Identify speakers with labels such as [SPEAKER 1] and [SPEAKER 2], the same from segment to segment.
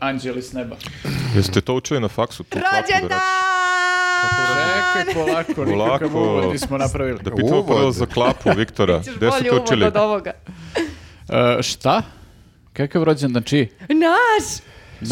[SPEAKER 1] anđeli s neba.
[SPEAKER 2] Jeste to učili na faksu? Tu platku da
[SPEAKER 3] Rođendan!
[SPEAKER 2] radiš?
[SPEAKER 1] Čekaj, polako, nikakav
[SPEAKER 2] Polako.
[SPEAKER 1] uvod nismo napravili.
[SPEAKER 2] Da pitamo
[SPEAKER 4] Uvod.
[SPEAKER 2] prvo za klapu, Viktora.
[SPEAKER 3] Ćeš
[SPEAKER 2] Gde ste
[SPEAKER 3] bolji
[SPEAKER 2] to
[SPEAKER 3] uvod
[SPEAKER 2] učili?
[SPEAKER 3] od ovoga.
[SPEAKER 1] E, šta? Kakav rođendan čiji?
[SPEAKER 3] Naš!
[SPEAKER 2] Svi-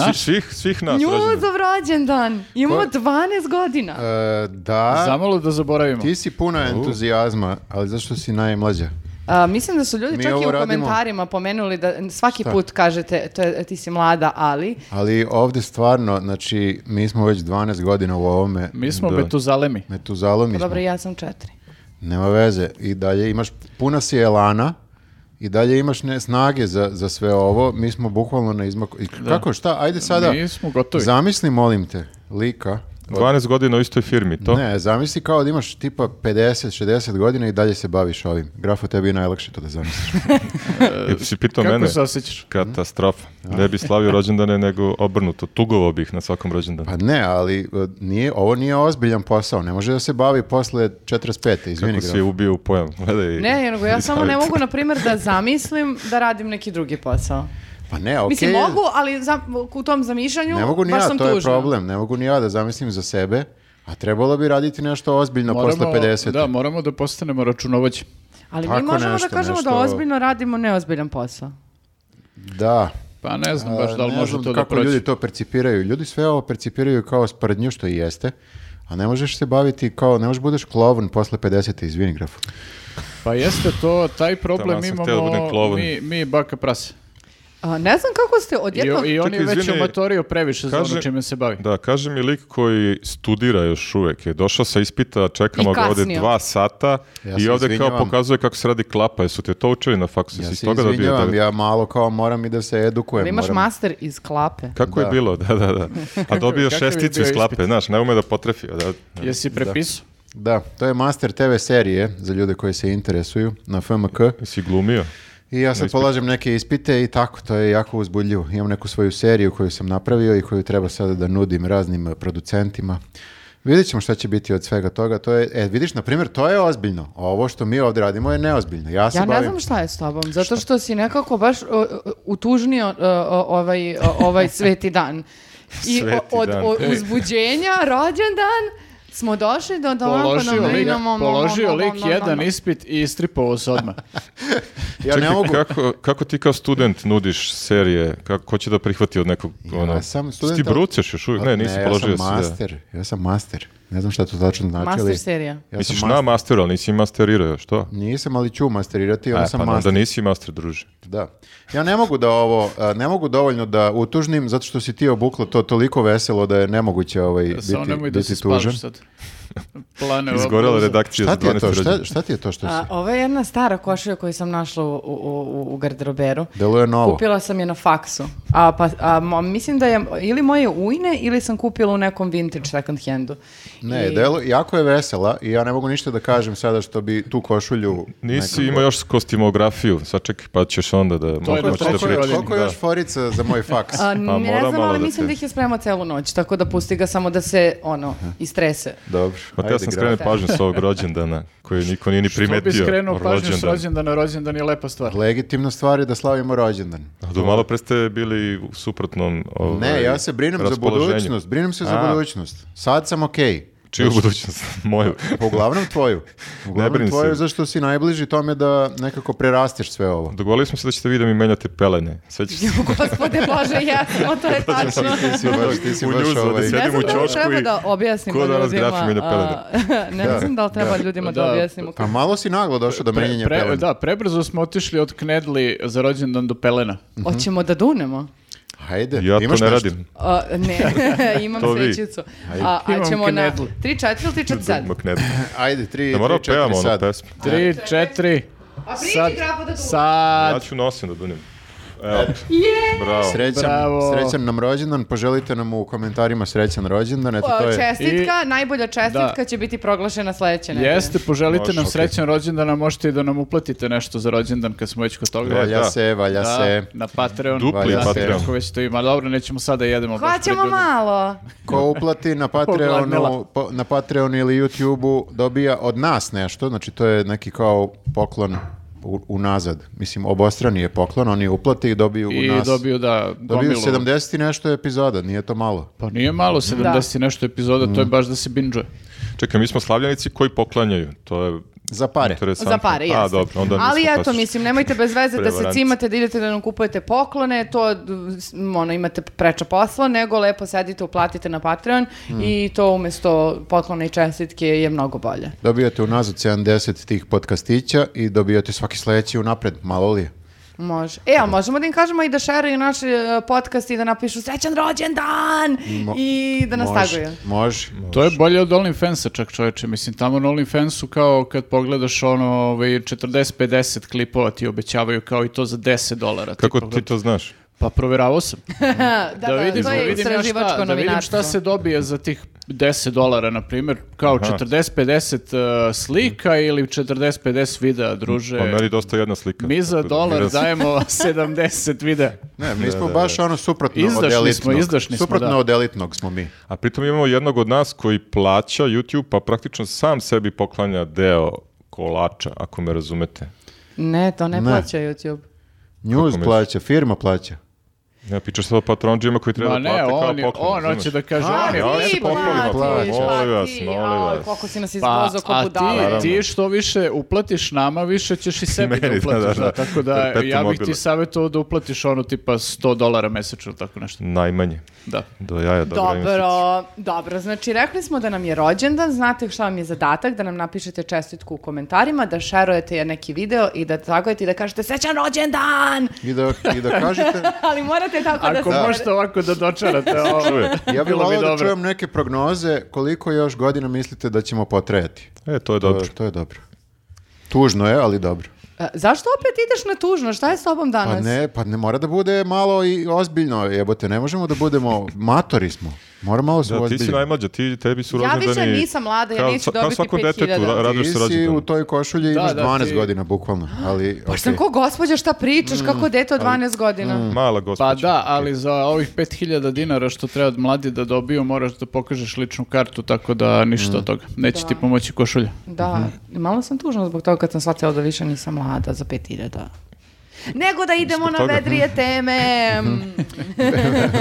[SPEAKER 1] Naš?
[SPEAKER 2] svih, svih nas rođendan.
[SPEAKER 3] Njuzov rođendan! Imamo
[SPEAKER 4] Ko-
[SPEAKER 3] 12 godina.
[SPEAKER 4] E, da,
[SPEAKER 1] Zamalo da zaboravimo.
[SPEAKER 4] ti si puna entuzijazma, ali zašto si najmlađa?
[SPEAKER 3] A, mislim da su ljudi
[SPEAKER 4] Mi
[SPEAKER 3] čak i
[SPEAKER 4] ovo
[SPEAKER 3] u
[SPEAKER 4] radimo-
[SPEAKER 3] komentarima pomenuli da svaki
[SPEAKER 4] Šta?
[SPEAKER 3] put kažete to je, ti si mlada, ali...
[SPEAKER 4] Ali ovdje stvarno, znači, mi smo već 12 godina u ovome.
[SPEAKER 1] Mi smo
[SPEAKER 2] Da.
[SPEAKER 1] Betuzalemi.
[SPEAKER 4] Metuzalomi
[SPEAKER 3] Pa
[SPEAKER 4] smo.
[SPEAKER 3] Dobro, ja sam četiri.
[SPEAKER 4] Nema veze. I dalje imaš, puna si elana i dalje imaš ne, snage za, za sve ovo. Mi smo bukvalno na izmaku. I kako, šta? Ajde sada.
[SPEAKER 1] Mi smo gotovi.
[SPEAKER 4] Zamisli, molim te, lika.
[SPEAKER 2] 12 godina u istoj firmi, to?
[SPEAKER 4] Ne, zamisli kao da imaš tipa 50-60 godina i dalje se baviš ovim. Grafo, tebi je najlakše to da zamisliš.
[SPEAKER 2] I si pitao
[SPEAKER 1] Kako
[SPEAKER 2] mene.
[SPEAKER 1] se osjećaš?
[SPEAKER 2] Katastrofa. Ne bi slavio rođendane, nego obrnuto. Tugovao bih na svakom rođendanu.
[SPEAKER 4] Pa ne, ali e, nije, ovo nije ozbiljan posao. Ne može da se bavi posle 45. Izvini,
[SPEAKER 2] Kako
[SPEAKER 4] Grafo.
[SPEAKER 2] si je ubio u pojam. Gledaj.
[SPEAKER 3] Ne, jer nego ja
[SPEAKER 2] i
[SPEAKER 3] samo ne
[SPEAKER 2] savjet.
[SPEAKER 3] mogu, na primjer, da zamislim da radim neki drugi posao.
[SPEAKER 4] Pa ne, okej.
[SPEAKER 3] Mislim, mogu, ali za- u tom zamišljanju
[SPEAKER 4] Ne mogu ni
[SPEAKER 3] baš
[SPEAKER 4] ja,
[SPEAKER 3] sam
[SPEAKER 4] to je
[SPEAKER 3] tužna.
[SPEAKER 4] problem. Ne mogu ni ja da zamislim za sebe, a trebalo bi raditi nešto
[SPEAKER 2] Pa
[SPEAKER 4] ozbiljno posle 50.
[SPEAKER 1] Da, moramo da postanemo računovođi.
[SPEAKER 3] Ali mi
[SPEAKER 4] Tako
[SPEAKER 3] možemo
[SPEAKER 4] nešto,
[SPEAKER 3] da kažemo da
[SPEAKER 4] nešto-
[SPEAKER 3] ozbiljno radimo neozbiljan posao.
[SPEAKER 4] Da. E,
[SPEAKER 1] Pa ne znam baš da li
[SPEAKER 4] Ne
[SPEAKER 1] može
[SPEAKER 4] znam
[SPEAKER 1] to da
[SPEAKER 4] kako
[SPEAKER 1] prođe.
[SPEAKER 4] ljudi to percipiraju. Ljudi sve ovo percipiraju kao sprdnju što i jeste, a ne možeš se baviti kao, ne možeš budeš klovn posle 50. izvini grafu.
[SPEAKER 1] Pa jeste to, taj problem
[SPEAKER 2] Taman sam hteo da budem
[SPEAKER 1] imamo
[SPEAKER 2] klovn.
[SPEAKER 1] mi, mi i baka prase.
[SPEAKER 3] A, ne znam kako ste
[SPEAKER 1] I,
[SPEAKER 3] odjednom...
[SPEAKER 1] i on
[SPEAKER 2] Čekaj,
[SPEAKER 1] je već
[SPEAKER 2] izvini,
[SPEAKER 1] omatorio previše za ono
[SPEAKER 2] kaže-
[SPEAKER 1] čime se bavi.
[SPEAKER 2] Da, kaže mi lik koji studira još uvek. Je došao sa ispita, čekamo
[SPEAKER 3] I
[SPEAKER 2] ga ovde
[SPEAKER 3] kasnio.
[SPEAKER 2] dva sata
[SPEAKER 4] Ja se
[SPEAKER 2] i ovde kao
[SPEAKER 4] izvinjavam.
[SPEAKER 2] pokazuje kako se radi klapa. Jesu te to učili na faksu?
[SPEAKER 4] Ja
[SPEAKER 2] Jesi iz
[SPEAKER 4] se
[SPEAKER 2] toga dobio
[SPEAKER 4] izvinjavam,
[SPEAKER 2] devet?
[SPEAKER 4] ja malo kao moram i da se edukujem.
[SPEAKER 3] Ali imaš
[SPEAKER 4] moram-
[SPEAKER 3] master iz klape.
[SPEAKER 2] Kako je bilo? Da, da, da. A dobio
[SPEAKER 1] kakav je
[SPEAKER 2] šesticu
[SPEAKER 1] bio
[SPEAKER 2] iz klape,
[SPEAKER 1] ispit?
[SPEAKER 2] znaš, ne ume da potrefi. Da,
[SPEAKER 1] Jesi prepisao?
[SPEAKER 4] Da, to je master TV serije za ljude koji se interesuju na FMK.
[SPEAKER 2] Jesi glumio?
[SPEAKER 4] I ja sad polažem neke ispite i tako, to je jako uzbudljivo. Imam neku svoju seriju koju sam napravio i koju treba sada da nudim raznim eh, producentima. Vidjet ćemo šta će biti od svega toga. To je, e, vidiš, na primjer, to je ozbiljno. Ovo što mi ovdje radimo je neozbiljno. Ja se
[SPEAKER 3] Ja ne
[SPEAKER 4] bavim...
[SPEAKER 3] znam šta je s tobom, zato što si nekako baš o, o, utužnio o, o, ovaj, o, ovaj sveti dan. I o-
[SPEAKER 2] Sveti
[SPEAKER 3] od
[SPEAKER 2] dan.
[SPEAKER 3] o- uzbuđenja, rođendan, smo došli do doma.
[SPEAKER 1] Položio lik, položio lik jedan ispit i istripovao se odmah.
[SPEAKER 4] ja
[SPEAKER 2] Čekaj,
[SPEAKER 4] ne mogu...
[SPEAKER 2] Kako, kako ti kao student nudiš serije? Kako, ko će da prihvati od nekog... ono,
[SPEAKER 4] sam
[SPEAKER 2] si
[SPEAKER 4] student,
[SPEAKER 2] Ti
[SPEAKER 4] ali-
[SPEAKER 2] brucaš još uvijek? Ne, nisi
[SPEAKER 4] ja
[SPEAKER 2] položio
[SPEAKER 4] sam
[SPEAKER 2] si, da.
[SPEAKER 4] master. Ja sam master. Ne znam šta to tačno znači. ali-
[SPEAKER 3] Master serija.
[SPEAKER 4] Ja sam
[SPEAKER 2] Misliš
[SPEAKER 4] master.
[SPEAKER 2] na masteru, ali nisi masterirao još, to?
[SPEAKER 4] Nisam, ali ću masterirati, onda
[SPEAKER 2] E,
[SPEAKER 4] sam
[SPEAKER 2] pa
[SPEAKER 4] master.
[SPEAKER 2] onda nisi master, druže.
[SPEAKER 4] Da. Ja ne mogu da ovo, a, ne mogu dovoljno da utužnim, zato što si ti obukla to toliko veselo da je nemoguće ovaj, biti,
[SPEAKER 1] Samo nemoj da
[SPEAKER 4] biti
[SPEAKER 1] se
[SPEAKER 4] tužan.
[SPEAKER 1] spališ sad. Plane ova
[SPEAKER 2] Izgorela
[SPEAKER 1] bluza.
[SPEAKER 2] redakcija
[SPEAKER 4] Šta
[SPEAKER 2] za
[SPEAKER 4] ti je
[SPEAKER 2] 12
[SPEAKER 4] to? Šta,
[SPEAKER 2] rođendan.
[SPEAKER 4] šta ti je to što si?
[SPEAKER 3] A, ovo je jedna stara košulja koju sam našla u, u, u, u garderoberu.
[SPEAKER 4] Deluje novo.
[SPEAKER 3] Kupila sam je na faksu. A, pa, a, mo- mislim da je ili moje ujne ili sam kupila u nekom vintage second handu.
[SPEAKER 4] Ne,
[SPEAKER 3] I-
[SPEAKER 4] delo, jako je vesela i ja ne mogu ništa da kažem sada što bi tu košulju...
[SPEAKER 2] Nisi imao još kostimografiju, sad čekaj, pa ćeš onda da...
[SPEAKER 1] To je na
[SPEAKER 2] možeš da
[SPEAKER 1] trećoj
[SPEAKER 2] pričaš.
[SPEAKER 1] godini.
[SPEAKER 4] Koliko je još forica za moj faks?
[SPEAKER 3] A, ne
[SPEAKER 2] mora
[SPEAKER 3] znam,
[SPEAKER 2] Pa malo
[SPEAKER 3] ali
[SPEAKER 2] da
[SPEAKER 3] mislim
[SPEAKER 2] te-
[SPEAKER 3] da ih je spremao celu noć, tako da pusti ga samo da se, ono, istrese.
[SPEAKER 4] Dobro.
[SPEAKER 2] Ma te Pa ja sam skrenuo
[SPEAKER 4] graf.
[SPEAKER 2] pažnju s ovog rođendana, koji niko nije ni
[SPEAKER 1] To bi
[SPEAKER 2] primetio.
[SPEAKER 1] skrenuo pažnju s
[SPEAKER 2] Rođendan.
[SPEAKER 1] rođendana, rođendan je lepa stvar.
[SPEAKER 2] pa-
[SPEAKER 4] Legitimna stvar je da slavimo rođendan.
[SPEAKER 2] A Do malo pre ste bili u suprotnom ovaj,
[SPEAKER 4] Ne, ja se brinem za
[SPEAKER 2] raspoloženju.
[SPEAKER 4] budućnost. Brinem se za
[SPEAKER 2] A.
[SPEAKER 4] budućnost. Sad sam okej.
[SPEAKER 2] Čiju budućnost? Moju.
[SPEAKER 4] Pa Uglavnom tvoju. Uglavnom
[SPEAKER 2] brini se.
[SPEAKER 4] tvoju, zašto si najbliži tome da nekako prerasteš sve ovo.
[SPEAKER 2] Dogovorili smo se da ćete vi da mi menjate pelene. Sećaš se?
[SPEAKER 3] Gospode Bože, jesmo, to je tačno.
[SPEAKER 4] Ti si baš, ti si
[SPEAKER 2] U
[SPEAKER 4] baš
[SPEAKER 2] njuzu, da
[SPEAKER 4] ovaj-
[SPEAKER 2] se-
[SPEAKER 3] Ne
[SPEAKER 2] Sedim
[SPEAKER 3] znam
[SPEAKER 2] u
[SPEAKER 3] da li
[SPEAKER 2] ćošku
[SPEAKER 3] treba
[SPEAKER 2] i
[SPEAKER 3] da objasnimo
[SPEAKER 2] ko danas
[SPEAKER 3] ljudima,
[SPEAKER 2] grafi mene
[SPEAKER 3] a, ne znam da li treba ljudima da
[SPEAKER 1] Da.
[SPEAKER 3] objasnimo.
[SPEAKER 4] Pa malo si naglo došao do menjanja
[SPEAKER 1] Pre-
[SPEAKER 4] pelena.
[SPEAKER 1] Da, prebrzo smo otišli od knedli za rođendan do pelena.
[SPEAKER 2] mhm.
[SPEAKER 3] Hoćemo da dunemo?
[SPEAKER 4] Hajde,
[SPEAKER 2] Ja to ne
[SPEAKER 4] imaš nešto?
[SPEAKER 2] radim.
[SPEAKER 3] A, ne, imam
[SPEAKER 2] To vi.
[SPEAKER 3] svećicu. A, a
[SPEAKER 1] Imam
[SPEAKER 3] ćemo na
[SPEAKER 1] knedlu.
[SPEAKER 3] 3, 4 ili 3, 4,
[SPEAKER 2] Dugmak ne bi.
[SPEAKER 4] Ajde, tri,
[SPEAKER 2] Ne ono moramo
[SPEAKER 4] tri, četiri
[SPEAKER 2] pevamo onu
[SPEAKER 4] sad.
[SPEAKER 2] pesmu.
[SPEAKER 1] Tri, četiri,
[SPEAKER 3] A priđi
[SPEAKER 1] sad,
[SPEAKER 3] grafu da duva.
[SPEAKER 2] Ja
[SPEAKER 1] sad.
[SPEAKER 2] ću nosim da dunim. Evo. Bravo.
[SPEAKER 4] Srećan,
[SPEAKER 1] Bravo.
[SPEAKER 4] srećan nam rođendan, poželite nam u komentarima srećan rođendan, eto
[SPEAKER 1] Pa,
[SPEAKER 4] to
[SPEAKER 3] O,
[SPEAKER 4] je.
[SPEAKER 3] Čestitka, najbolja čestitka
[SPEAKER 1] Da.
[SPEAKER 3] će biti proglašena sledeće nedelje.
[SPEAKER 1] Jeste, poželite
[SPEAKER 2] Može,
[SPEAKER 1] nam
[SPEAKER 2] okej.
[SPEAKER 1] srećan rođendan, a možete i da nam uplatite nešto za rođendan kad smo već kod toga.
[SPEAKER 2] E,
[SPEAKER 4] Valja
[SPEAKER 2] da.
[SPEAKER 4] se, valja
[SPEAKER 1] Da,
[SPEAKER 4] se.
[SPEAKER 1] na Patreon.
[SPEAKER 2] Dupli
[SPEAKER 1] Znate
[SPEAKER 2] Patreon.
[SPEAKER 1] Kako već to ima. Dobro, nećemo sada jedemo. baš
[SPEAKER 3] Hvaćamo
[SPEAKER 1] pred ljudima.
[SPEAKER 3] malo.
[SPEAKER 4] Ko uplati na Patreonu,
[SPEAKER 1] Pogladnela.
[SPEAKER 4] po- na Patreon ili YouTubeu dobija od nas nešto, znači to je neki kao poklon u- unazad. Mislim, obostrani je poklon, oni uplate i dobiju
[SPEAKER 1] I
[SPEAKER 4] u nas.
[SPEAKER 1] dobiju da
[SPEAKER 4] dobiju
[SPEAKER 1] gomilu.
[SPEAKER 4] 70 i nešto epizoda, nije to malo.
[SPEAKER 1] Pa nije malo, 70 i nešto epizoda,
[SPEAKER 4] Mm.
[SPEAKER 1] to je baš da se binđuje.
[SPEAKER 2] Čekaj, mi smo slavljanici koji poklanjaju. To je
[SPEAKER 4] Za pare.
[SPEAKER 2] interesantno.
[SPEAKER 3] Za pare, jeste.
[SPEAKER 2] A, dobro, onda
[SPEAKER 3] Ali
[SPEAKER 2] nismo
[SPEAKER 3] eto,
[SPEAKER 2] klasični.
[SPEAKER 3] mislim, nemojte bez veze da se
[SPEAKER 2] Prevaranti.
[SPEAKER 3] cimate, da idete da nam kupujete poklone, to m, ono, imate preča posla, nego lepo sedite, uplatite na Patreon
[SPEAKER 2] Hmm.
[SPEAKER 3] i to umjesto poklona i čestitke je mnogo bolje.
[SPEAKER 4] Dobijate unazad 70 tih podcastića i dobijate svaki sledeći unapred, malo li je?
[SPEAKER 3] Može. E, a možemo da im kažemo i da šeruju naš e, podcast i da napišu srećan rođendan
[SPEAKER 4] Mo-
[SPEAKER 3] i da nas
[SPEAKER 4] Može,
[SPEAKER 3] taguju.
[SPEAKER 4] Može.
[SPEAKER 1] To je bolje od OnlyFansa čak čoveče, mislim tamo na OnlyFansu kao kad pogledaš ono ovaj, 40-50 klipova ti obećavaju kao i to za 10 dolara. Ti
[SPEAKER 2] Kako ti
[SPEAKER 1] pogledaš-
[SPEAKER 2] to znaš?
[SPEAKER 1] Pa provjeravao sam.
[SPEAKER 3] Da, da,
[SPEAKER 1] da, vidim,
[SPEAKER 3] to
[SPEAKER 1] da
[SPEAKER 3] je
[SPEAKER 1] vidim, ja
[SPEAKER 3] istraživačko
[SPEAKER 1] šta, da vidim
[SPEAKER 3] novinarstvo.
[SPEAKER 1] šta se dobije za tih 10 dolara, na primjer, kao 40-50 uh, slika ili 40-50 videa, druže.
[SPEAKER 2] Pa meni dosta jedna slika.
[SPEAKER 1] Mi za
[SPEAKER 2] Tako da,
[SPEAKER 1] dolar
[SPEAKER 2] ja sam-
[SPEAKER 1] dajemo 70 videa.
[SPEAKER 4] Ne, mi smo baš ono suprotno od
[SPEAKER 1] Izdašni smo,
[SPEAKER 4] elitnog.
[SPEAKER 1] izdašni smo,
[SPEAKER 4] suprotno
[SPEAKER 1] da.
[SPEAKER 4] od elitnog smo mi.
[SPEAKER 2] A pritom imamo jednog od nas koji plaća YouTube, pa praktično sam sebi poklanja deo kolača, ako me razumete.
[SPEAKER 3] Ne, to ne,
[SPEAKER 4] Ne.
[SPEAKER 3] plaća YouTube.
[SPEAKER 4] News
[SPEAKER 2] misliš?
[SPEAKER 4] plaća, firma plaća.
[SPEAKER 2] Ne, pričaš sad o patronđima koji treba
[SPEAKER 1] Ma
[SPEAKER 2] da
[SPEAKER 1] ne,
[SPEAKER 2] plate kao
[SPEAKER 1] on, je-
[SPEAKER 2] poklon.
[SPEAKER 1] on
[SPEAKER 2] razumeš?
[SPEAKER 1] hoće da kaže,
[SPEAKER 3] A,
[SPEAKER 1] on je
[SPEAKER 2] ja
[SPEAKER 3] ti
[SPEAKER 2] se pohvalim,
[SPEAKER 3] platiš,
[SPEAKER 2] pa, molim vas,
[SPEAKER 3] plati,
[SPEAKER 2] molim
[SPEAKER 3] aj,
[SPEAKER 2] vas.
[SPEAKER 3] Koliko si nas
[SPEAKER 1] Pa,
[SPEAKER 3] izbozao ko
[SPEAKER 1] a
[SPEAKER 3] budale.
[SPEAKER 4] ono.
[SPEAKER 1] ti,
[SPEAKER 2] Naravno.
[SPEAKER 1] ti što više uplatiš nama, više ćeš i sebi da
[SPEAKER 2] Meni, da,
[SPEAKER 1] uplatiš.
[SPEAKER 2] da,
[SPEAKER 1] da,
[SPEAKER 2] da.
[SPEAKER 1] Tako da
[SPEAKER 2] Perpetuum
[SPEAKER 1] ja bih ti
[SPEAKER 2] mobile.
[SPEAKER 1] savjetovao da uplatiš ono tipa 100 dolara mesečno, tako nešto.
[SPEAKER 2] Najmanje.
[SPEAKER 1] Da.
[SPEAKER 2] Do jaja, dobra investicija.
[SPEAKER 3] Dobro, dobro, znači rekli smo da nam je rođendan, znate šta vam je zadatak, da nam napišete čestitku u komentarima, da šerujete neki video i da tagujete i da kažete srećan rođendan!
[SPEAKER 4] I da, i da kažete...
[SPEAKER 3] Ali morate tako
[SPEAKER 4] Pa
[SPEAKER 3] da
[SPEAKER 1] Ako
[SPEAKER 3] se...
[SPEAKER 1] možete ovako da dočarate ovo,
[SPEAKER 2] Čuje.
[SPEAKER 1] bilo
[SPEAKER 4] Ja bih
[SPEAKER 1] bi
[SPEAKER 4] volao da
[SPEAKER 1] dobro.
[SPEAKER 4] čujem neke prognoze koliko još godina mislite da ćemo potrajati.
[SPEAKER 2] E, to je
[SPEAKER 4] To,
[SPEAKER 2] dobro.
[SPEAKER 4] je- to je dobro. Tužno je, ali dobro.
[SPEAKER 3] E, Zašto opet ideš na tužno? Šta je s tobom danas?
[SPEAKER 4] Pa ne, pa ne mora da bude malo i ozbiljno, jebote, ne možemo da budemo, matori smo. Mora malo se
[SPEAKER 2] Da, Znači, ti si
[SPEAKER 4] uozbiljiti.
[SPEAKER 2] najmlađa, ti, tebi su
[SPEAKER 3] Ja
[SPEAKER 2] rođendani...
[SPEAKER 3] više nisam mlada, ja
[SPEAKER 2] kao
[SPEAKER 3] neću
[SPEAKER 2] sa- kao
[SPEAKER 3] dobiti
[SPEAKER 2] svakom
[SPEAKER 3] 5000.
[SPEAKER 2] detetu, ra- raduješ
[SPEAKER 4] Ti
[SPEAKER 2] se
[SPEAKER 4] si
[SPEAKER 2] rođendanu.
[SPEAKER 4] u toj košulji i
[SPEAKER 1] Da,
[SPEAKER 4] imaš
[SPEAKER 1] da,
[SPEAKER 4] 12
[SPEAKER 1] ti- Ah,
[SPEAKER 4] godina, bukvalno. Ali,
[SPEAKER 3] Pa sam
[SPEAKER 4] okej.
[SPEAKER 3] ko gospođa, šta pričaš, kako dete od 12 godina?
[SPEAKER 2] Mala
[SPEAKER 1] Pa
[SPEAKER 2] gospođa.
[SPEAKER 1] da, ali za ovih 5000 dinara što treba od mladi da dobiju, moraš da pokažeš ličnu kartu, tako da
[SPEAKER 4] Mm.
[SPEAKER 1] ništa od toga. Neće ti pomoći košulja.
[SPEAKER 3] Da, i malo sam tužna zbog toga kad sam shvatila da više nisam mlada za 5000. Nego da idemo
[SPEAKER 2] Zbog
[SPEAKER 3] na
[SPEAKER 2] toga.
[SPEAKER 3] vedrije teme.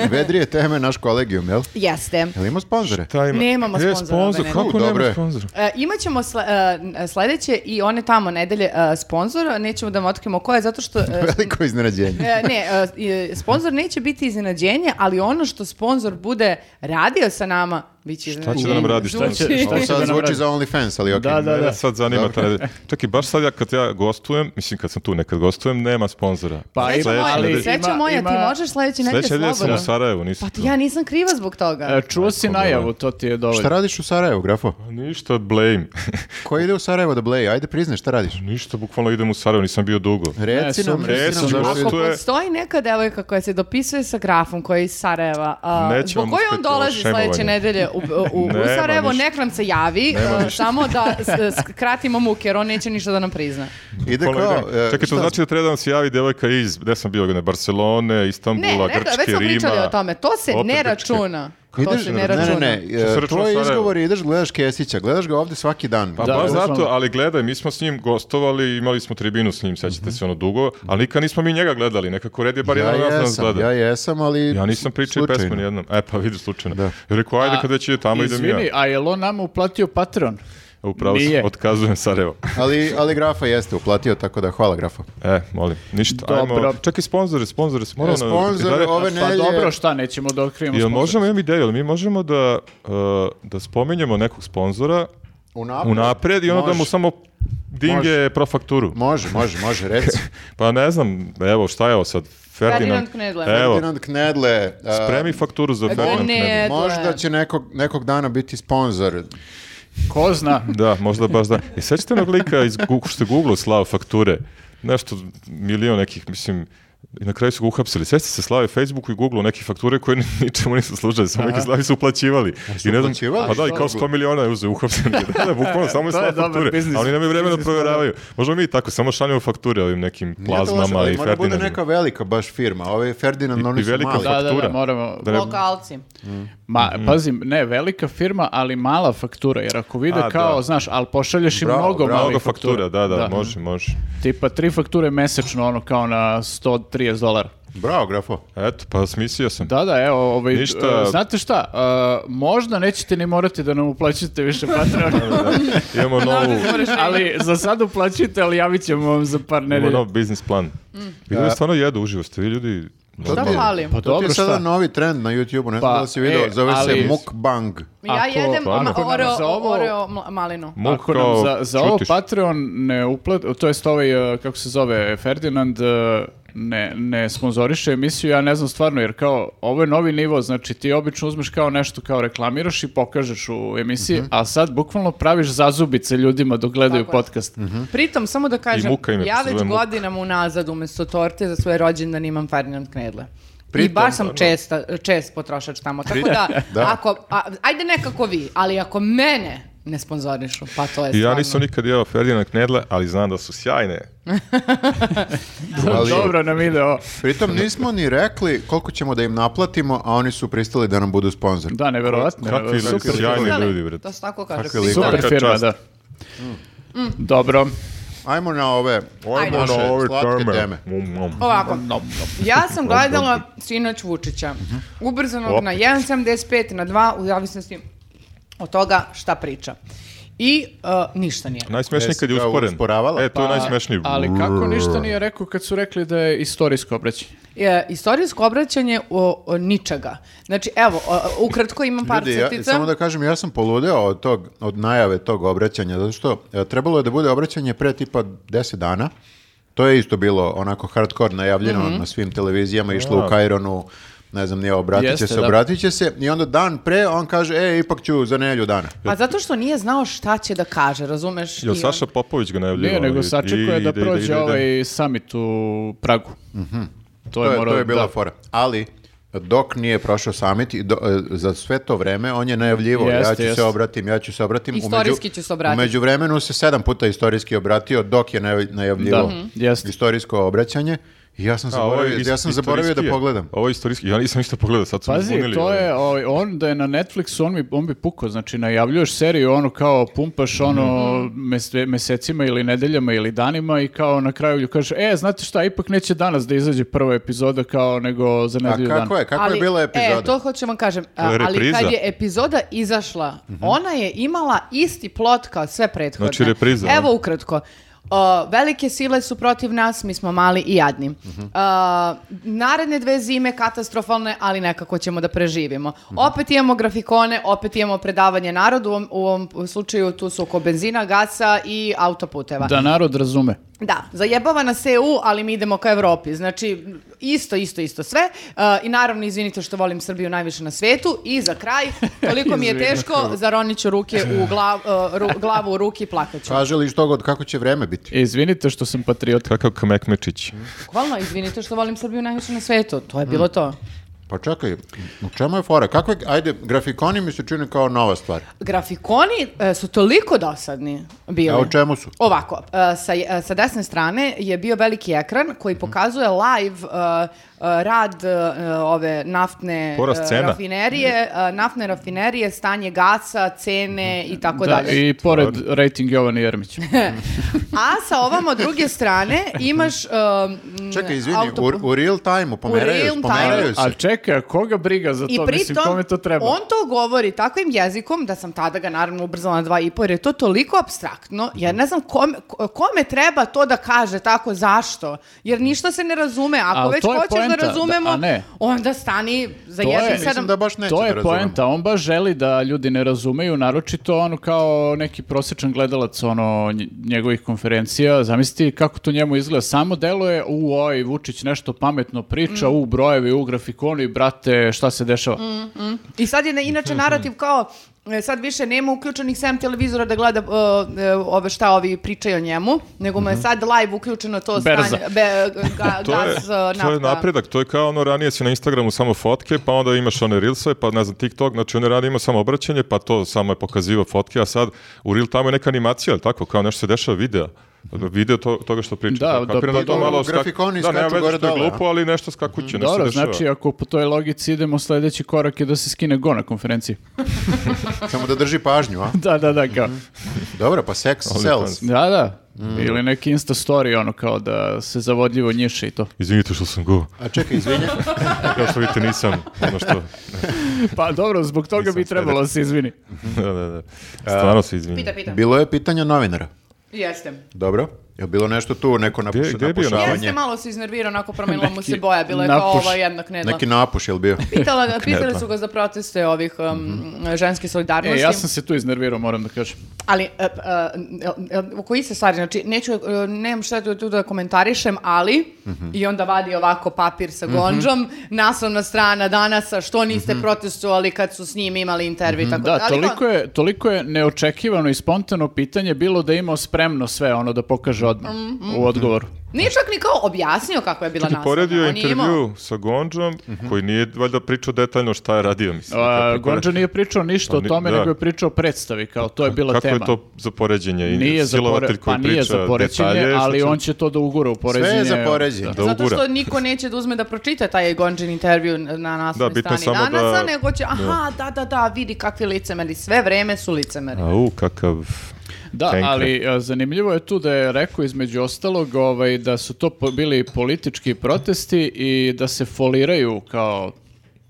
[SPEAKER 4] Vedrije teme naš kolegijum, jel?
[SPEAKER 3] Jeste.
[SPEAKER 4] Jel ima sponzore?
[SPEAKER 2] Taj ima-
[SPEAKER 3] Nemamo
[SPEAKER 2] E,
[SPEAKER 3] sponzora,
[SPEAKER 2] sponzor,
[SPEAKER 3] Bene.
[SPEAKER 4] U,
[SPEAKER 2] kako
[SPEAKER 4] dobro je.
[SPEAKER 2] nema sponzora?
[SPEAKER 3] E, imaćemo sle, e, sledeće i one tamo nedelje e, sponzora, nećemo da vam otkrijemo ko je, zato što... e,
[SPEAKER 4] Veliko iznenađenje.
[SPEAKER 3] e, ne, e, e, sponzor neće biti iznenađenje, ali ono što sponzor bude radio sa nama, bit će
[SPEAKER 2] Šta
[SPEAKER 3] iznenađenje.
[SPEAKER 2] će da nam radi? Šta
[SPEAKER 1] Šta
[SPEAKER 2] će?
[SPEAKER 1] će- šta
[SPEAKER 4] Ovo
[SPEAKER 1] će da
[SPEAKER 4] sad
[SPEAKER 1] nam
[SPEAKER 4] zvuči
[SPEAKER 1] radi?
[SPEAKER 4] za OnlyFans, ali okej.
[SPEAKER 1] Da, da, da.
[SPEAKER 2] Mene E, sad zanima ta nedelja. Čekaj, baš sad ja kad ja gostujem, mislim kad sam tu nekad gostujem, nema sponzora.
[SPEAKER 1] Pa
[SPEAKER 3] Sreća
[SPEAKER 1] ima,
[SPEAKER 3] moja,
[SPEAKER 1] ali
[SPEAKER 2] nedelje-
[SPEAKER 3] sreća
[SPEAKER 1] ima-
[SPEAKER 3] moja, ti
[SPEAKER 1] ima-
[SPEAKER 3] možeš sledeće nedelje
[SPEAKER 2] Sledeće nedelje sam u
[SPEAKER 3] slobodno.
[SPEAKER 2] Sarajevu, nisam.
[SPEAKER 3] Pa ti, ja nisam kriva zbog toga.
[SPEAKER 1] E, Čuo si
[SPEAKER 2] problem.
[SPEAKER 1] najavu, to ti je
[SPEAKER 4] Šta
[SPEAKER 1] dovoljno.
[SPEAKER 4] radiš u Sarajevu, grafo?
[SPEAKER 2] tu. Pa Ništa, blame.
[SPEAKER 4] Ko ide u Sarajevo da bleje? Ajde priznaj, šta radiš?
[SPEAKER 2] Ništa, bukvalno idem u Sarajevo, nisam bio dugo.
[SPEAKER 4] Reci
[SPEAKER 1] Ne,
[SPEAKER 4] nam,
[SPEAKER 1] sumnjam,
[SPEAKER 4] reci nam
[SPEAKER 2] sumnjam.
[SPEAKER 4] zašto
[SPEAKER 3] Ako
[SPEAKER 2] To je-
[SPEAKER 3] postoji neka devojka koja se dopisuje sa grafom koji je iz Sarajeva, a,
[SPEAKER 2] Neće
[SPEAKER 3] zbog
[SPEAKER 2] vam
[SPEAKER 3] koje on
[SPEAKER 2] uspeti ovo
[SPEAKER 3] dolazi sledeće
[SPEAKER 2] šemovanje.
[SPEAKER 3] nedelje u, u, u
[SPEAKER 2] Nema
[SPEAKER 3] Sarajevo,
[SPEAKER 2] ništa.
[SPEAKER 3] nek nam se javi, a,
[SPEAKER 2] ništa.
[SPEAKER 3] samo da s- skratimo muke jer on neće ništa da nam prizna.
[SPEAKER 4] Ide
[SPEAKER 2] Bukvalno
[SPEAKER 4] kao...
[SPEAKER 2] idem.
[SPEAKER 4] e,
[SPEAKER 2] Čekaj, to
[SPEAKER 4] šta-
[SPEAKER 2] znači da treba da vam se javi devojka iz, gde sam bio, ne, Barcelone,
[SPEAKER 3] Ne,
[SPEAKER 2] Istambula,
[SPEAKER 3] ne,
[SPEAKER 2] Grčke,
[SPEAKER 3] već smo
[SPEAKER 2] Rima.
[SPEAKER 3] pričali o tome, to se
[SPEAKER 2] Opet
[SPEAKER 3] ne
[SPEAKER 2] Grčke.
[SPEAKER 3] računa. To
[SPEAKER 4] Ideš,
[SPEAKER 3] se
[SPEAKER 4] ne,
[SPEAKER 3] ne
[SPEAKER 4] ne,
[SPEAKER 3] računa.
[SPEAKER 4] ne,
[SPEAKER 2] Što se
[SPEAKER 4] e,
[SPEAKER 2] računa
[SPEAKER 4] tvoj
[SPEAKER 2] Sarajevo?
[SPEAKER 4] izgovor je ideš, gledaš Kesića, gledaš ga ovde svaki dan.
[SPEAKER 2] Pa
[SPEAKER 1] Da,
[SPEAKER 2] baš
[SPEAKER 1] bukvalno.
[SPEAKER 2] zato, ali gledaj, mi smo s njim gostovali, imali smo tribinu s njim, sećate se ono dugo, ali nikad nismo mi njega gledali, nekako red je bar jedan od nas
[SPEAKER 4] Mhm. ja
[SPEAKER 2] da nas
[SPEAKER 4] jesam,
[SPEAKER 2] gleda.
[SPEAKER 4] ja jesam, ali...
[SPEAKER 2] Ja nisam pričao i
[SPEAKER 4] slučajno.
[SPEAKER 2] pesmu nijednom. E, pa vidi slučajno.
[SPEAKER 4] Da.
[SPEAKER 2] Da. Rekao, ajde kad već ide tamo, idem i ja. E,
[SPEAKER 1] Izvini, a jel on nama uplatio Patreon?
[SPEAKER 2] Upravo
[SPEAKER 1] Nije.
[SPEAKER 2] sam, otkazujem Sarajevo.
[SPEAKER 4] Ali, ali grafa jeste uplatio, tako da hvala grafa.
[SPEAKER 2] E, molim, ništa.
[SPEAKER 1] Dobro.
[SPEAKER 2] Ajmo, čekaj, sponzore, sponzore, moramo...
[SPEAKER 4] E, sponzor ove
[SPEAKER 1] Pa
[SPEAKER 4] nedelje...
[SPEAKER 1] dobro, šta, nećemo da otkrijemo
[SPEAKER 2] Jel
[SPEAKER 1] sponzora.
[SPEAKER 2] možemo, imam ideju, jel mi možemo da, uh, da spomenjemo nekog sponzora
[SPEAKER 4] Unapred.
[SPEAKER 2] unapred i onda da mu
[SPEAKER 4] Može.
[SPEAKER 2] samo dinge profakturu.
[SPEAKER 4] Može, može, može, reci.
[SPEAKER 2] Pa ne znam, evo, šta je ovo sad? Ferdinand,
[SPEAKER 3] Ferdinand Knedle.
[SPEAKER 2] Evo,
[SPEAKER 4] Ferdinand Knedle, a,
[SPEAKER 2] spremi fakturu za Ferdinand Knedle.
[SPEAKER 3] Knedle.
[SPEAKER 4] možda će nekog, nekog dana biti sponsor.
[SPEAKER 1] Ko zna?
[SPEAKER 2] Da, možda baš da. I sećate onog lika iz Gu- što je Google slao fakture? Nešto, milion nekih, mislim, I na kraju su ga uhapsili. Sve ste se slave Facebooku i Googleu neke fakture koje ni- ničemu nisu služile, samo neki slavi su uplaćivali.
[SPEAKER 4] su
[SPEAKER 2] I ne znam,
[SPEAKER 4] uplaćivali?
[SPEAKER 2] pa da, i kao 100 miliona je uzeo uhapseni. Da, da, bukvalno, samo je
[SPEAKER 1] To je
[SPEAKER 2] slave
[SPEAKER 1] dobar
[SPEAKER 2] fakture.
[SPEAKER 1] biznis.
[SPEAKER 2] A oni nemaju vremena da
[SPEAKER 1] Biznis plan.
[SPEAKER 2] proveravaju. Možemo mi i tako, samo šaljemo fakture ovim nekim
[SPEAKER 4] Nije to loše,
[SPEAKER 2] plazmama
[SPEAKER 4] ali
[SPEAKER 2] i
[SPEAKER 4] mora da bude
[SPEAKER 2] Ferdinandima.
[SPEAKER 4] neka velika baš firma. Ove Ferdinand,
[SPEAKER 2] I-
[SPEAKER 4] oni
[SPEAKER 2] i
[SPEAKER 4] su
[SPEAKER 2] velika
[SPEAKER 4] mali.
[SPEAKER 1] Da, da, da,
[SPEAKER 2] faktura.
[SPEAKER 1] moramo.
[SPEAKER 2] Da Mhm. ne-
[SPEAKER 3] Lokalci.
[SPEAKER 1] Ma, pazi, ne, velika firma, ali mala faktura, jer ako vide
[SPEAKER 2] A,
[SPEAKER 1] kao,
[SPEAKER 2] da.
[SPEAKER 1] znaš, ali pošalješ im
[SPEAKER 4] Bravo,
[SPEAKER 1] mnogo
[SPEAKER 4] bravo,
[SPEAKER 1] malih
[SPEAKER 2] Mnogo
[SPEAKER 1] faktura.
[SPEAKER 2] faktura, da, da, može, može.
[SPEAKER 1] Tipa tri fakture mesečno, ono kao na 130 dolara.
[SPEAKER 4] Bravo, grafo.
[SPEAKER 2] Eto, pa smislio sam.
[SPEAKER 1] Da, da, evo, ovaj,
[SPEAKER 2] Ništa.
[SPEAKER 1] e, znate šta, e, možda nećete ni morati da nam uplaćate više Patreon,
[SPEAKER 2] Imamo novu,
[SPEAKER 1] ali za sad uplaćujte, ali javit ćemo vam za par
[SPEAKER 2] imamo
[SPEAKER 1] nedelja.
[SPEAKER 2] nov biznis plan. Vi ljudi stvarno jedu, uživo ste, vi ljudi...
[SPEAKER 3] Šta
[SPEAKER 4] ti je-
[SPEAKER 3] fali?
[SPEAKER 1] Pa
[SPEAKER 4] To ti
[SPEAKER 1] dobro,
[SPEAKER 4] je sada
[SPEAKER 1] šta?
[SPEAKER 4] novi trend na YouTube-u, ne znam
[SPEAKER 1] Pa,
[SPEAKER 4] da li si video,
[SPEAKER 1] e,
[SPEAKER 4] zove
[SPEAKER 1] ali-
[SPEAKER 4] se mukbang.
[SPEAKER 3] Ja
[SPEAKER 1] Ako-
[SPEAKER 3] jedem
[SPEAKER 2] Stvarno?
[SPEAKER 3] ma-
[SPEAKER 1] Ako nam
[SPEAKER 3] oreo,
[SPEAKER 1] za ovo-
[SPEAKER 3] oreo mla- malinu.
[SPEAKER 2] Muk
[SPEAKER 1] Ako nam
[SPEAKER 2] kao
[SPEAKER 1] za, za ovo
[SPEAKER 2] čutiš.
[SPEAKER 1] Patreon ne uplati, to jest ovaj, e, kako se zove, Ferdinand, e, ne, ne sponzoriše emisiju, ja ne znam stvarno, jer kao, ovo je novi nivo, znači ti obično uzmeš kao nešto, kao reklamiraš i pokažeš u emisiji,
[SPEAKER 2] Mhm.
[SPEAKER 1] a sad bukvalno praviš zazubice ljudima dok gledaju
[SPEAKER 3] Tako je.
[SPEAKER 1] podcast.
[SPEAKER 2] Mhm.
[SPEAKER 3] Pritom, samo da kažem,
[SPEAKER 2] muka im je,
[SPEAKER 3] ja
[SPEAKER 2] se
[SPEAKER 3] već
[SPEAKER 2] zove muka.
[SPEAKER 3] godinama unazad umjesto torte za svoje rođendan imam Ferdinand Knedle. I
[SPEAKER 4] Pritom,
[SPEAKER 3] baš sam česta, čest potrošač tamo. Tako da,
[SPEAKER 4] Da.
[SPEAKER 3] ako, a, ajde nekako vi, ali ako mene ne sponzorišu, pa to je
[SPEAKER 2] I
[SPEAKER 3] stvarno.
[SPEAKER 2] ja nisam nikad jeo Ferdinand Knedle, ali znam da su sjajne.
[SPEAKER 4] Ali-
[SPEAKER 1] Dobro nam ide ovo.
[SPEAKER 4] Pritom nismo ni rekli koliko ćemo da im naplatimo, a oni su pristali da nam budu sponzor.
[SPEAKER 1] Da, neverovatno.
[SPEAKER 2] Kakvi
[SPEAKER 1] Super.
[SPEAKER 2] ljudi, sjajni
[SPEAKER 3] Znali?
[SPEAKER 2] ljudi, bre.
[SPEAKER 3] Pa To se tako kaže.
[SPEAKER 4] Kakvi likovi.
[SPEAKER 1] Super
[SPEAKER 2] Svaka
[SPEAKER 1] firma,
[SPEAKER 2] čast.
[SPEAKER 1] da.
[SPEAKER 3] Mm.
[SPEAKER 1] Dobro.
[SPEAKER 4] Ajmo na ove
[SPEAKER 2] Ajmo
[SPEAKER 4] naše
[SPEAKER 2] na Ono ove
[SPEAKER 4] slatke
[SPEAKER 2] teme.
[SPEAKER 4] teme.
[SPEAKER 2] Mm, mm.
[SPEAKER 3] Ovako,
[SPEAKER 1] Nom, nom.
[SPEAKER 3] ja sam gledala sinoć Vučića. Ubrzanog na
[SPEAKER 2] Opet.
[SPEAKER 3] 1,75, na 2, u zavisnosti od toga šta priča. I uh, ništa nije.
[SPEAKER 2] Najsmešniji kad je
[SPEAKER 4] Jesi ga
[SPEAKER 2] usporen.
[SPEAKER 4] usporavala?
[SPEAKER 2] E, to je
[SPEAKER 1] Pa,
[SPEAKER 2] najsmešniji.
[SPEAKER 1] Ali kako ništa nije rekao kad su rekli da je istorijsko obraćanje?
[SPEAKER 3] Je, E, istorijsko obraćanje o, o ničega. Znači, evo, o, o, ukratko imam par
[SPEAKER 4] Ljudi, ja,
[SPEAKER 3] crtica.
[SPEAKER 4] samo da kažem, ja sam poludeo od, tog, od najave tog obraćanja, zato što e, trebalo je da bude obraćanje pre tipa 10 dana. To je isto bilo onako hardcore najavljeno
[SPEAKER 3] Mhm.
[SPEAKER 4] na svim televizijama, išlo u Kajronu, ne znam, nije obratit će
[SPEAKER 1] Jeste,
[SPEAKER 4] se,
[SPEAKER 1] da.
[SPEAKER 4] obratit će se. I onda dan pre on kaže, e, ipak ću za nedelju dana.
[SPEAKER 3] Pa zato što nije znao šta će da kaže, razumeš? ono?
[SPEAKER 2] Jel
[SPEAKER 3] I on-
[SPEAKER 2] Saša Popović ga najavljivao?
[SPEAKER 1] Nije, nego sačekuje da prođe
[SPEAKER 2] ovaj...
[SPEAKER 1] ovaj summit u Pragu.
[SPEAKER 4] Mhm. To je,
[SPEAKER 1] morao-
[SPEAKER 4] to je bila
[SPEAKER 1] da.
[SPEAKER 4] fora. Ali, dok nije prošao summit, i do- e, za sve to vreme on je najavljivo, ja
[SPEAKER 1] Jeste,
[SPEAKER 4] ću se
[SPEAKER 1] jeste.
[SPEAKER 4] obratim, ja ću se obratim. Umeđu-
[SPEAKER 3] Istorijski ću se obratiti.
[SPEAKER 4] U međuvremenu se sedam puta istorijski obratio dok je naj- najavljivo
[SPEAKER 1] Da, Mhm. jeste.
[SPEAKER 4] istorijsko obraćanje. I ja sam zaboravio, ja sam zaboravio da pogledam.
[SPEAKER 2] Ovo je istorijski, ja nisam ništa pogledao, sad su mi
[SPEAKER 1] Pazi,
[SPEAKER 2] zbunili.
[SPEAKER 1] to
[SPEAKER 2] ovaj.
[SPEAKER 1] je, ovaj, on da je na Netflixu, on bi, on bi pukao, znači najavljuješ seriju, ono kao pumpaš ono
[SPEAKER 4] Mhm.
[SPEAKER 1] mese- mesecima ili nedeljama ili danima i kao na kraju lju kažeš, e, znate šta, ipak neće danas da izađe prva epizoda kao nego za
[SPEAKER 4] A
[SPEAKER 1] nedelju dana.
[SPEAKER 4] kako je, kako
[SPEAKER 3] Ali,
[SPEAKER 4] je bila epizoda?
[SPEAKER 3] E, to hoću vam kažem. a,
[SPEAKER 2] To je
[SPEAKER 3] ali
[SPEAKER 2] repriza.
[SPEAKER 3] kad je epizoda izašla,
[SPEAKER 4] Mhm.
[SPEAKER 3] ona je imala isti plot kao sve prethodne.
[SPEAKER 2] Znači, repriza, ne?
[SPEAKER 3] Evo ukratko. O, velike sile su protiv nas, mi smo mali i jadni.
[SPEAKER 4] Mhm.
[SPEAKER 3] A, naredne dve zime katastrofalne, ali nekako ćemo da preživimo.
[SPEAKER 4] Mhm.
[SPEAKER 3] Opet imamo grafikone, opet imamo predavanje narodu, u ovom, u ovom slučaju tu su oko benzina, gasa i autoputeva.
[SPEAKER 1] Da narod razume.
[SPEAKER 3] Da, zajebava nas EU, ali mi idemo ka Evropi. Znači, isto, isto, isto sve. Uh, I naravno, izvinite što volim Srbiju najviše na svetu. I za kraj, toliko mi je
[SPEAKER 1] Izvinite.
[SPEAKER 3] teško, zaronit ću ruke u glav, uh, ru- glavu u ruki i plakaću.
[SPEAKER 4] Kaže li što god, kako će vreme biti?
[SPEAKER 1] E, Izvinite što sam patriot.
[SPEAKER 2] Kakav Kmekmečić.
[SPEAKER 1] Mhm.
[SPEAKER 3] Hvala, izvinite što volim Srbiju najviše na svetu. To je bilo to.
[SPEAKER 4] Pa čekaj, u čemu je fora? Kako je, ajde, grafikoni mi se čini kao nova stvar.
[SPEAKER 3] Grafikoni e, su toliko dosadni bili.
[SPEAKER 4] A u čemu su?
[SPEAKER 3] Ovako, e, sa, e, sa desne strane je bio veliki ekran koji pokazuje live e, e, rad e, ove naftne
[SPEAKER 2] Porast
[SPEAKER 3] e,
[SPEAKER 2] cena.
[SPEAKER 3] rafinerije, e, naftne rafinerije, stanje gasa, cene i tako
[SPEAKER 1] Da,
[SPEAKER 3] dalje.
[SPEAKER 1] i pored rating Jovana Jermića.
[SPEAKER 3] A sa ovamo druge strane imaš... e, m,
[SPEAKER 4] Čekaj, izvini,
[SPEAKER 3] autopu-
[SPEAKER 4] u, u real time-u, pomeraju,
[SPEAKER 3] real
[SPEAKER 4] pomeraju se.
[SPEAKER 1] A čekaj, a koga briga za
[SPEAKER 3] I
[SPEAKER 1] Pa to? Mislim,
[SPEAKER 3] pritom,
[SPEAKER 1] kome to treba?
[SPEAKER 3] on to govori takvim jezikom da sam tada ga naravno ubrzala na dva i po, jer je to toliko abstraktno, ja
[SPEAKER 1] Mhm.
[SPEAKER 3] ne znam kom- kome, treba to da kaže tako, zašto? Jer ništa se ne razume. Ako
[SPEAKER 1] Ali
[SPEAKER 3] već
[SPEAKER 1] Mhm. to je
[SPEAKER 3] hoćeš
[SPEAKER 1] poenta,
[SPEAKER 3] da
[SPEAKER 1] da-
[SPEAKER 3] razumemo,
[SPEAKER 1] a ne.
[SPEAKER 3] onda stani za
[SPEAKER 1] To je-
[SPEAKER 3] jedan
[SPEAKER 1] Mislim
[SPEAKER 3] sedam...
[SPEAKER 4] da baš neće
[SPEAKER 1] to
[SPEAKER 4] da
[SPEAKER 1] je
[SPEAKER 4] razumemo.
[SPEAKER 1] poenta, on baš želi da ljudi ne razumeju, naročito ono kao neki prosječan gledalac ono nj- njegovih konferencija, zamisli kako to njemu izgleda, samo deluje u oj, Vučić nešto pametno priča, u brojevi, u grafikonu i brate, šta se dešava? Mhm.
[SPEAKER 3] I sad je na- inače narativ kao e, sad više nema uključenih sem televizora da gleda e, e, ove šta ovi pričaju o njemu, nego mu je sad live uključeno to
[SPEAKER 1] Mhm. Berza.
[SPEAKER 3] stanje, be, ga,
[SPEAKER 2] To je,
[SPEAKER 3] gas, e, nafta.
[SPEAKER 2] to je napredak, to je kao ono ranije si na Instagramu samo fotke, pa onda imaš one reelsove, pa ne znam TikTok, znači on je ranije imao samo obraćanje, pa to samo je pokazivao fotke, a sad u real time je neka animacija, ali tako, kao nešto se dešava video. Video to, toga što priča.
[SPEAKER 1] Da,
[SPEAKER 2] Kao,
[SPEAKER 1] da,
[SPEAKER 2] kapiram
[SPEAKER 1] pa
[SPEAKER 2] to malo skak-
[SPEAKER 4] grafikoni
[SPEAKER 2] da, nema
[SPEAKER 4] skaču
[SPEAKER 2] veze
[SPEAKER 4] gore
[SPEAKER 2] što je
[SPEAKER 4] dole, a?
[SPEAKER 2] glupo, ali nešto skakuće, nešto se
[SPEAKER 1] Dobro,
[SPEAKER 2] dešava.
[SPEAKER 1] znači ako po toj logici idemo, sljedeći korak je da se skine go na konferenciji.
[SPEAKER 4] Samo da drži pažnju, a?
[SPEAKER 1] da, da, da,
[SPEAKER 4] Mhm.
[SPEAKER 1] kao.
[SPEAKER 4] Dobro, pa sex sells.
[SPEAKER 1] Da, da.
[SPEAKER 4] Mm.
[SPEAKER 1] Ili neki Insta story, ono kao da se zavodljivo njiše i to.
[SPEAKER 2] Izvinite što sam go,
[SPEAKER 4] A čekaj, izvinje.
[SPEAKER 2] kao što vidite nisam, ono što,
[SPEAKER 1] Pa dobro, zbog toga bi trebalo da se izvini.
[SPEAKER 2] da, da, da. Stvarno se izvinjam.
[SPEAKER 3] Pita, pita.
[SPEAKER 4] Bilo je pitanja novinara.
[SPEAKER 3] Jeste.
[SPEAKER 4] Dobro. Je bilo nešto tu, neko napuš,
[SPEAKER 2] gdje je bio
[SPEAKER 4] napušavanje?
[SPEAKER 3] Jeste, malo se iznervirao, onako promenila mu se
[SPEAKER 1] Neki
[SPEAKER 3] boja, bila je kao
[SPEAKER 1] napuš.
[SPEAKER 3] ova jedna knedla.
[SPEAKER 4] Neki napuš, jel bio?
[SPEAKER 3] Pitala, pitali su ga za proteste ovih um, ženske
[SPEAKER 1] E,
[SPEAKER 3] solidarnosti.
[SPEAKER 1] ja sam se tu iznervirao, moram da kažem.
[SPEAKER 3] Ali, e, e, e, e, oko iste stvari, znači, neću, e, nemam šta tu, tu da komentarišem, ali,
[SPEAKER 1] Mhm.
[SPEAKER 3] i onda vadi ovako papir sa gondžom, naslovna strana danas, a što niste protestovali kad su s njim imali intervju i tako
[SPEAKER 1] Mhm.
[SPEAKER 4] Pa
[SPEAKER 1] Da,
[SPEAKER 3] ali on-
[SPEAKER 1] toliko je, toliko je neočekivano i spontano pitanje bilo da je imao spremno sve ono da pokaže odmah
[SPEAKER 4] Mm,
[SPEAKER 1] u odgovoru.
[SPEAKER 2] Mm-hmm.
[SPEAKER 3] Nije čak ni kao objasnio kako je bila
[SPEAKER 2] Čekaj,
[SPEAKER 3] naslovna.
[SPEAKER 2] poredio je
[SPEAKER 3] on imao-
[SPEAKER 2] intervju sa Gonđom, koji nije valjda pričao detaljno šta je radio, mislim. kako
[SPEAKER 1] Mhm. A,
[SPEAKER 2] je
[SPEAKER 1] Gonđa nije pričao ništa
[SPEAKER 2] Pa
[SPEAKER 1] o
[SPEAKER 2] ni-
[SPEAKER 1] tome,
[SPEAKER 2] da. Pa
[SPEAKER 1] nego je pričao o predstavi, kao to je bila
[SPEAKER 2] Kako
[SPEAKER 1] tema.
[SPEAKER 2] je to za poređenje? I
[SPEAKER 1] Nije za
[SPEAKER 2] silovatelj
[SPEAKER 1] pore- pa
[SPEAKER 2] koji
[SPEAKER 1] nije
[SPEAKER 2] priča
[SPEAKER 1] za poređenje,
[SPEAKER 2] detalje, što
[SPEAKER 1] ali
[SPEAKER 2] će-
[SPEAKER 1] on će to da ugura u poređenje.
[SPEAKER 4] Sve je za poređenje.
[SPEAKER 2] Da
[SPEAKER 3] Zato
[SPEAKER 2] ugura.
[SPEAKER 3] što niko neće da uzme da pročita taj Gonđin intervju na naslovnoj
[SPEAKER 2] Da, bitno je
[SPEAKER 3] strani
[SPEAKER 2] samo da-
[SPEAKER 3] danas, a nego će, aha, da, da, da, vidi kakvi licemeri, sve vreme su licemeri.
[SPEAKER 2] Au, kakav...
[SPEAKER 1] Da,
[SPEAKER 2] Henkre.
[SPEAKER 1] ali e, zanimljivo je tu da je rekao između ostalog ovaj, da su to po- bili politički protesti i da se foliraju kao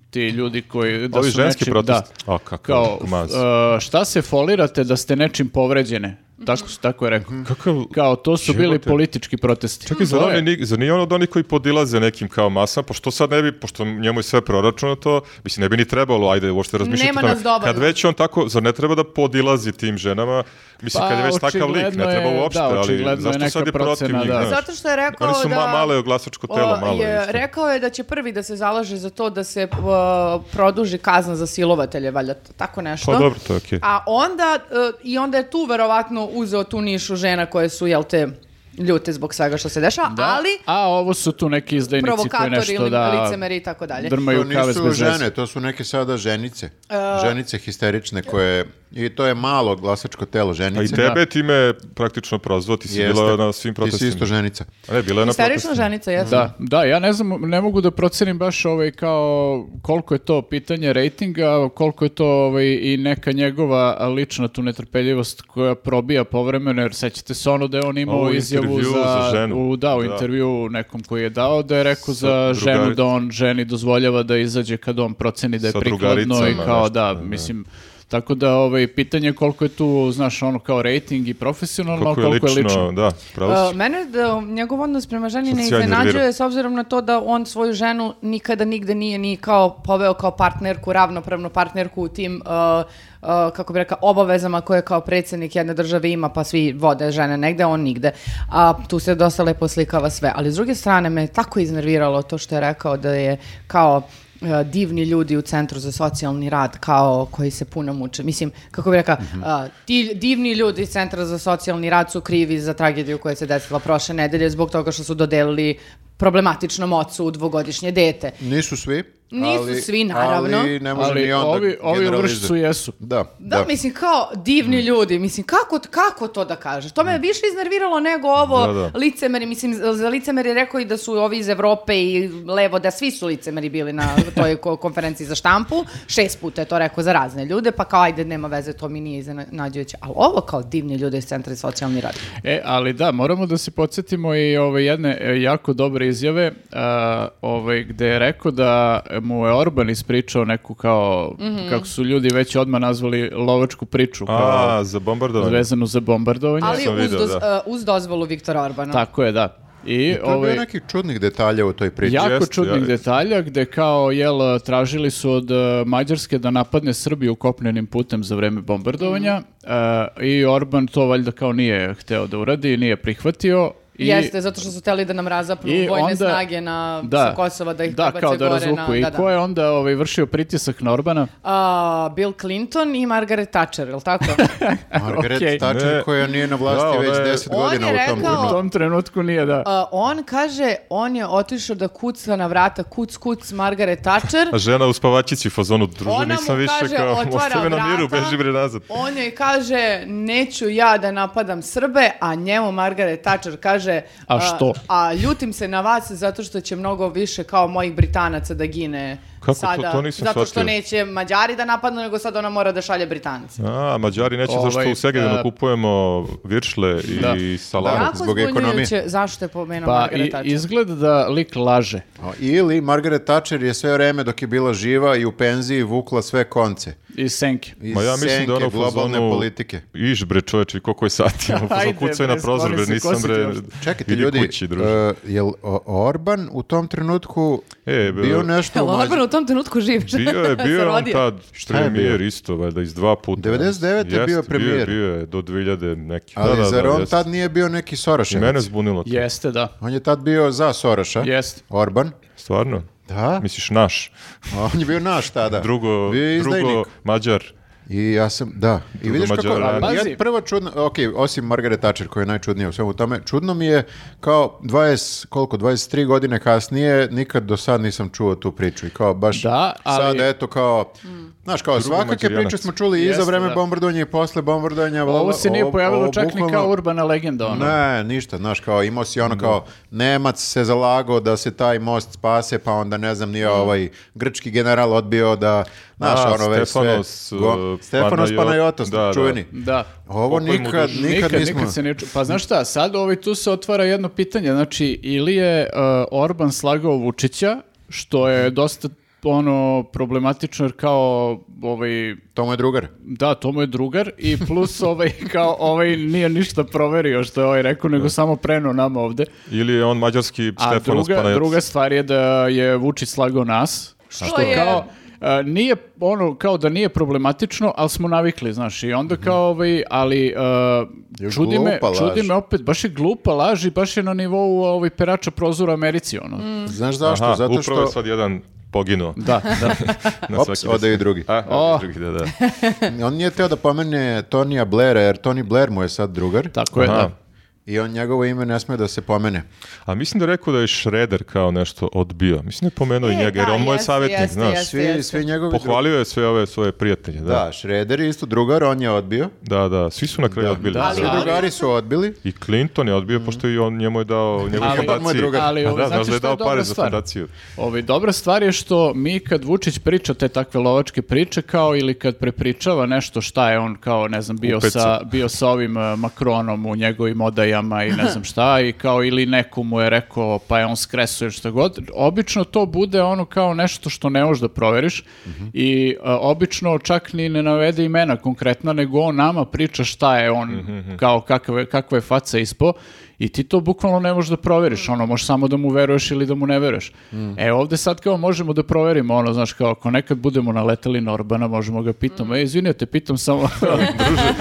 [SPEAKER 1] ti ljudi koji... Da
[SPEAKER 2] Ovi
[SPEAKER 1] su
[SPEAKER 2] ženski
[SPEAKER 1] nečim-
[SPEAKER 2] protesti?
[SPEAKER 1] Da,
[SPEAKER 2] A, kakav
[SPEAKER 1] kao
[SPEAKER 2] komaz.
[SPEAKER 1] e, šta se folirate da ste nečim povređene? Tako, su- tako je rekao.
[SPEAKER 2] Kakav...
[SPEAKER 1] Kao to su bili
[SPEAKER 2] Jebote.
[SPEAKER 1] politički protesti.
[SPEAKER 2] Čekaj, zar,
[SPEAKER 1] To
[SPEAKER 2] on
[SPEAKER 1] je-
[SPEAKER 2] je ni- zar nije on od onih koji podilaze nekim kao masa, pošto sad ne bi, pošto njemu je sve proračunato, mislim, ne bi ni trebalo, ajde, uopšte razmišljati.
[SPEAKER 3] Nema
[SPEAKER 2] o tome.
[SPEAKER 3] nas dovoljno.
[SPEAKER 2] Kad već on tako, zar ne treba da podilazi tim ženama, mislim,
[SPEAKER 1] Pa,
[SPEAKER 2] kad je već takav lik,
[SPEAKER 1] očigledno
[SPEAKER 2] ne treba
[SPEAKER 1] je-
[SPEAKER 2] uopšte,
[SPEAKER 1] da,
[SPEAKER 2] ali
[SPEAKER 1] očigledno je
[SPEAKER 2] zašto sad
[SPEAKER 1] neka
[SPEAKER 2] je protiv
[SPEAKER 1] procena,
[SPEAKER 2] njih,
[SPEAKER 1] da.
[SPEAKER 2] znaš?
[SPEAKER 3] Zato što je rekao
[SPEAKER 2] Oni su
[SPEAKER 3] da...
[SPEAKER 2] ma, male glasačko telo,
[SPEAKER 3] O,
[SPEAKER 2] malo
[SPEAKER 3] je,
[SPEAKER 2] je. isto.
[SPEAKER 3] rekao je da će prvi da se zalaže za to da se o, produži kazna za silovatelje, valjda t- tako nešto.
[SPEAKER 2] Pa dobro, to je okej.
[SPEAKER 3] A onda, e, i onda je tu verovatno uzeo tu nišu žena koje su, jel te, ljute zbog svega što se dešava,
[SPEAKER 1] Da,
[SPEAKER 3] ali
[SPEAKER 1] A ovo su tu neki izdajnici koji
[SPEAKER 3] provokatori
[SPEAKER 1] nešto
[SPEAKER 3] ili
[SPEAKER 1] da...
[SPEAKER 3] licemeri i tako dalje.
[SPEAKER 1] Drmaju
[SPEAKER 4] To
[SPEAKER 1] kavez
[SPEAKER 4] nisu
[SPEAKER 1] bez veze.
[SPEAKER 4] žene, to su neke sada ženice.
[SPEAKER 3] E.
[SPEAKER 4] Ženice histerične koje... I to je malo glasačko telo
[SPEAKER 2] Pa i
[SPEAKER 4] ženice.
[SPEAKER 2] tebe je time praktično prozvao, ti si
[SPEAKER 4] Jeste.
[SPEAKER 2] bila na svim
[SPEAKER 4] Ti si
[SPEAKER 2] protestima.
[SPEAKER 4] isto ženica.
[SPEAKER 2] A Ne, bila je na
[SPEAKER 3] Histerična
[SPEAKER 2] protestima.
[SPEAKER 3] ženica, jesu.
[SPEAKER 1] Da, da, ja ne znam, ne mogu da procenim baš ovaj kao koliko je to pitanje rejtinga, koliko je to ovaj i neka njegova lična tu netrpeljivost koja probija povremeno, jer sećate se ono da je on imao
[SPEAKER 2] Ovo je
[SPEAKER 1] izjavu
[SPEAKER 2] intervju
[SPEAKER 1] za,
[SPEAKER 2] za ženu.
[SPEAKER 1] U, da, u
[SPEAKER 2] Da.
[SPEAKER 1] intervju nekom koji je dao da je rekao
[SPEAKER 2] Sa
[SPEAKER 1] za ženu da
[SPEAKER 2] drugaricom.
[SPEAKER 1] on ženi dozvoljava da izađe kad on proceni da je
[SPEAKER 2] Sa
[SPEAKER 1] prikladno i
[SPEAKER 2] drugaricama,
[SPEAKER 1] kao
[SPEAKER 2] nešto,
[SPEAKER 1] da,
[SPEAKER 2] da.
[SPEAKER 1] mislim, Tako da, ovaj, pitanje je koliko je tu, znaš, ono kao rejting i profesionalno,
[SPEAKER 2] Kako
[SPEAKER 1] a
[SPEAKER 2] je
[SPEAKER 1] koliko je lično.
[SPEAKER 2] lično, da, pravo si.
[SPEAKER 3] E,
[SPEAKER 4] Um,
[SPEAKER 3] mene da, njegov odnos prema ženi
[SPEAKER 2] Sad
[SPEAKER 3] ne
[SPEAKER 2] si ja nervirao.
[SPEAKER 3] iznenađuje s obzirom na to da on svoju ženu nikada nigde nije ni kao poveo kao partnerku, ravnopravnu partnerku u tim, e, e, kako bi rekao, obavezama koje kao predsjednik jedne države ima pa svi vode žene negde, on nigde. A tu se dosta lepo slikava sve. Ali s druge strane me je tako iznerviralo to što je rekao da je kao e, divni ljudi u centru za socijalni rad kao koji se puno muče. Mislim, kako bi rekla, a, ti divni ljudi iz centra za socijalni rad su krivi za tragediju koja se desila prošle nedelje zbog toga što su dodelili problematičnom ocu dvogodišnje dete.
[SPEAKER 4] Nisu svi.
[SPEAKER 3] Nisu
[SPEAKER 4] ali-
[SPEAKER 3] svi, naravno.
[SPEAKER 4] Ali ne može
[SPEAKER 1] Ali
[SPEAKER 4] ni onda
[SPEAKER 1] ovi, ovi u
[SPEAKER 4] generalizuje.
[SPEAKER 1] vršcu jesu.
[SPEAKER 4] Da,
[SPEAKER 3] Da,
[SPEAKER 4] da.
[SPEAKER 3] mislim, kao divni ljudi, mislim, kako, kako to da kažeš? To me je više iznerviralo nego ovo
[SPEAKER 2] Da, da.
[SPEAKER 3] licemeri, mislim, za- za licemeri je rekao i da su ovi iz Evrope i levo, da svi su licemeri bili na toj ko- konferenciji za štampu, šest puta je to rekao za razne ljude, pa kao, ajde, nema veze, to mi nije iznenađujuće, ali ovo kao divni ljudi iz Centra za socijalni rad.
[SPEAKER 1] E, ali da, moramo da se podsjetimo i ove jedne e, jako dobre izjave a, ovaj, gde je rekao da mu je Orban ispričao neku kao,
[SPEAKER 3] Mhm.
[SPEAKER 1] kako su ljudi već odmah nazvali lovačku priču kao,
[SPEAKER 2] A, za bombardovanje.
[SPEAKER 1] vezanu za bombardovanje.
[SPEAKER 3] Ali
[SPEAKER 2] sam
[SPEAKER 3] uz,
[SPEAKER 2] video,
[SPEAKER 3] doz-
[SPEAKER 2] da.
[SPEAKER 3] uh, uz dozvolu Viktora Orbana.
[SPEAKER 1] Tako je, da. I,
[SPEAKER 4] To je
[SPEAKER 1] ovaj,
[SPEAKER 4] bio nekih čudnih detalja u toj priči.
[SPEAKER 1] Jako
[SPEAKER 2] Jeste,
[SPEAKER 1] čudnih
[SPEAKER 2] ja.
[SPEAKER 1] detalja gde kao jel tražili su od e, Mađarske da napadne Srbiju kopnenim putem za vreme
[SPEAKER 3] Mhm.
[SPEAKER 1] bombardovanja e, i Orban to valjda kao nije hteo da uradi, nije prihvatio I,
[SPEAKER 3] Jeste, zato što su hteli da nam razapnu
[SPEAKER 1] i
[SPEAKER 3] vojne
[SPEAKER 1] onda-
[SPEAKER 3] snage na sa Kosova, da ih
[SPEAKER 1] da,
[SPEAKER 3] prebace
[SPEAKER 1] kao da
[SPEAKER 3] gore na...
[SPEAKER 1] razvuku. I
[SPEAKER 3] da, da.
[SPEAKER 1] ko je onda ovaj, vršio pritisak na Orbana?
[SPEAKER 3] A, Bill Clinton i Margaret Thatcher, jel tako?
[SPEAKER 4] Margaret
[SPEAKER 1] Okej.
[SPEAKER 4] Thatcher
[SPEAKER 2] Ne.
[SPEAKER 4] koja nije na vlasti
[SPEAKER 2] Da, ona je-
[SPEAKER 4] već 10
[SPEAKER 3] On je
[SPEAKER 4] godina u tom
[SPEAKER 3] rekao-
[SPEAKER 1] U
[SPEAKER 4] turnu.
[SPEAKER 1] tom trenutku nije da.
[SPEAKER 3] A, on kaže, on je otišao da kuca na vrata, kuc, kuc, Margaret Thatcher.
[SPEAKER 2] A žena u spavačici u fazonu, druže,
[SPEAKER 3] Ona mu
[SPEAKER 2] nisam više
[SPEAKER 3] kaže,
[SPEAKER 2] kao,
[SPEAKER 3] otvara
[SPEAKER 2] ostavi na miru,
[SPEAKER 3] vrata.
[SPEAKER 2] beži bre nazad.
[SPEAKER 3] On joj kaže, neću ja da napadam Srbe, a njemu Margaret Thatcher kaže...
[SPEAKER 1] A što?
[SPEAKER 3] A, ljutim se na vas zato što će mnogo više kao mojih Britanaca da gine
[SPEAKER 2] Kako to-
[SPEAKER 3] sada.
[SPEAKER 2] to nisam
[SPEAKER 3] zato što
[SPEAKER 2] shvatio.
[SPEAKER 3] neće Mađari da napadnu, nego sad ona mora da šalje Britance.
[SPEAKER 2] A, Mađari neće, zašto
[SPEAKER 1] Ovaj,
[SPEAKER 2] u Segedinu
[SPEAKER 1] e,
[SPEAKER 2] kupujemo viršle i
[SPEAKER 1] Da.
[SPEAKER 2] salame.
[SPEAKER 4] Da.
[SPEAKER 3] Jako
[SPEAKER 4] zbog ekonomije.
[SPEAKER 3] zbunjujuće, zašto je pomenuo
[SPEAKER 1] Pa
[SPEAKER 3] Margaret
[SPEAKER 1] i-
[SPEAKER 3] Thatcher?
[SPEAKER 1] izgleda da lik laže.
[SPEAKER 4] O, Pa, Ili Margaret Thatcher je sve vreme dok je bila živa i u penziji vukla sve konce.
[SPEAKER 1] Iz senke.
[SPEAKER 4] Iz
[SPEAKER 2] Ma ja mislim
[SPEAKER 4] senke
[SPEAKER 2] da ono u
[SPEAKER 4] globalne
[SPEAKER 2] fazonu-
[SPEAKER 4] politike.
[SPEAKER 2] Iš bre čoveče, koliko je sati? Ono,
[SPEAKER 1] Ajde,
[SPEAKER 2] Ajde, kucaj na
[SPEAKER 1] bre,
[SPEAKER 2] prozor,
[SPEAKER 1] skloni
[SPEAKER 2] bre,
[SPEAKER 1] se,
[SPEAKER 2] nisam
[SPEAKER 1] ko si ti
[SPEAKER 2] bre.
[SPEAKER 1] uopšte?
[SPEAKER 4] Čekajte
[SPEAKER 2] idi
[SPEAKER 4] ljudi,
[SPEAKER 2] kući, druže.
[SPEAKER 4] e, jel o- Orban u tom trenutku
[SPEAKER 2] E, be-
[SPEAKER 4] bio nešto u
[SPEAKER 3] Jel
[SPEAKER 4] Mađ-
[SPEAKER 3] Orban u tom trenutku živ?
[SPEAKER 2] Bio je, bio je on
[SPEAKER 3] Zarodio.
[SPEAKER 2] tad
[SPEAKER 4] je bio?
[SPEAKER 2] premijer isto, valjda, iz dva puta.
[SPEAKER 4] 99. je bio
[SPEAKER 2] Jeste, Bio je,
[SPEAKER 4] premijer.
[SPEAKER 2] bio je, do 2000 neki.
[SPEAKER 4] Ali
[SPEAKER 2] da, da,
[SPEAKER 4] zar
[SPEAKER 2] da,
[SPEAKER 4] on
[SPEAKER 2] jeste.
[SPEAKER 4] tad nije bio neki
[SPEAKER 2] I
[SPEAKER 4] Soroševac?
[SPEAKER 2] mene zbunilo to,
[SPEAKER 1] Jeste, da.
[SPEAKER 4] On je tad bio za Soroša.
[SPEAKER 1] Jeste.
[SPEAKER 4] Orban.
[SPEAKER 2] stvarno.
[SPEAKER 4] Da.
[SPEAKER 2] Misliš naš,
[SPEAKER 4] On je bio naš tada.
[SPEAKER 2] drugo,
[SPEAKER 4] bio je izdajnik.
[SPEAKER 2] drugo Mađar.
[SPEAKER 4] I ja sam, da. I vidiš kako,
[SPEAKER 2] Mađara.
[SPEAKER 4] ali
[SPEAKER 1] Pazi.
[SPEAKER 4] ja prvo čudno, ok, osim Margaret Thatcher koja je najčudnija u svemu tome, čudno mi je kao 20, koliko, 23 godine kasnije, nikad do sad nisam čuo tu priču i kao baš
[SPEAKER 1] Da, ali-
[SPEAKER 4] sad eto kao, znaš kao svakake
[SPEAKER 2] Mađarijanac.
[SPEAKER 4] priče smo čuli i
[SPEAKER 1] Jeste,
[SPEAKER 4] za vreme
[SPEAKER 1] da.
[SPEAKER 4] bombardovanja i posle bombardovanja. bla, bla,
[SPEAKER 1] Ovo se nije
[SPEAKER 4] ovo-
[SPEAKER 1] pojavilo
[SPEAKER 4] ovo
[SPEAKER 1] čak ni
[SPEAKER 4] bukvalno-
[SPEAKER 1] kao urbana legenda. Ono.
[SPEAKER 4] Ne, ništa, znaš, kao imao si ono kao Nemac se zalagao da se taj most spase, pa onda ne znam, nije ovaj grčki general odbio da, znaš,
[SPEAKER 2] A,
[SPEAKER 4] ono već sve.
[SPEAKER 2] Stefanos,
[SPEAKER 4] go-
[SPEAKER 2] uh,
[SPEAKER 4] Stefanos
[SPEAKER 2] Panajo-
[SPEAKER 4] Panajotos,
[SPEAKER 2] da, da.
[SPEAKER 4] čuveni.
[SPEAKER 1] Da.
[SPEAKER 4] Ovo
[SPEAKER 2] Pokoj mu
[SPEAKER 4] nikad,
[SPEAKER 2] dušu.
[SPEAKER 4] nikad,
[SPEAKER 1] nikad,
[SPEAKER 4] nismo.
[SPEAKER 1] nikad se ne ču- Pa znaš šta, sad ovaj tu se otvara jedno pitanje, znači ili je uh, Orban slagao Vučića, što je dosta ono problematično jer kao ovaj
[SPEAKER 4] To mu je drugar.
[SPEAKER 1] da to mu je drugar i plus ovaj kao ovaj nije ništa proverio što je ovaj rekao nego samo preno nama ovde
[SPEAKER 2] Ili je on mađarski
[SPEAKER 1] a
[SPEAKER 2] Stefanos
[SPEAKER 1] druga,
[SPEAKER 2] Panajotis.
[SPEAKER 1] druga stvar je da je Vučić slagao nas
[SPEAKER 3] Što
[SPEAKER 1] što
[SPEAKER 3] je-
[SPEAKER 1] kao e, nije ono kao da nije problematično, ali smo navikli, znaš, i onda kao ovaj, ali e,
[SPEAKER 4] Mhm. Još
[SPEAKER 1] čudi me,
[SPEAKER 4] glupa laž.
[SPEAKER 1] čudi me opet, baš je glupa laž i baš je na nivou ovaj perača prozora u Americi, ono.
[SPEAKER 3] Mm.
[SPEAKER 4] Znaš zašto?
[SPEAKER 2] Aha,
[SPEAKER 4] Zato
[SPEAKER 2] upravo je
[SPEAKER 4] što...
[SPEAKER 2] sad jedan poginuo.
[SPEAKER 1] Da, da.
[SPEAKER 2] Na
[SPEAKER 4] Ops,
[SPEAKER 2] svaki
[SPEAKER 4] ode i drugi.
[SPEAKER 2] A,
[SPEAKER 1] O.
[SPEAKER 2] ode i drugi, da, da.
[SPEAKER 4] On nije teo da pomene Tonija Blaira, jer Tony Blair mu je sad drugar.
[SPEAKER 1] Tako je,
[SPEAKER 2] Aha.
[SPEAKER 1] da.
[SPEAKER 4] I on njegovo ime ne sme da se pomene.
[SPEAKER 2] A mislim da je rekao da je Šreder kao nešto odbio. Mislim da je pomenuo i
[SPEAKER 3] E,
[SPEAKER 2] njega, jer
[SPEAKER 3] da,
[SPEAKER 2] on mu je
[SPEAKER 3] jeste,
[SPEAKER 2] savjetnik,
[SPEAKER 3] jeste,
[SPEAKER 2] znaš.
[SPEAKER 3] jeste.
[SPEAKER 4] Svi, svi njegovi dru-
[SPEAKER 2] Pohvalio je sve ove svoje prijatelje, da.
[SPEAKER 4] Da,
[SPEAKER 2] Da,
[SPEAKER 4] Šreder je isto drugar, on je odbio.
[SPEAKER 2] da, svi su na kraju odbili.
[SPEAKER 1] da,
[SPEAKER 4] Svi
[SPEAKER 1] ali-
[SPEAKER 4] drugari su odbili.
[SPEAKER 2] I Clinton je odbio, pošto i on njemu je dao njegovu
[SPEAKER 1] Ali-
[SPEAKER 4] Moj
[SPEAKER 2] fondaciju.
[SPEAKER 4] drugar.
[SPEAKER 1] Ali,
[SPEAKER 2] A
[SPEAKER 1] ovaj,
[SPEAKER 2] da,
[SPEAKER 1] znači
[SPEAKER 2] znaš da je
[SPEAKER 1] što je
[SPEAKER 2] dao
[SPEAKER 1] dobra
[SPEAKER 2] pare za
[SPEAKER 1] stvar?
[SPEAKER 2] fondaciju.
[SPEAKER 1] Ovaj, dobra stvar je što mi kad Vučić priča te takve lovačke priče kao ili kad prepričava nešto šta je on kao ne znam bio
[SPEAKER 2] Upeca.
[SPEAKER 1] sa, bio sa ovim eh, Makronom u njegovim odajama i ne znam šta i kao ili neko mu je rekao pa je on skreso ili šta god obično to bude ono kao nešto što ne možeš da proveriš i eh, obično čak ni ne navede imena konkretna nego on nama priča šta je on kao kakve, kakva je faca ispo i ti to bukvalno ne možeš da proveriš, ono, možeš samo da mu veruješ ili da mu ne veruješ. E, ovde sad kao možemo da proverimo, ono, znaš, kao ako nekad budemo naletali na Orbana, možemo ga pitamo, e, izvini, ja te pitam samo, druže,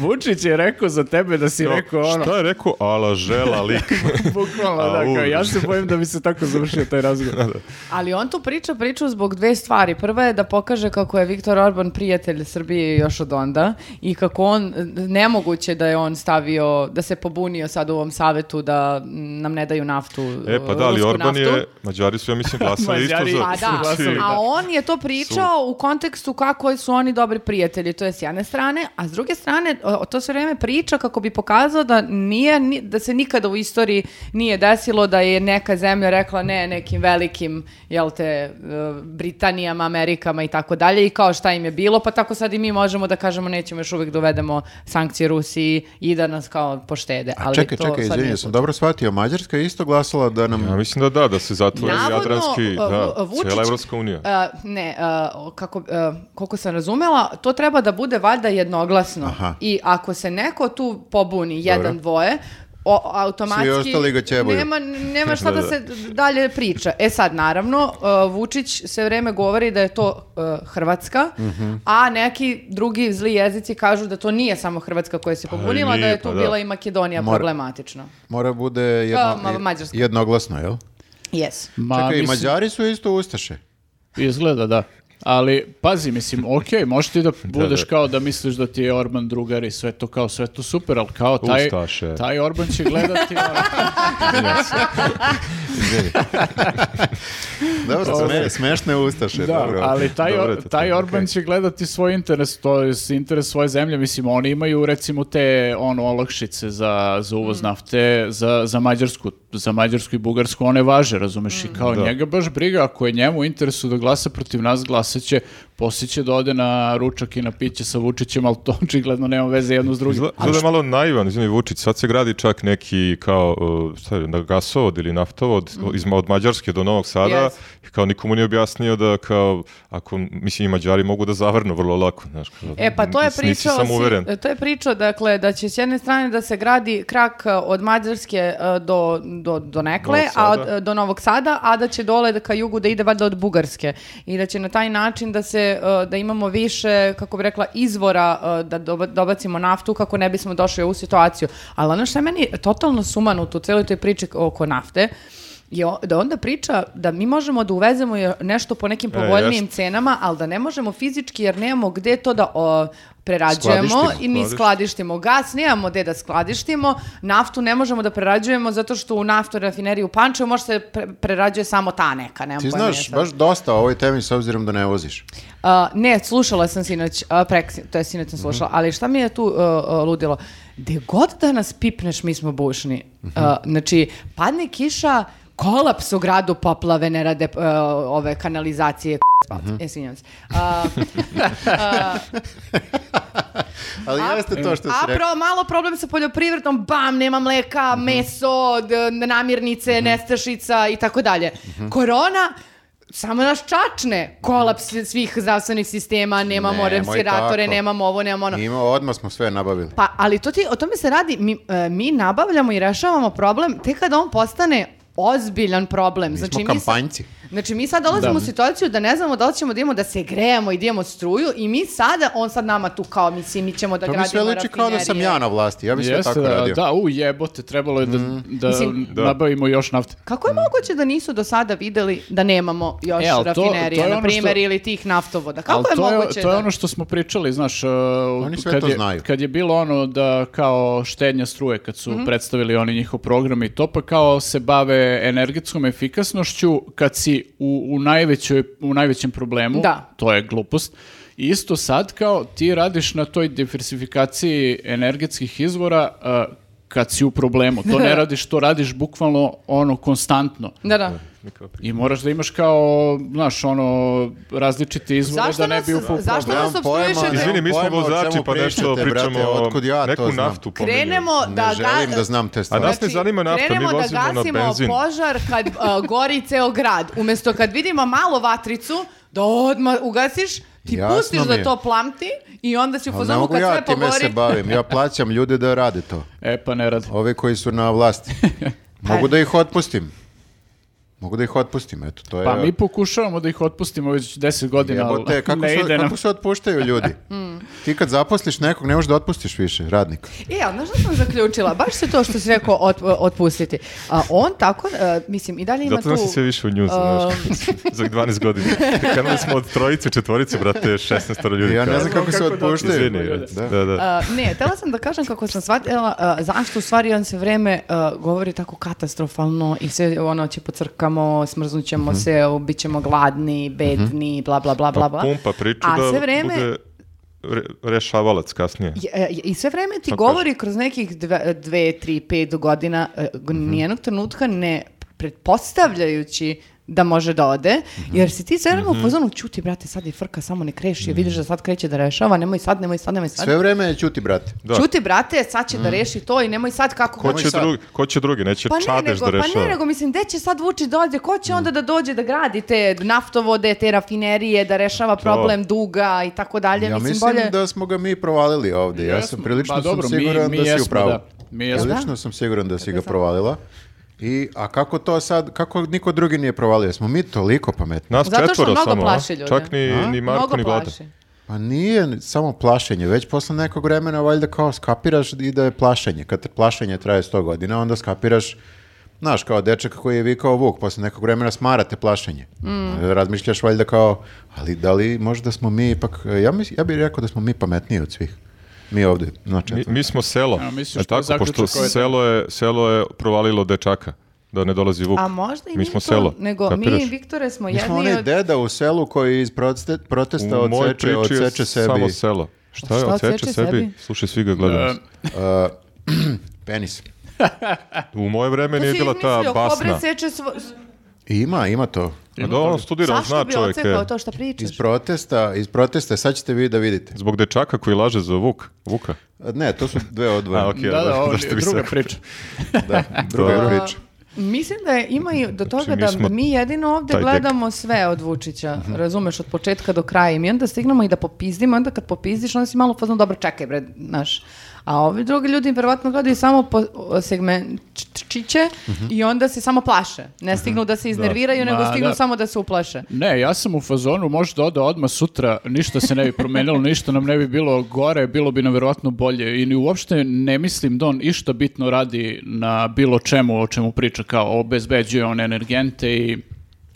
[SPEAKER 1] Vučić je rekao za tebe da si rekao, ono,
[SPEAKER 2] Šta je rekao? Ala žela lik.
[SPEAKER 1] bukvalno,
[SPEAKER 2] A,
[SPEAKER 1] da, kao,
[SPEAKER 2] u.
[SPEAKER 1] ja se bojim da bi se tako završio taj razgovor.
[SPEAKER 3] Ali on tu priča priču zbog dve stvari. Prva je da pokaže kako je Viktor Orban prijatelj Srbije još od onda i kako on, e, nemoguće da je on stavio, da se pobunio sad u ovom savetu da mm, nam ne daju naftu,
[SPEAKER 2] E, pa da, ali
[SPEAKER 3] rusku
[SPEAKER 2] Orban
[SPEAKER 3] naftu.
[SPEAKER 2] je, Mađari su, ja mislim, glasali isto
[SPEAKER 1] Mađari-
[SPEAKER 2] za...
[SPEAKER 3] Pa da,
[SPEAKER 2] Znači,
[SPEAKER 1] Glasali,
[SPEAKER 3] a on je to pričao u kontekstu kako su oni dobri prijatelji, to je s jedne strane, a s druge strane o- to sve vrijeme priča kako bi pokazao da nije ni- da se nikada u istoriji nije desilo da je neka zemlja rekla ne nekim velikim jel te e, Britanijama, Amerikama i tako dalje i kao šta im je bilo, pa tako sad i mi možemo da kažemo nećemo još uvijek dovedemo sankcije Rusiji i da nas kao poštede.
[SPEAKER 4] A
[SPEAKER 3] Ali
[SPEAKER 4] čekaj,
[SPEAKER 3] to
[SPEAKER 4] čekaj,
[SPEAKER 3] sad nije
[SPEAKER 4] izvinjam sam dobro shvatio. Mađarska je isto glasala da nam...
[SPEAKER 2] Ja mislim da da, da se zatvori
[SPEAKER 3] Navodno,
[SPEAKER 2] Jadranski,
[SPEAKER 3] uh,
[SPEAKER 2] da,
[SPEAKER 3] Vu- Vučić-
[SPEAKER 2] cijela Evropska unija.
[SPEAKER 3] E, ne, e, o, kako, e, koliko sam razumela, to treba da bude valjda jednoglasno.
[SPEAKER 4] Aha.
[SPEAKER 3] I ako se neko tu pobuni, jedan, dvoje, o- automatski...
[SPEAKER 4] Svi ostali ga ćebaju.
[SPEAKER 3] Nema, nema šta
[SPEAKER 2] Da,
[SPEAKER 3] da
[SPEAKER 2] da.
[SPEAKER 3] se dalje priča. E sad, naravno, uh, Vučić sve vreme govori da je to uh, Hrvatska,
[SPEAKER 2] Mhm.
[SPEAKER 3] a neki drugi zli jezici kažu da to nije samo Hrvatska koja se pobunila, da
[SPEAKER 2] nije,
[SPEAKER 3] je tu
[SPEAKER 2] pa da.
[SPEAKER 3] bila i Makedonija
[SPEAKER 4] Mora-
[SPEAKER 3] problematično.
[SPEAKER 4] Mora bude jedno,
[SPEAKER 3] ma- Mađarska.
[SPEAKER 4] jednoglasno, jel?
[SPEAKER 3] Yes.
[SPEAKER 2] Pa,
[SPEAKER 1] Ma,
[SPEAKER 4] Čekaj, i
[SPEAKER 1] mislim-
[SPEAKER 4] Mađari su isto Ustaše.
[SPEAKER 1] Izgleda, da. Ali, pazi, mislim, okej, možeš ti da budeš
[SPEAKER 2] da.
[SPEAKER 1] kao da misliš da ti je Orban drugar i sve to kao, sve to super, ali kao taj,
[SPEAKER 2] Ustaše.
[SPEAKER 1] taj Orban će gledati, ono, ali,
[SPEAKER 4] Dobro, sme, smešne
[SPEAKER 1] da,
[SPEAKER 4] Ustaše. dobro.
[SPEAKER 1] ali taj,
[SPEAKER 2] Dobro
[SPEAKER 1] Or-
[SPEAKER 2] je to, to
[SPEAKER 1] taj
[SPEAKER 2] je
[SPEAKER 1] Orban
[SPEAKER 2] okej.
[SPEAKER 1] će gledati svoj interes, to je interes svoje zemlje, mislim, oni imaju recimo te ono, olakšice za, za uvoz nafte, za, za Mađarsku, za Mađarsku i Bugarsku, one važe, razumeš, i kao
[SPEAKER 2] Da.
[SPEAKER 1] njega baš briga, ako je njemu u interesu da glasa protiv nas, glasat će, poslije će da ode na ručak i na piće sa Vučićem, ali to očigledno nema veze jedno s drugim.
[SPEAKER 2] Izgleda izgleda je malo naivan, izvini Vučić, sad se gradi čak neki kao uh, šta je, na gasovod ili naftovod
[SPEAKER 3] Mhm.
[SPEAKER 2] iz, Ma- od Mađarske do Novog Sada
[SPEAKER 3] Yes.
[SPEAKER 2] i kao nikomu nije objasnio da kao, ako, mislim i Mađari mogu da zavrnu vrlo lako, znaš. kao,
[SPEAKER 3] E pa to je
[SPEAKER 2] nisi- nisi
[SPEAKER 3] pričao, si- E,
[SPEAKER 2] samouveren.
[SPEAKER 3] to je pričao dakle da će s jedne strane da se gradi krak e, od Mađarske e, do do do nekle,
[SPEAKER 2] Novog
[SPEAKER 3] a
[SPEAKER 2] Sada.
[SPEAKER 3] od, e, do Novog Sada, a da će dole da ka jugu da ide valjda od Bugarske i da će na taj način da se e, da imamo više kako bi rekla izvora e, da doba- dobacimo naftu kako ne bismo došli u ovu situaciju. Ali ono što je meni totalno sumanuto u celoj toj priči oko nafte je o- da onda priča da mi možemo da uvezemo je- nešto po nekim
[SPEAKER 2] E,
[SPEAKER 3] povoljnijim
[SPEAKER 2] jeste.
[SPEAKER 3] cenama, ali da ne možemo fizički jer nemamo gde to da o, prerađujemo
[SPEAKER 2] Skladištimo,
[SPEAKER 3] i ni
[SPEAKER 2] skladiš-
[SPEAKER 3] skladištimo gas, nemamo gde da skladištimo, naftu ne možemo da prerađujemo zato što u naftu rafineriju u Pančevu može se pre- prerađuje samo ta neka, nemam
[SPEAKER 4] Ti
[SPEAKER 3] pojma
[SPEAKER 4] znaš
[SPEAKER 3] sad.
[SPEAKER 4] baš dosta o ovoj temi s obzirom da ne voziš.
[SPEAKER 3] A, ne, slušala sam sinoć, a, preksi- to je sinoć
[SPEAKER 4] Mhm.
[SPEAKER 3] sam slušala, ali šta mi je tu a, a, ludilo? Gde god da nas pipneš, mi smo bušni.
[SPEAKER 4] Mhm.
[SPEAKER 3] A, znači, padne kiša, kolaps u gradu, poplave, ne rade a, ove kanalizacije,
[SPEAKER 4] Mhm.
[SPEAKER 3] mm E, svinjam se. A,
[SPEAKER 4] Ali jeste to što si
[SPEAKER 3] A
[SPEAKER 4] rekao. Mhm.
[SPEAKER 3] pro, malo problem sa poljoprivredom, bam, nema mleka, meso, d- namirnice, nestašica i tako dalje.
[SPEAKER 4] Mhm.
[SPEAKER 3] Korona, samo nas čačne. Kolaps svih zdravstvenih sistema, nemamo
[SPEAKER 4] Mhm. Nemoj
[SPEAKER 3] respiratore,
[SPEAKER 4] tako.
[SPEAKER 3] nemamo ovo, nemamo ono.
[SPEAKER 4] Ima, odmah smo sve nabavili.
[SPEAKER 3] Pa, ali to ti, o tome se radi, mi, e, mi nabavljamo i rešavamo problem tek kada on postane ozbiljan problem.
[SPEAKER 4] Mi smo
[SPEAKER 3] znači, mi sad,
[SPEAKER 4] kampanjci.
[SPEAKER 3] znači, mi sad dolazimo
[SPEAKER 1] Da.
[SPEAKER 3] u situaciju da ne znamo da li ćemo da imamo da se grejemo i da imamo struju i mi sada, on sad nama tu kao, mislim, mi ćemo da
[SPEAKER 4] to mi
[SPEAKER 3] gradimo
[SPEAKER 4] sve liči kao da sam
[SPEAKER 3] rafinerije.
[SPEAKER 4] ja na vlasti. Ja bi sve
[SPEAKER 1] Jeste,
[SPEAKER 4] tako
[SPEAKER 1] da,
[SPEAKER 4] radio.
[SPEAKER 1] da, u jebote, trebalo je da, da
[SPEAKER 3] Mislim-
[SPEAKER 2] Da.
[SPEAKER 1] nabavimo još nafte.
[SPEAKER 3] Kako je moguće da nisu do sada videli da nemamo još
[SPEAKER 1] E, ali to-
[SPEAKER 3] rafinerija,
[SPEAKER 1] to je
[SPEAKER 3] na
[SPEAKER 1] ono
[SPEAKER 3] primjer,
[SPEAKER 1] što-
[SPEAKER 3] ili tih naftovoda? Kako
[SPEAKER 1] Ali
[SPEAKER 3] je
[SPEAKER 1] to
[SPEAKER 3] moguće
[SPEAKER 1] je, to je
[SPEAKER 3] da-
[SPEAKER 1] ono što smo pričali, znaš, uh,
[SPEAKER 4] sve
[SPEAKER 1] kad
[SPEAKER 4] to
[SPEAKER 1] je,
[SPEAKER 4] znaju.
[SPEAKER 1] Kad je bilo ono da kao štenja struje, kad
[SPEAKER 3] Mhm.
[SPEAKER 1] su predstavili oni njihov program i to, pa kao se bave energetskom efikasnošću kad si u, u, najvećoj, u najvećem problemu,
[SPEAKER 3] Da.
[SPEAKER 1] to je glupost, I Isto sad kao ti radiš na toj diversifikaciji energetskih izvora uh, kad si u problemu. To ne radiš, to radiš bukvalno ono konstantno.
[SPEAKER 3] Da, da.
[SPEAKER 2] Nikao pri-
[SPEAKER 1] I moraš da imaš kao, znaš, ono, različite izvore
[SPEAKER 3] Zašto
[SPEAKER 1] da ne
[SPEAKER 3] nas-
[SPEAKER 1] bi upao u
[SPEAKER 3] zašto
[SPEAKER 1] problem.
[SPEAKER 3] nas opstrujiše da-
[SPEAKER 2] Izvini, mi smo
[SPEAKER 4] Pojma o
[SPEAKER 2] vozači
[SPEAKER 4] čemu
[SPEAKER 2] pa nešto
[SPEAKER 4] pričate, brate,
[SPEAKER 2] pričamo o
[SPEAKER 4] otkud ja to
[SPEAKER 2] neku
[SPEAKER 4] znam?
[SPEAKER 2] naftu pominjali.
[SPEAKER 3] Krenemo
[SPEAKER 4] Ne
[SPEAKER 3] da
[SPEAKER 4] želim
[SPEAKER 3] ga-
[SPEAKER 4] da znam te stvari.
[SPEAKER 2] Pa nas ne zanima nafta, mi
[SPEAKER 3] Znači, krenemo da
[SPEAKER 2] vozimo na
[SPEAKER 3] gasimo
[SPEAKER 2] benzin.
[SPEAKER 3] požar kad uh, gori ceo grad. Umesto kad vidimo malo vatricu, da odmah ugasiš, ti
[SPEAKER 4] Jasno
[SPEAKER 3] pustiš
[SPEAKER 4] mi je.
[SPEAKER 3] da to plamti i onda si u
[SPEAKER 4] Ali ne
[SPEAKER 3] fazonu
[SPEAKER 4] mogu
[SPEAKER 3] kad sve
[SPEAKER 4] ja time
[SPEAKER 3] pogori.
[SPEAKER 4] se bavim. Ja plaćam ljude da rade to.
[SPEAKER 1] E pa ne radi.
[SPEAKER 4] Ove koji su na vlasti.
[SPEAKER 1] Pa-
[SPEAKER 4] Mogu da ih otpustim. Mogu da ih otpustim, eto, to je...
[SPEAKER 1] Pa mi pokušavamo da ih otpustimo već 10 godina,
[SPEAKER 4] Jebote,
[SPEAKER 1] ali
[SPEAKER 4] kako,
[SPEAKER 1] ne
[SPEAKER 4] se,
[SPEAKER 1] ide nam. Hmm.
[SPEAKER 4] kako se otpuštaju ljudi? Ti kad zaposliš nekog, ne možeš da otpustiš više radnika.
[SPEAKER 3] E, ali znaš što sam zaključila? Baš se to što si rekao otp- otpustiti. A on tako, e, mislim, i dalje ima
[SPEAKER 2] Zato nas
[SPEAKER 3] tu... um,
[SPEAKER 2] je sve više u njuzu, znaš, za 12 godina. Krenuli smo od trojice, četvorice, brate, 16 ljudi.
[SPEAKER 4] Ja ne
[SPEAKER 2] kao.
[SPEAKER 4] znam E, kako se otpuštaju.
[SPEAKER 2] Izvini,
[SPEAKER 4] Da.
[SPEAKER 2] da, da.
[SPEAKER 3] A, e, ne, tela sam da kažem kako sam shvatila a, zašto u stvari on se vreme a, govori tako katastrofalno i sve ono će pocrkamo, smrznut ćemo
[SPEAKER 4] Mhm.
[SPEAKER 3] se, o, bit ćemo gladni, bedni, bla bla bla bla
[SPEAKER 2] Pa
[SPEAKER 3] bla.
[SPEAKER 2] pumpa priču
[SPEAKER 3] A
[SPEAKER 2] da
[SPEAKER 3] sve vreme-
[SPEAKER 2] bude re- rešavalac kasnije.
[SPEAKER 3] Je- e, I sve vreme ti
[SPEAKER 2] Tako je.
[SPEAKER 3] govori kroz nekih dve, dve, tri, pet godina, e, g-
[SPEAKER 2] Mhm.
[SPEAKER 3] nijednog trenutka ne pretpostavljajući da može da ode,
[SPEAKER 2] Mhm.
[SPEAKER 3] jer si ti sve vreme u fazonu, ćuti brate, sad je frka, samo ne kreši, vidiš da sad kreće da rešava, nemoj sad, nemoj sad, nemoj sad.
[SPEAKER 4] Sve vreme je ćuti, brate.
[SPEAKER 2] Da. Mhm.
[SPEAKER 3] Ćuti brate, sad će da reši to i nemoj sad kako
[SPEAKER 2] Ko
[SPEAKER 3] hoće.
[SPEAKER 2] će,
[SPEAKER 4] sad.
[SPEAKER 2] drugi, ko će drugi, neće
[SPEAKER 3] Pa ne,
[SPEAKER 2] čadež
[SPEAKER 3] nego,
[SPEAKER 2] da
[SPEAKER 3] pa
[SPEAKER 2] rešava. Mhm.
[SPEAKER 3] ne, nego mislim, gde će sad Vučić dođe, ko će onda da dođe da gradi te naftovode, te rafinerije, da rešava problem duga i tako dalje,
[SPEAKER 4] Ja
[SPEAKER 3] mislim,
[SPEAKER 4] mislim
[SPEAKER 3] bolje...
[SPEAKER 4] da smo ga mi provalili ovdje. Ja
[SPEAKER 1] Jesmo.
[SPEAKER 4] sam prilično
[SPEAKER 1] Pa dobro,
[SPEAKER 4] sam
[SPEAKER 1] mi-
[SPEAKER 4] siguran
[SPEAKER 1] mi
[SPEAKER 4] da si
[SPEAKER 1] jesmo,
[SPEAKER 4] u pravu.
[SPEAKER 1] da. Mi
[SPEAKER 4] Ja
[SPEAKER 1] jesmo.
[SPEAKER 4] lično sam siguran da si ga provalila. I, a kako to sad, kako niko drugi nije provalio? Smo mi toliko pametni.
[SPEAKER 2] Nas
[SPEAKER 3] Zato što
[SPEAKER 2] četvoro
[SPEAKER 3] mnogo
[SPEAKER 2] samo, a?
[SPEAKER 3] plaši ljude.
[SPEAKER 2] Čak ni,
[SPEAKER 4] A?
[SPEAKER 2] ni Marko, ni
[SPEAKER 3] Mnogo
[SPEAKER 2] Vlada.
[SPEAKER 3] plaši.
[SPEAKER 4] Pa nije ni- samo plašenje, već posle nekog vremena valjda kao skapiraš i da je plašenje. Kad te plašenje traje 100 godina, onda skapiraš, znaš, kao dečak koji je vikao vuk, posle nekog vremena smarate plašenje. Razmišljaš valjda kao, ali da li možda smo mi ipak, ja, mis, ja bih rekao da smo mi pametniji od svih. Mi ovdje, znači,
[SPEAKER 2] Mi, mi smo selo.
[SPEAKER 1] Ja, misliš
[SPEAKER 2] Jel
[SPEAKER 1] što je
[SPEAKER 2] tako, pošto
[SPEAKER 1] zaključak ovaj-
[SPEAKER 2] selo je, selo je provalilo dečaka da ne dolazi Vuk.
[SPEAKER 3] A možda i
[SPEAKER 2] mi
[SPEAKER 3] mi
[SPEAKER 2] smo selo.
[SPEAKER 3] nego mi
[SPEAKER 2] kapiraš?
[SPEAKER 3] i Viktore smo
[SPEAKER 4] mi smo
[SPEAKER 3] jedni
[SPEAKER 4] onaj
[SPEAKER 3] od...
[SPEAKER 4] deda u selu koji iz proste- protesta
[SPEAKER 2] U mojoj
[SPEAKER 4] odseče,
[SPEAKER 2] priči je
[SPEAKER 4] odseče sebi.
[SPEAKER 2] samo selo. Šta je,
[SPEAKER 3] Šta
[SPEAKER 2] odseče
[SPEAKER 3] odseče
[SPEAKER 2] sebi?
[SPEAKER 3] sebi?
[SPEAKER 2] Slušaj, svi ga gledaju.
[SPEAKER 1] E,
[SPEAKER 4] Penis.
[SPEAKER 2] U moje vreme
[SPEAKER 3] To
[SPEAKER 2] nije
[SPEAKER 3] si
[SPEAKER 2] bila ta
[SPEAKER 3] izmislio,
[SPEAKER 2] basna.
[SPEAKER 3] Kobra seče svo...
[SPEAKER 4] Ima, ima to.
[SPEAKER 2] A da on studirao,
[SPEAKER 3] Zašto
[SPEAKER 2] zna
[SPEAKER 3] bi
[SPEAKER 2] čovjek.
[SPEAKER 3] ocekao
[SPEAKER 2] e,
[SPEAKER 3] to što pričaš?
[SPEAKER 4] Iz protesta, iz protesta, sad ćete vi da vidite.
[SPEAKER 2] Zbog dečaka koji laže za Vuk. Vuka.
[SPEAKER 4] Ne, to su dve
[SPEAKER 2] A,
[SPEAKER 4] odvojene.
[SPEAKER 2] okej,
[SPEAKER 1] Da, da, ovo
[SPEAKER 2] zašto
[SPEAKER 1] je
[SPEAKER 2] bi se
[SPEAKER 1] druga
[SPEAKER 2] rekao?
[SPEAKER 1] priča.
[SPEAKER 4] Da, druga je
[SPEAKER 2] Dobro.
[SPEAKER 4] priča.
[SPEAKER 3] Pa, Mislim da je, ima i do toga
[SPEAKER 2] mi smo
[SPEAKER 3] da mi jedino ovdje
[SPEAKER 2] taj Mhm. dek.
[SPEAKER 3] gledamo sve od Vučića, razumeš, od početka do kraja i mi onda stignemo i da popizdimo, onda kad popizdiš onda si malo pozno, dobro, čekaj bre, znaš. A ovi drugi ljudi verovatno gledaju samo po o, segmentčiće
[SPEAKER 2] Mhm.
[SPEAKER 3] i onda se samo plaše. Ne stignu da se iznerviraju, nego
[SPEAKER 1] Ma,
[SPEAKER 3] stignu
[SPEAKER 1] da.
[SPEAKER 3] samo da se uplaše.
[SPEAKER 1] Ne, ja sam u fazonu, možda oda odmah sutra, ništa se ne bi promenilo, ništa nam ne bi bilo gore, bilo bi nam verovatno bolje i ni uopšte ne mislim da on išta bitno radi na bilo čemu o čemu priča, kao obezbeđuje on energente i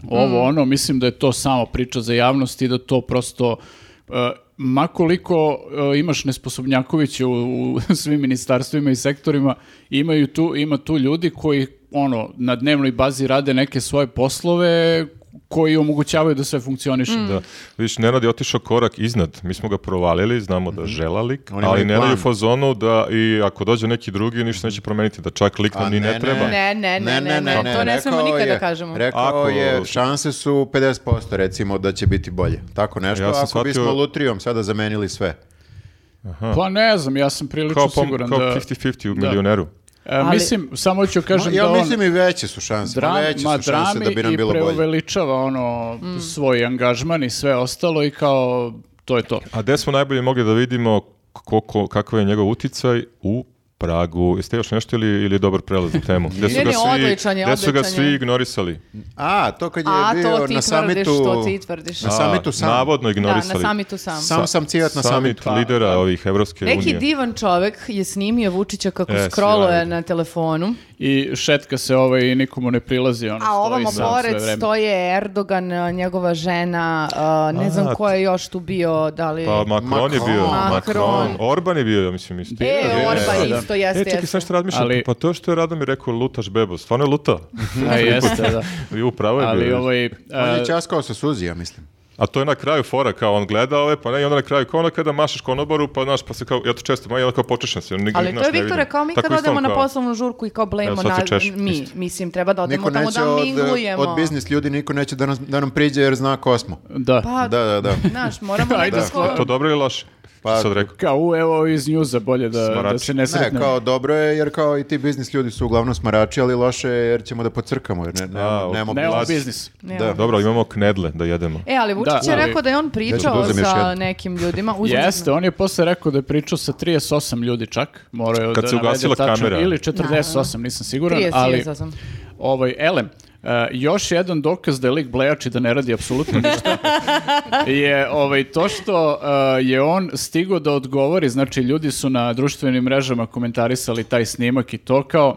[SPEAKER 1] ovo
[SPEAKER 3] Mm.
[SPEAKER 1] ono, mislim da je to samo priča za javnost i da to prosto... Uh, makoliko e, imaš nesposobnjakoviće u, u svim ministarstvima i sektorima, imaju tu, ima tu ljudi koji ono, na dnevnoj bazi rade neke svoje poslove koji omogućavaju da sve funkcioniše.
[SPEAKER 2] Mm. Da. Viš, Nenad je otišao korak iznad. Mi smo ga provalili, znamo da žela lik,
[SPEAKER 4] On ima
[SPEAKER 2] ali
[SPEAKER 4] i
[SPEAKER 2] Nenad je u
[SPEAKER 4] plan.
[SPEAKER 2] fazonu da i ako dođe neki drugi, ništa neće promeniti, da čak lik nam
[SPEAKER 4] A
[SPEAKER 2] ni ne,
[SPEAKER 4] Pa ne,
[SPEAKER 2] treba.
[SPEAKER 3] ne. ne, ne, ne, ne, to ne smemo
[SPEAKER 4] rekao
[SPEAKER 3] nikad da
[SPEAKER 4] je-
[SPEAKER 3] kažemo.
[SPEAKER 4] Rekao
[SPEAKER 2] Ako-
[SPEAKER 4] je, šanse su 50% recimo da će biti bolje. Tako nešto,
[SPEAKER 2] Ja
[SPEAKER 4] ako
[SPEAKER 2] sam
[SPEAKER 4] bismo
[SPEAKER 2] shvatio-
[SPEAKER 4] lutrijom sada zamenili sve.
[SPEAKER 1] Pa ne znam, ja sam prilično
[SPEAKER 2] Kao, pom,
[SPEAKER 1] siguran
[SPEAKER 2] kao
[SPEAKER 1] da...
[SPEAKER 2] 50-50 u
[SPEAKER 1] da.
[SPEAKER 2] milioneru.
[SPEAKER 1] E,
[SPEAKER 3] Ali-
[SPEAKER 1] Mislim, samo ću kažem
[SPEAKER 4] ja
[SPEAKER 1] da on
[SPEAKER 4] mislim i veće su šanse.
[SPEAKER 1] dram-
[SPEAKER 4] veće
[SPEAKER 1] ma,
[SPEAKER 4] su šanse
[SPEAKER 1] drami
[SPEAKER 4] da bi nam
[SPEAKER 1] i
[SPEAKER 4] bilo bolje.
[SPEAKER 1] preuveličava ono,
[SPEAKER 2] Mm.
[SPEAKER 1] svoj angažman i sve ostalo i kao to je to.
[SPEAKER 2] A gde smo najbolje mogli da vidimo koliko, kakav je njegov uticaj u Pragu. Jeste još nešto ili, ili je dobar prelaz na temu? Gde su
[SPEAKER 3] Ne,
[SPEAKER 2] ga
[SPEAKER 3] ne,
[SPEAKER 2] svi,
[SPEAKER 3] odličan je,
[SPEAKER 2] gde su ga
[SPEAKER 3] odličan
[SPEAKER 2] svi
[SPEAKER 3] je.
[SPEAKER 2] ignorisali?
[SPEAKER 4] A, to kad je
[SPEAKER 3] A,
[SPEAKER 4] bio
[SPEAKER 3] to ti
[SPEAKER 4] na
[SPEAKER 3] tvrdiš,
[SPEAKER 4] samitu...
[SPEAKER 3] to ti tvrdiš.
[SPEAKER 4] Na samitu sam.
[SPEAKER 2] Navodno
[SPEAKER 3] Da, na
[SPEAKER 2] ignorisali.
[SPEAKER 3] samitu sam.
[SPEAKER 4] Sam sam cijet na
[SPEAKER 2] Summit
[SPEAKER 4] samitu.
[SPEAKER 2] lidera ovih Evropske
[SPEAKER 3] Neki
[SPEAKER 2] unije.
[SPEAKER 3] divan čovek je snimio Vučića kako
[SPEAKER 2] E,
[SPEAKER 3] scrolluje
[SPEAKER 2] sjajno.
[SPEAKER 3] na telefonu.
[SPEAKER 1] I šetka se ovaj i nikomu ne prilazi. Ono,
[SPEAKER 3] A
[SPEAKER 1] stoji
[SPEAKER 3] ovamo
[SPEAKER 1] sam sve
[SPEAKER 3] pored
[SPEAKER 1] vreme.
[SPEAKER 3] stoje Erdogan, a, njegova žena, a, ne
[SPEAKER 2] A,
[SPEAKER 3] znam ko je još tu bio, da li...
[SPEAKER 2] Pa Macron, je bio.
[SPEAKER 3] Macron.
[SPEAKER 2] Macron. Orban je bio, ja mislim, isto.
[SPEAKER 3] E,
[SPEAKER 2] Je,
[SPEAKER 3] Orban
[SPEAKER 2] da.
[SPEAKER 3] isto, jeste,
[SPEAKER 2] E, čekaj,
[SPEAKER 3] jeste.
[SPEAKER 2] sad što razmišljam,
[SPEAKER 1] Ali-
[SPEAKER 2] pa to što je Radomir rekao lutaš bebo, stvarno je luta.
[SPEAKER 1] A jeste, da.
[SPEAKER 2] I upravo je
[SPEAKER 1] Ali
[SPEAKER 2] bio.
[SPEAKER 1] ovaj...
[SPEAKER 4] On
[SPEAKER 1] e,
[SPEAKER 4] je časkao sa Suzi, ja mislim.
[SPEAKER 2] A to je na kraju fora, kao on gleda ove, pa ne, i onda na kraju kao ono kada mašeš konobaru, pa znaš, pa se kao, ja to često, ma ja kao počešem se, nigdje,
[SPEAKER 3] Ali to
[SPEAKER 2] znaš,
[SPEAKER 3] je,
[SPEAKER 2] ne
[SPEAKER 3] Viktore,
[SPEAKER 2] vidim.
[SPEAKER 3] kao mi
[SPEAKER 2] Tako
[SPEAKER 3] kad
[SPEAKER 2] isto on
[SPEAKER 3] odemo na
[SPEAKER 2] kao-
[SPEAKER 3] poslovnu žurku i kao blejmo
[SPEAKER 2] Evo, sad
[SPEAKER 3] na
[SPEAKER 2] se češeš,
[SPEAKER 3] mi.
[SPEAKER 2] isto.
[SPEAKER 3] Mislim, treba Pa da odemo
[SPEAKER 4] Niko
[SPEAKER 3] tamo
[SPEAKER 4] neće
[SPEAKER 3] da
[SPEAKER 4] od,
[SPEAKER 3] minglujemo.
[SPEAKER 4] od biznis ljudi, niko neće da, nas, da nam priđe jer zna ko smo.
[SPEAKER 1] da.
[SPEAKER 3] Pa,
[SPEAKER 4] Da, da, da.
[SPEAKER 3] znaš, moramo
[SPEAKER 1] Ajde,
[SPEAKER 3] nekako...
[SPEAKER 2] To dobro ili loše?
[SPEAKER 4] Pa-
[SPEAKER 2] Pa, sad rekao.
[SPEAKER 1] Kao, u, evo iz njuza, bolje da, da
[SPEAKER 2] Smarači.
[SPEAKER 1] se ne
[SPEAKER 4] Ne,
[SPEAKER 1] sretnemo.
[SPEAKER 4] E, kao dobro je, jer kao i ti biznis ljudi su uglavnom smarači, ali loše je jer ćemo da pocrkamo, jer ne, ne,
[SPEAKER 2] A,
[SPEAKER 4] nemamo
[SPEAKER 1] Ne, ovo
[SPEAKER 2] Mlađi.
[SPEAKER 1] biznis.
[SPEAKER 3] Ne,
[SPEAKER 4] Da.
[SPEAKER 2] Dobro, imamo knedle da jedemo.
[SPEAKER 3] E, ali Vučić
[SPEAKER 1] Da,
[SPEAKER 3] je
[SPEAKER 1] ali-
[SPEAKER 3] rekao da je on pričao
[SPEAKER 4] uzmem još
[SPEAKER 3] sa
[SPEAKER 4] jednu.
[SPEAKER 3] nekim ljudima. Uzmem
[SPEAKER 1] Jeste, on je posle rekao da je pričao sa 38 ljudi čak, moraju
[SPEAKER 2] Kad
[SPEAKER 1] da
[SPEAKER 2] se
[SPEAKER 1] navede
[SPEAKER 2] ugasila
[SPEAKER 1] tačno,
[SPEAKER 2] kamera.
[SPEAKER 1] Ili 48, nisam siguran,
[SPEAKER 3] 30
[SPEAKER 1] ali
[SPEAKER 3] sam.
[SPEAKER 1] ovaj, elem, e, još jedan dokaz da je lik blejač i da ne radi apsolutno ništa je ovaj, to što e, je on stigao da odgovori, znači ljudi su na društvenim mrežama komentarisali taj snimak i to kao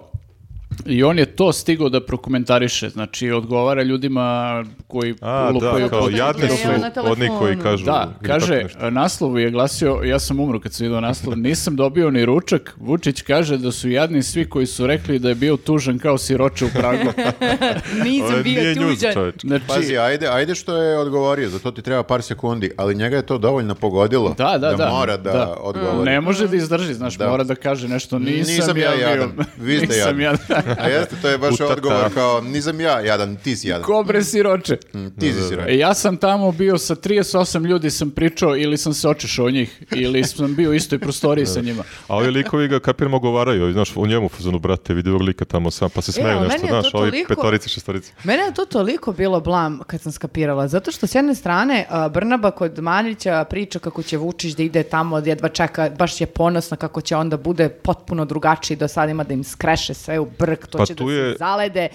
[SPEAKER 1] I on je to stigao da prokomentariše, znači odgovara ljudima koji
[SPEAKER 2] A, da,
[SPEAKER 1] lupaju
[SPEAKER 2] kao
[SPEAKER 1] po-
[SPEAKER 3] putem
[SPEAKER 2] jadni su
[SPEAKER 3] gleda na
[SPEAKER 2] oni
[SPEAKER 3] telefonu.
[SPEAKER 2] koji kažu.
[SPEAKER 1] da,
[SPEAKER 2] ili tako
[SPEAKER 1] kaže,
[SPEAKER 2] nešto.
[SPEAKER 1] naslovu je glasio, ja sam umro kad sam vidio naslov, nisam dobio ni ručak, Vučić kaže da su jadni svi koji su rekli da je bio tužan kao siroče u Pragu.
[SPEAKER 2] Ovo
[SPEAKER 3] Nisam bio
[SPEAKER 2] nije njuz,
[SPEAKER 3] tuđan.
[SPEAKER 2] čoveče.
[SPEAKER 1] Znači,
[SPEAKER 4] Pazi, ajde, ajde što je odgovorio, za to ti treba par sekundi, ali njega je to dovoljno pogodilo
[SPEAKER 1] da, da, da.
[SPEAKER 4] mora da, odgovori.
[SPEAKER 1] Ne može da izdrži, znaš,
[SPEAKER 4] Da.
[SPEAKER 1] mora da kaže nešto, nisam,
[SPEAKER 4] Nisam ja
[SPEAKER 1] ja bio-
[SPEAKER 4] jadan, vi ste
[SPEAKER 1] nisam
[SPEAKER 4] jadni.
[SPEAKER 1] ja-
[SPEAKER 4] A jeste, to je baš
[SPEAKER 2] Utata.
[SPEAKER 4] odgovor kao, nizam ja jadan, ti si jadan. Mm,
[SPEAKER 1] Kobre siroče. E,
[SPEAKER 4] Ti si siromašan.
[SPEAKER 1] Ja sam tamo bio sa 38 ljudi sam pričao ili sam se očešao od njih ili sam bio u istoj prostoriji sa njima.
[SPEAKER 2] A ovi likovi ga kapiram govaraju, znaš, u njemu fazonu, brate, vidi ovog lika tamo sam, pa se smeju
[SPEAKER 3] E, ali meni
[SPEAKER 2] nešto,
[SPEAKER 3] je to
[SPEAKER 2] znaš, ovi
[SPEAKER 3] toliko-
[SPEAKER 2] petorici, šestorici.
[SPEAKER 3] Mene je to toliko bilo blam kad sam skapirala, zato što s jedne strane a, Brnaba kod Manilića priča kako će Vučić da ide tamo, da jedva čeka, baš je ponosna kako će onda bude potpuno drugačiji do sad ima da im skreše sve u brk, to
[SPEAKER 2] Pa
[SPEAKER 3] će da
[SPEAKER 2] tu je-
[SPEAKER 3] se zalede.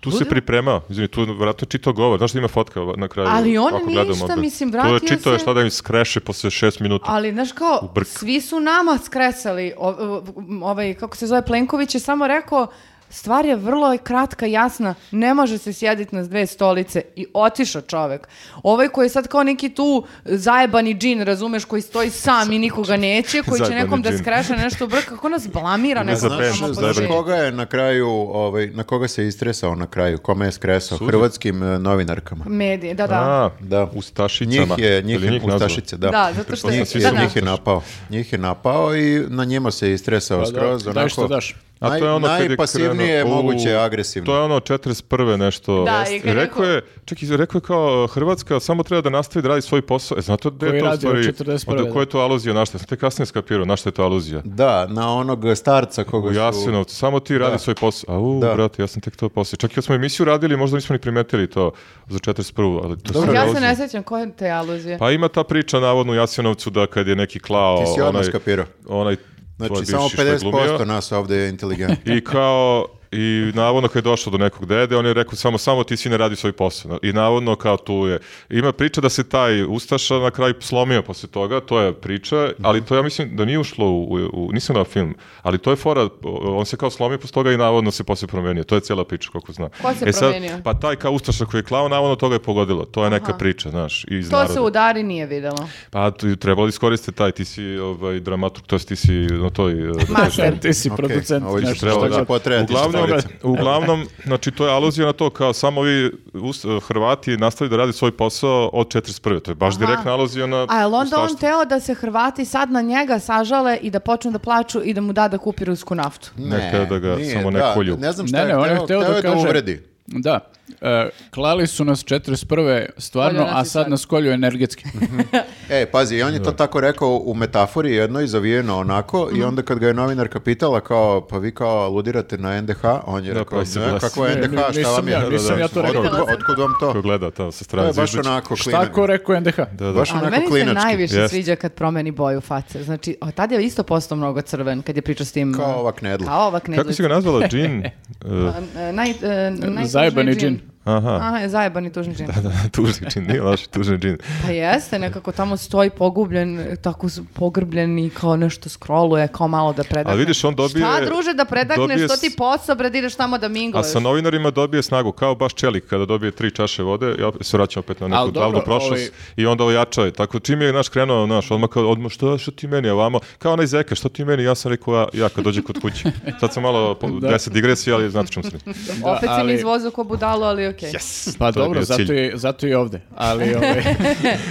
[SPEAKER 2] Tu
[SPEAKER 3] Bude-
[SPEAKER 2] se pripremao, izvini, tu vratno je čitao govor, znaš da ima fotka na kraju.
[SPEAKER 3] Ali on
[SPEAKER 2] ako gledamo
[SPEAKER 3] ništa,
[SPEAKER 2] opet.
[SPEAKER 3] mislim,
[SPEAKER 2] Tu je
[SPEAKER 3] vratio
[SPEAKER 2] čitao je
[SPEAKER 3] se-
[SPEAKER 2] šta da im skreše posle šest minuta.
[SPEAKER 3] Ali, znaš kao,
[SPEAKER 2] U brk.
[SPEAKER 3] svi su nama skresali, o- o- ovaj, kako se zove, Plenković je samo rekao, stvar je vrlo kratka, jasna, ne može se sjediti na dve stolice i otišao čovek. Ovaj koji je sad kao neki tu zajebani džin, razumeš, koji stoji sam i nikoga neće, koji će
[SPEAKER 2] Zajebani
[SPEAKER 3] nekom da
[SPEAKER 2] džin.
[SPEAKER 3] skreše nešto u brk, kako nas blamira
[SPEAKER 2] Ima
[SPEAKER 3] neko pa
[SPEAKER 2] za bend,
[SPEAKER 3] samo
[SPEAKER 2] znaš,
[SPEAKER 4] Znaš
[SPEAKER 2] Zajebani.
[SPEAKER 4] koga je na kraju, ovaj, na koga se istresao na kraju? Kome je skresao?
[SPEAKER 2] Suzi.
[SPEAKER 4] Hrvatskim eh, novinarkama.
[SPEAKER 3] Medije, da, da.
[SPEAKER 2] A,
[SPEAKER 4] Da. Njih
[SPEAKER 2] Ustašicama.
[SPEAKER 4] je, njih
[SPEAKER 2] Ili
[SPEAKER 4] je
[SPEAKER 2] nazvao? Pa
[SPEAKER 4] ustašice, da.
[SPEAKER 3] Da, zato što je-
[SPEAKER 4] njih, je-
[SPEAKER 3] da, da.
[SPEAKER 4] njih je napao. Njih je napao i na njima se istresao
[SPEAKER 1] Pa da,
[SPEAKER 4] skroz.
[SPEAKER 1] daj
[SPEAKER 4] onako,
[SPEAKER 1] što daš.
[SPEAKER 2] A to je ono kad je
[SPEAKER 4] najpasivnije
[SPEAKER 2] krenuo- U,
[SPEAKER 4] moguće agresivno.
[SPEAKER 2] To je ono 41. nešto.
[SPEAKER 3] Da,
[SPEAKER 2] Jeste.
[SPEAKER 3] i kad je
[SPEAKER 2] rekao je, čekaj, rekao je kao e, Hrvatska samo treba da nastavi da radi svoj posao. E, znate da
[SPEAKER 1] Koji
[SPEAKER 2] je to u
[SPEAKER 1] radi od
[SPEAKER 2] stvari,
[SPEAKER 1] 41.,
[SPEAKER 2] onda koja je to aluzija na šta? Sam te kasnije skapirao na šta je to aluzija.
[SPEAKER 4] Da, na onog starca koga
[SPEAKER 2] U
[SPEAKER 4] su...
[SPEAKER 2] Jasenovcu, samo ti radi svoj posao. A u,
[SPEAKER 4] Da.
[SPEAKER 2] brate, ja sam tek to posao. Čak i kad smo emisiju radili, možda nismo ni primetili to za 41. Ali to
[SPEAKER 4] Dobro,
[SPEAKER 2] su
[SPEAKER 3] ja se
[SPEAKER 2] aluzije.
[SPEAKER 3] ne sjećam koje te aluzije.
[SPEAKER 2] Pa ima ta priča navodno u Jasenovcu da kad je neki klao...
[SPEAKER 4] Ti si odmah
[SPEAKER 2] onaj-
[SPEAKER 4] skapirao.
[SPEAKER 2] Onaj tvoj
[SPEAKER 4] Znači,
[SPEAKER 2] bivši
[SPEAKER 4] samo
[SPEAKER 2] što je glumio.
[SPEAKER 4] 50% nas ovdje je inteligentno.
[SPEAKER 2] I kao, i navodno kad je došao do nekog dede, on je rekao samo, samo ti si ne radi svoj posao. I navodno kao tu je. Ima priča da se taj Ustaša na kraju slomio posle toga, to je priča, ali to ja mislim da nije ušlo u, u, u- nisam gledao film, ali to je fora, o- on se kao slomio posle toga i navodno se posle promenio. To je cijela priča, koliko znam.
[SPEAKER 3] Ko se
[SPEAKER 2] sad,
[SPEAKER 3] promenio?
[SPEAKER 2] Pa taj kao Ustaša koji je klao, navodno toga je pogodilo. To je neka priča, znaš, iz
[SPEAKER 3] To se
[SPEAKER 2] naroda.
[SPEAKER 3] u Dari nije videlo.
[SPEAKER 2] Pa tu- trebalo iskoristi taj, ti si ovaj, dramaturg, to jest ti si na toj... eh,
[SPEAKER 3] Master.
[SPEAKER 1] E, Ti si
[SPEAKER 4] Okej,
[SPEAKER 1] producent.
[SPEAKER 4] ovo će
[SPEAKER 1] nešto
[SPEAKER 4] trebalo
[SPEAKER 1] što
[SPEAKER 4] da-
[SPEAKER 1] god.
[SPEAKER 4] potrebati
[SPEAKER 2] uglavnom,
[SPEAKER 4] šestorica.
[SPEAKER 2] uglavnom, znači to je aluzija na to kao samo vi us- Hrvati nastavili da radi svoj posao od 41. To je baš direktna aluzija na
[SPEAKER 3] A jel onda on
[SPEAKER 2] ustaštvo.
[SPEAKER 3] teo da se Hrvati sad na njega sažale i da počnu da plaću i da mu da da kupi rusku naftu?
[SPEAKER 2] Neka da ga samo ne
[SPEAKER 4] da,
[SPEAKER 2] kolju.
[SPEAKER 4] Ne znam šta
[SPEAKER 1] Ne, ne, on
[SPEAKER 4] je
[SPEAKER 1] je
[SPEAKER 4] hteo,
[SPEAKER 1] hteo
[SPEAKER 4] hteo
[SPEAKER 1] da
[SPEAKER 4] je da
[SPEAKER 1] kaže-
[SPEAKER 4] uvredi.
[SPEAKER 1] Da. E, klali su nas 41. stvarno,
[SPEAKER 3] Kolju nas
[SPEAKER 1] a
[SPEAKER 3] i
[SPEAKER 1] sad
[SPEAKER 3] sad.
[SPEAKER 1] nas kolju energetski.
[SPEAKER 4] E, pazi, i on je to tako rekao u metafori jednoj, zavijeno onako, i onda kad ga je novinarka pitala kao, pa vi kao aludirate na NDH, on je
[SPEAKER 2] Da,
[SPEAKER 4] rekao,
[SPEAKER 2] pa se
[SPEAKER 4] ne,
[SPEAKER 2] glasi.
[SPEAKER 4] kako je
[SPEAKER 1] Ne, ne,
[SPEAKER 4] NDH, šta
[SPEAKER 1] nisam
[SPEAKER 4] vam je?
[SPEAKER 1] ja,
[SPEAKER 4] Da, da,
[SPEAKER 1] nisam
[SPEAKER 4] da.
[SPEAKER 1] ja to
[SPEAKER 4] Otkud-
[SPEAKER 3] rekao.
[SPEAKER 4] Otkud vam
[SPEAKER 2] Ko
[SPEAKER 4] to?
[SPEAKER 2] gleda tamo sa
[SPEAKER 4] To
[SPEAKER 2] strane
[SPEAKER 4] je baš
[SPEAKER 2] Zizdić.
[SPEAKER 4] onako
[SPEAKER 1] Šta ko
[SPEAKER 4] klinavi.
[SPEAKER 1] rekao NDH?
[SPEAKER 2] Da, da.
[SPEAKER 4] Baš
[SPEAKER 3] Ali
[SPEAKER 4] onako
[SPEAKER 3] meni se
[SPEAKER 4] klinački.
[SPEAKER 3] najviše
[SPEAKER 2] Jeste.
[SPEAKER 3] sviđa kad promeni boju face. Znači, od tada je isto postao mnogo crven kad je pričao s tim...
[SPEAKER 4] Kao
[SPEAKER 3] uh,
[SPEAKER 4] ova knedla.
[SPEAKER 3] Kao ova
[SPEAKER 2] Kako si ga
[SPEAKER 3] knedlica.
[SPEAKER 2] nazvala? Džin? E,
[SPEAKER 3] Uh, Naj, uh, najtužniji
[SPEAKER 1] Zajebani džin.
[SPEAKER 2] aha.
[SPEAKER 3] Aha, zajebani tužni džin.
[SPEAKER 2] Da, da, tužni džin, nije laži, tužni džin.
[SPEAKER 3] Pa jeste, nekako tamo stoji pogubljen, tako s- pogrbljen i kao nešto scrolluje, kao malo da predakne.
[SPEAKER 2] Ali vidiš, on dobije-
[SPEAKER 3] Šta, druže, da predakneš,
[SPEAKER 2] dobije
[SPEAKER 3] što
[SPEAKER 2] s-
[SPEAKER 3] ti posao, bre, da ideš tamo da
[SPEAKER 2] A
[SPEAKER 3] mingluješ?
[SPEAKER 2] sa novinarima dobije snagu, kao baš čelik kada dobije tri čaše vode, ja se vraćam opet na neku
[SPEAKER 1] Ali dobro,
[SPEAKER 2] davnu prošlost
[SPEAKER 1] ovaj-
[SPEAKER 2] i onda ojača je. Tako čim je naš krenuo, naš, odmah kao, odmah, što, što ti meni, a vamo, kao onaj zeka, što ti meni, ja sam rekao, ja, ja kad dođe kod kuće. Sad sam malo, po, deset digresija, ali znate čemu sam.
[SPEAKER 3] Opet si mi
[SPEAKER 1] ali-
[SPEAKER 3] izvozao ko budalo, ali okej.
[SPEAKER 1] Pa
[SPEAKER 2] To je
[SPEAKER 1] dobro,
[SPEAKER 2] bio
[SPEAKER 1] zato
[SPEAKER 2] cilj.
[SPEAKER 1] je, zato je i ovde. Ali ovaj,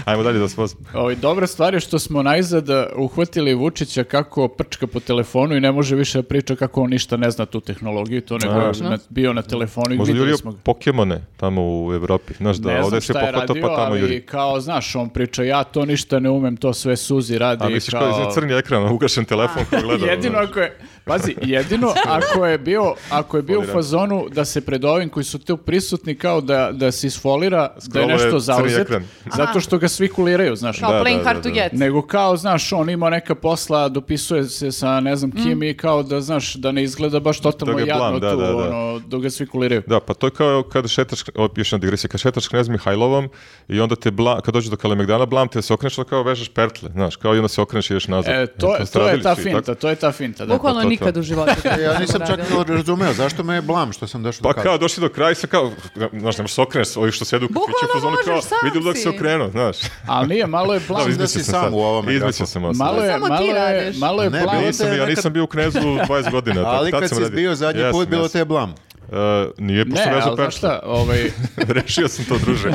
[SPEAKER 2] Ajmo dalje da se vozim.
[SPEAKER 1] ovaj, dobra stvar je što smo najzad uh, uhvatili Vučića kako prčka po telefonu i ne može više da priča kako on ništa ne zna tu tehnologiju. To nego je na- bio na telefonu i
[SPEAKER 2] Možda
[SPEAKER 1] videli
[SPEAKER 2] ljurio
[SPEAKER 1] smo ga.
[SPEAKER 2] Pokemone tamo u Evropi. Znaš da,
[SPEAKER 1] ne
[SPEAKER 2] ovde
[SPEAKER 1] znam
[SPEAKER 2] se
[SPEAKER 1] šta je
[SPEAKER 2] pohvata
[SPEAKER 1] radio,
[SPEAKER 2] pa tamo
[SPEAKER 1] ali
[SPEAKER 2] juri.
[SPEAKER 1] kao, znaš, on priča, ja to ništa ne umem, to sve suzi radi.
[SPEAKER 2] A
[SPEAKER 1] i
[SPEAKER 2] misliš kao
[SPEAKER 1] kao...
[SPEAKER 2] izgleda crni ekran, ugašen telefon ko gleda. ono,
[SPEAKER 1] jedino
[SPEAKER 2] znaš. Ono.
[SPEAKER 1] ako je, pazi, jedino ako je bio, ako je bio u
[SPEAKER 2] Foliran.
[SPEAKER 1] fazonu da se pred ovim koji su tu prisutni kao da, da se isfolira, da
[SPEAKER 2] Scrolluje
[SPEAKER 1] je nešto
[SPEAKER 2] crni
[SPEAKER 1] zauzet,
[SPEAKER 2] ekran.
[SPEAKER 1] zato što ga svi kuliraju, znaš.
[SPEAKER 3] Kao
[SPEAKER 2] Da,
[SPEAKER 3] playing
[SPEAKER 2] da,
[SPEAKER 3] hard
[SPEAKER 2] da,
[SPEAKER 3] to
[SPEAKER 2] da.
[SPEAKER 3] get.
[SPEAKER 1] Nego kao, znaš, on ima neka posla, dopisuje se sa ne znam kim i kao da, znaš, da ne izgleda baš totalno
[SPEAKER 2] Da ga
[SPEAKER 1] jadno
[SPEAKER 2] blam, da,
[SPEAKER 1] tu,
[SPEAKER 2] da, da.
[SPEAKER 1] ono, dok ga svi kuliraju.
[SPEAKER 2] Da, pa to je kao kada šetaš, o, još jedna digresija, kada šetaš knjez Mihajlovom i onda te, bla, kad dođe do Kalemegdana, blam te se okreneš, onda kao vežeš pertle, znaš, kao i onda se okreneš i ideš nazad.
[SPEAKER 1] E, to,
[SPEAKER 2] Jel
[SPEAKER 1] je-
[SPEAKER 2] ste
[SPEAKER 1] to je
[SPEAKER 2] radili
[SPEAKER 1] ta
[SPEAKER 2] svi, tako?
[SPEAKER 1] finta, to je ta finta, da.
[SPEAKER 3] Bukvalno
[SPEAKER 2] Pa to, to.
[SPEAKER 3] nikad u životu.
[SPEAKER 4] E, Ja nisam čak
[SPEAKER 3] radila.
[SPEAKER 4] ni razumeo, zašto me je blam što sam došao
[SPEAKER 2] Pa
[SPEAKER 4] do kada?
[SPEAKER 2] kao, došli do kraja i sad kao, znaš, nemaš se okreneš, ovi što sedu u kafiću,
[SPEAKER 3] Bukvalno
[SPEAKER 2] pozvonu
[SPEAKER 3] možeš,
[SPEAKER 2] kao,
[SPEAKER 3] sam
[SPEAKER 2] vidi li da
[SPEAKER 3] si.
[SPEAKER 2] se okrenuo, znaš.
[SPEAKER 1] Ali nije, malo je plan.
[SPEAKER 4] Da,
[SPEAKER 2] Izmislio
[SPEAKER 4] si
[SPEAKER 2] sam
[SPEAKER 4] sam
[SPEAKER 2] sad.
[SPEAKER 4] u ovome,
[SPEAKER 2] Izmislio
[SPEAKER 4] kako?
[SPEAKER 2] sam ovo sad.
[SPEAKER 1] Malo je,
[SPEAKER 3] Samo ti
[SPEAKER 1] malo je,
[SPEAKER 3] radiš.
[SPEAKER 1] malo je
[SPEAKER 4] Ne,
[SPEAKER 1] plan.
[SPEAKER 4] bili
[SPEAKER 2] Nisam, ja nisam bio u Knezu 20 godina. tako,
[SPEAKER 4] Ali
[SPEAKER 2] tad
[SPEAKER 4] kad
[SPEAKER 2] sam
[SPEAKER 4] si
[SPEAKER 2] radio.
[SPEAKER 4] bio zadnji
[SPEAKER 2] Jesam,
[SPEAKER 4] put, bilo
[SPEAKER 2] jesam.
[SPEAKER 4] te je blam.
[SPEAKER 2] E, nije
[SPEAKER 1] Ne,
[SPEAKER 2] pošto vezu
[SPEAKER 1] ali znaš šta, ovaj,
[SPEAKER 2] Rešio sam to, druže.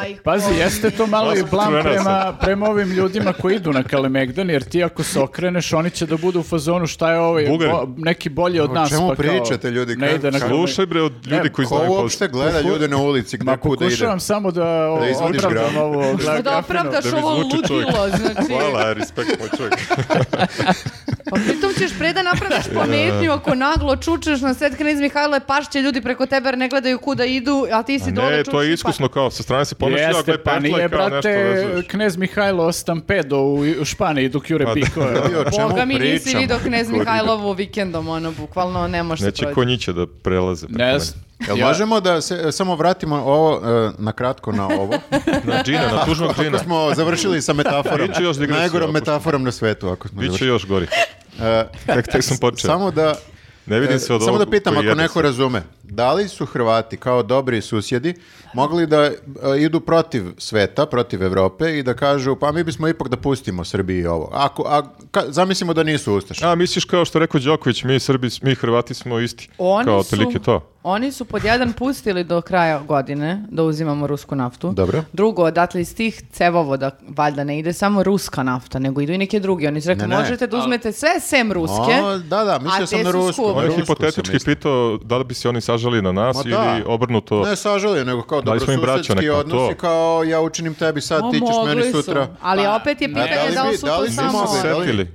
[SPEAKER 3] Aj,
[SPEAKER 1] pazi, jeste to malo i
[SPEAKER 2] Osam
[SPEAKER 1] plan
[SPEAKER 2] crvenaca.
[SPEAKER 1] prema, prema ovim ljudima koji idu na Kalemegdan, jer ti ako se okreneš, oni će da budu u fazonu šta je ovaj
[SPEAKER 2] Bugari.
[SPEAKER 1] bo- neki bolji od
[SPEAKER 4] O
[SPEAKER 1] nas.
[SPEAKER 4] čemu
[SPEAKER 1] pa kao,
[SPEAKER 4] pričate, ljudi,
[SPEAKER 1] Ne
[SPEAKER 4] kako-
[SPEAKER 1] ide na
[SPEAKER 4] kako-
[SPEAKER 1] Kalemegdan.
[SPEAKER 2] Slušaj bre od ljudi
[SPEAKER 1] Ne,
[SPEAKER 2] koji
[SPEAKER 4] Ko
[SPEAKER 2] znaju
[SPEAKER 4] uopšte gleda ljude na ulici, gde
[SPEAKER 1] Ma
[SPEAKER 4] kuda ide?
[SPEAKER 1] pokušavam samo da, o,
[SPEAKER 4] Da izvadiš
[SPEAKER 1] opravdam
[SPEAKER 4] graf.
[SPEAKER 1] ovo
[SPEAKER 3] Što da
[SPEAKER 1] grafinu.
[SPEAKER 3] opravdaš
[SPEAKER 2] da mi
[SPEAKER 3] ovo
[SPEAKER 2] zvuči čovjek.
[SPEAKER 3] ludilo, znači.
[SPEAKER 2] Hvala, respekt, moj čovjek.
[SPEAKER 3] Pa pritom ćeš pre da napraviš pametniju ako naglo čučeš na set knjiz Mihajle, pašće ljudi preko tebe jer ne gledaju kuda idu, a ti si
[SPEAKER 2] A
[SPEAKER 3] dole pa
[SPEAKER 2] ne,
[SPEAKER 3] čučeš.
[SPEAKER 2] to je
[SPEAKER 3] i
[SPEAKER 2] iskusno kao, sa strane se pomeša, ja
[SPEAKER 1] Jeste,
[SPEAKER 2] gle,
[SPEAKER 1] pa
[SPEAKER 2] petla
[SPEAKER 1] nije,
[SPEAKER 2] je kao nešto
[SPEAKER 1] brate,
[SPEAKER 2] vezuješ.
[SPEAKER 1] knez Mihajlo Stampedo u Španiji dok jure
[SPEAKER 2] Pa da.
[SPEAKER 1] pikove.
[SPEAKER 4] I o
[SPEAKER 3] pa-
[SPEAKER 4] čemu
[SPEAKER 3] Boga mi nisi
[SPEAKER 4] pričamo?
[SPEAKER 3] vidio knez Mihajlovu vikendom, ono, bukvalno ne može se
[SPEAKER 2] Neće
[SPEAKER 3] proći.
[SPEAKER 2] konjiće pa da prelaze. preko
[SPEAKER 1] Ne
[SPEAKER 2] mene.
[SPEAKER 1] znam.
[SPEAKER 4] Jel
[SPEAKER 1] Ja-
[SPEAKER 4] možemo da se, e, samo vratimo ovo, e, na kratko na ovo?
[SPEAKER 2] Na džina, na tužnog džina.
[SPEAKER 4] Ako smo završili sa metaforom,
[SPEAKER 2] Biće još digresija,
[SPEAKER 4] najgorom
[SPEAKER 2] ako-
[SPEAKER 4] metaforom na svetu. Ako smo
[SPEAKER 2] Biće
[SPEAKER 4] završili.
[SPEAKER 2] još gori.
[SPEAKER 4] E,
[SPEAKER 2] Tek, tek sam počeo.
[SPEAKER 4] Samo da
[SPEAKER 2] ne vidim
[SPEAKER 4] E,
[SPEAKER 2] se od
[SPEAKER 4] Samo
[SPEAKER 2] ovog
[SPEAKER 4] da pitam,
[SPEAKER 2] koji
[SPEAKER 4] ako
[SPEAKER 2] jede
[SPEAKER 4] neko razume, da li su Hrvati kao dobri susjedi mogli da e, idu protiv sveta, protiv Evrope i da kažu pa mi bismo ipak da pustimo Srbiji ovo. Ako, a, ka- zamislimo da nisu Ustaše.
[SPEAKER 2] A, misliš kao što rekao Đoković, mi Srbi, mi Hrvati smo isti.
[SPEAKER 3] Oni
[SPEAKER 2] kao
[SPEAKER 3] su,
[SPEAKER 2] otprilike to.
[SPEAKER 3] Oni su pod jedan pustili do kraja godine da uzimamo rusku naftu.
[SPEAKER 4] Dobro.
[SPEAKER 3] Drugo, odatle iz tih cevovoda valjda ne ide samo ruska nafta, nego idu i neke druge. Oni su rekli,
[SPEAKER 4] Ne, ne.
[SPEAKER 3] možete da uzmete sve sem ruske.
[SPEAKER 4] O, da, da, mislio
[SPEAKER 3] a
[SPEAKER 4] sam
[SPEAKER 3] te
[SPEAKER 4] na
[SPEAKER 3] su
[SPEAKER 4] rusku.
[SPEAKER 3] skupe.
[SPEAKER 2] On je
[SPEAKER 4] Rusku sam
[SPEAKER 2] hipotetički
[SPEAKER 4] mislio.
[SPEAKER 2] pitao da li bi se oni sažali na nas
[SPEAKER 4] Ma da.
[SPEAKER 2] ili obrnuto.
[SPEAKER 4] Ne sažalio, nego kao
[SPEAKER 2] Da li smo im braća,
[SPEAKER 4] dobrosusedski
[SPEAKER 2] neko
[SPEAKER 4] odnosi
[SPEAKER 2] to?
[SPEAKER 4] kao ja učinim tebi sad,
[SPEAKER 3] Ma,
[SPEAKER 4] ti ćeš
[SPEAKER 3] mogli
[SPEAKER 4] meni
[SPEAKER 3] su,
[SPEAKER 4] sutra.
[SPEAKER 3] Ali
[SPEAKER 1] Pa,
[SPEAKER 3] opet je
[SPEAKER 1] ne,
[SPEAKER 3] pitanje
[SPEAKER 4] A
[SPEAKER 3] da li,
[SPEAKER 4] bi-
[SPEAKER 3] su
[SPEAKER 4] da li
[SPEAKER 3] to
[SPEAKER 4] bi
[SPEAKER 3] samo...
[SPEAKER 2] Nisu
[SPEAKER 4] mogli?
[SPEAKER 2] se
[SPEAKER 4] Da li-
[SPEAKER 2] setili.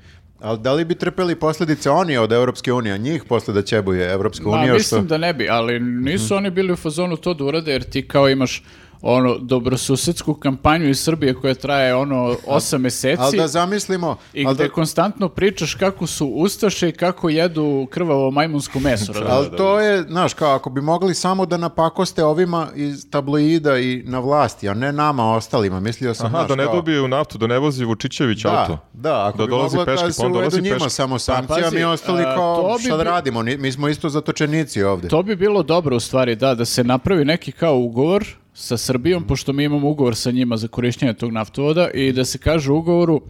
[SPEAKER 4] Ali da li bi trpeli posljedice oni od Evropske unije, njih posle da ćebuje Evropska
[SPEAKER 1] Ma,
[SPEAKER 4] unija? što-
[SPEAKER 1] mislim da ne bi, ali nisu oni bili u fazonu to da urade, jer ti kao imaš ono dobrosusedsku kampanju iz Srbije koja traje ono osam
[SPEAKER 4] Ali
[SPEAKER 1] meseci
[SPEAKER 2] Znači,
[SPEAKER 4] da zamislimo...
[SPEAKER 1] i
[SPEAKER 4] ali
[SPEAKER 1] gde
[SPEAKER 4] da-
[SPEAKER 1] konstantno pričaš kako su ustaše i kako jedu krvavo majmunsko meso. razumeš?
[SPEAKER 4] Ali to je, znaš, kao ako bi mogli samo da napakoste ovima iz tabloida i na vlasti, a ne nama ostalima, mislio sam,
[SPEAKER 2] Aha,
[SPEAKER 4] znaš,
[SPEAKER 2] da ne
[SPEAKER 4] kao-
[SPEAKER 2] dobiju naftu, da ne vozi Vučićević
[SPEAKER 4] da,
[SPEAKER 2] auto.
[SPEAKER 4] Da, ako
[SPEAKER 2] da
[SPEAKER 4] bi
[SPEAKER 2] dolazi
[SPEAKER 4] moglo
[SPEAKER 2] peški,
[SPEAKER 4] da
[SPEAKER 2] pa e,
[SPEAKER 4] se
[SPEAKER 2] on
[SPEAKER 4] uvedu
[SPEAKER 2] dolazi
[SPEAKER 4] njima
[SPEAKER 2] peški.
[SPEAKER 4] samo sankcija,
[SPEAKER 1] pazi,
[SPEAKER 4] mi ostali
[SPEAKER 1] a,
[SPEAKER 4] kao,
[SPEAKER 1] to bi
[SPEAKER 4] šta da
[SPEAKER 1] bi-
[SPEAKER 4] radimo, ni- mi smo isto zatočenici ovde.
[SPEAKER 1] To bi bilo dobro u stvari, da, da se napravi neki kao ugovor sa
[SPEAKER 2] Mhm.
[SPEAKER 1] Srbijom, pošto mi imamo ugovor sa njima za korišćenje tog naftovoda i da se kaže u ugovoru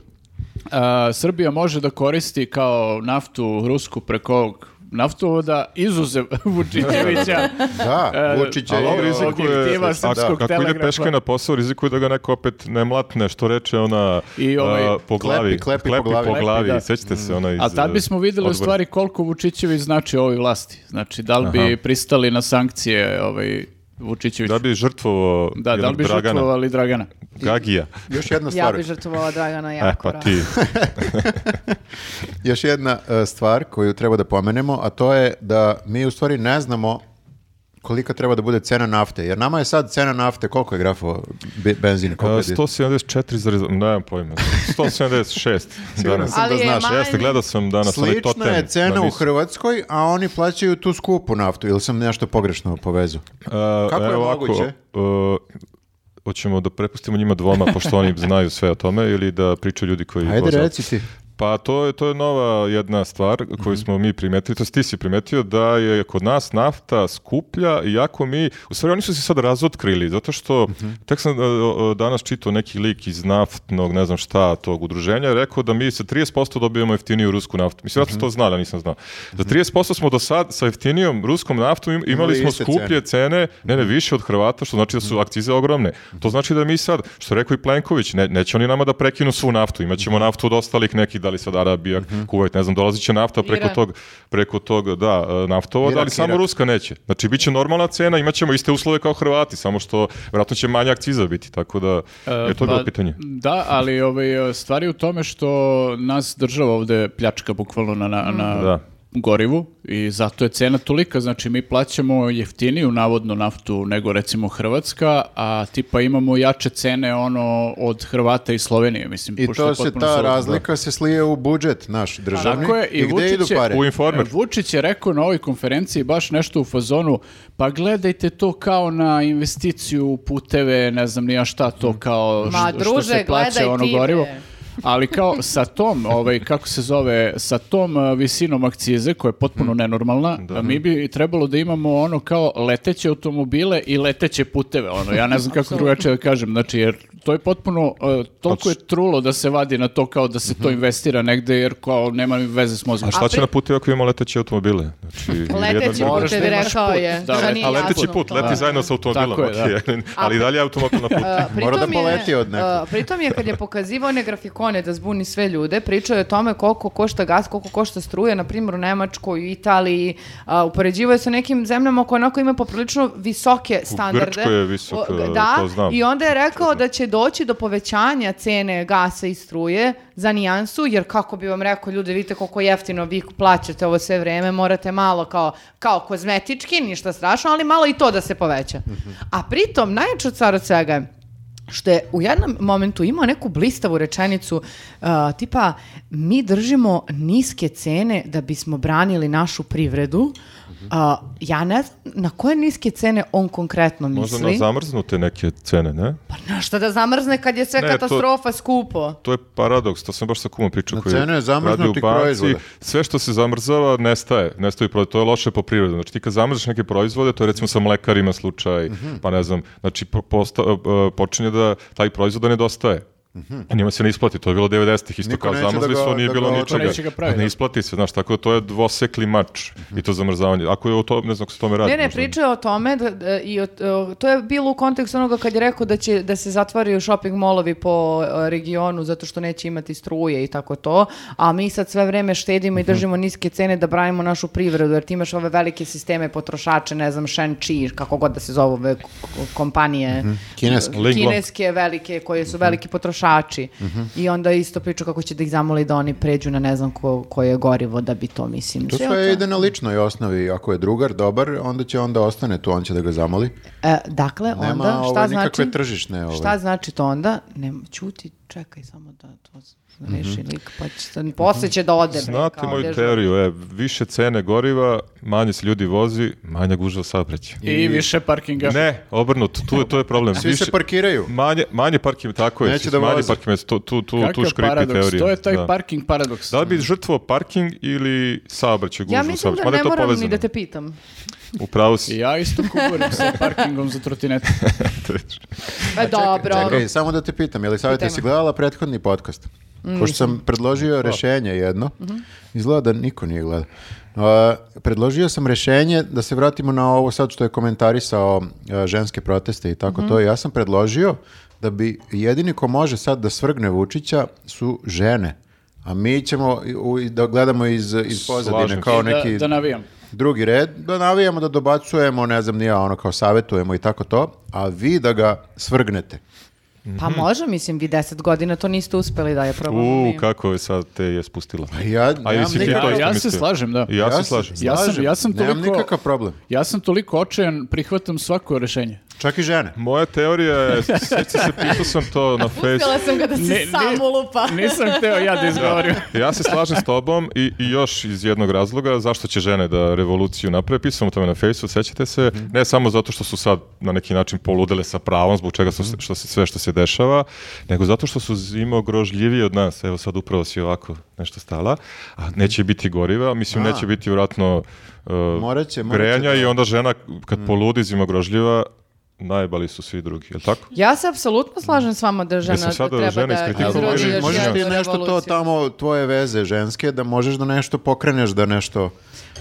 [SPEAKER 1] a, Srbija može da koristi kao naftu rusku preko ovog naftovoda izuzev Vučićevića.
[SPEAKER 4] Da,
[SPEAKER 1] E,
[SPEAKER 4] Vučić je...
[SPEAKER 2] Ali on
[SPEAKER 1] Ovo-
[SPEAKER 2] rizikuje,
[SPEAKER 1] objektiva
[SPEAKER 2] ako,
[SPEAKER 1] Srpskog
[SPEAKER 2] ako ide
[SPEAKER 1] telegrafa.
[SPEAKER 2] peške na posao, rizikuje da ga neko opet ne mlatne, što reče ona
[SPEAKER 1] I ovaj-
[SPEAKER 2] a, po
[SPEAKER 4] Klepi,
[SPEAKER 2] glavi.
[SPEAKER 4] klepi Mm. po glavi.
[SPEAKER 2] po glavi,
[SPEAKER 1] Klepi, da.
[SPEAKER 2] sećate se ona iz...
[SPEAKER 1] A tad bismo videli u
[SPEAKER 2] odbora.
[SPEAKER 1] stvari koliko Vučićević znači ovoj vlasti. Znači, da li bi
[SPEAKER 2] Aha.
[SPEAKER 1] pristali na sankcije ovaj, Vučićević?
[SPEAKER 2] Da bi žrtvovo
[SPEAKER 1] da, da li bi
[SPEAKER 2] Dragana,
[SPEAKER 1] žrtvovali Dragana?
[SPEAKER 2] Gagija.
[SPEAKER 4] Još jedna
[SPEAKER 3] Ja
[SPEAKER 4] stvar,
[SPEAKER 3] bi žrtvovala Dragana jako.
[SPEAKER 2] E, pa
[SPEAKER 3] rado.
[SPEAKER 2] ti.
[SPEAKER 4] još jedna e, stvar koju treba da pomenemo, a to je da mi u stvari ne znamo kolika treba da bude cena nafte, jer nama je sad cena nafte, koliko je grafo be- benzina, koliko je
[SPEAKER 2] A,
[SPEAKER 4] dizel?
[SPEAKER 2] 174, zarez- nemam pojma. 176 danas.
[SPEAKER 4] sam
[SPEAKER 3] Ali
[SPEAKER 4] da
[SPEAKER 3] je
[SPEAKER 4] znaš,
[SPEAKER 3] manje-
[SPEAKER 2] Jeste, gledao sam
[SPEAKER 1] Ono,
[SPEAKER 2] danas, ali
[SPEAKER 4] Slična
[SPEAKER 2] totem.
[SPEAKER 4] je cena
[SPEAKER 2] da
[SPEAKER 4] u
[SPEAKER 2] nisu.
[SPEAKER 4] Hrvatskoj, a oni plaćaju tu skupu naftu, ili sam nešto pogrešno povezu?
[SPEAKER 2] A,
[SPEAKER 4] Kako je
[SPEAKER 2] evo
[SPEAKER 4] moguće?
[SPEAKER 2] Ako, e, hoćemo da prepustimo njima dvoma, pošto oni znaju sve o tome, ili da pričaju ljudi koji...
[SPEAKER 4] Ajde
[SPEAKER 2] voze auto.
[SPEAKER 4] reci ti.
[SPEAKER 2] Pa to je, to je nova jedna stvar koju smo mi primetili, to jest ti si primetio da je kod nas nafta skuplja iako mi, u stvari oni su se sad razotkrili zato što tek sam e, e, danas čitao neki lik iz naftnog ne znam šta tog udruženja je rekao da mi sa 30% dobijemo jeftiniju rusku naftu. Mislim, vjerojatno sam to znali, ja nisam znao. Za 30% smo do sad sa jeftinijom ruskom naftom im- imali smo
[SPEAKER 4] iste
[SPEAKER 2] skuplje te cene, ne ne, više od Hrvata, što znači da su akcize ogromne. To znači da mi sad, što je rekao i Plenković, ne, neće oni nama da prekinu svu naftu, imaćemo
[SPEAKER 4] Mhm.
[SPEAKER 2] naftu od ostalih nekih, da li sad Arabija, Kuvajt, ne znam, dolazit će nafta preko
[SPEAKER 3] Iran.
[SPEAKER 2] tog, preko tog, da, e, naftovoda,
[SPEAKER 4] Irak,
[SPEAKER 2] ali samo
[SPEAKER 4] Irak.
[SPEAKER 2] Ruska neće. Znači, bit će normalna cena, imaćemo iste uslove kao Hrvati, samo što vjerojatno će manja akciza biti, tako da, je
[SPEAKER 1] Pa,
[SPEAKER 2] to bilo pitanje.
[SPEAKER 1] Da, ali ovaj, stvari u tome što nas država ovde pljačka bukvalno na,
[SPEAKER 4] Mhm.
[SPEAKER 1] na, na
[SPEAKER 2] Da.
[SPEAKER 1] gorivu i zato je cena tolika. Znači mi plaćamo jeftiniju navodno naftu nego recimo Hrvatska, a tipa imamo jače cene ono od Hrvata i Slovenije. Mislim,
[SPEAKER 4] I
[SPEAKER 1] pošto je
[SPEAKER 4] to se
[SPEAKER 1] potpuno
[SPEAKER 4] ta
[SPEAKER 1] suludo.
[SPEAKER 4] razlika se slije u budžet naš državni.
[SPEAKER 1] Tako je, i
[SPEAKER 4] I gde
[SPEAKER 1] Vučić
[SPEAKER 4] idu
[SPEAKER 1] je- E,
[SPEAKER 4] pare?
[SPEAKER 2] U informer.
[SPEAKER 1] Vučić je rekao na ovoj konferenciji baš nešto u fazonu, pa gledajte to kao na investiciju u puteve, ne znam ni ja šta to kao
[SPEAKER 3] Ma,
[SPEAKER 4] Hmm.
[SPEAKER 1] što, što
[SPEAKER 3] druže,
[SPEAKER 1] se plaća
[SPEAKER 3] gledaj
[SPEAKER 1] ono
[SPEAKER 3] ti, bre.
[SPEAKER 1] gorivo. Ali kao sa tom, ovaj, kako se zove, sa tom uh, visinom akcize, koja je
[SPEAKER 2] Mm.
[SPEAKER 1] potpuno nenormalna, a mi bi trebalo da imamo ono kao leteće automobile i leteće puteve. Ono, ja ne znam kako drugačije da kažem. Znači, jer to je potpuno, uh, toliko je trulo da se vadi na to kao da se to investira negde, jer kao nema veze s mozgom.
[SPEAKER 2] Mhm. A šta
[SPEAKER 3] A
[SPEAKER 2] će
[SPEAKER 3] pri-
[SPEAKER 2] na putu ako imamo leteće automobile? Znači, ili jedan
[SPEAKER 3] Leteći
[SPEAKER 2] ili drugi.
[SPEAKER 1] Moraš
[SPEAKER 3] putevi
[SPEAKER 1] da imaš
[SPEAKER 3] rekao
[SPEAKER 1] put,
[SPEAKER 3] je.
[SPEAKER 1] da,
[SPEAKER 3] što
[SPEAKER 1] let-
[SPEAKER 3] nije
[SPEAKER 2] A pa leteći
[SPEAKER 3] jasno.
[SPEAKER 2] put, leti zajedno sa automobilom,
[SPEAKER 1] Tako je, da.
[SPEAKER 2] okej. ali i dalje je automobil na putu.
[SPEAKER 3] Uh, pritom
[SPEAKER 4] da
[SPEAKER 3] je,
[SPEAKER 4] poleti od nekog.
[SPEAKER 3] uh, pritom je kad je pokazivao one grafikone da zbuni sve ljude, pričao je o tome koliko košta gas, koliko košta struja, na primjer u Nemačkoj, u Italiji, uh, upoređivao je sa nekim zemljama koje onako ima poprilično visoke standarde.
[SPEAKER 2] Grčkoj je visoko,
[SPEAKER 3] ga- da,
[SPEAKER 2] to znam.
[SPEAKER 3] I onda je rekao da će doći do povećanja cene gasa i struje za nijansu, jer kako bi vam rekao, ljudi, vidite koliko jeftino vi plaćate ovo sve vreme, morate malo kao, kao kozmetički, ništa strašno, ali malo i to da se poveća. A pritom, najjače car od svega je, što je u jednom momentu imao neku blistavu rečenicu uh, tipa mi držimo niske cene da bismo branili našu privredu. Uh, ja ne znam na koje niske cene on konkretno misli.
[SPEAKER 2] Možda na zamrznute neke cene, ne?
[SPEAKER 3] Pa na šta da zamrzne kad je sve
[SPEAKER 2] Ne, to-
[SPEAKER 3] katastrofa skupo?
[SPEAKER 2] To je paradoks, to sam baš sa kumom pričao
[SPEAKER 4] Na
[SPEAKER 2] koji
[SPEAKER 4] cenu je
[SPEAKER 2] radi u
[SPEAKER 4] zamrznutih
[SPEAKER 2] banci.
[SPEAKER 4] proizvoda.
[SPEAKER 2] Sve što se zamrzava nestaje, nestaju proizvode, to je loše po prirodu. Znači ti kad zamrzneš neke proizvode, to je recimo sa mlekarima slučaj,
[SPEAKER 4] Mhm.
[SPEAKER 2] pa ne znam, znači po- posta, e, počinje da taj proizvod da nedostaje. Njima se ne isplati, to je bilo 90-ih isto
[SPEAKER 4] Mhm. Niko
[SPEAKER 2] kao
[SPEAKER 4] neće da
[SPEAKER 2] zamrzli
[SPEAKER 4] ga-
[SPEAKER 2] su, nije
[SPEAKER 4] da
[SPEAKER 2] bilo
[SPEAKER 4] ga
[SPEAKER 2] ničega.
[SPEAKER 4] otvori.
[SPEAKER 1] Neće ga pravi,
[SPEAKER 2] ne
[SPEAKER 1] da.
[SPEAKER 2] isplati se, znaš, tako da to je dvosekli mač i to zamrzavanje. Ako je o to, ne znam, ako se o tome radi.
[SPEAKER 3] Ne, ne,
[SPEAKER 2] možda.
[SPEAKER 3] pričao je o tome da- da- i o- o- to je bilo u kontekstu onoga kad je rekao da će da se zatvaraju shopping molovi po e, regionu zato što neće imati struje i tako to, a mi sad sve vreme štedimo i držimo niske cene da branimo našu privredu jer ti imaš ove velike sisteme potrošače, ne znam, Shenqi, kako god da se zovu ove k- k- kompanije
[SPEAKER 4] Kineski.
[SPEAKER 2] Ling Long.
[SPEAKER 3] kineske velike koje su veliki potrošači i onda isto priča kako će da ih zamoli da oni pređu na ne znam ko, koje gorivo da bi to mislim.
[SPEAKER 4] To
[SPEAKER 3] sve
[SPEAKER 4] sve
[SPEAKER 3] to.
[SPEAKER 4] ide na ličnoj osnovi. Ako je drugar dobar, onda će onda ostane tu, on će da ga zamoli.
[SPEAKER 3] E, dakle,
[SPEAKER 4] Nema
[SPEAKER 3] onda,
[SPEAKER 4] ovo
[SPEAKER 3] šta
[SPEAKER 4] nikakve
[SPEAKER 3] znači...
[SPEAKER 4] tržišne. ovaj. Ove.
[SPEAKER 3] Šta znači to onda? Ne, ćuti, čekaj samo da to s- reši lik, pa će, se- posle će da ode. bre,
[SPEAKER 2] Znate
[SPEAKER 3] kao
[SPEAKER 2] moju
[SPEAKER 3] dežurni.
[SPEAKER 2] teoriju, e, više cene goriva, manje se ljudi vozi, manja gužva saobraćaja.
[SPEAKER 1] I više parkinga.
[SPEAKER 2] Ne, obrnuto, tu je, to je problem.
[SPEAKER 4] Svi se parkiraju.
[SPEAKER 2] Manje, manje parkim, tako je,
[SPEAKER 4] Neće
[SPEAKER 2] svi-
[SPEAKER 4] da
[SPEAKER 2] manje
[SPEAKER 4] voze.
[SPEAKER 2] parkim, tu, tu, tu, tu
[SPEAKER 1] Kakav
[SPEAKER 2] škripi
[SPEAKER 1] paradoks,
[SPEAKER 2] teorija.
[SPEAKER 1] to je taj
[SPEAKER 2] da.
[SPEAKER 1] parking paradoks.
[SPEAKER 2] Da li bi žrtvo parking ili saobraćaj, gužvu
[SPEAKER 3] Ja mislim
[SPEAKER 2] saobraćaj?
[SPEAKER 3] da
[SPEAKER 2] Mada je
[SPEAKER 3] ne
[SPEAKER 2] to
[SPEAKER 3] moram ni
[SPEAKER 2] povezano.
[SPEAKER 3] da te pitam.
[SPEAKER 2] Upravo si.
[SPEAKER 1] Ja isto kupujem sa parkingom za trotinete.
[SPEAKER 3] E, dobro.
[SPEAKER 4] Čekaj, samo da te pitam, je li savjeta,
[SPEAKER 3] Pitaj me.
[SPEAKER 4] si gledala prethodni podcast? Pošto sam predložio rješenje jedno, izgleda da niko nije gledao. Uh, predložio sam rješenje da se vratimo na ovo sad što je komentarisao uh, ženske proteste i tako to. Ja sam predložio da bi jedini ko može sad da svrgne Vučića su žene. A mi ćemo i- u- i da gledamo iz, iz pozadine
[SPEAKER 2] Slažem se.
[SPEAKER 4] kao
[SPEAKER 1] Da,
[SPEAKER 4] neki
[SPEAKER 1] da navijam.
[SPEAKER 4] drugi red, da navijamo, da dobacujemo, ne znam, nije ono kao savjetujemo i tako to, a vi da ga svrgnete.
[SPEAKER 3] Pa može, mislim, vi deset godina to niste uspeli da je probamo.
[SPEAKER 2] U,
[SPEAKER 3] mi.
[SPEAKER 2] kako je sad te je spustila.
[SPEAKER 4] Pa Ja,
[SPEAKER 2] A
[SPEAKER 4] nemam
[SPEAKER 2] jesi ti
[SPEAKER 4] nikakav-
[SPEAKER 2] to
[SPEAKER 1] Ja,
[SPEAKER 2] isto
[SPEAKER 1] ja se
[SPEAKER 2] mislio?
[SPEAKER 1] slažem, da.
[SPEAKER 2] I ja, se
[SPEAKER 4] se
[SPEAKER 2] slažem.
[SPEAKER 1] Ja sam-
[SPEAKER 4] slažem.
[SPEAKER 1] ja sam
[SPEAKER 4] Nemam
[SPEAKER 1] toliko-
[SPEAKER 4] nikakav problem.
[SPEAKER 1] Ja sam toliko očajan, prihvatam svako rješenje.
[SPEAKER 4] Čak i žene.
[SPEAKER 2] Moja teorija je, sjećam se, pisao sam to na Facebooku.
[SPEAKER 3] Uspjela sam ga da
[SPEAKER 1] Ne,
[SPEAKER 3] se
[SPEAKER 1] ne.
[SPEAKER 3] samo lupa.
[SPEAKER 1] Nisam hteo ja da izgovorim.
[SPEAKER 2] Ja se slažem s tobom i, i još iz jednog razloga zašto će žene da revoluciju naprave. Pisao sam o tome na Facebooku, sećate se.
[SPEAKER 4] Mhm.
[SPEAKER 2] Ne samo zato što su sad na neki način poludele sa pravom, zbog čega
[SPEAKER 4] Mhm.
[SPEAKER 2] su, što se, sve što se dešava, nego zato što su zima grožljivije od nas. Evo sad upravo si ovako nešto stala. A neće biti goriva, mislim
[SPEAKER 4] A.
[SPEAKER 2] neće biti vjerojatno uh,
[SPEAKER 4] Morat će- morat će
[SPEAKER 2] grejanja
[SPEAKER 4] da- Mhm.
[SPEAKER 2] i onda žena kad poludi zima grožljiva, najbali su svi drugi, je tako?
[SPEAKER 3] Ja se apsolutno slažem s vama da žena
[SPEAKER 2] Jesam sada
[SPEAKER 3] treba
[SPEAKER 2] žene
[SPEAKER 3] da
[SPEAKER 2] iskritikovala?
[SPEAKER 3] izrodi
[SPEAKER 2] Možeš-
[SPEAKER 3] još
[SPEAKER 4] možeš
[SPEAKER 3] jednu
[SPEAKER 4] ti nešto to
[SPEAKER 3] revoluciju.
[SPEAKER 4] tamo, tvoje veze ženske, da možeš da nešto pokreneš, da nešto...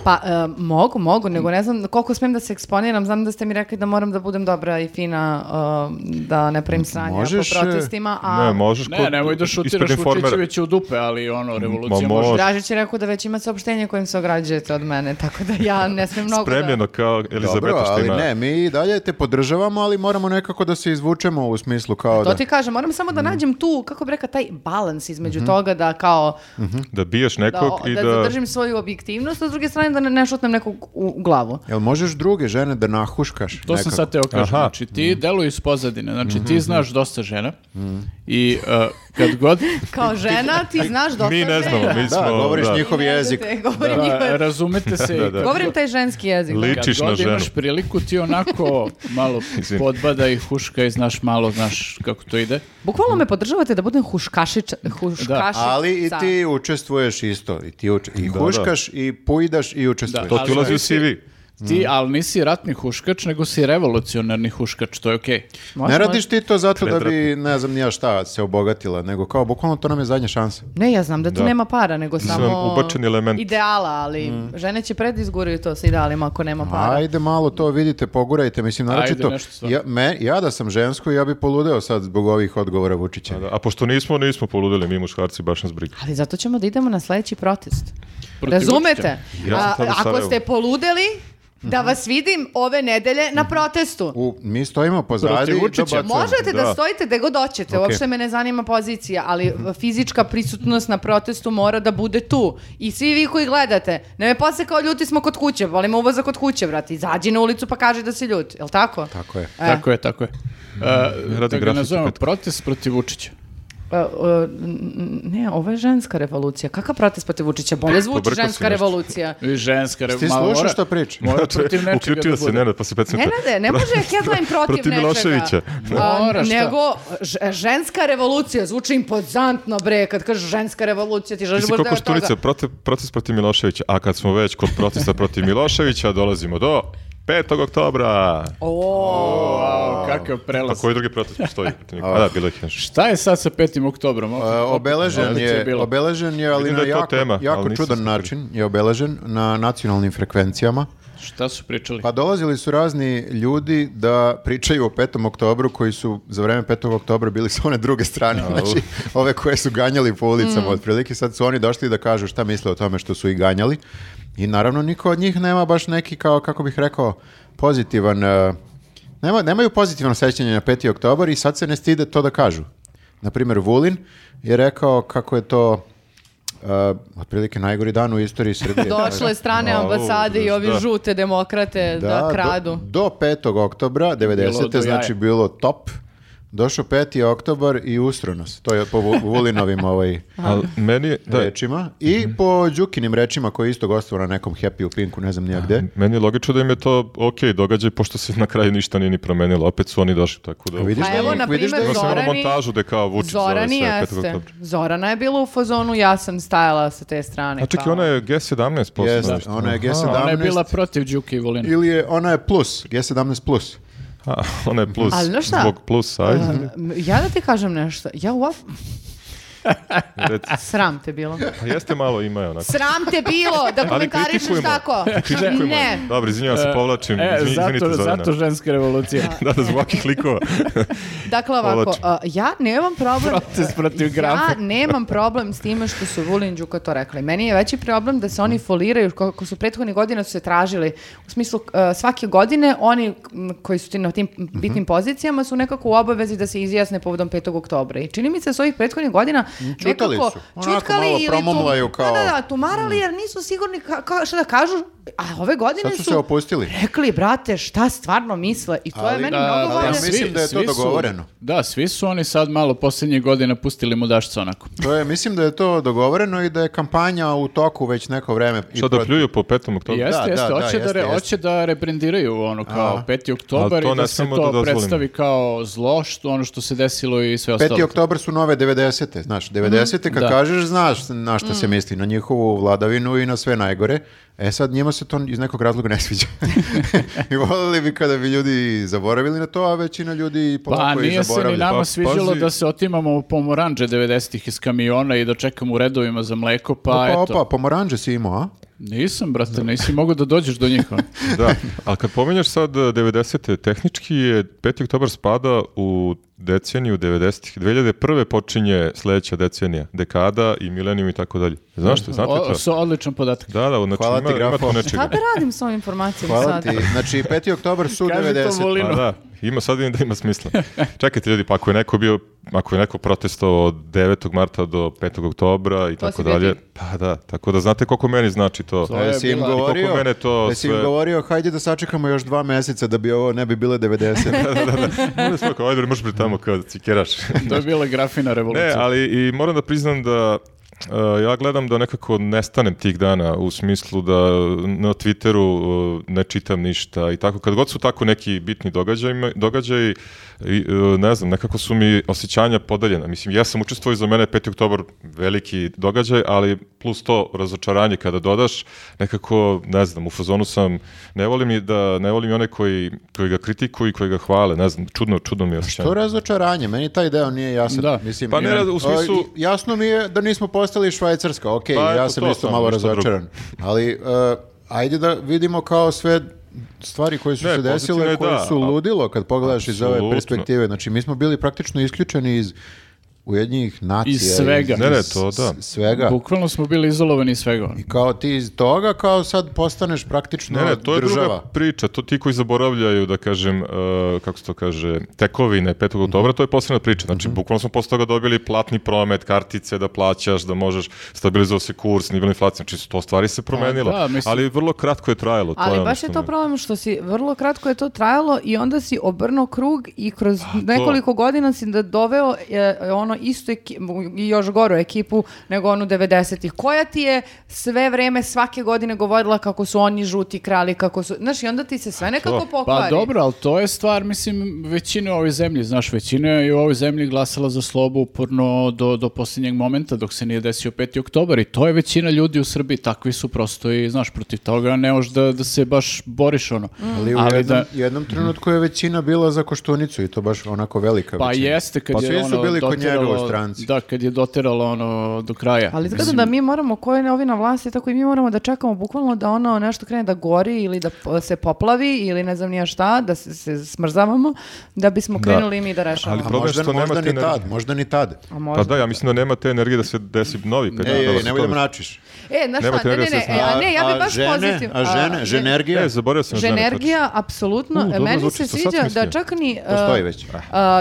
[SPEAKER 3] Pa e, mogu, mogu, nego ne znam koliko smem da se eksponiram. Znam da ste mi rekli da moram da budem dobra i fina, e, da ne pravim sranja
[SPEAKER 4] Možeš,
[SPEAKER 3] po
[SPEAKER 4] e,
[SPEAKER 3] protestima, a
[SPEAKER 2] Ne, možeš
[SPEAKER 1] Ne,
[SPEAKER 2] kod-
[SPEAKER 1] nemoj da
[SPEAKER 2] ispred
[SPEAKER 1] šutiraš
[SPEAKER 2] informera.
[SPEAKER 1] Vučićevića u dupe, ali ono, revolucija
[SPEAKER 2] Ma,
[SPEAKER 1] može.
[SPEAKER 2] može.
[SPEAKER 3] Dražić je rekao da već ima saopštenje kojim se ograđujete od mene, tako da ja ne smem mnogo da...
[SPEAKER 2] Spremljeno kao Elizabeta
[SPEAKER 4] Dobro,
[SPEAKER 2] što
[SPEAKER 4] ali
[SPEAKER 2] ima.
[SPEAKER 4] ne, mi i dalje te podržavamo, ali moramo nekako da se izvučemo u smislu kao
[SPEAKER 3] To
[SPEAKER 4] da...
[SPEAKER 3] ti kažem, moram samo
[SPEAKER 2] Mhm.
[SPEAKER 3] da nađem tu, kako bi rekla, taj balans između toga da kao,
[SPEAKER 2] Da biješ
[SPEAKER 3] da,
[SPEAKER 2] nekog
[SPEAKER 3] o-
[SPEAKER 2] Mhm. i
[SPEAKER 3] da
[SPEAKER 2] da...
[SPEAKER 3] zadržim svoju objektivnost, a s druge strane žene da ne- ne šutnem nekog u glavu.
[SPEAKER 4] Jel možeš druge žene da nahuškaš?
[SPEAKER 1] To sam
[SPEAKER 4] nekako?
[SPEAKER 1] sad teo kažem.
[SPEAKER 2] Aha. Mm. Mm-hmm.
[SPEAKER 1] Znači, ti deluju iz pozadine. Znači, ti znaš dosta žena i uh, kad god...
[SPEAKER 3] Kao žena ti znaš dosta
[SPEAKER 2] Mi ne znamo,
[SPEAKER 3] žena.
[SPEAKER 2] mi
[SPEAKER 4] Da,
[SPEAKER 2] smo...
[SPEAKER 4] govoriš
[SPEAKER 2] da.
[SPEAKER 4] njihov jezik.
[SPEAKER 3] Te, govorim,
[SPEAKER 1] Da,
[SPEAKER 3] njihove-
[SPEAKER 1] razumete se. i
[SPEAKER 2] Da, da.
[SPEAKER 1] kad
[SPEAKER 3] govorim
[SPEAKER 1] god-
[SPEAKER 3] taj ženski jezik. da.
[SPEAKER 2] Li-
[SPEAKER 1] Kad
[SPEAKER 2] Tičiš na
[SPEAKER 1] god imaš
[SPEAKER 2] ženu.
[SPEAKER 1] priliku, ti onako malo
[SPEAKER 2] Izvini.
[SPEAKER 1] podbada i huška i znaš malo, znaš kako to ide.
[SPEAKER 3] Bukvalno me podržavate da budem huškašić, huškašica.
[SPEAKER 4] Ali i ti učestvuješ isto. I ti uč- i
[SPEAKER 2] Da,
[SPEAKER 4] huškaš i pujdaš i učestvuješ.
[SPEAKER 2] To ti
[SPEAKER 1] Ali
[SPEAKER 2] ulazi u
[SPEAKER 1] ti-
[SPEAKER 2] CV. Mm.
[SPEAKER 1] Ti, ali nisi ratni huškač, nego si revolucionarni huškač, to je okej.
[SPEAKER 3] Može,
[SPEAKER 4] Ne
[SPEAKER 3] može.
[SPEAKER 4] radiš ti to zato da bi, ne znam, nija šta se obogatila, nego kao, bukvalno to nam je zadnja šansa.
[SPEAKER 3] Ne, ja znam da tu
[SPEAKER 2] Da.
[SPEAKER 3] nema para, nego samo
[SPEAKER 2] ubačen element.
[SPEAKER 3] ideala, ali
[SPEAKER 4] Mm.
[SPEAKER 3] žene će pred izguraju to sa idealima ako nema para.
[SPEAKER 4] Pa Ajde malo to vidite, pogurajte, mislim, naročito,
[SPEAKER 1] nešto stvarno.
[SPEAKER 4] ja, me, ja da sam žensko, ja bi poludeo sad zbog ovih odgovora Vučića.
[SPEAKER 2] Pa Da, A pošto nismo, nismo poludeli mi muškarci, baš nas briga.
[SPEAKER 3] Ali zato ćemo da idemo na sledeći protest.
[SPEAKER 1] Protiv
[SPEAKER 3] Razumete?
[SPEAKER 2] Ja sam
[SPEAKER 3] A,
[SPEAKER 2] tad u
[SPEAKER 3] ako
[SPEAKER 2] Sarajevu.
[SPEAKER 3] ste poludeli, da vas vidim ove nedelje na protestu.
[SPEAKER 4] U, mi stojimo pozadi
[SPEAKER 1] Protiv
[SPEAKER 4] i
[SPEAKER 1] Vučića.
[SPEAKER 4] dobacujemo.
[SPEAKER 3] Možete da,
[SPEAKER 2] Da.
[SPEAKER 3] stojite gde god hoćete,
[SPEAKER 4] Ok.
[SPEAKER 3] uopšte me ne zanima pozicija, ali fizička prisutnost na protestu mora da bude tu. I svi vi koji gledate, ne me posle kao ljuti smo kod kuće, volimo uvoza kod kuće, brate, izađi na ulicu pa kaži da si ljut, jel tako?
[SPEAKER 4] Tako je.
[SPEAKER 3] E.
[SPEAKER 1] Tako je, tako je. Uh, da ga
[SPEAKER 2] E, grafike
[SPEAKER 1] nazovemo
[SPEAKER 2] petka.
[SPEAKER 1] protest protiv Vučića.
[SPEAKER 3] E, e, n- ne, ovo je ženska revolucija. Kakav protest protiv Vučića? Bolje zvuči
[SPEAKER 2] Pobrkao si
[SPEAKER 3] ženska
[SPEAKER 2] nešto.
[SPEAKER 3] revolucija.
[SPEAKER 1] I ženska revolucija.
[SPEAKER 4] Ti slušaš šta priča?
[SPEAKER 1] Mora protiv nečega
[SPEAKER 2] Uključio
[SPEAKER 1] da
[SPEAKER 2] se,
[SPEAKER 1] bude.
[SPEAKER 2] Nenad, pa se pecnete.
[SPEAKER 3] Nenade, ne može headline protiv,
[SPEAKER 2] Protiv
[SPEAKER 3] nečega.
[SPEAKER 2] Miloševića.
[SPEAKER 3] A,
[SPEAKER 1] Mora, šta?
[SPEAKER 3] nego, ž- ženska revolucija zvuči impozantno, bre, kad kažeš ženska revolucija, ti želiš
[SPEAKER 2] Ti si
[SPEAKER 3] baš
[SPEAKER 2] kao
[SPEAKER 3] deo toga.
[SPEAKER 2] koštunica, protiv, protest protiv Miloševića. A kad smo već kod protesta protiv Miloševića, dolazimo do 5. oktobra.
[SPEAKER 3] O,
[SPEAKER 1] Wow, kakav
[SPEAKER 2] A
[SPEAKER 1] prelaz.
[SPEAKER 2] koji drugi protest postoji? A da, bilo ih je još.
[SPEAKER 1] Šta je sad sa 5. oktobrom?
[SPEAKER 4] E, obeležen,
[SPEAKER 1] Opet
[SPEAKER 4] je,
[SPEAKER 1] bilo.
[SPEAKER 4] obeležen je, ali
[SPEAKER 2] Vidim
[SPEAKER 4] na
[SPEAKER 2] da je to
[SPEAKER 4] jako,
[SPEAKER 2] tema,
[SPEAKER 4] jako
[SPEAKER 2] ali nisam
[SPEAKER 4] čudan
[SPEAKER 2] siguran.
[SPEAKER 4] način je obeležen na nacionalnim frekvencijama.
[SPEAKER 1] Šta su pričali?
[SPEAKER 4] Pa dolazili su razni ljudi da pričaju o 5. oktobru koji su za vreme 5. oktobra bili sa one druge strane, znači ove koje su ganjali po ulicama otprilike, sad su oni došli da kažu šta misle o tome što su i ganjali i naravno niko od njih nema baš neki kao, kako bih rekao, pozitivan, e, nema, nemaju pozitivno sećanje na 5. oktobar i sad se ne stide to da kažu. Naprimjer, Vulin je rekao kako je to e, otprilike najgori dan u istoriji Srbije.
[SPEAKER 3] došle strane
[SPEAKER 2] Wow,
[SPEAKER 3] ambasade i ovi
[SPEAKER 2] da.
[SPEAKER 3] žute demokrate da,
[SPEAKER 4] do-
[SPEAKER 3] kradu.
[SPEAKER 4] Do, 5. oktobra 90.
[SPEAKER 1] Bilo do jaja.
[SPEAKER 4] znači bilo top. Došao 5. oktobar i ustronos. To je po Vu- Vulinovim ovaj
[SPEAKER 2] Ali meni je, da,
[SPEAKER 4] rečima. I
[SPEAKER 1] Mhm.
[SPEAKER 4] po Đukinim rečima koji je isto gostovao na nekom happy u Pinku, ne znam nija gde.
[SPEAKER 2] meni je logično da im je to ok događaj, pošto se na kraju ništa nije ni promenilo. Opet su oni došli, tako da...
[SPEAKER 4] A vidiš
[SPEAKER 3] Pa
[SPEAKER 4] da
[SPEAKER 3] evo,
[SPEAKER 4] ih-
[SPEAKER 3] na
[SPEAKER 4] vidiš
[SPEAKER 3] primer,
[SPEAKER 4] da ih-
[SPEAKER 2] Ima samo
[SPEAKER 3] Zorani-
[SPEAKER 2] montažu da je kao Vučić zove
[SPEAKER 3] Zorani
[SPEAKER 2] se 5.
[SPEAKER 3] jeste.
[SPEAKER 2] oktobra.
[SPEAKER 3] Zorana je bila u fazonu, ja sam stajala sa te strane.
[SPEAKER 2] A čekaj,
[SPEAKER 3] kao-
[SPEAKER 2] ona je G17 posle.
[SPEAKER 4] Jeste,
[SPEAKER 2] nešto.
[SPEAKER 4] ona je
[SPEAKER 2] Aha,
[SPEAKER 4] G17.
[SPEAKER 1] Ona je bila protiv Đuke i Vulina.
[SPEAKER 4] Ili je, ona je plus, G17 plus.
[SPEAKER 2] a, ona je plus.
[SPEAKER 3] Ali znaš šta?
[SPEAKER 2] Zbog plus, ajde.
[SPEAKER 3] Um, ja da ti kažem nešto. Ja uop...
[SPEAKER 2] Reci.
[SPEAKER 3] Sram te bilo.
[SPEAKER 2] Pa jeste malo ima je onako.
[SPEAKER 3] Sram te bilo da
[SPEAKER 2] Ali
[SPEAKER 3] komentarišeš
[SPEAKER 2] kritikujemo.
[SPEAKER 3] tako.
[SPEAKER 2] Kritikujemo.
[SPEAKER 3] Ne.
[SPEAKER 2] Dobro, izvinjavam se, povlačim.
[SPEAKER 1] E,
[SPEAKER 2] Izvi- izvinite
[SPEAKER 1] zato,
[SPEAKER 2] za
[SPEAKER 1] zato ženska revolucija.
[SPEAKER 2] Da, da, zbog ovakvih likova.
[SPEAKER 3] Dakle, ovako,
[SPEAKER 2] Povlačim.
[SPEAKER 3] a, ja nemam problem...
[SPEAKER 1] Proces protiv
[SPEAKER 3] Ja
[SPEAKER 1] grafe.
[SPEAKER 3] nemam problem s time što su Vulin i Đuka to rekli. Meni je veći problem da se oni foliraju, kako su prethodnih godina su se tražili. U smislu, e, svake godine oni m, koji su ti na tim
[SPEAKER 4] Mhm.
[SPEAKER 3] bitnim pozicijama su nekako u obavezi da se izjasne povodom 5. oktobra. I čini mi se da s ovih prethodnih godina
[SPEAKER 4] Mm, Čutali
[SPEAKER 3] nekako
[SPEAKER 4] su. Onako malo
[SPEAKER 3] tu-
[SPEAKER 4] promumlaju kao- Mm.
[SPEAKER 3] Da, da, da, tumarali jer nisu sigurni ka, ka- šta da kažu. A ove godine
[SPEAKER 4] Sad
[SPEAKER 3] su...
[SPEAKER 4] su se opustili.
[SPEAKER 3] Rekli, brate, šta stvarno misle? I to je
[SPEAKER 4] Ali-
[SPEAKER 3] meni
[SPEAKER 4] A,
[SPEAKER 3] mnogo
[SPEAKER 4] ali
[SPEAKER 3] važno.
[SPEAKER 4] mislim da je to
[SPEAKER 1] svi su-
[SPEAKER 4] dogovoreno.
[SPEAKER 1] da, svi su oni sad malo posljednje godine pustili mudašca onako.
[SPEAKER 4] To je, mislim da je to dogovoreno i da je kampanja u toku već neko vreme. I
[SPEAKER 2] Šta da
[SPEAKER 4] protiv-
[SPEAKER 2] pljuju po petom oktobru?
[SPEAKER 1] Jeste,
[SPEAKER 4] da,
[SPEAKER 1] jeste,
[SPEAKER 4] da,
[SPEAKER 1] hoće, da
[SPEAKER 4] jeste,
[SPEAKER 1] re,
[SPEAKER 4] jeste.
[SPEAKER 1] hoće da rebrendiraju ono kao 5. oktobar
[SPEAKER 2] Ali to
[SPEAKER 1] i da
[SPEAKER 2] ne
[SPEAKER 1] se
[SPEAKER 2] smemo
[SPEAKER 1] to
[SPEAKER 2] da dozvolimo.
[SPEAKER 1] predstavi kao zlo, što ono što se desilo i sve ostalo.
[SPEAKER 4] 5. oktobar su nove 90. Znaš, 90. kad
[SPEAKER 1] Pa Da. Mm.
[SPEAKER 4] kažeš, znaš na šta se misli, na njihovu vladavinu i na sve najgore. E sad, njima se to iz nekog razloga ne sviđa. I volili bi kada bi ljudi zaboravili na to, a većina ljudi
[SPEAKER 1] Pa
[SPEAKER 4] polako i
[SPEAKER 1] nije se ni
[SPEAKER 4] zaboravlja.
[SPEAKER 1] nama
[SPEAKER 2] Pa,
[SPEAKER 1] sviđalo
[SPEAKER 2] pazi.
[SPEAKER 1] da se otimamo u pomoranđe 90-ih iz kamiona i da čekamo u redovima za mleko, pa
[SPEAKER 4] Opa,
[SPEAKER 1] eto.
[SPEAKER 4] opa, pomoranđe si imao, a?
[SPEAKER 1] Nisam, brate, nisi mogao da dođeš do njih. ono.
[SPEAKER 2] e, Da, ali kad pominješ sad eh, 90. tehnički je 5. oktobar spada u deceniju 90-ih. 2001. počinje sledeća decenija, dekada i milenijum i tako dalje. Znaš što, znate
[SPEAKER 1] Mhm. O,
[SPEAKER 2] to?
[SPEAKER 1] so, odličan podatak.
[SPEAKER 2] Da, da, znači
[SPEAKER 4] Hvala ti,
[SPEAKER 2] ima, ima
[SPEAKER 4] grafo.
[SPEAKER 2] tu
[SPEAKER 3] Šta
[SPEAKER 2] nečega.
[SPEAKER 3] Pa da radim s ovim informacijama sad?
[SPEAKER 4] Hvala ti. Znači, 5. oktober su
[SPEAKER 1] Kaži to
[SPEAKER 4] 90.
[SPEAKER 1] Volinu.
[SPEAKER 2] Pa da, ima sad vidim da ima smisla. Čekajte ljudi, pa ako je neko bio, ako je neko protestovao od 9. marta do 5. oktobra i
[SPEAKER 3] si
[SPEAKER 2] tako
[SPEAKER 3] bio
[SPEAKER 2] dalje,
[SPEAKER 3] ti.
[SPEAKER 2] pa da, tako da znate koliko meni znači to.
[SPEAKER 1] To
[SPEAKER 4] Pa jesi
[SPEAKER 1] je
[SPEAKER 4] im
[SPEAKER 1] bila-
[SPEAKER 2] I
[SPEAKER 4] govorio,
[SPEAKER 2] koliko mene to
[SPEAKER 4] jesi im
[SPEAKER 2] sve-
[SPEAKER 4] govorio, hajde da sačekamo još dva meseca da bi ovo ne bi bile 90.
[SPEAKER 2] da, da, da. Možda smo kao, ajde, možeš biti tamo kao da cikeraš.
[SPEAKER 1] To je bila grafina
[SPEAKER 2] ne,
[SPEAKER 1] revolucija.
[SPEAKER 2] ali i moram da priznam da e, ja gledam da nekako nestanem tih dana u smislu da e, na Twitteru e, ne čitam ništa i tako. Kad god su tako neki bitni događaji, događaji i, e, ne znam, nekako su mi osjećanja podeljena. Mislim, ja sam učestvovao i za mene je 5. oktobar veliki događaj, ali plus to razočaranje kada dodaš, nekako, ne znam, u fazonu sam, ne volim i da, ne volim i one koji, koji ga kritikuju i koji ga hvale, ne znam, čudno, čudno mi je osjećanje.
[SPEAKER 4] To je razočaranje, meni taj deo nije jasan.
[SPEAKER 1] Da.
[SPEAKER 4] Mislim,
[SPEAKER 2] Pa ne,
[SPEAKER 4] ja-
[SPEAKER 2] u smislu-
[SPEAKER 4] o, jasno mi je da nismo postali Švajcarska, ok,
[SPEAKER 2] Pa
[SPEAKER 4] ja
[SPEAKER 2] eto
[SPEAKER 4] sam
[SPEAKER 2] to
[SPEAKER 4] isto
[SPEAKER 2] samo,
[SPEAKER 4] malo
[SPEAKER 2] ništa drugo.
[SPEAKER 4] razočaran. Ali, e, ajde da vidimo kao sve stvari koje su
[SPEAKER 2] Ne,
[SPEAKER 4] se
[SPEAKER 2] pozitivno
[SPEAKER 4] desile,
[SPEAKER 2] je
[SPEAKER 4] koje
[SPEAKER 2] da,
[SPEAKER 4] su
[SPEAKER 2] a-
[SPEAKER 4] ludilo kad pogledaš iz ove
[SPEAKER 2] Apsolutno.
[SPEAKER 4] perspektive. Znači, mi smo bili praktično isključeni iz Ujedinjih nacija.
[SPEAKER 1] Iz svega.
[SPEAKER 2] Ne, ne, to
[SPEAKER 4] s-
[SPEAKER 2] da.
[SPEAKER 4] Svega.
[SPEAKER 1] Bukvalno smo bili izolovani iz svega. ono.
[SPEAKER 4] I kao ti iz toga, kao sad postaneš praktično
[SPEAKER 2] Ne, ne, to je
[SPEAKER 4] država.
[SPEAKER 2] druga priča. To ti koji zaboravljaju, da kažem, e, kako se to kaže, tekovine 5. oktobra, to je posebna priča. Znači,
[SPEAKER 1] Mhm.
[SPEAKER 2] bukvalno smo posle toga dobili platni promet, kartice da plaćaš, da možeš, stabilizovao se kurs, nivel inflacije, znači to stvari se promenilo.
[SPEAKER 1] Pa da, mislim-
[SPEAKER 2] Ali vrlo kratko je trajalo. to
[SPEAKER 3] Ali
[SPEAKER 2] ono
[SPEAKER 3] baš
[SPEAKER 2] što
[SPEAKER 3] je to
[SPEAKER 2] me-
[SPEAKER 3] problem što si, vrlo kratko je to trajalo i onda si obrnuo krug i kroz nekoliko godina si da doveo e, ono istu ekipu, još goru ekipu nego onu 90-ih. Koja ti je sve vreme svake godine govorila kako su oni žuti krali, kako su... Znaš, i onda ti se sve nekako pokvari.
[SPEAKER 1] Pa dobro, ali to je stvar, mislim, većine u ovoj zemlji. Znaš, većina je u ovoj zemlji glasala za slobu uporno do, do posljednjeg momenta dok se nije desio 5. oktobar i to je većina ljudi u Srbiji. Takvi su prosto i, znaš, protiv toga ne možeš da, da se baš boriš ono.
[SPEAKER 4] Ali u jednom, jednom trenutku je većina bila za koštunicu i to baš onako velika
[SPEAKER 1] Pa
[SPEAKER 4] većina.
[SPEAKER 1] jeste kad
[SPEAKER 4] pa
[SPEAKER 1] je
[SPEAKER 4] svi su
[SPEAKER 1] ono
[SPEAKER 4] bili kod njega u
[SPEAKER 1] doteralo-
[SPEAKER 4] stranci.
[SPEAKER 1] Da, kad je doteralo ono do kraja.
[SPEAKER 3] Ali izgleda da mi moramo, ko je ovi na vlasti, tako i mi moramo da čekamo bukvalno da ono nešto krene da gori ili da po- se poplavi ili ne znam nija šta, da se, se smrzavamo, da bismo krenuli i mi da rešavamo.
[SPEAKER 2] Ali
[SPEAKER 4] A
[SPEAKER 2] problem je
[SPEAKER 4] Pa možda,
[SPEAKER 2] što nema te
[SPEAKER 4] možda ni
[SPEAKER 2] energije.
[SPEAKER 4] tad, možda ni tad.
[SPEAKER 3] A
[SPEAKER 2] Pa
[SPEAKER 3] možda-
[SPEAKER 2] da, ja mislim da nema te energije da se desi novi 5.
[SPEAKER 4] Ej, ej,
[SPEAKER 2] oktobar.
[SPEAKER 4] nemoj da mračiš.
[SPEAKER 3] E, znaš šta,
[SPEAKER 2] Nemate
[SPEAKER 3] ne, ne,
[SPEAKER 2] energije,
[SPEAKER 3] ne,
[SPEAKER 2] sve
[SPEAKER 3] e, a
[SPEAKER 2] znam.
[SPEAKER 3] ne, ja
[SPEAKER 4] A
[SPEAKER 3] bi baš
[SPEAKER 4] žene?
[SPEAKER 3] pozitiv.
[SPEAKER 4] A žene, ženergija?
[SPEAKER 2] E, zaboravio sam na žene, tačno.
[SPEAKER 3] Ženergija, apsolutno.
[SPEAKER 2] U, dobro
[SPEAKER 3] Meni
[SPEAKER 2] zvuči,
[SPEAKER 3] se
[SPEAKER 2] to sad
[SPEAKER 3] sviđa
[SPEAKER 2] sam
[SPEAKER 3] da
[SPEAKER 2] mislio.
[SPEAKER 3] čak ni... uh,
[SPEAKER 4] Postoji već.
[SPEAKER 3] uh,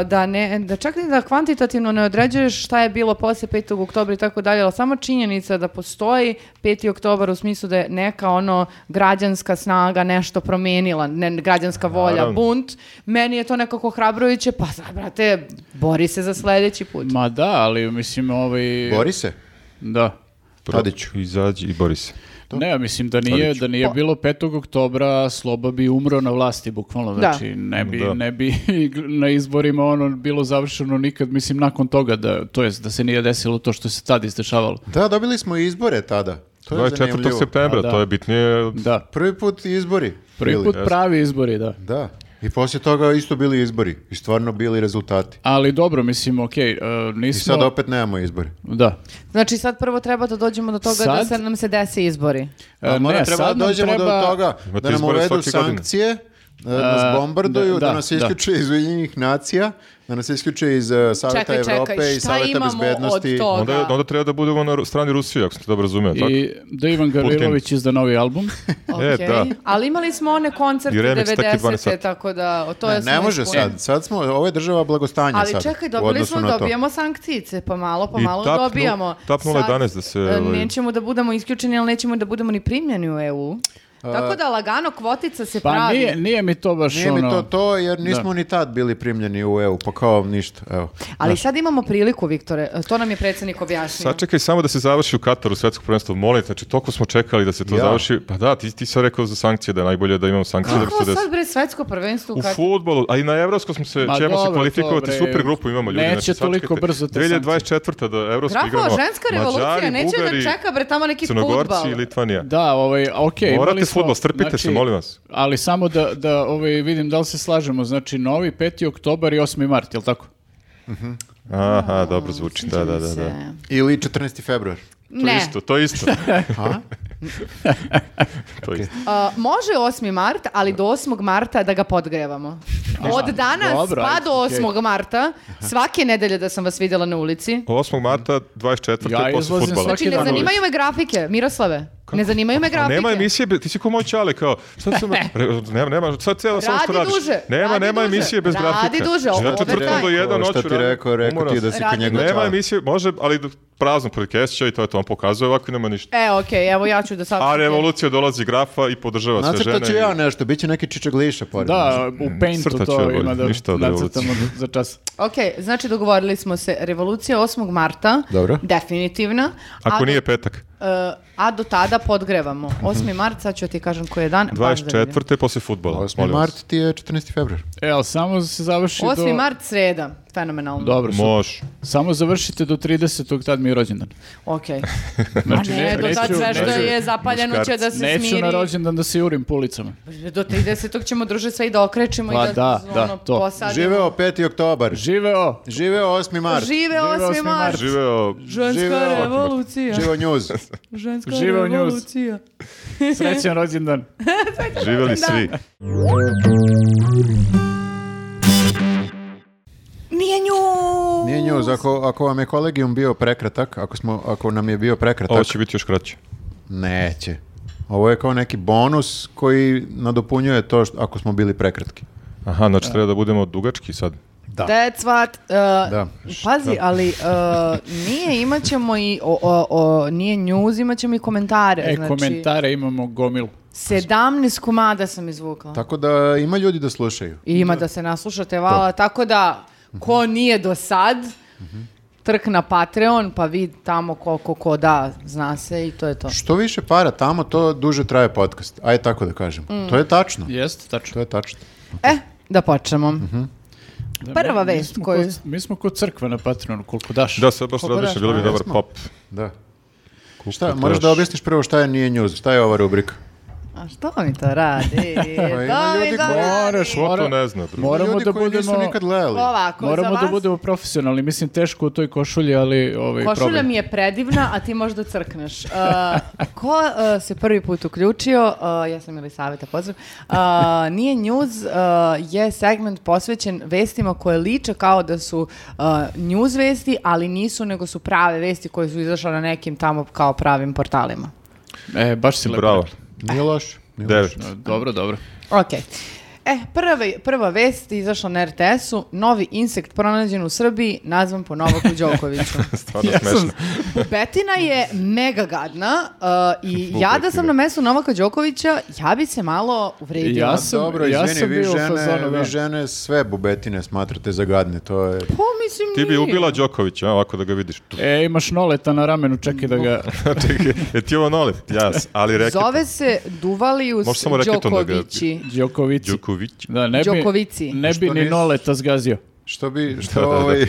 [SPEAKER 3] da, ne, da čak ni da kvantitativno ne određuješ šta je bilo posle 5. oktobra i tako dalje, ali samo činjenica da postoji 5. oktobar u smislu da je neka ono građanska snaga nešto promijenila, ne, građanska volja,
[SPEAKER 2] Naravno.
[SPEAKER 3] bunt, meni je to nekako hrabrojuće, pa sad, brate, bori se za sledeći put.
[SPEAKER 1] Ma da, ali mislim ovaj...
[SPEAKER 4] Bori se.
[SPEAKER 1] Da.
[SPEAKER 4] Tadiću.
[SPEAKER 2] Izađi i bori se.
[SPEAKER 1] Ne, mislim da nije, da nije bilo 5. oktobra, Sloba bi umro na vlasti, bukvalno.
[SPEAKER 3] Da.
[SPEAKER 1] Znači, ne bi,
[SPEAKER 2] Da.
[SPEAKER 1] ne bi na izborima ono bilo završeno nikad, mislim, nakon toga, da, to jest da se nije desilo to što se tad izdešavalo.
[SPEAKER 4] Da, dobili smo izbore tada. To je
[SPEAKER 2] 24.
[SPEAKER 4] zanimljivo.
[SPEAKER 1] Pa
[SPEAKER 2] septembra,
[SPEAKER 1] da.
[SPEAKER 2] to je bitnije od-
[SPEAKER 1] Da.
[SPEAKER 4] Prvi put izbori.
[SPEAKER 1] Prvi
[SPEAKER 4] bili.
[SPEAKER 1] put pravi izbori, da.
[SPEAKER 4] Da. I poslije toga isto bili izbori. I stvarno bili rezultati.
[SPEAKER 1] Ali dobro, mislim, okej, e,
[SPEAKER 4] I
[SPEAKER 1] nismo...
[SPEAKER 4] sad opet nemamo izbore.
[SPEAKER 1] Da.
[SPEAKER 3] Znači sad prvo treba da dođemo do toga da
[SPEAKER 1] Sad?
[SPEAKER 3] se nam se dese izbori.
[SPEAKER 1] E,
[SPEAKER 4] A mora
[SPEAKER 1] ne,
[SPEAKER 4] treba
[SPEAKER 1] sad
[SPEAKER 4] da
[SPEAKER 1] nam
[SPEAKER 4] dođemo
[SPEAKER 1] treba-
[SPEAKER 4] do toga
[SPEAKER 2] Imate
[SPEAKER 4] da nam
[SPEAKER 2] izbore
[SPEAKER 4] uvedu
[SPEAKER 2] svake godine.
[SPEAKER 4] sankcije, da nas
[SPEAKER 1] A,
[SPEAKER 4] bombarduju, da,
[SPEAKER 1] da, da,
[SPEAKER 4] nas
[SPEAKER 1] da.
[SPEAKER 4] isključe iz Ujedinjenih nacija, da nas isključe iz uh, Saveta
[SPEAKER 3] Čekaj, čekaj,
[SPEAKER 4] Evrope
[SPEAKER 3] šta
[SPEAKER 4] i Saveta
[SPEAKER 3] imamo od
[SPEAKER 4] bezbednosti.
[SPEAKER 3] toga?
[SPEAKER 2] Onda,
[SPEAKER 3] Da.
[SPEAKER 2] onda treba da budemo na strani Rusije, ako sam to dobro razumeo. tako?
[SPEAKER 1] I da Ivan Gavrilović izda novi album.
[SPEAKER 2] E,
[SPEAKER 3] Okej.
[SPEAKER 2] da.
[SPEAKER 3] Ali imali smo one koncerte
[SPEAKER 2] I remix taki
[SPEAKER 3] 90.
[SPEAKER 2] 12
[SPEAKER 3] tako da o, to
[SPEAKER 4] Ne,
[SPEAKER 3] je
[SPEAKER 4] ne može sad. Sad smo, ovo je država blagostanja
[SPEAKER 3] Ali
[SPEAKER 4] sad.
[SPEAKER 3] čekaj,
[SPEAKER 4] u
[SPEAKER 3] dobili
[SPEAKER 4] odnosu
[SPEAKER 3] smo,
[SPEAKER 4] na to.
[SPEAKER 3] dobijamo sankcijice, pa malo, pa
[SPEAKER 2] I
[SPEAKER 3] malo
[SPEAKER 2] tap nu-
[SPEAKER 3] dobijamo.
[SPEAKER 2] tap 0,11 da se,
[SPEAKER 3] e,
[SPEAKER 2] ovaj-
[SPEAKER 3] Nećemo da budemo isključeni, ali nećemo da budemo ni primljeni u EU.
[SPEAKER 4] E,
[SPEAKER 3] Tako da lagano kvotica se
[SPEAKER 1] Pa
[SPEAKER 3] pravi.
[SPEAKER 1] nije, nije mi to baš
[SPEAKER 4] Nije
[SPEAKER 1] ono...
[SPEAKER 4] mi to to, jer nismo ni tad bili primljeni u EU, pa kao ništa, evo.
[SPEAKER 3] Ali sad imamo priliku, Viktore. e, To nam je predsjednik objasnio.
[SPEAKER 2] Sačekaj samo da se završi u Kataru svetsko prvenstvo, molim, te, znači toliko smo čekali da se to
[SPEAKER 4] Ja.
[SPEAKER 2] završi. Pa da, ti, ti sam rekao za sankcije, da je najbolje da imamo sankcije da bi
[SPEAKER 3] Kako
[SPEAKER 2] se desilo.
[SPEAKER 3] sad bre svetsko prvenstvo?
[SPEAKER 2] U
[SPEAKER 3] kad-
[SPEAKER 2] futbolu, a i na evropskom smo se,
[SPEAKER 1] Ma
[SPEAKER 2] ćemo
[SPEAKER 1] dobro,
[SPEAKER 2] se kvalifikovati,
[SPEAKER 1] to, bre,
[SPEAKER 2] super grupu imamo ljudi. znači
[SPEAKER 1] neće
[SPEAKER 2] sačekajte,
[SPEAKER 1] toliko brzo te
[SPEAKER 2] 2024. da evropski
[SPEAKER 3] Grafo,
[SPEAKER 2] igramo.
[SPEAKER 3] ženska revolucija,
[SPEAKER 2] Mađari,
[SPEAKER 3] neće
[SPEAKER 2] Bugari,
[SPEAKER 3] da čeka bre tamo neki
[SPEAKER 2] Crnogorci
[SPEAKER 3] futbal.
[SPEAKER 2] i Litvanija.
[SPEAKER 1] Da, znači- ovaj, ok.
[SPEAKER 2] Morate fudbal, strpite se, molim vas.
[SPEAKER 1] Ali samo da, da ovaj, vidim da li se slažemo. Znači, novi 5. oktobar i 8. mart, jel tako?
[SPEAKER 2] Aha, dobro zvuči, da, da, da. da.
[SPEAKER 3] Se.
[SPEAKER 4] Ili 14. februar.
[SPEAKER 2] To je
[SPEAKER 3] Ne,
[SPEAKER 2] isto, to je isto.
[SPEAKER 4] A?
[SPEAKER 2] to je
[SPEAKER 3] A, može 8. mart, ali do 8. marta da ga podgrevamo. Od danas
[SPEAKER 1] Dobro,
[SPEAKER 3] pa
[SPEAKER 1] ajde,
[SPEAKER 3] do 8. marta, svake nedelje da sam vas vidjela na ulici.
[SPEAKER 2] 8. marta 24.
[SPEAKER 1] Ja
[SPEAKER 2] Ja posle
[SPEAKER 1] izlazim svaki
[SPEAKER 2] futbola.
[SPEAKER 3] Znači, ne
[SPEAKER 1] dan
[SPEAKER 3] zanimaju me grafike, Miroslave. Ne zanimaju me grafike.
[SPEAKER 2] Nema emisije, be- ti si ko moj čale, kao, šta sam, re- nema, nema, sad celo sam što
[SPEAKER 3] Radi
[SPEAKER 2] radiš.
[SPEAKER 3] duže,
[SPEAKER 2] Nema,
[SPEAKER 3] radi
[SPEAKER 2] nema
[SPEAKER 3] duže,
[SPEAKER 2] emisije bez
[SPEAKER 3] radi
[SPEAKER 2] grafika.
[SPEAKER 3] duže, ovo
[SPEAKER 2] Ja četvrtkom
[SPEAKER 3] traje.
[SPEAKER 2] do jedan noću
[SPEAKER 4] Šta ti
[SPEAKER 2] radim,
[SPEAKER 4] rekao, rekao
[SPEAKER 2] umoran
[SPEAKER 4] ti
[SPEAKER 2] sam.
[SPEAKER 4] da si
[SPEAKER 3] Radi
[SPEAKER 4] kod njega
[SPEAKER 2] Nema
[SPEAKER 4] čao.
[SPEAKER 2] emisije, može, ali prazno podcastića i to je to, on pokazuje, ovako nema ništa.
[SPEAKER 3] E, okej, evo ja ću da sad...
[SPEAKER 2] A revolucija dolazi grafa i podržava Pa sve žene.
[SPEAKER 4] Nacrtat ću
[SPEAKER 2] i-
[SPEAKER 4] ja nešto, bit će neki čičak liša pored.
[SPEAKER 1] Da, u Paintu
[SPEAKER 2] crtat ću ja
[SPEAKER 1] to
[SPEAKER 2] bolje,
[SPEAKER 1] ima da
[SPEAKER 2] ništa od
[SPEAKER 1] nacrtamo za čas.
[SPEAKER 3] Ok, znači dogovorili smo se, revolucija 8. marta,
[SPEAKER 4] Dobro.
[SPEAKER 3] definitivna. a
[SPEAKER 2] Ako
[SPEAKER 3] do-
[SPEAKER 2] nije petak.
[SPEAKER 3] e, a do tada podgrevamo. 8. mart, sad ću ti kažem koji je dan. baš da vidim.
[SPEAKER 2] 24. posle futbola.
[SPEAKER 4] 8. mart ti je 14. februar.
[SPEAKER 1] E, ali samo se završi
[SPEAKER 3] 8.
[SPEAKER 1] do...
[SPEAKER 3] mart, sreda. Fenomenalno.
[SPEAKER 1] Dobro, su-
[SPEAKER 2] Može.
[SPEAKER 1] samo završite do 30. tad mi je rođendan.
[SPEAKER 3] Ok.
[SPEAKER 1] Znači,
[SPEAKER 3] A Pa ne, do tad sve što
[SPEAKER 2] neću-
[SPEAKER 3] je zapaljeno će da se
[SPEAKER 1] neću
[SPEAKER 3] smiri. Pa
[SPEAKER 1] na rođendan da se jurim po ulicama.
[SPEAKER 3] Do 30. ćemo druže sve i da okrećemo
[SPEAKER 1] Pa
[SPEAKER 3] i da,
[SPEAKER 1] da, da,
[SPEAKER 3] ono,
[SPEAKER 1] to.
[SPEAKER 3] posadimo.
[SPEAKER 4] Živeo 5. oktobar.
[SPEAKER 1] Živeo!
[SPEAKER 4] Živeo 8. mart.
[SPEAKER 3] Žive 8.
[SPEAKER 1] osmi mart.
[SPEAKER 3] mart.
[SPEAKER 2] Živeo
[SPEAKER 3] Ženska
[SPEAKER 4] Živeo.
[SPEAKER 3] revolucija.
[SPEAKER 4] Živeo news.
[SPEAKER 3] Ženska
[SPEAKER 1] Živeo njuz.
[SPEAKER 3] revolucija.
[SPEAKER 1] Srećan rođendan.
[SPEAKER 2] Živeli svi.
[SPEAKER 3] Nije nju!
[SPEAKER 4] Nije news. Ako, ako vam je kolegijum bio prekratak, ako, smo, ako nam je bio prekratak,
[SPEAKER 2] Ovo će biti još kraće.
[SPEAKER 4] neće. Ovo je kao neki bonus koji nadopunjuje to što, ako smo bili prekratki.
[SPEAKER 2] Aha, znači treba da budemo dugački sad.
[SPEAKER 3] That's what... uh,
[SPEAKER 4] Da.
[SPEAKER 3] Pazi, ali uh, nije, imat ćemo i... O, o, o, nije news, imat ćemo i komentare.
[SPEAKER 1] E,
[SPEAKER 3] znači,
[SPEAKER 1] komentare imamo gomilu.
[SPEAKER 3] 17 komada sam izvukla.
[SPEAKER 4] Tako da ima ljudi da slušaju.
[SPEAKER 3] I ima da se naslušate, vala. Tako da, ko nije do sad, trk na Patreon, pa vid tamo koliko ko da, zna se i to je to.
[SPEAKER 4] Što više para tamo, to duže traje podcast. Ajde tako da kažem. To je tačno.
[SPEAKER 1] Jeste, tačno.
[SPEAKER 4] To je tačno.
[SPEAKER 3] E, da počnemo. Prva
[SPEAKER 1] Mi
[SPEAKER 3] vest
[SPEAKER 1] smo
[SPEAKER 3] koju-
[SPEAKER 1] ko- mi smo kod crkve na Patreonu, koliko daš.
[SPEAKER 2] Da, sad baš
[SPEAKER 4] Koliko
[SPEAKER 2] razmišljam,
[SPEAKER 4] daš,
[SPEAKER 2] bilo bi
[SPEAKER 4] a,
[SPEAKER 2] dobar
[SPEAKER 4] jesmo?
[SPEAKER 2] pop.
[SPEAKER 4] Da. Šta,
[SPEAKER 2] to
[SPEAKER 4] moraš
[SPEAKER 2] još?
[SPEAKER 4] da objasniš prvo šta je nije news, šta je ova rubrika?
[SPEAKER 3] A što mi to radi? Da mi
[SPEAKER 4] ljudi
[SPEAKER 3] to
[SPEAKER 4] koji-
[SPEAKER 3] radi?
[SPEAKER 1] Moraš,
[SPEAKER 2] Ko to
[SPEAKER 1] mora-
[SPEAKER 2] ne zna, drugo?
[SPEAKER 1] Moramo
[SPEAKER 4] Ljudi
[SPEAKER 1] da
[SPEAKER 4] koji nisu
[SPEAKER 1] budemo-
[SPEAKER 4] nikad gledali.
[SPEAKER 3] Ovako, za
[SPEAKER 1] Moramo
[SPEAKER 3] vas,
[SPEAKER 1] da budemo profesionalni, mislim teško u toj košulji, ali ovaj
[SPEAKER 3] košulja
[SPEAKER 1] problem.
[SPEAKER 3] mi je predivna, a ti možda crkneš. Uh, ko uh, se prvi put uključio, uh, ja sam ili savjeta pozdrav, uh, nije news, uh, je segment posvećen vestima koje liče kao da su uh, news vesti, ali nisu, nego su prave vesti koje su izašle na nekim tamo kao pravim portalima.
[SPEAKER 1] E, baš si lepo.
[SPEAKER 2] Bravo.
[SPEAKER 4] Nije loš. Nije loš.
[SPEAKER 2] Devet.
[SPEAKER 1] rekla. Dobro, dobro.
[SPEAKER 3] Ok. E, prvi, prva vest izašla na RTS-u, novi insekt pronađen u Srbiji, nazvan po Novaku Đokoviću.
[SPEAKER 2] Stvarno
[SPEAKER 1] Ja sam-
[SPEAKER 2] smešno.
[SPEAKER 3] Pupetina je mega gadna uh, i ja da sam na mestu Novaka Đokovića, ja bi se malo uvredila.
[SPEAKER 1] Ja
[SPEAKER 4] A
[SPEAKER 1] sam-
[SPEAKER 4] Dobro,
[SPEAKER 1] ja
[SPEAKER 4] izvini,
[SPEAKER 1] sam
[SPEAKER 4] vi,
[SPEAKER 1] bio u
[SPEAKER 4] žene,
[SPEAKER 1] fazonu, da.
[SPEAKER 4] vi žene sve bubetine smatrate za gadne, to je...
[SPEAKER 3] Pa, mislim,
[SPEAKER 2] Ti bi
[SPEAKER 3] nije.
[SPEAKER 2] ubila Đokovića, a, ovako da ga vidiš.
[SPEAKER 1] E, imaš noleta na ramenu, čekaj da ga...
[SPEAKER 2] Čekaj, je ti ovo nolet? Jas, ali reket.
[SPEAKER 3] Zove se Duvalius
[SPEAKER 2] Može samo raketom da ga-
[SPEAKER 3] Đokovići.
[SPEAKER 1] Đokovici.
[SPEAKER 2] Đoković.
[SPEAKER 1] Da, ne bi,
[SPEAKER 3] Đokovici.
[SPEAKER 1] ne bi
[SPEAKER 4] Što
[SPEAKER 1] ni
[SPEAKER 4] nis-
[SPEAKER 1] noleta zgazio.
[SPEAKER 4] Što bi... Što
[SPEAKER 2] Da, da, da.
[SPEAKER 4] ovaj...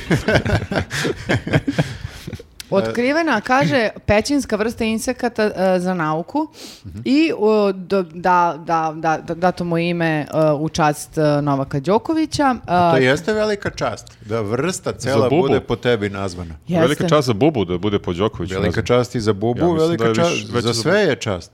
[SPEAKER 3] Otkrivena, kaže, pećinska vrsta insekata e, za nauku
[SPEAKER 2] Mhm.
[SPEAKER 3] i o, do- da, da, da, da, dato mu ime e, u čast e, Novaka Đokovića. E,
[SPEAKER 4] to jeste velika čast, da vrsta cela
[SPEAKER 2] bubu.
[SPEAKER 4] bude po tebi nazvana.
[SPEAKER 3] Uh, jeste.
[SPEAKER 2] Velika čast za Bubu da bude po Đokoviću.
[SPEAKER 4] Velika
[SPEAKER 2] nazvan.
[SPEAKER 4] čast i za bubu,
[SPEAKER 2] Ja mislim
[SPEAKER 4] velika
[SPEAKER 2] da je
[SPEAKER 4] čast...
[SPEAKER 2] više- veća
[SPEAKER 4] za
[SPEAKER 2] za
[SPEAKER 4] sve je čast.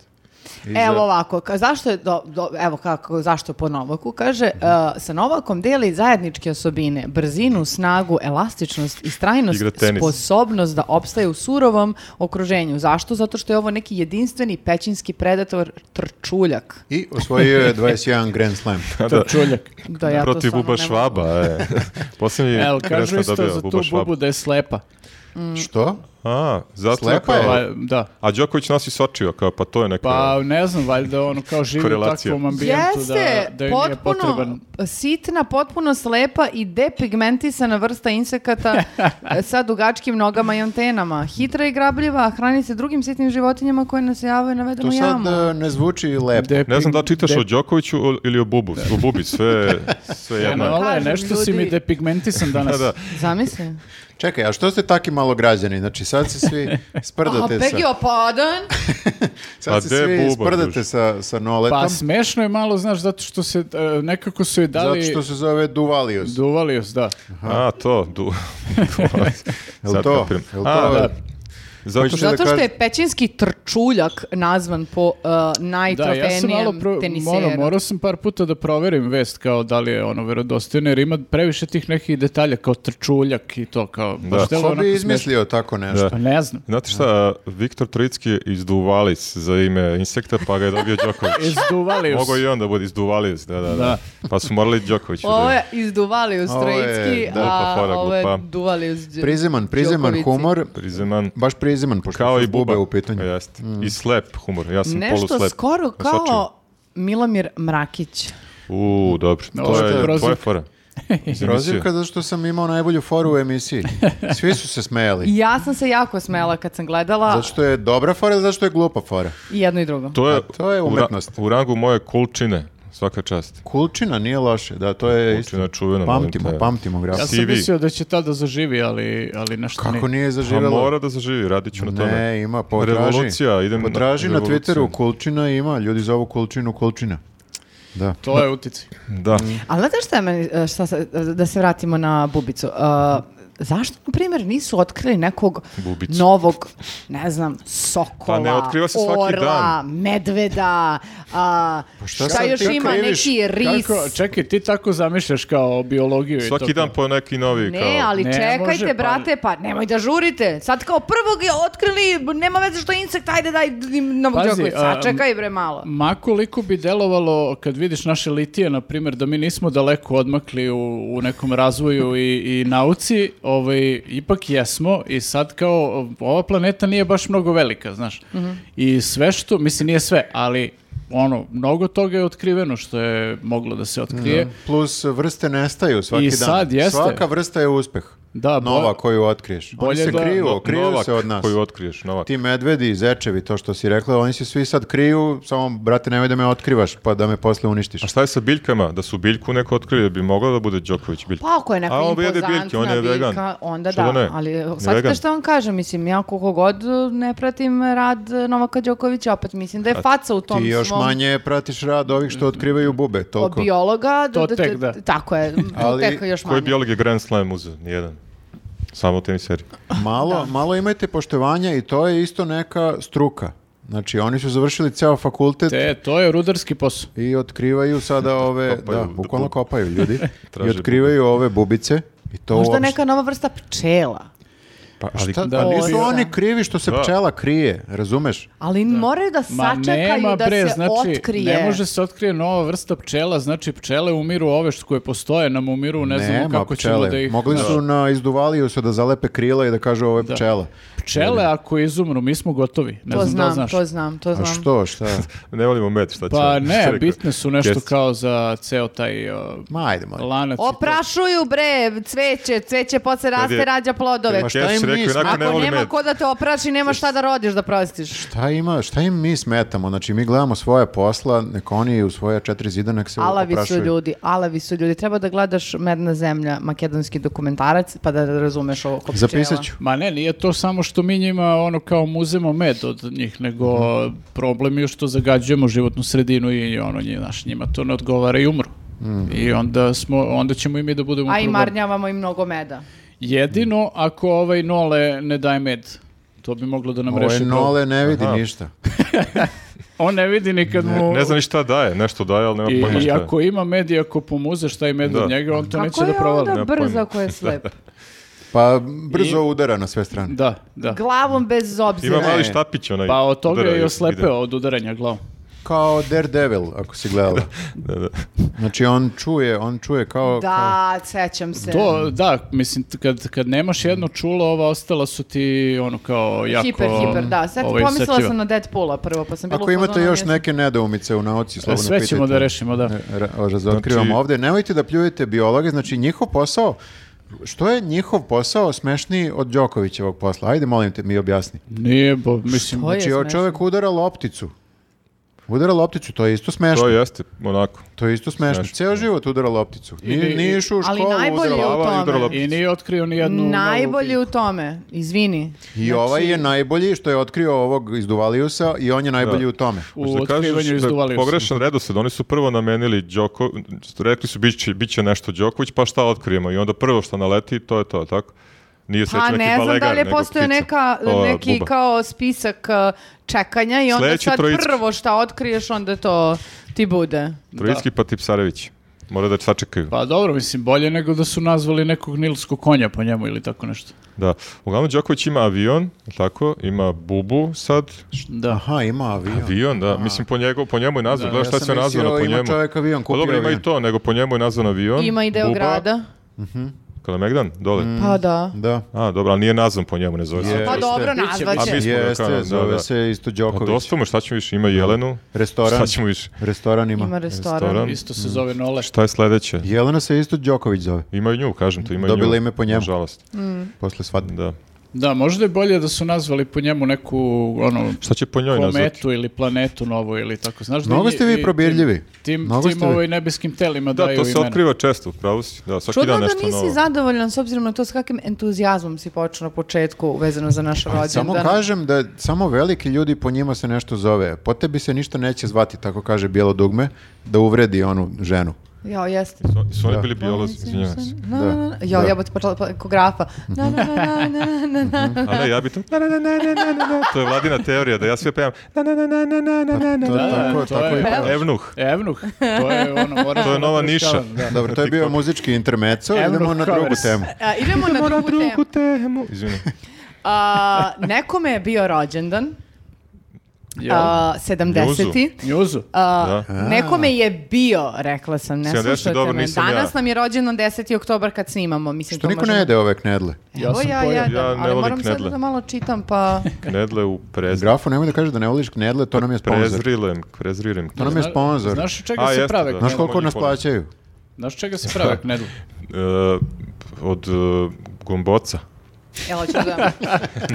[SPEAKER 4] I za-
[SPEAKER 3] Evo ovako, ka- zašto je, do- do- evo kako, zašto po Novaku, kaže,
[SPEAKER 2] Mhm.
[SPEAKER 3] e, sa Novakom deli zajedničke osobine, brzinu, snagu, elastičnost i strajnost,
[SPEAKER 2] Igra tenis.
[SPEAKER 3] sposobnost da opstaje u surovom okruženju. Zašto? Zato što je ovo neki jedinstveni pećinski predator trčuljak.
[SPEAKER 4] I osvojio je 21 Grand Slam.
[SPEAKER 2] Da, da.
[SPEAKER 1] To čuljak.
[SPEAKER 3] Da ja to
[SPEAKER 2] Protiv
[SPEAKER 3] stvarno
[SPEAKER 2] Buba
[SPEAKER 3] ne mogu.
[SPEAKER 2] Švaba, e. Posljednji
[SPEAKER 1] El, kažu
[SPEAKER 2] Kresna
[SPEAKER 1] isto
[SPEAKER 2] dobio
[SPEAKER 1] za tu
[SPEAKER 2] Buba Švab.
[SPEAKER 1] bubu da je slepa.
[SPEAKER 3] Mm.
[SPEAKER 4] Što?
[SPEAKER 2] A, zato
[SPEAKER 4] Slepa je.
[SPEAKER 2] kao-
[SPEAKER 1] Pa, da.
[SPEAKER 2] A Đoković nosi sočio, kao, pa to je neka...
[SPEAKER 1] Pa ne znam, valjda ono kao živi u
[SPEAKER 2] Korelacija.
[SPEAKER 1] takvom ambijentu
[SPEAKER 3] Jeste,
[SPEAKER 1] da, da joj nije
[SPEAKER 3] potpuno
[SPEAKER 1] potreban.
[SPEAKER 3] sitna, potpuno slepa i depigmentisana vrsta insekata e, sa dugačkim nogama i antenama. Hitra i grabljiva, hrani se drugim sitnim životinjama koje nasejavaju na
[SPEAKER 4] To
[SPEAKER 3] vedenu
[SPEAKER 4] sad
[SPEAKER 3] jamu.
[SPEAKER 4] e, ne zvuči lepo.
[SPEAKER 1] Depi-
[SPEAKER 2] Ne znam da li čitaš
[SPEAKER 1] de-
[SPEAKER 2] o Đokoviću ili o Bubu. O Bubi, sve, sve
[SPEAKER 1] Ja,
[SPEAKER 2] jedno. je.
[SPEAKER 1] Nole,
[SPEAKER 3] Kažem,
[SPEAKER 1] nešto si
[SPEAKER 3] ljudi-
[SPEAKER 1] mi depigmentisan danas.
[SPEAKER 2] Da, da.
[SPEAKER 3] Zamisli.
[SPEAKER 4] Čekaj, a što ste taki malo građani? Znači sad se svi
[SPEAKER 3] A,
[SPEAKER 4] sprdate sa...
[SPEAKER 3] Peggy, opadan.
[SPEAKER 2] A
[SPEAKER 4] Sad se
[SPEAKER 2] Pa de
[SPEAKER 4] svi
[SPEAKER 2] buba,
[SPEAKER 4] sprdate
[SPEAKER 2] druže?
[SPEAKER 4] sa, sa noletom.
[SPEAKER 1] Pa smešno je malo, znaš, zato što se e, nekako su i dali...
[SPEAKER 4] Zato što se zove Duvalius.
[SPEAKER 1] Duvalius, da.
[SPEAKER 2] A, to. Du...
[SPEAKER 4] Jel
[SPEAKER 2] Sad
[SPEAKER 4] to?
[SPEAKER 2] kapiram.
[SPEAKER 4] Jel
[SPEAKER 2] A,
[SPEAKER 4] to?
[SPEAKER 1] Da.
[SPEAKER 2] Zato što
[SPEAKER 4] Hoćete da
[SPEAKER 3] Zato što je
[SPEAKER 4] kažete-
[SPEAKER 3] pećinski trčuljak nazvan po uh,
[SPEAKER 1] Da, ja sam malo
[SPEAKER 3] najtrofenijem
[SPEAKER 1] pro...
[SPEAKER 3] teniseru.
[SPEAKER 1] morao, morao sam par puta da proverim vest kao da li je ono verodostojno jer ima previše tih nekih detalja kao trčuljak i to kao baš
[SPEAKER 2] Da.
[SPEAKER 1] delo
[SPEAKER 4] Ko
[SPEAKER 1] onako
[SPEAKER 4] bi
[SPEAKER 1] smešno.
[SPEAKER 4] izmislio tako nešto?
[SPEAKER 1] Pa ne znam.
[SPEAKER 2] Znate šta, Viktor Trojicki je izduvalic za ime insekta, pa ga je dobio Đoković.
[SPEAKER 1] Izduvali us.
[SPEAKER 2] Mogo i on da bude izduvalic, da, da, da.
[SPEAKER 1] Da.
[SPEAKER 2] Pa su morali Đokoviću
[SPEAKER 3] Ovo
[SPEAKER 2] da...
[SPEAKER 3] je izduvali uz
[SPEAKER 4] Ovo je,
[SPEAKER 3] Trojicki,
[SPEAKER 4] da, pa
[SPEAKER 2] glupa
[SPEAKER 3] a
[SPEAKER 2] fora,
[SPEAKER 3] ovo je
[SPEAKER 2] glupa.
[SPEAKER 3] duvali uz Đ-
[SPEAKER 4] Prizeman, prizeman
[SPEAKER 3] Đokovici.
[SPEAKER 4] humor,
[SPEAKER 2] Prizeman,
[SPEAKER 4] baš prizeman, pošto
[SPEAKER 2] kao
[SPEAKER 4] su
[SPEAKER 2] i Buba. Pa E,
[SPEAKER 4] u pitanju. Mm.
[SPEAKER 2] Jeste. I slep humor, ja sam Pa
[SPEAKER 3] Nešto
[SPEAKER 2] poluslep.
[SPEAKER 3] skoro
[SPEAKER 2] Na Sočiju.
[SPEAKER 3] kao Milomir Mrakić.
[SPEAKER 2] U, dobro.
[SPEAKER 1] Ovo
[SPEAKER 2] To
[SPEAKER 1] što je
[SPEAKER 2] je tvoja
[SPEAKER 1] prozivka.
[SPEAKER 2] fora. Iz emisije.
[SPEAKER 4] Prozivka zato što sam imao najbolju foru u emisiji. Svi su se smejali.
[SPEAKER 3] Ja sam se jako smela kad sam gledala
[SPEAKER 4] Zato što je dobra fora ili zato što je glupa fora?
[SPEAKER 3] i jedno i drugo.
[SPEAKER 2] To je,
[SPEAKER 4] A to je
[SPEAKER 2] u ra-
[SPEAKER 4] umetnost.
[SPEAKER 2] U rangu moje kulčine, svaka čast.
[SPEAKER 4] Kulčina nije loše, da, to je isto.
[SPEAKER 2] Kulčina čuvena. molim
[SPEAKER 4] Pamtimo,
[SPEAKER 2] te.
[SPEAKER 4] pamtimo graf.
[SPEAKER 1] Ja sam
[SPEAKER 2] CV.
[SPEAKER 1] mislio da će tada zaživi, ali, ali nešto
[SPEAKER 4] Kako nije
[SPEAKER 2] Pa
[SPEAKER 4] zaživjelo?
[SPEAKER 2] mora da zaživi, radit ću na tome.
[SPEAKER 4] Ne, ima, potraži.
[SPEAKER 2] Revolucija, idem na
[SPEAKER 4] potraži na,
[SPEAKER 2] revoluciju.
[SPEAKER 4] Twitteru, Kulčina ima, ljudi zovu Kulčinu, Kulčina. Da.
[SPEAKER 1] To je utici.
[SPEAKER 2] Da.
[SPEAKER 4] Mm.
[SPEAKER 3] Ali znate šta je meni, e, šta se- da se vratimo na Bubicu. E, zašto, na primjer, nisu otkrili nekog
[SPEAKER 2] Bubicu.
[SPEAKER 3] novog, ne znam,
[SPEAKER 2] Pa
[SPEAKER 3] sokola,
[SPEAKER 2] ne, otkriva se svaki
[SPEAKER 3] orla,
[SPEAKER 2] dan. Pa
[SPEAKER 3] medveda, a,
[SPEAKER 4] šta
[SPEAKER 3] šta,
[SPEAKER 4] sad
[SPEAKER 3] još
[SPEAKER 4] ti
[SPEAKER 3] ima,
[SPEAKER 4] kriviš?
[SPEAKER 3] neki ris.
[SPEAKER 1] Kako, čekaj, ti tako zamišljaš kao biologiju i to.
[SPEAKER 2] Svaki dan
[SPEAKER 1] kao-
[SPEAKER 2] po neki novi kao...
[SPEAKER 3] Ne, ali
[SPEAKER 1] Ne,
[SPEAKER 3] čekajte,
[SPEAKER 1] može, pa-
[SPEAKER 3] brate, pa nemoj da žurite. Sad kao prvog je otkrili, nema veze što je insekt, ajde daj im novog
[SPEAKER 1] Pazi,
[SPEAKER 3] Đokovića.
[SPEAKER 1] a,
[SPEAKER 3] Sad čekaj bre malo.
[SPEAKER 1] Ma koliko bi delovalo kad vidiš naše litije, na primjer, da mi nismo daleko odmakli u, u nekom razvoju i, i nauci, ovaj, ipak jesmo i sad kao ova planeta nije baš mnogo velika, znaš.
[SPEAKER 3] Mhm.
[SPEAKER 1] I sve što, mislim nije sve, ali ono, mnogo toga je otkriveno što je moglo da se otkrije.
[SPEAKER 4] Plus vrste nestaju svaki
[SPEAKER 1] I
[SPEAKER 4] dan.
[SPEAKER 1] sad jeste.
[SPEAKER 4] Svaka vrsta je uspeh.
[SPEAKER 1] Da, bo-
[SPEAKER 4] Nova koju otkriješ. Oni
[SPEAKER 1] bolje
[SPEAKER 4] se
[SPEAKER 1] da-
[SPEAKER 4] kriju,
[SPEAKER 2] No-
[SPEAKER 4] kriju
[SPEAKER 2] novak
[SPEAKER 4] se od nas.
[SPEAKER 2] koju otkriješ, novak.
[SPEAKER 4] Ti medvedi, zečevi, to što si rekla, oni se svi sad kriju, samo, brate, nemoj da me otkrivaš, pa da me posle uništiš.
[SPEAKER 2] A šta je sa biljkama? Da su biljku neko otkrili, da bi mogla da bude Đoković biljka.
[SPEAKER 3] Pa ako je neka
[SPEAKER 2] A on jede
[SPEAKER 3] impozantna
[SPEAKER 2] biljke, on je vegan.
[SPEAKER 3] biljka, onda
[SPEAKER 2] Što
[SPEAKER 3] da,
[SPEAKER 2] da ne?
[SPEAKER 3] ali
[SPEAKER 2] On je
[SPEAKER 3] sad
[SPEAKER 2] vegan.
[SPEAKER 3] što vam kažem, mislim, ja koliko god eh, ne pratim rad eh, Novaka Đokovića, opet mislim da je faca u tom
[SPEAKER 4] Ti još
[SPEAKER 3] svom
[SPEAKER 4] manje pratiš rad ovih što otkrivaju bube,
[SPEAKER 3] o
[SPEAKER 4] toliko.
[SPEAKER 3] biologa.
[SPEAKER 1] To tek da.
[SPEAKER 3] Tako je, to
[SPEAKER 4] Ali-
[SPEAKER 3] tek još
[SPEAKER 2] Koji
[SPEAKER 3] manje.
[SPEAKER 2] biolog je Grand Slam uzeo? Nijedan. Samo u teniseri.
[SPEAKER 4] Malo, malo imajte poštovanja i to je isto neka struka. Znači, oni su završili ceo fakultet
[SPEAKER 1] Te, to je rudarski posao.
[SPEAKER 4] i otkrivaju sada ove,
[SPEAKER 2] Kopaju
[SPEAKER 4] da,
[SPEAKER 2] bu-
[SPEAKER 4] bukvalno
[SPEAKER 2] bu-
[SPEAKER 4] kopaju ljudi i
[SPEAKER 2] Traže
[SPEAKER 4] otkrivaju ove bubice i to
[SPEAKER 3] Možda
[SPEAKER 4] uopšte-
[SPEAKER 3] neka nova vrsta pčela.
[SPEAKER 2] Pa,
[SPEAKER 4] Šta,
[SPEAKER 1] Da,
[SPEAKER 4] pa
[SPEAKER 1] ali-
[SPEAKER 4] nisu
[SPEAKER 3] Orla.
[SPEAKER 4] oni krivi što se
[SPEAKER 2] Da.
[SPEAKER 4] pčela krije, razumeš?
[SPEAKER 3] Ali moraju da
[SPEAKER 1] Ma
[SPEAKER 3] sačekaju
[SPEAKER 1] nema
[SPEAKER 3] da
[SPEAKER 1] bre,
[SPEAKER 3] se
[SPEAKER 1] znači,
[SPEAKER 3] otkrije.
[SPEAKER 1] ne može se otkrije nova vrsta pčela, znači pčele umiru ove što koje postoje, nam umiru, ne znamo
[SPEAKER 4] Nema
[SPEAKER 1] kako ćemo
[SPEAKER 4] pčele.
[SPEAKER 1] da ih...
[SPEAKER 4] Mogli su na izduvaliju se da zalepe krila i da kažu ovo je pčela.
[SPEAKER 1] Pčele ako izumru, mi smo gotovi. Ne
[SPEAKER 3] To
[SPEAKER 1] znam, da li
[SPEAKER 3] znam,
[SPEAKER 1] znaš.
[SPEAKER 3] to znam, to
[SPEAKER 4] A
[SPEAKER 3] znam.
[SPEAKER 4] što, šta?
[SPEAKER 2] Ne volimo med, šta će?
[SPEAKER 1] Pa
[SPEAKER 2] šta je
[SPEAKER 1] ne,
[SPEAKER 2] rekao?
[SPEAKER 1] bitne su nešto
[SPEAKER 2] Kest-
[SPEAKER 1] kao za ceo taj uh,
[SPEAKER 4] Ma, ajde, molim.
[SPEAKER 1] lanac. i to.
[SPEAKER 3] Oprašuju bre, cveće, cveće posle
[SPEAKER 2] Znači, Kad je-
[SPEAKER 3] raste, rađa plodove.
[SPEAKER 4] Pa
[SPEAKER 2] Kest
[SPEAKER 4] šta im
[SPEAKER 2] rekao,
[SPEAKER 4] mi
[SPEAKER 2] ionako
[SPEAKER 4] smo?
[SPEAKER 3] Ako
[SPEAKER 2] ne volim
[SPEAKER 3] nema
[SPEAKER 2] med.
[SPEAKER 3] ko da te opraši, nema šta da rodiš da prostiš.
[SPEAKER 4] Šta ima, šta im mi smetamo? Znači, mi gledamo svoje posla, nek oni u svoja četiri zida, nek se
[SPEAKER 3] Alavi su
[SPEAKER 4] oprašuju.
[SPEAKER 3] ljudi, alavi su ljudi. Treba da gledaš Medna zemlja, makedonski dokumentarac, pa da razumeš ovo ko
[SPEAKER 4] Zapisat ću.
[SPEAKER 1] Ma ne, nije to samo što mi njima ono kao muzemo med od njih, nego
[SPEAKER 2] Mhm.
[SPEAKER 1] problem je što zagađujemo životnu sredinu i ono njih, znaš, njima to ne odgovara i umru.
[SPEAKER 2] Mhm.
[SPEAKER 1] I onda, smo, onda ćemo i mi da budemo
[SPEAKER 3] A i
[SPEAKER 1] problem.
[SPEAKER 3] marnjavamo i mnogo meda.
[SPEAKER 1] Jedino ako ovaj nole ne daje med. To bi moglo da nam
[SPEAKER 2] Ovaj
[SPEAKER 4] Ovo
[SPEAKER 1] reši
[SPEAKER 4] je
[SPEAKER 1] problem.
[SPEAKER 4] nole, ne vidi
[SPEAKER 2] Aha.
[SPEAKER 4] ništa.
[SPEAKER 1] On ne vidi nikad mu...
[SPEAKER 2] Ne znam ni šta daje, nešto daje, ali nema
[SPEAKER 1] I,
[SPEAKER 2] pojma
[SPEAKER 1] I
[SPEAKER 2] pa šta je.
[SPEAKER 1] ako ima med i ako pomuzeš taj med
[SPEAKER 2] Da.
[SPEAKER 1] od njega, on to
[SPEAKER 3] Kako
[SPEAKER 1] neće da
[SPEAKER 3] je
[SPEAKER 1] provali.
[SPEAKER 3] onda
[SPEAKER 2] nema pojma.
[SPEAKER 3] brzo ako je slep?
[SPEAKER 4] Pa brzo udara na sve strane.
[SPEAKER 1] Da, da.
[SPEAKER 3] Glavom bez obzira.
[SPEAKER 2] Ima
[SPEAKER 4] Ne.
[SPEAKER 2] mali štapić onaj.
[SPEAKER 1] Pa od toga
[SPEAKER 2] udara
[SPEAKER 1] je i
[SPEAKER 2] i ide.
[SPEAKER 1] oslepeo od udaranja glavom.
[SPEAKER 4] Kao Daredevil, ako si gledala.
[SPEAKER 2] Da, da.
[SPEAKER 4] Znači, on čuje, on čuje kao... kao-
[SPEAKER 3] Da, sećam se.
[SPEAKER 1] To, da, mislim, t- kad, kad nemaš jedno čulo, ova ostala su ti ono kao jako...
[SPEAKER 3] hiper, hiper, da. Sad
[SPEAKER 1] ovaj,
[SPEAKER 3] pomislila
[SPEAKER 1] iscrpljiva.
[SPEAKER 3] sam na Deadpoola prvo, pa sam bila
[SPEAKER 4] Ako
[SPEAKER 3] u
[SPEAKER 4] imate
[SPEAKER 3] fazonu,
[SPEAKER 4] još
[SPEAKER 3] jesam.
[SPEAKER 4] neke nedoumice u nauci, slobodno
[SPEAKER 1] Sve
[SPEAKER 4] pitajte.
[SPEAKER 1] ćemo da rešimo, da.
[SPEAKER 4] Ra- Razotkrivamo
[SPEAKER 2] Znači-
[SPEAKER 4] ovde. Nemojte da pljujete biologe, znači njihov posao, što je njihov posao smešniji od Đokovićevog posla? Ajde, molim te, mi objasni.
[SPEAKER 1] Nije, bo, mislim...
[SPEAKER 3] Što je
[SPEAKER 4] Znači, ovaj
[SPEAKER 3] smešno?
[SPEAKER 4] čovek udara lopticu. Udara lopticu, to je isto smešno.
[SPEAKER 2] To
[SPEAKER 4] To je,
[SPEAKER 2] jeste, onako.
[SPEAKER 4] isto smešno.
[SPEAKER 2] Smešno.
[SPEAKER 4] Ceo život udara lopticu. Ni,
[SPEAKER 1] Ili-
[SPEAKER 4] nije išao u
[SPEAKER 3] Ali
[SPEAKER 4] školu,
[SPEAKER 3] najbolje
[SPEAKER 4] udara
[SPEAKER 3] je u
[SPEAKER 4] lopticu.
[SPEAKER 2] Glava i udara
[SPEAKER 3] tome.
[SPEAKER 2] lopticu.
[SPEAKER 1] I nije otkrio ni jednu...
[SPEAKER 3] Najbolji
[SPEAKER 1] novu-
[SPEAKER 3] u tome, izvini. Znači,
[SPEAKER 4] I ovaj je najbolji što je otkrio ovog izduvalijusa i on je najbolji
[SPEAKER 2] Da.
[SPEAKER 4] u tome.
[SPEAKER 1] U otkrivanju
[SPEAKER 2] da
[SPEAKER 1] izduvali.
[SPEAKER 2] pogrešan redosled, oni su prvo namenili Đoko, rekli su bit će, bit će nešto Đoković, pa šta otkrijemo i onda prvo što naleti, to je to, tako? Nije
[SPEAKER 3] Pa
[SPEAKER 2] sreća neki
[SPEAKER 3] ne znam
[SPEAKER 2] balegar,
[SPEAKER 3] da li je
[SPEAKER 2] nego
[SPEAKER 3] postojao
[SPEAKER 2] ptica. Pa,
[SPEAKER 3] neka,
[SPEAKER 2] O,
[SPEAKER 3] neki
[SPEAKER 2] buba.
[SPEAKER 3] kao spisak uh, čekanja i onda
[SPEAKER 2] Sljedeći
[SPEAKER 3] sad
[SPEAKER 2] Troicki.
[SPEAKER 3] prvo šta otkriješ onda to ti bude.
[SPEAKER 2] Trojitski pa Tipsarević. Mora da sačekaju.
[SPEAKER 1] Pa dobro, mislim, bolje nego da su nazvali nekog nilskog konja po njemu ili tako nešto.
[SPEAKER 2] Da. Uglavnom, Đoković ima avion, je li tako? Ima bubu sad.
[SPEAKER 1] Da.
[SPEAKER 4] Aha, ima avion.
[SPEAKER 2] Avion, da. Mislim, po, njego, po njemu je nazvan. Gledaj šta
[SPEAKER 4] sam
[SPEAKER 2] se nazvano
[SPEAKER 4] mislio,
[SPEAKER 2] po
[SPEAKER 4] ima
[SPEAKER 2] njemu.
[SPEAKER 4] čovjek avion,
[SPEAKER 2] Pa
[SPEAKER 4] kupio
[SPEAKER 2] dobro, ima
[SPEAKER 4] avion.
[SPEAKER 2] i to, nego po njemu je nazvan avion.
[SPEAKER 3] Ima i deo
[SPEAKER 2] buba,
[SPEAKER 3] grada.
[SPEAKER 2] Kalemegdan, dole.
[SPEAKER 3] Pa da.
[SPEAKER 4] Da.
[SPEAKER 2] A, dobro, ali nije nazvan po njemu, ne zove se.
[SPEAKER 4] Je.
[SPEAKER 3] Pa
[SPEAKER 4] Jeste.
[SPEAKER 3] dobro,
[SPEAKER 1] Biće,
[SPEAKER 3] nazvat
[SPEAKER 1] biće.
[SPEAKER 3] će.
[SPEAKER 2] A mi smo
[SPEAKER 4] Jeste,
[SPEAKER 2] rekao, da,
[SPEAKER 4] zove
[SPEAKER 2] da.
[SPEAKER 4] se isto
[SPEAKER 2] Pa
[SPEAKER 4] Đoković.
[SPEAKER 2] dosta mu, šta ćemo više? Ima Jelenu.
[SPEAKER 4] Restoran.
[SPEAKER 2] Šta ćemo više?
[SPEAKER 4] Restoran ima.
[SPEAKER 3] Ima restoran.
[SPEAKER 2] Restoran.
[SPEAKER 1] Isto se zove Nole.
[SPEAKER 2] Šta je sledeće?
[SPEAKER 4] Jelena se isto Đoković zove.
[SPEAKER 2] Ima i nju, kažem to, ima i nju.
[SPEAKER 4] Dobila ime po njemu.
[SPEAKER 2] Nažalost.
[SPEAKER 4] Posle svadbe.
[SPEAKER 2] Da.
[SPEAKER 1] Da, možda je bolje da su nazvali po njemu neku, ono,
[SPEAKER 2] Šta će po njoj nazvati?
[SPEAKER 1] kometu ili planetu novu ili tako. Znaš, da
[SPEAKER 4] Mnogo
[SPEAKER 1] i-
[SPEAKER 4] ste vi
[SPEAKER 1] i
[SPEAKER 4] probirljivi.
[SPEAKER 1] Tim,
[SPEAKER 4] Mnogo
[SPEAKER 1] tim, tim
[SPEAKER 4] ste vi.
[SPEAKER 1] ovaj nebeskim telima
[SPEAKER 2] Da,
[SPEAKER 1] daju
[SPEAKER 2] to se
[SPEAKER 1] imena.
[SPEAKER 2] otkriva često, pravo si. Da, svaki
[SPEAKER 3] Čudno
[SPEAKER 2] dan
[SPEAKER 3] da
[SPEAKER 2] nešto
[SPEAKER 3] nisi
[SPEAKER 2] novo.
[SPEAKER 3] zadovoljan s obzirom na to s kakvim entuzijazmom si počeo na početku vezano za naš rođendan.
[SPEAKER 4] Samo kažem da samo veliki ljudi po njima se nešto zove. Po tebi se ništa neće zvati, tako kaže bijelo dugme, da uvredi onu ženu.
[SPEAKER 3] Jao, jeste.
[SPEAKER 2] Su, su oni
[SPEAKER 4] Da.
[SPEAKER 2] bili biolozi, izvinjavam se.
[SPEAKER 3] Na, na, na, na. Jao,
[SPEAKER 4] Da.
[SPEAKER 3] jebote, počela pa- ko grafa. Na, na, na, na, na, na, na.
[SPEAKER 2] A ne, ja bi to... Na, na, na, na, na, na, na, na. To je vladina teorija, da ja sve pevam... Na, na, na, na, na, na, na, na, na,
[SPEAKER 4] To,
[SPEAKER 2] na.
[SPEAKER 4] tako,
[SPEAKER 1] to
[SPEAKER 4] tako
[SPEAKER 1] je-
[SPEAKER 4] i pa- pevaš.
[SPEAKER 2] Evnuh.
[SPEAKER 1] Evnuh, to je ono, moraš
[SPEAKER 2] To je
[SPEAKER 1] ono
[SPEAKER 2] nova
[SPEAKER 1] preškavan,
[SPEAKER 2] niša.
[SPEAKER 1] da.
[SPEAKER 4] Dobro, to je bio muzički intermeco, idemo
[SPEAKER 1] Evro
[SPEAKER 4] na drugu
[SPEAKER 1] covers.
[SPEAKER 4] temu.
[SPEAKER 3] A, idemo na drugu temu.
[SPEAKER 2] temu. Izvini.
[SPEAKER 3] A, nekome je bio rođendan, a, 70-ti.
[SPEAKER 1] Njuzu.
[SPEAKER 3] A,
[SPEAKER 2] Da.
[SPEAKER 3] Nekome je bio, rekla sam, ne
[SPEAKER 2] 70
[SPEAKER 3] slušajte
[SPEAKER 2] dobro,
[SPEAKER 3] me.
[SPEAKER 2] nisam ja.
[SPEAKER 3] Danas nam je rođendan 10. oktobar kad snimamo. Mislim,
[SPEAKER 4] Što
[SPEAKER 3] to
[SPEAKER 4] niko
[SPEAKER 3] možemo-
[SPEAKER 4] ne jede ove knedle?
[SPEAKER 1] Ja
[SPEAKER 3] Evo
[SPEAKER 1] sam
[SPEAKER 3] ja,
[SPEAKER 1] pojeo.
[SPEAKER 3] jedem,
[SPEAKER 2] Ja ne
[SPEAKER 3] ali
[SPEAKER 2] volim
[SPEAKER 3] moram sad
[SPEAKER 2] knedle.
[SPEAKER 3] da malo čitam, pa...
[SPEAKER 2] Knedle u prezri...
[SPEAKER 4] Grafo, nemoj da kažeš da ne voliš knedle, to nam je sponsor.
[SPEAKER 2] Prezrilem, prezrirem.
[SPEAKER 4] To nam je sponsor.
[SPEAKER 1] Znaš od čega
[SPEAKER 2] A,
[SPEAKER 1] se
[SPEAKER 2] jeste,
[SPEAKER 1] prave
[SPEAKER 2] da.
[SPEAKER 4] Znaš
[SPEAKER 1] knedle?
[SPEAKER 4] koliko nas plaćaju?
[SPEAKER 1] Znaš od čega se prave knedle?
[SPEAKER 2] E, od e, gomboca.
[SPEAKER 3] Evo ću da...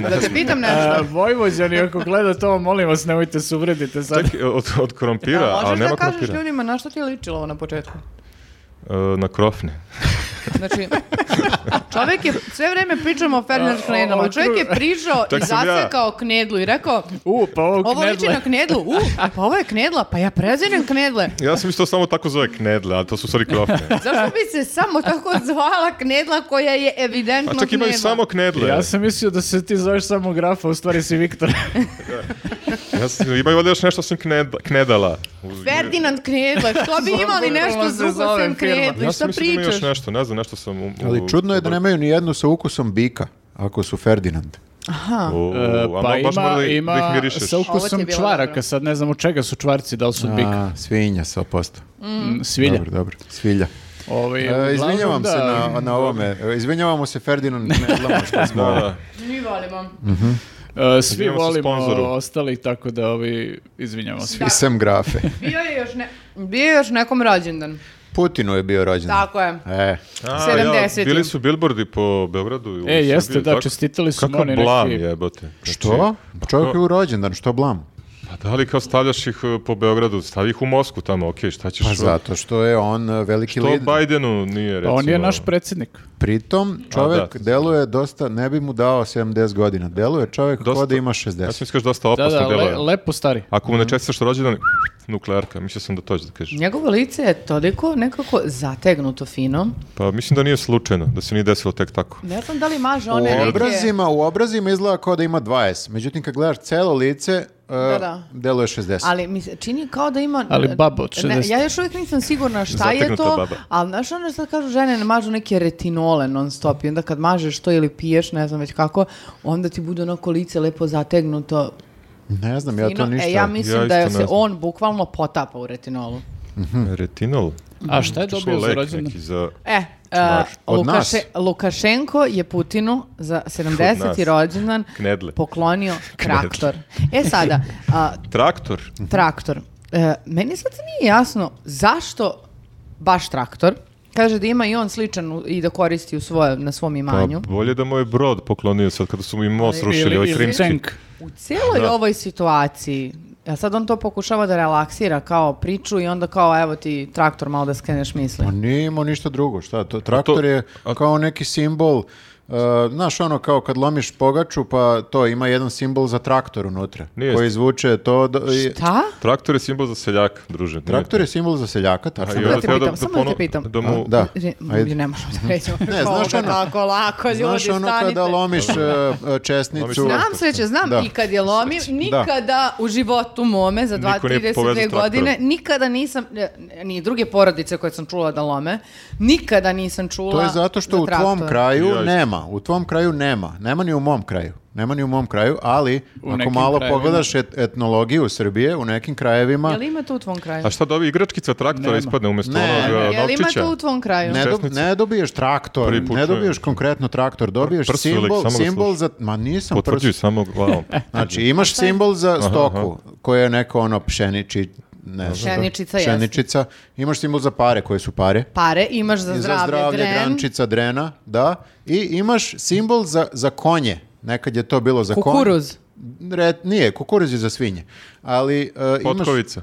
[SPEAKER 3] da te pitam nešto.
[SPEAKER 1] A, E, Vojvođani, ako gledate ovo, molim vas, nemojte se uvredite sad.
[SPEAKER 2] Čekaj, od, od krompira,
[SPEAKER 3] A,
[SPEAKER 2] ali
[SPEAKER 3] možeš
[SPEAKER 2] nema
[SPEAKER 3] da kažeš
[SPEAKER 2] krompira.
[SPEAKER 3] ljudima na što ti je ličilo ovo na početku?
[SPEAKER 1] Eh,
[SPEAKER 2] E, na krofne.
[SPEAKER 3] Znači, čovjek je, sve vrijeme pričamo o Ferdinand
[SPEAKER 1] A, o-
[SPEAKER 3] Knedlama,
[SPEAKER 1] o-
[SPEAKER 3] čovjek je prižao
[SPEAKER 2] Čak
[SPEAKER 3] i
[SPEAKER 2] sam ja.
[SPEAKER 3] zasekao knedlu i rekao,
[SPEAKER 1] U, pa ovo,
[SPEAKER 3] ovo liči
[SPEAKER 1] knedle.
[SPEAKER 3] na knedlu, u, pa ovo je knedla, pa ja prezirem knedle.
[SPEAKER 2] Ja sam mislio samo tako zove knedle, a to su stvari krofne.
[SPEAKER 3] Zašto bi se samo tako zvala knedla koja je evidentno
[SPEAKER 2] A čak imaju
[SPEAKER 3] knedla?
[SPEAKER 2] samo knedle.
[SPEAKER 1] Ja sam mislio da se ti zoveš samo grafa, u stvari si Viktor.
[SPEAKER 2] Ja sam, imaju valjda još nešto osim kneda, knedala. Uz-
[SPEAKER 3] Ferdinand Knedla, što bi imali nešto
[SPEAKER 1] se
[SPEAKER 3] drugo
[SPEAKER 1] zove
[SPEAKER 3] sem knedli,
[SPEAKER 2] Ja
[SPEAKER 3] šta
[SPEAKER 2] sam mislio da ima
[SPEAKER 3] pričaš?
[SPEAKER 2] još nešto, ne znam, nešto sam... u- u-
[SPEAKER 4] Ali čudno je da nemaju ni jednu sa ukusom bika, ako su Ferdinand.
[SPEAKER 2] U, u,
[SPEAKER 1] E,
[SPEAKER 2] a
[SPEAKER 1] pa
[SPEAKER 2] ma- baš mora
[SPEAKER 1] ima,
[SPEAKER 2] da, ih- da ih
[SPEAKER 1] ima
[SPEAKER 2] mirišeš.
[SPEAKER 1] sa
[SPEAKER 3] Ovo ti je
[SPEAKER 1] ukusom
[SPEAKER 3] bilo dobro.
[SPEAKER 1] čvaraka, sad ne znam od čega su čvarci, da li su od bika,
[SPEAKER 4] A, svinja, 100%.
[SPEAKER 1] Mm, svilja.
[SPEAKER 4] Dobro, dobro, svilja.
[SPEAKER 1] Ovaj,
[SPEAKER 4] E,
[SPEAKER 1] uglavnom,
[SPEAKER 4] izvinjavam se
[SPEAKER 1] da,
[SPEAKER 4] na, na ovome. E, Izvinjavamo se Ferdinand Knedlama što smo...
[SPEAKER 2] Da, da.
[SPEAKER 3] Mi volimo.
[SPEAKER 1] e, svi
[SPEAKER 2] Izvinjavam se
[SPEAKER 1] volimo
[SPEAKER 2] sponzoru.
[SPEAKER 1] ostali, tako da ovi, izvinjamo se.
[SPEAKER 4] I sam grafe.
[SPEAKER 3] Bio je još, ne, bio je još nekom rođendan.
[SPEAKER 4] Putinu je bio rođen.
[SPEAKER 3] Tako je.
[SPEAKER 4] E,
[SPEAKER 2] A,
[SPEAKER 3] 70-im.
[SPEAKER 2] bili su bilbordi po Beogradu. i u
[SPEAKER 1] E, jeste,
[SPEAKER 2] Srbiji,
[SPEAKER 1] da,
[SPEAKER 2] tako?
[SPEAKER 1] čestitali su mu
[SPEAKER 2] Kakav
[SPEAKER 1] oni
[SPEAKER 2] blam
[SPEAKER 1] neki-
[SPEAKER 2] jebote. Znači,
[SPEAKER 4] što? Pa Čovjek je u rođendan, što blam?
[SPEAKER 2] Pa da li kao stavljaš ih e, po Beogradu, stavi ih u Mosku tamo, okej, šta ćeš...
[SPEAKER 4] Pa zato što je on e, veliki
[SPEAKER 2] To
[SPEAKER 4] lider.
[SPEAKER 2] Bajdenu nije,
[SPEAKER 1] Pa
[SPEAKER 2] recimo. ono,
[SPEAKER 1] on je naš predsjednik.
[SPEAKER 4] Pritom čovjek
[SPEAKER 2] da.
[SPEAKER 4] deluje dosta, ne bi mu dao 70 godina. Deluje čovjek dosta...
[SPEAKER 2] Dosta-
[SPEAKER 4] da ima
[SPEAKER 2] Ja
[SPEAKER 4] 60.
[SPEAKER 2] sam iskaš dosta
[SPEAKER 1] Da,
[SPEAKER 2] opasno
[SPEAKER 1] da,
[SPEAKER 2] delo.
[SPEAKER 1] le- lepo stari.
[SPEAKER 2] Ako mu ne čestiš rođendan, nuklearka, mislio sam da to ćeš da kažeš.
[SPEAKER 3] Njegovo lice je toliko nekako zategnuto fino.
[SPEAKER 2] Pa mislim da nije slučajno, da se nije desilo tek tako.
[SPEAKER 3] Ne znam da li maže one
[SPEAKER 4] U
[SPEAKER 3] neke...
[SPEAKER 4] obrazima, u obrazima izgleda kao da ima 20. Međutim, kad gledaš celo lice, e,
[SPEAKER 3] da.
[SPEAKER 4] deluje 60.
[SPEAKER 3] Ali mi se čini kao da ima... e,
[SPEAKER 1] Ali baba od
[SPEAKER 3] Ne,
[SPEAKER 1] 60.
[SPEAKER 3] ja još uvijek nisam sigurna šta je
[SPEAKER 2] Zategnuta
[SPEAKER 3] to,
[SPEAKER 2] baba.
[SPEAKER 3] ali znaš ono sad kažu žene ne mažu neke retinole non stop i onda kad mažeš to ili piješ, ne znam već kako, onda ti bude onako lice lepo zategnuto.
[SPEAKER 4] Ne znam, ja to
[SPEAKER 3] fino.
[SPEAKER 4] ništa.
[SPEAKER 3] E, ja mislim
[SPEAKER 2] Ja
[SPEAKER 3] da
[SPEAKER 2] isto ne
[SPEAKER 3] se
[SPEAKER 2] znam.
[SPEAKER 3] on bukvalno potapa u retinolu.
[SPEAKER 2] Retinol?
[SPEAKER 1] A šta je
[SPEAKER 2] Čuo
[SPEAKER 1] dobio za
[SPEAKER 2] lek
[SPEAKER 1] rođendan?
[SPEAKER 2] neki za...
[SPEAKER 3] E,
[SPEAKER 2] Čmaš.
[SPEAKER 3] e,
[SPEAKER 4] Od nas?
[SPEAKER 3] Lukaše- Lukašenko je Putinu za
[SPEAKER 2] Od nas.
[SPEAKER 3] 70. rođendan
[SPEAKER 2] Knedle.
[SPEAKER 3] poklonio traktor. E sada, a,
[SPEAKER 2] Traktor?
[SPEAKER 3] traktor. E, meni sad nije jasno zašto baš traktor. Kaže da ima i on sličan u- i da koristi u svoje, na svom
[SPEAKER 2] Pa
[SPEAKER 3] imanju.
[SPEAKER 2] bolje da mu je brod poklonio sad kada su mu i most rušili,
[SPEAKER 1] Ili-
[SPEAKER 2] ovaj
[SPEAKER 1] ili
[SPEAKER 2] krimski.
[SPEAKER 1] tank.
[SPEAKER 3] U cijeloj ovoj situaciji, a sad on to pokušava da relaksira kao priču i onda kao evo ti traktor malo da skreneš misli.
[SPEAKER 4] Pa nije imao ništa drugo, šta to? Traktor je
[SPEAKER 2] a-
[SPEAKER 4] kao neki simbol Uh, znaš ono kao kad lomiš pogaču pa to ima jedan simbol za traktor unutra
[SPEAKER 2] Nije.
[SPEAKER 4] koji zvuče to do- i-
[SPEAKER 3] Šta?
[SPEAKER 2] Traktor je simbol za seljaka, druže. nije
[SPEAKER 4] traktor
[SPEAKER 2] to.
[SPEAKER 4] je simbol za seljaka tačno
[SPEAKER 2] A i
[SPEAKER 3] da
[SPEAKER 2] onda
[SPEAKER 3] te
[SPEAKER 2] treba
[SPEAKER 3] pitam, samo da te
[SPEAKER 2] pono-
[SPEAKER 3] pitam.
[SPEAKER 2] da mu-
[SPEAKER 4] A, da.
[SPEAKER 3] Ne,
[SPEAKER 4] Ajde.
[SPEAKER 3] ne možemo da rećemo
[SPEAKER 4] Ne, znaš ono-
[SPEAKER 3] tako lako, ljudi,
[SPEAKER 4] znaš ono
[SPEAKER 3] stanite.
[SPEAKER 4] kada lomiš uh, uh,
[SPEAKER 2] Lomiš
[SPEAKER 4] česnicu
[SPEAKER 2] traktor.
[SPEAKER 3] Znam sreće, znam
[SPEAKER 4] Da.
[SPEAKER 3] i kad je lomim, nikada u životu mome za
[SPEAKER 2] Niko nije povezao
[SPEAKER 3] 2-32
[SPEAKER 2] traktora.
[SPEAKER 3] godine, nikada nisam, ne, ni druge porodice koje sam čula da lome, nikada nisam čula
[SPEAKER 4] to je zato što
[SPEAKER 3] za
[SPEAKER 4] u tvom
[SPEAKER 3] traktor.
[SPEAKER 4] kraju
[SPEAKER 2] Joj.
[SPEAKER 4] nema u tvom kraju nema nema ni u mom kraju nema ni u mom kraju ali ako
[SPEAKER 1] nekim
[SPEAKER 4] malo
[SPEAKER 1] krajevima.
[SPEAKER 4] pogledaš et- etnologiju Srbije u nekim krajevima
[SPEAKER 3] Jel ima to u tvom kraju?
[SPEAKER 2] A šta dobi igračkica traktora
[SPEAKER 1] Nema.
[SPEAKER 2] ispadne umjesto
[SPEAKER 4] Ne,
[SPEAKER 2] onog
[SPEAKER 4] ne.
[SPEAKER 2] e,
[SPEAKER 3] Jel ima
[SPEAKER 2] novčića?
[SPEAKER 3] to u tvom kraju?
[SPEAKER 4] Ne, dob-
[SPEAKER 2] Česnica.
[SPEAKER 4] ne dobiješ traktor,
[SPEAKER 2] Prvi put
[SPEAKER 4] ne
[SPEAKER 2] čujem.
[SPEAKER 4] dobiješ konkretno traktor, dobiješ
[SPEAKER 2] prsu ili
[SPEAKER 4] simbol,
[SPEAKER 2] samo ga
[SPEAKER 4] simbol
[SPEAKER 2] slušam.
[SPEAKER 4] za... Ma nisam
[SPEAKER 2] Potvrđuj
[SPEAKER 4] prsu.
[SPEAKER 2] samo glavom.
[SPEAKER 4] Znači, imaš simbol za stoku, koja je neko ono pšeniči... Ne, znam.
[SPEAKER 3] Pšeničica, jeste.
[SPEAKER 4] Pšeničica. Imaš simbol za pare, koje su pare.
[SPEAKER 3] Pare imaš za
[SPEAKER 4] I
[SPEAKER 3] zdravlje,
[SPEAKER 4] za zdravlje,
[SPEAKER 3] dren.
[SPEAKER 4] grančica, drena, da. I imaš simbol za, za konje. Nekad je to bilo za konje.
[SPEAKER 3] Kukuruz.
[SPEAKER 4] Re- nije, kukuruz je za svinje. Ali e, imaš...
[SPEAKER 2] Potkovica.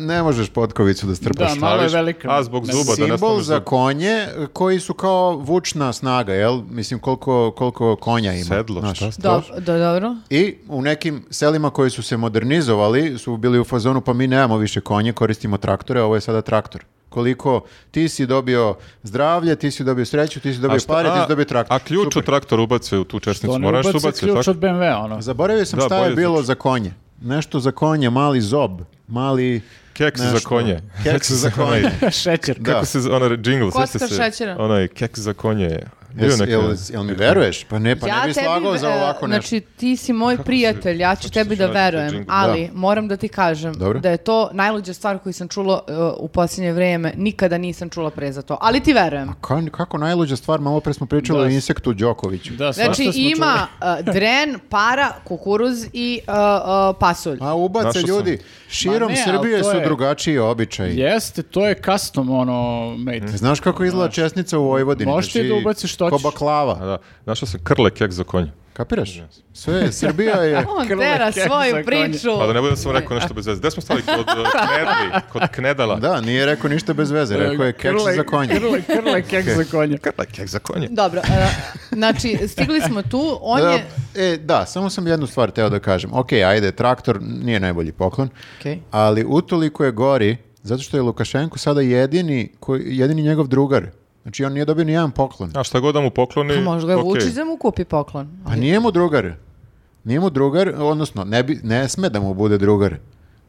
[SPEAKER 4] Ne možeš potkovicu da strpaš.
[SPEAKER 1] Da, malo je
[SPEAKER 2] Staviš-
[SPEAKER 1] velika.
[SPEAKER 2] A, zbog
[SPEAKER 1] Ne,
[SPEAKER 2] zuba, da ne
[SPEAKER 4] Simbol
[SPEAKER 2] staneš
[SPEAKER 4] za
[SPEAKER 2] zub.
[SPEAKER 4] konje e, koji su kao vučna snaga, jel? Mislim, koliko, koliko konja ima.
[SPEAKER 2] Sedlo,
[SPEAKER 4] znaš.
[SPEAKER 2] šta
[SPEAKER 3] Do,
[SPEAKER 2] staviš?
[SPEAKER 3] do, dobro.
[SPEAKER 4] I u nekim selima koji su se modernizovali su bili u fazonu pa mi nemamo više konje, koristimo traktore, a ovo je sada traktor. Koliko ti si dobio zdravlje, ti si dobio sreću, ti si dobio
[SPEAKER 2] A šta-
[SPEAKER 4] pare, ti
[SPEAKER 2] a-
[SPEAKER 4] si dobio traktor.
[SPEAKER 2] A ključ
[SPEAKER 4] Super.
[SPEAKER 2] u traktor ubace u tu česnicu.
[SPEAKER 1] To ne
[SPEAKER 2] Moraš
[SPEAKER 1] ubaci
[SPEAKER 2] ubaci,
[SPEAKER 1] ključ
[SPEAKER 2] tako?
[SPEAKER 1] od BMW-a, ono.
[SPEAKER 4] Zaboravio sam
[SPEAKER 2] Da,
[SPEAKER 4] šta je
[SPEAKER 2] bolje
[SPEAKER 4] bilo
[SPEAKER 2] zvuči.
[SPEAKER 4] za konje. Nešto za konje, mali zob, mali...
[SPEAKER 2] Keks za
[SPEAKER 4] nešto.
[SPEAKER 2] konje.
[SPEAKER 4] Keks za konje.
[SPEAKER 1] Šećer.
[SPEAKER 4] Da.
[SPEAKER 2] Kako se z- onaj jingle,
[SPEAKER 3] Kocka
[SPEAKER 2] sjećate se?
[SPEAKER 3] šećera.
[SPEAKER 2] Onaj keks za konje. je. Bio
[SPEAKER 4] Jel,
[SPEAKER 2] neka-
[SPEAKER 4] jel, jel mi veruješ? Pa ne, pa
[SPEAKER 3] ja
[SPEAKER 4] ne bi
[SPEAKER 3] tebi,
[SPEAKER 4] slagao za
[SPEAKER 3] e,
[SPEAKER 4] ovako nešto.
[SPEAKER 3] Znači, ti si moj prijatelj, ja ću
[SPEAKER 2] kako
[SPEAKER 3] tebi
[SPEAKER 2] se
[SPEAKER 3] da
[SPEAKER 2] nađe taj
[SPEAKER 3] verujem,
[SPEAKER 2] džingl?
[SPEAKER 3] ali moram da ti kažem
[SPEAKER 4] Dobro.
[SPEAKER 3] da je to najluđa stvar koju sam čula e, u posljednje vrijeme, nikada nisam čula pre za to, ali ti verujem.
[SPEAKER 4] Ka- kako najluđa stvar, malo pre smo pričali
[SPEAKER 1] Da.
[SPEAKER 4] o insektu Đokoviću.
[SPEAKER 1] Da, svašta
[SPEAKER 3] Znači,
[SPEAKER 1] smo
[SPEAKER 3] ima e, dren, para, kukuruz i e, e, pasulj.
[SPEAKER 4] A ubace
[SPEAKER 2] Našao sam.
[SPEAKER 4] ljudi, širom
[SPEAKER 1] Ma ne, ali
[SPEAKER 4] Srbije
[SPEAKER 1] to
[SPEAKER 4] su
[SPEAKER 1] je-
[SPEAKER 4] drugačiji običaji.
[SPEAKER 1] čuli. Jeste, to je custom, ono, made.
[SPEAKER 2] Mhm.
[SPEAKER 4] Znaš kako izgleda česnica u Vojvodini?
[SPEAKER 1] Možeš ti
[SPEAKER 4] Znači,
[SPEAKER 1] da ubaciš što
[SPEAKER 4] Ko
[SPEAKER 1] hoćeš.
[SPEAKER 2] A
[SPEAKER 4] baklava.
[SPEAKER 2] da, našao sam krle keks za konje.
[SPEAKER 4] Kapiraš? Sve, je- Srbija je...
[SPEAKER 3] On
[SPEAKER 1] krle,
[SPEAKER 3] tera
[SPEAKER 1] kek za
[SPEAKER 3] svoju
[SPEAKER 1] konje.
[SPEAKER 3] priču.
[SPEAKER 2] Pa da ne budem samo rekao nešto bez veze. Gde smo stali? Kod uh, knedli, kod knedala.
[SPEAKER 4] Da, nije rekao ništa bez veze, rekao je keks
[SPEAKER 1] Krle-
[SPEAKER 4] za konje.
[SPEAKER 1] Krle, krle, keks za konje.
[SPEAKER 2] Krle keks za konje.
[SPEAKER 3] Dobro, e, znači, stigli smo tu, on
[SPEAKER 4] Da,
[SPEAKER 3] je...
[SPEAKER 4] e, da, samo sam jednu stvar teo da kažem. Ok, ajde, traktor nije najbolji poklon,
[SPEAKER 3] Okej.
[SPEAKER 4] ali utoliko je gori, zato što je Lukašenko sada jedini, koji, jedini njegov drugar. Znači, on nije dobio ni jedan poklon.
[SPEAKER 2] A šta god da mu pokloni,
[SPEAKER 4] E,
[SPEAKER 3] Pa možda je
[SPEAKER 2] okej.
[SPEAKER 3] Vučić da mu kupi poklon.
[SPEAKER 4] Pa nije mu drugar. Nije mu drugar, odnosno ne, bi, ne sme da mu bude drugar.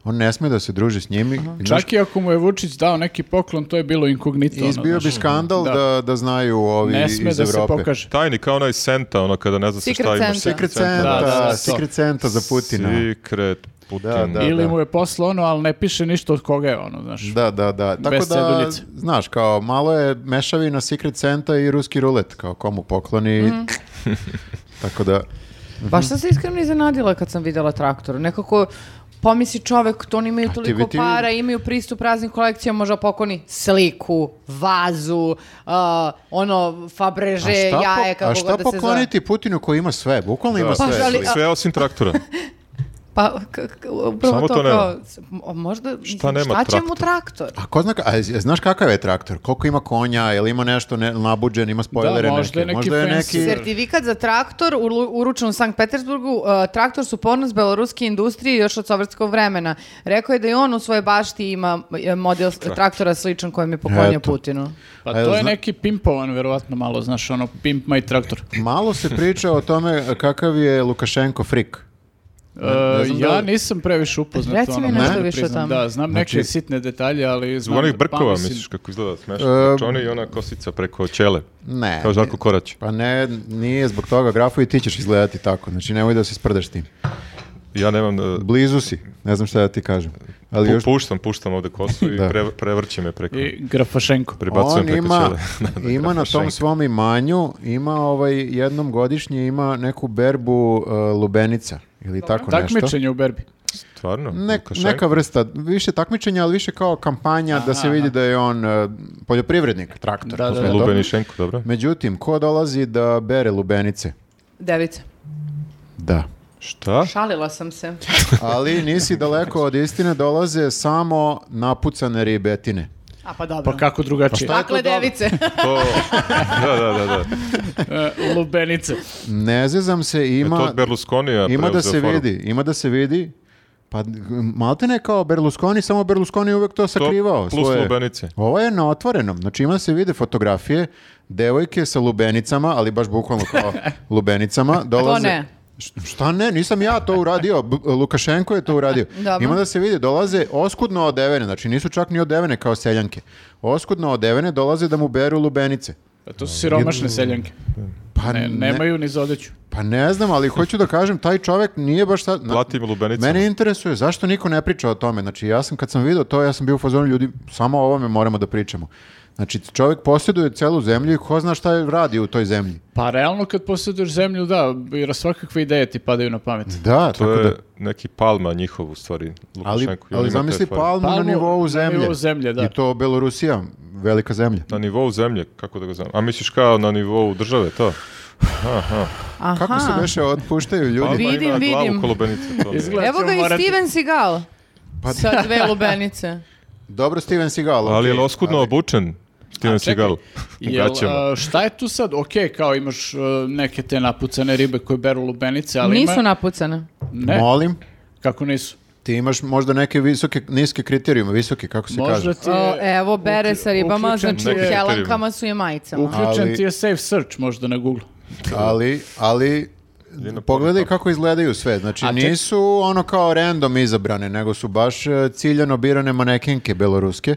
[SPEAKER 4] On ne sme da se druži s njim. i- i znaš,
[SPEAKER 1] Čak i ako mu je Vučić dao neki poklon, to je bilo inkognito. ono,
[SPEAKER 4] Izbio bi
[SPEAKER 1] znaš.
[SPEAKER 4] skandal da,
[SPEAKER 1] Da.
[SPEAKER 4] da, znaju ovi
[SPEAKER 1] Ne sme
[SPEAKER 4] iz
[SPEAKER 1] da se
[SPEAKER 4] Evrope.
[SPEAKER 1] pokaže.
[SPEAKER 2] Tajni kao onaj Senta, ono kada ne zna se
[SPEAKER 3] Secret
[SPEAKER 2] šta imaš.
[SPEAKER 3] Santa.
[SPEAKER 4] Secret
[SPEAKER 1] Da,
[SPEAKER 4] Senta,
[SPEAKER 1] da, da, to.
[SPEAKER 4] Secret Senta za Putina.
[SPEAKER 2] Secret Putin.
[SPEAKER 4] Da, da.
[SPEAKER 1] Ili mu je poslao ono, ali ne piše ništa od koga je ono, znaš.
[SPEAKER 4] Da, da, da. Tako
[SPEAKER 1] Bez
[SPEAKER 4] da,
[SPEAKER 1] ceduljice.
[SPEAKER 4] znaš, kao malo je mešavina Secret Senta i ruski rulet, kao komu pokloni.
[SPEAKER 3] Mhm.
[SPEAKER 4] Tako da,
[SPEAKER 3] Baš sam se iskreno iznenadila kad sam vidjela traktor. Nekako pomisli čovek, to oni imaju toliko
[SPEAKER 4] bi ti-
[SPEAKER 3] para, imaju pristup raznim kolekcijama, možda pokloni sliku, vazu, uh, ono,
[SPEAKER 4] a
[SPEAKER 3] fabreže,
[SPEAKER 4] šta, po-
[SPEAKER 3] jaje,
[SPEAKER 4] a
[SPEAKER 3] kako
[SPEAKER 4] šta
[SPEAKER 3] god da se zove.
[SPEAKER 4] pokloniti Putinu koji ima sve? Bukvalno ima
[SPEAKER 3] Pa,
[SPEAKER 4] sve.
[SPEAKER 3] ali-
[SPEAKER 4] Sliku.
[SPEAKER 2] Sve osim traktora.
[SPEAKER 3] Pa, k- k- upravo
[SPEAKER 2] Samo
[SPEAKER 3] to,
[SPEAKER 2] to nema.
[SPEAKER 3] kao, s- mo- možda, šta,
[SPEAKER 2] nema
[SPEAKER 3] će mu
[SPEAKER 2] traktor?
[SPEAKER 3] traktor?
[SPEAKER 4] A ko zna, ka- a z- znaš kakav je traktor? Koliko ima konja, je li ima nešto ne, nabuđen, ima spoilere
[SPEAKER 1] Da, možda
[SPEAKER 4] neke?
[SPEAKER 1] je neki
[SPEAKER 4] možda je
[SPEAKER 1] fancy.
[SPEAKER 4] neki...
[SPEAKER 3] Certifikat za traktor ulu- uručen u Sankt Petersburgu, e, traktor su ponos beloruske industrije još od sovjetskog vremena. Rekao je da i on u svojoj bašti ima e, model s- traktora sličan kojem je poklonio
[SPEAKER 4] Eto.
[SPEAKER 3] Putinu.
[SPEAKER 1] Pa
[SPEAKER 4] Ajde,
[SPEAKER 1] to je
[SPEAKER 4] zna-
[SPEAKER 1] neki pimpovan, verovatno, malo, znaš, ono, pimp my traktor.
[SPEAKER 4] Malo se priča o tome kakav je Lukašenko frik.
[SPEAKER 1] E,
[SPEAKER 4] ne znam da
[SPEAKER 1] ja
[SPEAKER 4] li- Znači-
[SPEAKER 1] nisam previše upoznat.
[SPEAKER 3] Reci mi
[SPEAKER 1] ono,
[SPEAKER 3] nešto
[SPEAKER 1] moram da
[SPEAKER 3] više o
[SPEAKER 1] priznam.
[SPEAKER 3] tome.
[SPEAKER 1] Da, znam neke sitne detalje, ali znam...
[SPEAKER 2] Zbog onih
[SPEAKER 1] da
[SPEAKER 2] brkova,
[SPEAKER 1] pamtim.
[SPEAKER 2] misliš kako izgleda smešno. Znači oni i ona kosica preko ćele.
[SPEAKER 4] Ne.
[SPEAKER 2] Kao Žarko Korać.
[SPEAKER 4] Pa ne, nije zbog toga grafu i ti ćeš izgledati tako. Znači nemoj da se sprdaš s tim.
[SPEAKER 2] Ja nemam... e,
[SPEAKER 4] Blizu si, ne znam šta da ti kažem. Ali
[SPEAKER 2] pu-
[SPEAKER 4] još
[SPEAKER 2] Puštam, puštam ovde kosu i
[SPEAKER 4] Da.
[SPEAKER 2] pre, prevrće me preko...
[SPEAKER 1] I Grafašenko.
[SPEAKER 2] Pribacujem
[SPEAKER 4] on
[SPEAKER 2] preko
[SPEAKER 4] ima,
[SPEAKER 2] ćele. Da, da,
[SPEAKER 4] ima na tom
[SPEAKER 2] Grafašenko.
[SPEAKER 4] svom imanju, ima ovaj jednom godišnje ima neku berbu e, lubenica ili tako nešto.
[SPEAKER 1] Takmičenje u berbi.
[SPEAKER 2] Stvarno?
[SPEAKER 4] Ne-
[SPEAKER 2] Lukašenko?
[SPEAKER 4] neka vrsta, više takmičenja, ali više kao kampanja da se vidi da je on e, poljoprivrednik, traktor.
[SPEAKER 1] Da,
[SPEAKER 4] to
[SPEAKER 1] da,
[SPEAKER 4] sve
[SPEAKER 1] da.
[SPEAKER 4] to.
[SPEAKER 2] Lubenišenko, dobro.
[SPEAKER 4] Međutim, ko dolazi da bere lubenice?
[SPEAKER 3] Devica.
[SPEAKER 4] Da.
[SPEAKER 2] Šta?
[SPEAKER 3] Šalila sam se.
[SPEAKER 4] Ali nisi daleko od istine, dolaze samo napucane ribetine.
[SPEAKER 3] A pa dobro.
[SPEAKER 1] Pa kako drugačije?
[SPEAKER 4] Pa
[SPEAKER 3] Dakle,
[SPEAKER 4] Tako dobro.
[SPEAKER 3] device.
[SPEAKER 2] To, da, da, da, da.
[SPEAKER 1] E, Lubenice.
[SPEAKER 4] Ne zezam se, ima...
[SPEAKER 2] Metod E, Berlusconija
[SPEAKER 4] Ima da
[SPEAKER 2] preuzeo
[SPEAKER 4] se
[SPEAKER 2] foru.
[SPEAKER 4] vidi, ima da se vidi. Pa malte ne kao Berlusconi, samo Berlusconi je uvek to sakrivao.
[SPEAKER 2] plus
[SPEAKER 4] svoje.
[SPEAKER 2] lubenice.
[SPEAKER 4] Ovo je na otvorenom. Znači ima da se vide fotografije devojke sa lubenicama, ali baš bukvalno kao lubenicama. Dolaze,
[SPEAKER 3] ne.
[SPEAKER 4] Š- Šta ne? Nisam ja to uradio. B- Lukašenko je to uradio.
[SPEAKER 3] Dobro.
[SPEAKER 4] Ima da se vidi, dolaze oskudno odevene. Znači nisu čak ni odevene kao seljanke. Oskudno odevene dolaze da mu beru lubenice.
[SPEAKER 1] Pa to su siromašne seljanke.
[SPEAKER 4] Pa
[SPEAKER 1] Ne, nemaju ni za odeću.
[SPEAKER 4] Pa ne znam, ali hoću da kažem, taj čovek nije baš sad... na-
[SPEAKER 2] Plati im lubenicama.
[SPEAKER 4] Mene interesuje, zašto niko ne priča o tome? Znači, ja sam kad sam vidio to, ja sam bio u fazonu ljudi, samo o ovome moramo da pričamo. Znači, čovek posjeduje celu zemlju i ko zna šta je radi u toj zemlji.
[SPEAKER 1] Pa realno kad posjeduješ zemlju, da, jer svakakve ideje ti padaju na pamet.
[SPEAKER 4] Da,
[SPEAKER 2] To
[SPEAKER 4] tako
[SPEAKER 2] je
[SPEAKER 4] da...
[SPEAKER 2] neki palma njihov u stvari,
[SPEAKER 4] Ali,
[SPEAKER 2] Lukašenko. i on
[SPEAKER 4] ali
[SPEAKER 2] ima te
[SPEAKER 4] zamisli
[SPEAKER 2] fore.
[SPEAKER 4] palmu na
[SPEAKER 1] Palmu
[SPEAKER 4] nivou
[SPEAKER 1] na
[SPEAKER 4] zemlje.
[SPEAKER 1] nivou zemlje, da.
[SPEAKER 4] I to Belorusija, velika zemlja.
[SPEAKER 2] Na nivou zemlje, kako da ga znam. A misliš kao na nivou države, to?
[SPEAKER 3] Aha.
[SPEAKER 4] Kako se beše otpuštaju
[SPEAKER 2] Palma
[SPEAKER 4] ljudi?
[SPEAKER 3] Vi- Vidim,
[SPEAKER 2] ima
[SPEAKER 3] vidim.
[SPEAKER 2] glavu kolobenice. To mi je.
[SPEAKER 1] Izgleda
[SPEAKER 3] Evo
[SPEAKER 1] ćemo
[SPEAKER 3] ga i
[SPEAKER 1] morati-
[SPEAKER 3] Steven Seagal. Sa dve lubenice.
[SPEAKER 4] Dobro, Steven Seagal.
[SPEAKER 2] Ali je
[SPEAKER 4] okej,
[SPEAKER 2] li oskudno
[SPEAKER 4] ali-
[SPEAKER 2] obučen Steven Seagal?
[SPEAKER 1] Jel,
[SPEAKER 2] Gaćama.
[SPEAKER 1] a, šta je tu sad? Ok, kao imaš e, neke te napucane ribe koje beru lubenice, ali ima-
[SPEAKER 3] Nisu napucane.
[SPEAKER 1] Ne,
[SPEAKER 4] Molim,
[SPEAKER 1] kako nisu?
[SPEAKER 4] ti imaš možda neke visoke, niske kriterijume, visoke, kako se kaže.
[SPEAKER 1] Možda ti je-
[SPEAKER 3] O, E, evo, bere sa ribama,
[SPEAKER 1] E, uključen
[SPEAKER 3] znači
[SPEAKER 1] ti
[SPEAKER 3] u
[SPEAKER 1] je-
[SPEAKER 2] Neke
[SPEAKER 3] helankama su i majicama.
[SPEAKER 1] Uključen
[SPEAKER 4] Ali-
[SPEAKER 1] ti je safe search možda na Google.
[SPEAKER 4] Ali, ali
[SPEAKER 2] Ili na
[SPEAKER 4] pogledaj
[SPEAKER 2] porno.
[SPEAKER 4] kako izgledaju sve. Znači
[SPEAKER 1] A tek-
[SPEAKER 4] nisu ono kao random izabrane, nego su baš e, ciljano birane manekenke beloruske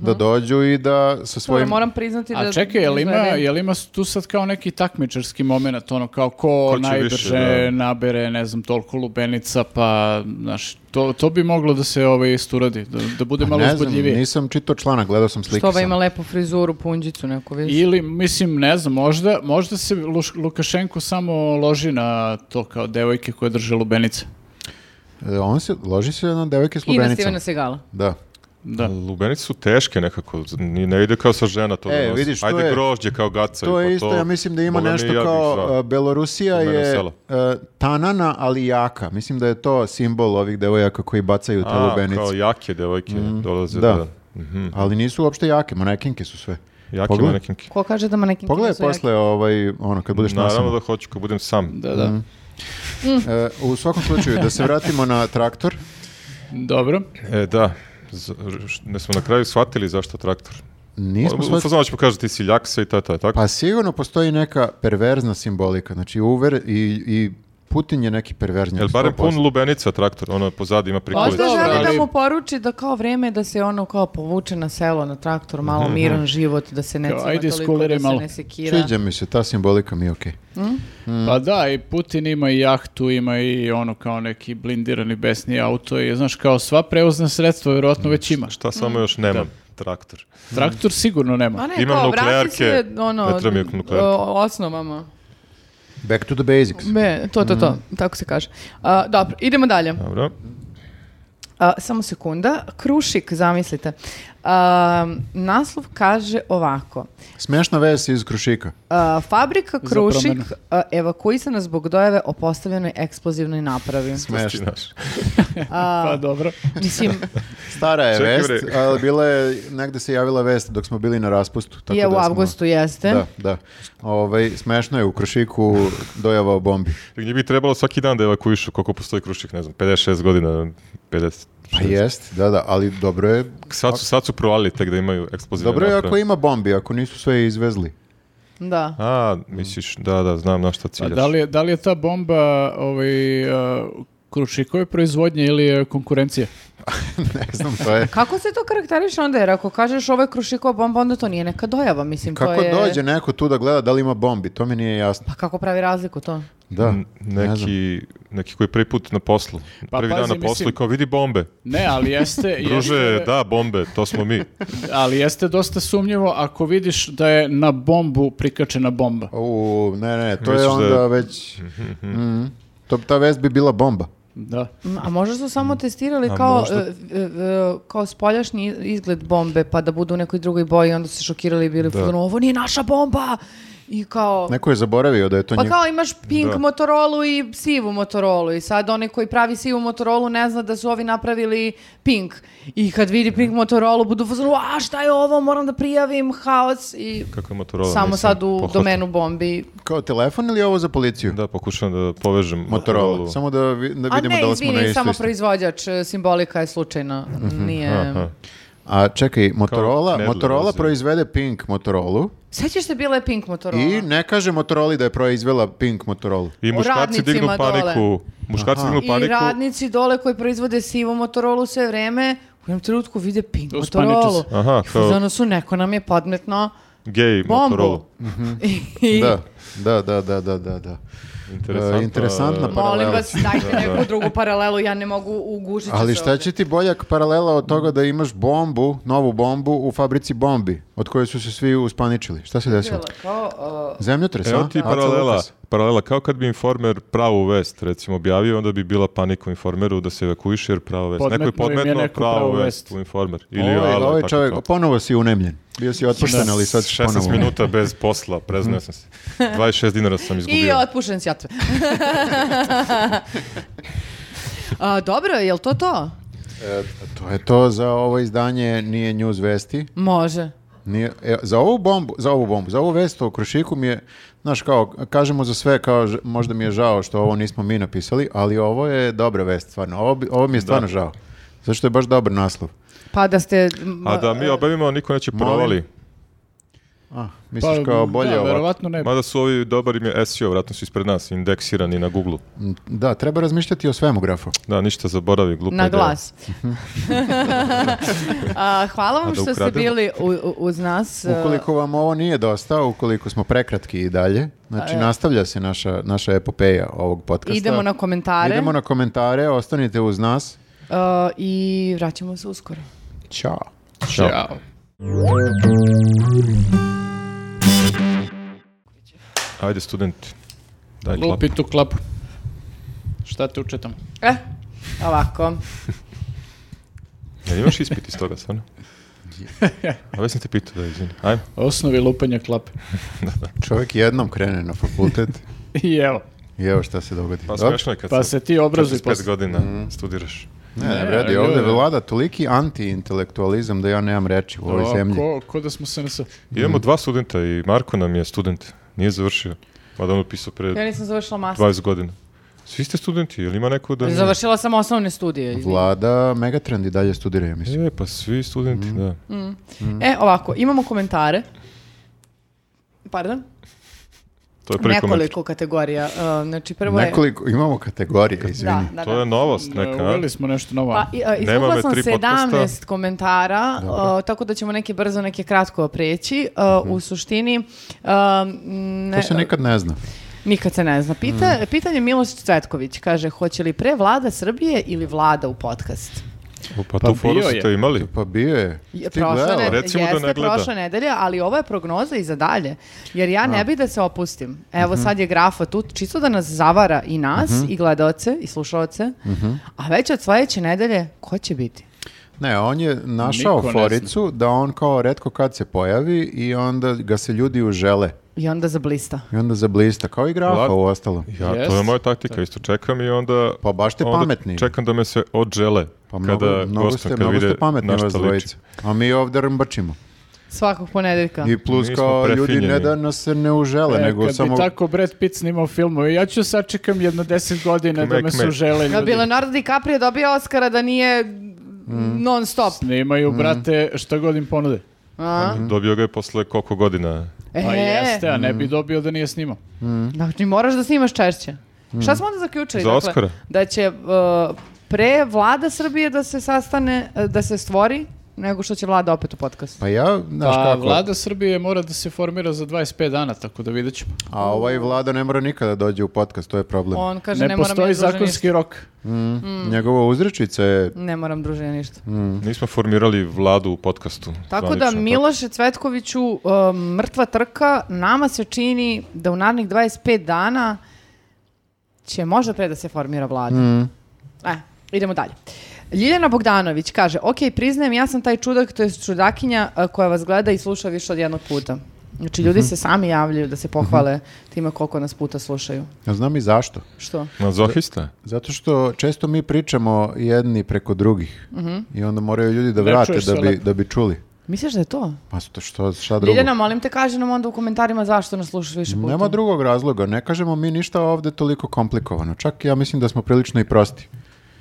[SPEAKER 4] da dođu i da sa
[SPEAKER 3] Mhm. Dobro,
[SPEAKER 4] svojim...
[SPEAKER 3] moram priznati da...
[SPEAKER 1] A čekaj, jel ima,
[SPEAKER 3] izgleda-
[SPEAKER 1] jel ima tu sad kao neki takmičarski moment, ono kao ko,
[SPEAKER 2] Ko će
[SPEAKER 1] najbrže
[SPEAKER 2] više, da.
[SPEAKER 1] nabere, ne znam, toliko lubenica, pa, znaš, to, to bi moglo da se ovaj isto uradi, da, da bude
[SPEAKER 4] Pa
[SPEAKER 1] malo
[SPEAKER 4] ne znam,
[SPEAKER 1] uzbudljivije.
[SPEAKER 4] nisam čitao članak, gledao sam slike
[SPEAKER 3] Što ova
[SPEAKER 4] samo.
[SPEAKER 3] ima lepu frizuru, punđicu neku, vidiš?
[SPEAKER 1] Ili, mislim, ne znam, možda, možda se Luš- Lukašenko samo loži na to kao devojke koje drže lubenice.
[SPEAKER 4] E, On se, loži se na devojke s
[SPEAKER 3] I na
[SPEAKER 4] lubenicama.
[SPEAKER 3] Stevena Segala.
[SPEAKER 4] Da.
[SPEAKER 1] Da.
[SPEAKER 2] Lubenice su teške nekako, ni- ne ide kao sa žena to.
[SPEAKER 4] E,
[SPEAKER 2] da nosi.
[SPEAKER 4] vidiš, to
[SPEAKER 2] Ajde
[SPEAKER 4] je-
[SPEAKER 2] grožđe kao pa gaca.
[SPEAKER 4] To je isto, ja mislim da ima nešto kao e, Belorusija
[SPEAKER 2] Kod mene
[SPEAKER 4] je
[SPEAKER 2] selo.
[SPEAKER 4] e, tanana, ali jaka. Mislim da je to simbol ovih devojaka koji bacaju te
[SPEAKER 2] A,
[SPEAKER 4] lubenice.
[SPEAKER 2] kao jake devojke dolaze
[SPEAKER 4] da.
[SPEAKER 2] da... Mhm.
[SPEAKER 4] Ali nisu uopšte jake, manekenke su sve.
[SPEAKER 2] Jake
[SPEAKER 4] Pogledaj.
[SPEAKER 2] manekenke.
[SPEAKER 3] Ko kaže da manekinke
[SPEAKER 4] Pogledaj
[SPEAKER 3] nisu jake?
[SPEAKER 4] posle ovaj, ono, kad budeš
[SPEAKER 2] Naravno
[SPEAKER 4] nasamo.
[SPEAKER 2] da hoću kad budem sam.
[SPEAKER 1] Da, da.
[SPEAKER 4] E, u svakom slučaju, da se vratimo na traktor.
[SPEAKER 1] Dobro.
[SPEAKER 2] E, da. Z- š- ne smo na kraju shvatili zašto traktor.
[SPEAKER 4] Nismo
[SPEAKER 2] U
[SPEAKER 4] shvatili.
[SPEAKER 2] fazonu ćemo kažeti ti si ljaksa i ta, ta, tako?
[SPEAKER 4] Pa sigurno postoji neka perverzna simbolika. Znači, uver i, i Putin je neki perverznjak.
[SPEAKER 2] Jel barem
[SPEAKER 4] 100%.
[SPEAKER 2] pun lubenica traktor, ono pozadi ima prikolicu.
[SPEAKER 3] Možda
[SPEAKER 1] Pa, Dobro,
[SPEAKER 3] želi da
[SPEAKER 1] ali-
[SPEAKER 3] mu poruči da kao vreme je da se ono kao povuče na selo, na traktor, malo miran život, da se ne
[SPEAKER 1] Kao,
[SPEAKER 3] cima
[SPEAKER 1] Mhm. ajde,
[SPEAKER 3] toliko, da
[SPEAKER 1] skuliraj
[SPEAKER 3] se
[SPEAKER 1] malo.
[SPEAKER 3] ne sekira.
[SPEAKER 4] Sviđa mi se, ta simbolika mi je okej.
[SPEAKER 1] Pa da, i Putin ima i jahtu, ima i ono kao neki blindirani besni auto i znaš kao sva prevozna sredstva vjerojatno već ima.
[SPEAKER 2] Šta samo još nemam? Traktor.
[SPEAKER 1] Traktor sigurno nema.
[SPEAKER 3] A ne,
[SPEAKER 2] Imam
[SPEAKER 3] kao, vrati
[SPEAKER 2] nuklearke,
[SPEAKER 3] se, ono,
[SPEAKER 2] ne treba mi nuklearke.
[SPEAKER 3] o- osnovama.
[SPEAKER 4] Back to the basics.
[SPEAKER 3] Ne, to, to, to,
[SPEAKER 1] Mhm.
[SPEAKER 3] tako se kaže. A, dobro, idemo dalje.
[SPEAKER 2] Dobro.
[SPEAKER 3] A, samo sekunda. Krušik, zamislite. A, naslov kaže ovako.
[SPEAKER 4] Smešna ves iz Krušika.
[SPEAKER 3] A, fabrika
[SPEAKER 1] Za
[SPEAKER 3] Krušik
[SPEAKER 1] promenu.
[SPEAKER 3] a, evakuisana zbog dojave o postavljenoj eksplozivnoj napravi.
[SPEAKER 2] Ti
[SPEAKER 4] Smešna.
[SPEAKER 2] znaš.
[SPEAKER 1] Pa dobro.
[SPEAKER 3] Mislim,
[SPEAKER 4] Stara je
[SPEAKER 2] Čekaj,
[SPEAKER 4] vest,
[SPEAKER 2] bre.
[SPEAKER 4] ali bila je, negde se javila vest dok smo bili na raspustu. Tako
[SPEAKER 3] je
[SPEAKER 4] da
[SPEAKER 3] u
[SPEAKER 4] smo-
[SPEAKER 3] avgustu, jeste.
[SPEAKER 4] Da, da. Ovaj, smešno je u Krušiku dojava o bombi.
[SPEAKER 2] Gdje bi trebalo svaki dan da evakuišu koliko postoji krušik, ne znam, 56 godina, 50.
[SPEAKER 4] Pa jest, da, da, ali dobro je
[SPEAKER 2] Sad su, sad su provalili tek da imaju eksplozivne
[SPEAKER 4] Dobro je
[SPEAKER 2] naprave.
[SPEAKER 4] ako ima bombi, ako nisu sve izvezli.
[SPEAKER 3] Da.
[SPEAKER 2] A, misliš, da, da, znam na šta
[SPEAKER 1] Pa
[SPEAKER 2] ciljaš.
[SPEAKER 1] da li, je- da li je ta bomba ovaj, a, Krušikove proizvodnje ili je konkurencija?
[SPEAKER 4] ne znam, to je...
[SPEAKER 3] Kako se to karakteriše onda? Jer ako kažeš ovo je Krušikova bomba, onda to nije neka dojava. Mislim,
[SPEAKER 4] Kako
[SPEAKER 3] to je...
[SPEAKER 4] dođe neko tu da gleda da li ima bombi, to mi nije jasno.
[SPEAKER 3] Pa kako pravi razliku to?
[SPEAKER 4] Da,
[SPEAKER 2] N-
[SPEAKER 4] ne znam.
[SPEAKER 2] neki, neki koji je prvi put na poslu.
[SPEAKER 1] Pa
[SPEAKER 2] prvi dan
[SPEAKER 1] pazi,
[SPEAKER 2] na poslu
[SPEAKER 1] mislim-
[SPEAKER 2] i kao vidi bombe.
[SPEAKER 1] Ne, ali jeste...
[SPEAKER 2] Druže,
[SPEAKER 1] jeste-
[SPEAKER 2] da, bombe, to smo mi.
[SPEAKER 1] Ali jeste dosta sumnjivo ako vidiš da je na bombu prikačena bomba.
[SPEAKER 4] U, ne, ne, to
[SPEAKER 2] Misliš
[SPEAKER 4] je
[SPEAKER 2] da-
[SPEAKER 4] onda već... Mhm. to, ta vest bi bila bomba.
[SPEAKER 1] Da.
[SPEAKER 3] M, A možda su samo testirali
[SPEAKER 2] A
[SPEAKER 3] kao,
[SPEAKER 2] možda-
[SPEAKER 3] e, e, e, kao spoljašnji izgled bombe, pa da budu u nekoj drugoj boji, onda su se šokirali i bili u fazonu, ovo nije naša bomba! I kao...
[SPEAKER 4] Neko je zaboravio da je to
[SPEAKER 3] Pa
[SPEAKER 4] njegov...
[SPEAKER 3] kao imaš pink
[SPEAKER 2] Da.
[SPEAKER 3] Motorolu i sivu Motorolu i sad onaj koji pravi sivu Motorolu ne zna da su ovi napravili pink i kad vidi pink Motorolu budu u fazonu a šta je ovo moram da prijavim haos i
[SPEAKER 2] Kako ono, je Motorola?
[SPEAKER 3] samo
[SPEAKER 2] nisam
[SPEAKER 3] sad u
[SPEAKER 2] pohvatao.
[SPEAKER 3] domenu bombi.
[SPEAKER 4] Kao telefon ili ovo za policiju?
[SPEAKER 2] Da, pokušavam da povežem
[SPEAKER 4] Motorola.
[SPEAKER 2] Motorolu.
[SPEAKER 4] Samo da, vi- da
[SPEAKER 3] A
[SPEAKER 4] vidimo
[SPEAKER 3] ne,
[SPEAKER 4] da li smo na
[SPEAKER 3] izvini, samo
[SPEAKER 4] istoj strani.
[SPEAKER 3] proizvođač, e, simbolika je slučajna, nije...
[SPEAKER 2] Aha.
[SPEAKER 4] A čekaj, Motorola,
[SPEAKER 2] knedle
[SPEAKER 4] Motorola
[SPEAKER 2] vozi.
[SPEAKER 4] proizvede Pink Motorolu
[SPEAKER 3] Sećaš se bila je pink Motorola?
[SPEAKER 4] i ne kaže Motoroli da je proizvela Pink Motorolu.
[SPEAKER 2] I muškarci
[SPEAKER 3] radnicima
[SPEAKER 2] dignu
[SPEAKER 3] dole.
[SPEAKER 2] paniku. Muškarci
[SPEAKER 4] Aha.
[SPEAKER 2] dignu
[SPEAKER 3] I
[SPEAKER 2] paniku.
[SPEAKER 3] radnici dole koji proizvode sivu Motorolu sve vreme u jednom trenutku vide pink
[SPEAKER 1] To uspaniče
[SPEAKER 3] Motorolu.
[SPEAKER 1] se.
[SPEAKER 2] Aha,
[SPEAKER 3] I u
[SPEAKER 2] kao
[SPEAKER 3] fazonu su neko nam je podmetno
[SPEAKER 2] gej Motorola.
[SPEAKER 3] bombu. I
[SPEAKER 4] Da, da, da, da, da, da. da.
[SPEAKER 2] Interesantna.
[SPEAKER 4] E, interesantna pa-
[SPEAKER 3] molim
[SPEAKER 4] paralela.
[SPEAKER 3] vas, dajte neku drugu paralelu, ja ne mogu ugušiti
[SPEAKER 4] Ali
[SPEAKER 3] se
[SPEAKER 4] šta
[SPEAKER 3] ovdje.
[SPEAKER 4] će ti boljak paralela od toga da imaš bombu, novu bombu u fabrici bombi, od koje su se svi uspaničili? Šta se desilo?
[SPEAKER 3] Kao, uh,
[SPEAKER 4] Zemljotres,
[SPEAKER 2] Evo
[SPEAKER 4] a?
[SPEAKER 2] ti
[SPEAKER 4] Aca
[SPEAKER 2] paralela,
[SPEAKER 4] Lukas.
[SPEAKER 2] paralela, kao kad bi informer pravu vest, recimo, objavio, onda bi bila panika u informeru da se evakuiše jer pravo vest. neko je
[SPEAKER 1] Podmetnuo im je
[SPEAKER 2] podmetno
[SPEAKER 1] neko
[SPEAKER 2] pravu
[SPEAKER 1] pravu
[SPEAKER 2] vest
[SPEAKER 1] vest.
[SPEAKER 2] u informer. Ili
[SPEAKER 4] Ovaj,
[SPEAKER 2] ala,
[SPEAKER 4] ovaj
[SPEAKER 2] tako
[SPEAKER 4] čovjek,
[SPEAKER 2] to.
[SPEAKER 4] ponovo si unemljen. Bio si otpušten, ali sad si
[SPEAKER 2] 16
[SPEAKER 4] ponovo.
[SPEAKER 2] minuta bez posla, preznao sam se. 26 dinara sam
[SPEAKER 3] I
[SPEAKER 2] izgubio.
[SPEAKER 3] otpušen s jatve. A, dobro, je li to to?
[SPEAKER 4] E, to je to za ovo izdanje, nije news vesti.
[SPEAKER 3] Može.
[SPEAKER 4] Nije, e, za ovu bombu, za ovu bombu, za ovu vest o Krušiku mi je, znaš kao, kažemo za sve, kao, ž- možda mi je žao što ovo nismo mi napisali, ali ovo je dobra vest, stvarno, ovo, bi- ovo mi je stvarno žao. Zašto je baš dobar naslov.
[SPEAKER 3] Pa da ste...
[SPEAKER 2] A da mi objavimo, niko neće
[SPEAKER 4] Molim?
[SPEAKER 2] provali.
[SPEAKER 4] A, misliš kao bolje
[SPEAKER 1] Pa, da,
[SPEAKER 4] ovako?
[SPEAKER 1] verovatno ne.
[SPEAKER 2] Mada su ovi dobar im je SEO, vratno su ispred nas, indeksirani na Google-u.
[SPEAKER 4] Da, treba razmišljati o svemu grafu.
[SPEAKER 2] Da, ništa zaboravi, glupa
[SPEAKER 3] Na
[SPEAKER 2] ideja.
[SPEAKER 3] glas. A, hvala
[SPEAKER 2] A
[SPEAKER 3] vam
[SPEAKER 2] da
[SPEAKER 3] što ste
[SPEAKER 2] ukrademo?
[SPEAKER 3] bili u- u- uz nas. E,
[SPEAKER 4] Ukoliko vam ovo nije dosta, ukoliko smo prekratki i dalje, znači nastavlja se naša, naša epopeja ovog podcasta.
[SPEAKER 3] Idemo na komentare
[SPEAKER 4] Idemo na komentare, ostanite uz nas.
[SPEAKER 3] a, i vraćamo se uskoro.
[SPEAKER 4] Ćao.
[SPEAKER 2] Ćao.
[SPEAKER 1] Ćao.
[SPEAKER 2] Ajde, studenti. Daj, klap.
[SPEAKER 1] Lupi tu klapu. Šta te uče tamo?
[SPEAKER 3] E, ovako.
[SPEAKER 2] Jel imaš ispit iz toga, stvarno? A već sam te pitao da izvini. Ajmo.
[SPEAKER 1] Osnovi lupanja klape.
[SPEAKER 4] Čovjek jednom krene na fakultet
[SPEAKER 1] I evo,
[SPEAKER 4] i evo šta se dogodi.
[SPEAKER 2] Pa
[SPEAKER 4] Dobro?
[SPEAKER 2] smešno je kad
[SPEAKER 1] pa
[SPEAKER 2] se
[SPEAKER 1] se ti obrazuj
[SPEAKER 2] 45
[SPEAKER 1] posle.
[SPEAKER 2] godina
[SPEAKER 4] Mhm.
[SPEAKER 2] studiraš.
[SPEAKER 4] Ne, ne,
[SPEAKER 1] Ne,
[SPEAKER 4] vredi,
[SPEAKER 1] ljudi.
[SPEAKER 4] ovdje vlada toliki anti-intelektualizam da ja nemam reći u ovoj
[SPEAKER 1] O,
[SPEAKER 4] zemlji.
[SPEAKER 1] Ko, ko da smo se nas...
[SPEAKER 2] Imamo dva studenta i Marko nam je student. Nije završio. Mada on upisao
[SPEAKER 3] Ja
[SPEAKER 2] pre
[SPEAKER 3] nisam završila master.
[SPEAKER 2] 20 godina. Svi ste studenti, jel ima neko da... nije?
[SPEAKER 3] Završila sam osnovne studije. izvini.
[SPEAKER 4] Vlada Megatrend i dalje studira, ja mislim.
[SPEAKER 2] E, pa svi studenti,
[SPEAKER 4] Mhm.
[SPEAKER 2] da.
[SPEAKER 3] E, ovako, imamo komentare. Pardon?
[SPEAKER 2] To je prvi komentar.
[SPEAKER 3] Nekoliko kategorija. Uh, znači, prvo je...
[SPEAKER 4] Nekoliko, imamo kategorije, izvini.
[SPEAKER 3] Da, da,
[SPEAKER 2] To
[SPEAKER 3] da.
[SPEAKER 2] je novost neka, a?
[SPEAKER 1] Uveli smo nešto novo.
[SPEAKER 3] Pa, i- a,
[SPEAKER 2] Nema
[SPEAKER 3] izvukla
[SPEAKER 2] me
[SPEAKER 3] sam
[SPEAKER 2] tri
[SPEAKER 3] 17
[SPEAKER 2] podcasta.
[SPEAKER 3] komentara, uh, tako da ćemo neke brzo, neke kratko preći. Uh,
[SPEAKER 2] Mhm.
[SPEAKER 3] U suštini... uh, ne-
[SPEAKER 4] To se nikad ne zna.
[SPEAKER 3] Nikad se ne zna.
[SPEAKER 2] Mhm.
[SPEAKER 3] Pita, Pitanje Miloš Cvetković kaže, hoće li pre vlada Srbije ili vlada u podcast?
[SPEAKER 2] O, pa,
[SPEAKER 1] Pa
[SPEAKER 2] tu foru
[SPEAKER 1] bio je.
[SPEAKER 2] ste imali.
[SPEAKER 4] Pa bio je.
[SPEAKER 3] Je,
[SPEAKER 4] Ti
[SPEAKER 3] prošla
[SPEAKER 4] gledala?
[SPEAKER 3] ne-
[SPEAKER 2] recimo da ne
[SPEAKER 3] jeste
[SPEAKER 2] gleda.
[SPEAKER 3] prošla nedelja, ali ovo je prognoza i za dalje. Jer ja ne bi da se opustim. Evo sad je grafa tu, čisto da nas zavara i nas, i gledoce, i slušalce. A već od sledeće nedelje, ko će biti?
[SPEAKER 4] Ne, on je našao
[SPEAKER 1] Niko ne
[SPEAKER 4] foricu da on kao redko kad se pojavi i onda ga se ljudi užele.
[SPEAKER 3] I onda zablista.
[SPEAKER 4] I onda zablista, kao i grafa
[SPEAKER 2] Vlad-
[SPEAKER 4] u ostalom.
[SPEAKER 2] Ja,
[SPEAKER 1] Jest.
[SPEAKER 2] to je moja taktika, isto čekam i onda...
[SPEAKER 4] Pa baš ste
[SPEAKER 2] onda
[SPEAKER 4] pametni.
[SPEAKER 2] Čekam da me se odžele.
[SPEAKER 4] Pa mnogo,
[SPEAKER 2] kada
[SPEAKER 4] mnogo
[SPEAKER 2] gostujem,
[SPEAKER 4] ste,
[SPEAKER 2] kad
[SPEAKER 4] mnogo
[SPEAKER 2] vide
[SPEAKER 4] ste pametni
[SPEAKER 2] na šta
[SPEAKER 4] vas
[SPEAKER 2] liči.
[SPEAKER 4] dvojica. A mi ovdje rmbačimo.
[SPEAKER 3] Svakog ponedeljka.
[SPEAKER 4] I plus
[SPEAKER 2] Mi smo
[SPEAKER 4] kao ljudi ne
[SPEAKER 2] prefinjeni.
[SPEAKER 4] da nas se ne užele,
[SPEAKER 1] E,
[SPEAKER 4] Pa nego
[SPEAKER 1] kad
[SPEAKER 4] samo...
[SPEAKER 1] bi tako Brad Pitt snimao filmove, ja ću sačekam jedno deset godina da
[SPEAKER 2] Kmek,
[SPEAKER 1] me
[SPEAKER 2] kmek.
[SPEAKER 1] su žele
[SPEAKER 3] Da bi
[SPEAKER 1] ljudi.
[SPEAKER 3] Leonardo DiCaprio je dobio Oscara da nije non stop.
[SPEAKER 1] Snimaju,
[SPEAKER 4] Mm.
[SPEAKER 1] brate, šta god im ponude.
[SPEAKER 3] A?
[SPEAKER 4] Mhm.
[SPEAKER 2] Dobio ga je posle koliko godina.
[SPEAKER 1] Pa
[SPEAKER 3] E,
[SPEAKER 1] jeste, a ne
[SPEAKER 4] Mm.
[SPEAKER 1] bi dobio da nije snimao.
[SPEAKER 3] Znači, moraš da snimaš češće. Šta smo onda zaključili? Dakle,
[SPEAKER 2] Za Oscara?
[SPEAKER 3] da će uh, pre vlada Srbije da se sastane, uh, da se stvori, nego što će vlada opet u podcast.
[SPEAKER 4] Pa ja, znaš
[SPEAKER 1] Pa
[SPEAKER 4] kako,
[SPEAKER 1] vlada Srbije mora da se formira za 25 dana, tako da vidjet ćemo.
[SPEAKER 4] a ovaj vlada ne mora nikada dođe u podcast, to je problem.
[SPEAKER 3] On kaže, ne,
[SPEAKER 1] ne
[SPEAKER 3] moram
[SPEAKER 1] postoji
[SPEAKER 3] ja druženje
[SPEAKER 1] zakonski rok.
[SPEAKER 4] Njegova uzrečica je...
[SPEAKER 3] ništa. Ne moram druženje ništa.
[SPEAKER 4] Mhm.
[SPEAKER 2] Nismo formirali vladu u podcastu.
[SPEAKER 3] Tako
[SPEAKER 2] zvanično,
[SPEAKER 3] da, Miloše Cvetkoviću, uh, mrtva trka, nama se čini da u narednih 25 dana će možda pre da se formira vlada.
[SPEAKER 4] Mm.
[SPEAKER 3] E, idemo dalje. Ljiljana Bogdanović e, kaže, ok, priznajem, ja sam taj čudak, to je čudakinja uh, koja vas gleda i sluša više od jednog puta. Znači, ljudi
[SPEAKER 4] Mhm.
[SPEAKER 3] se sami javljaju da se pohvale time koliko nas puta slušaju.
[SPEAKER 4] Ja znam i zašto.
[SPEAKER 3] Što?
[SPEAKER 2] Mazohista je.
[SPEAKER 4] Zato što često mi pričamo jedni preko drugih i onda moraju ljudi da
[SPEAKER 1] Mhm. Ne
[SPEAKER 4] vrate
[SPEAKER 1] čuješ
[SPEAKER 4] da
[SPEAKER 1] se
[SPEAKER 4] bi,
[SPEAKER 1] lepo.
[SPEAKER 4] da bi čuli.
[SPEAKER 3] Misliš da je to?
[SPEAKER 4] Pa što, što, šta drugo?
[SPEAKER 3] Ljiljana, molim te, kaži nam onda u komentarima zašto nas slušaš više puta.
[SPEAKER 4] Nema drugog razloga, ne kažemo mi ništa ovde toliko komplikovano. Čak ja mislim da smo prilično i prosti.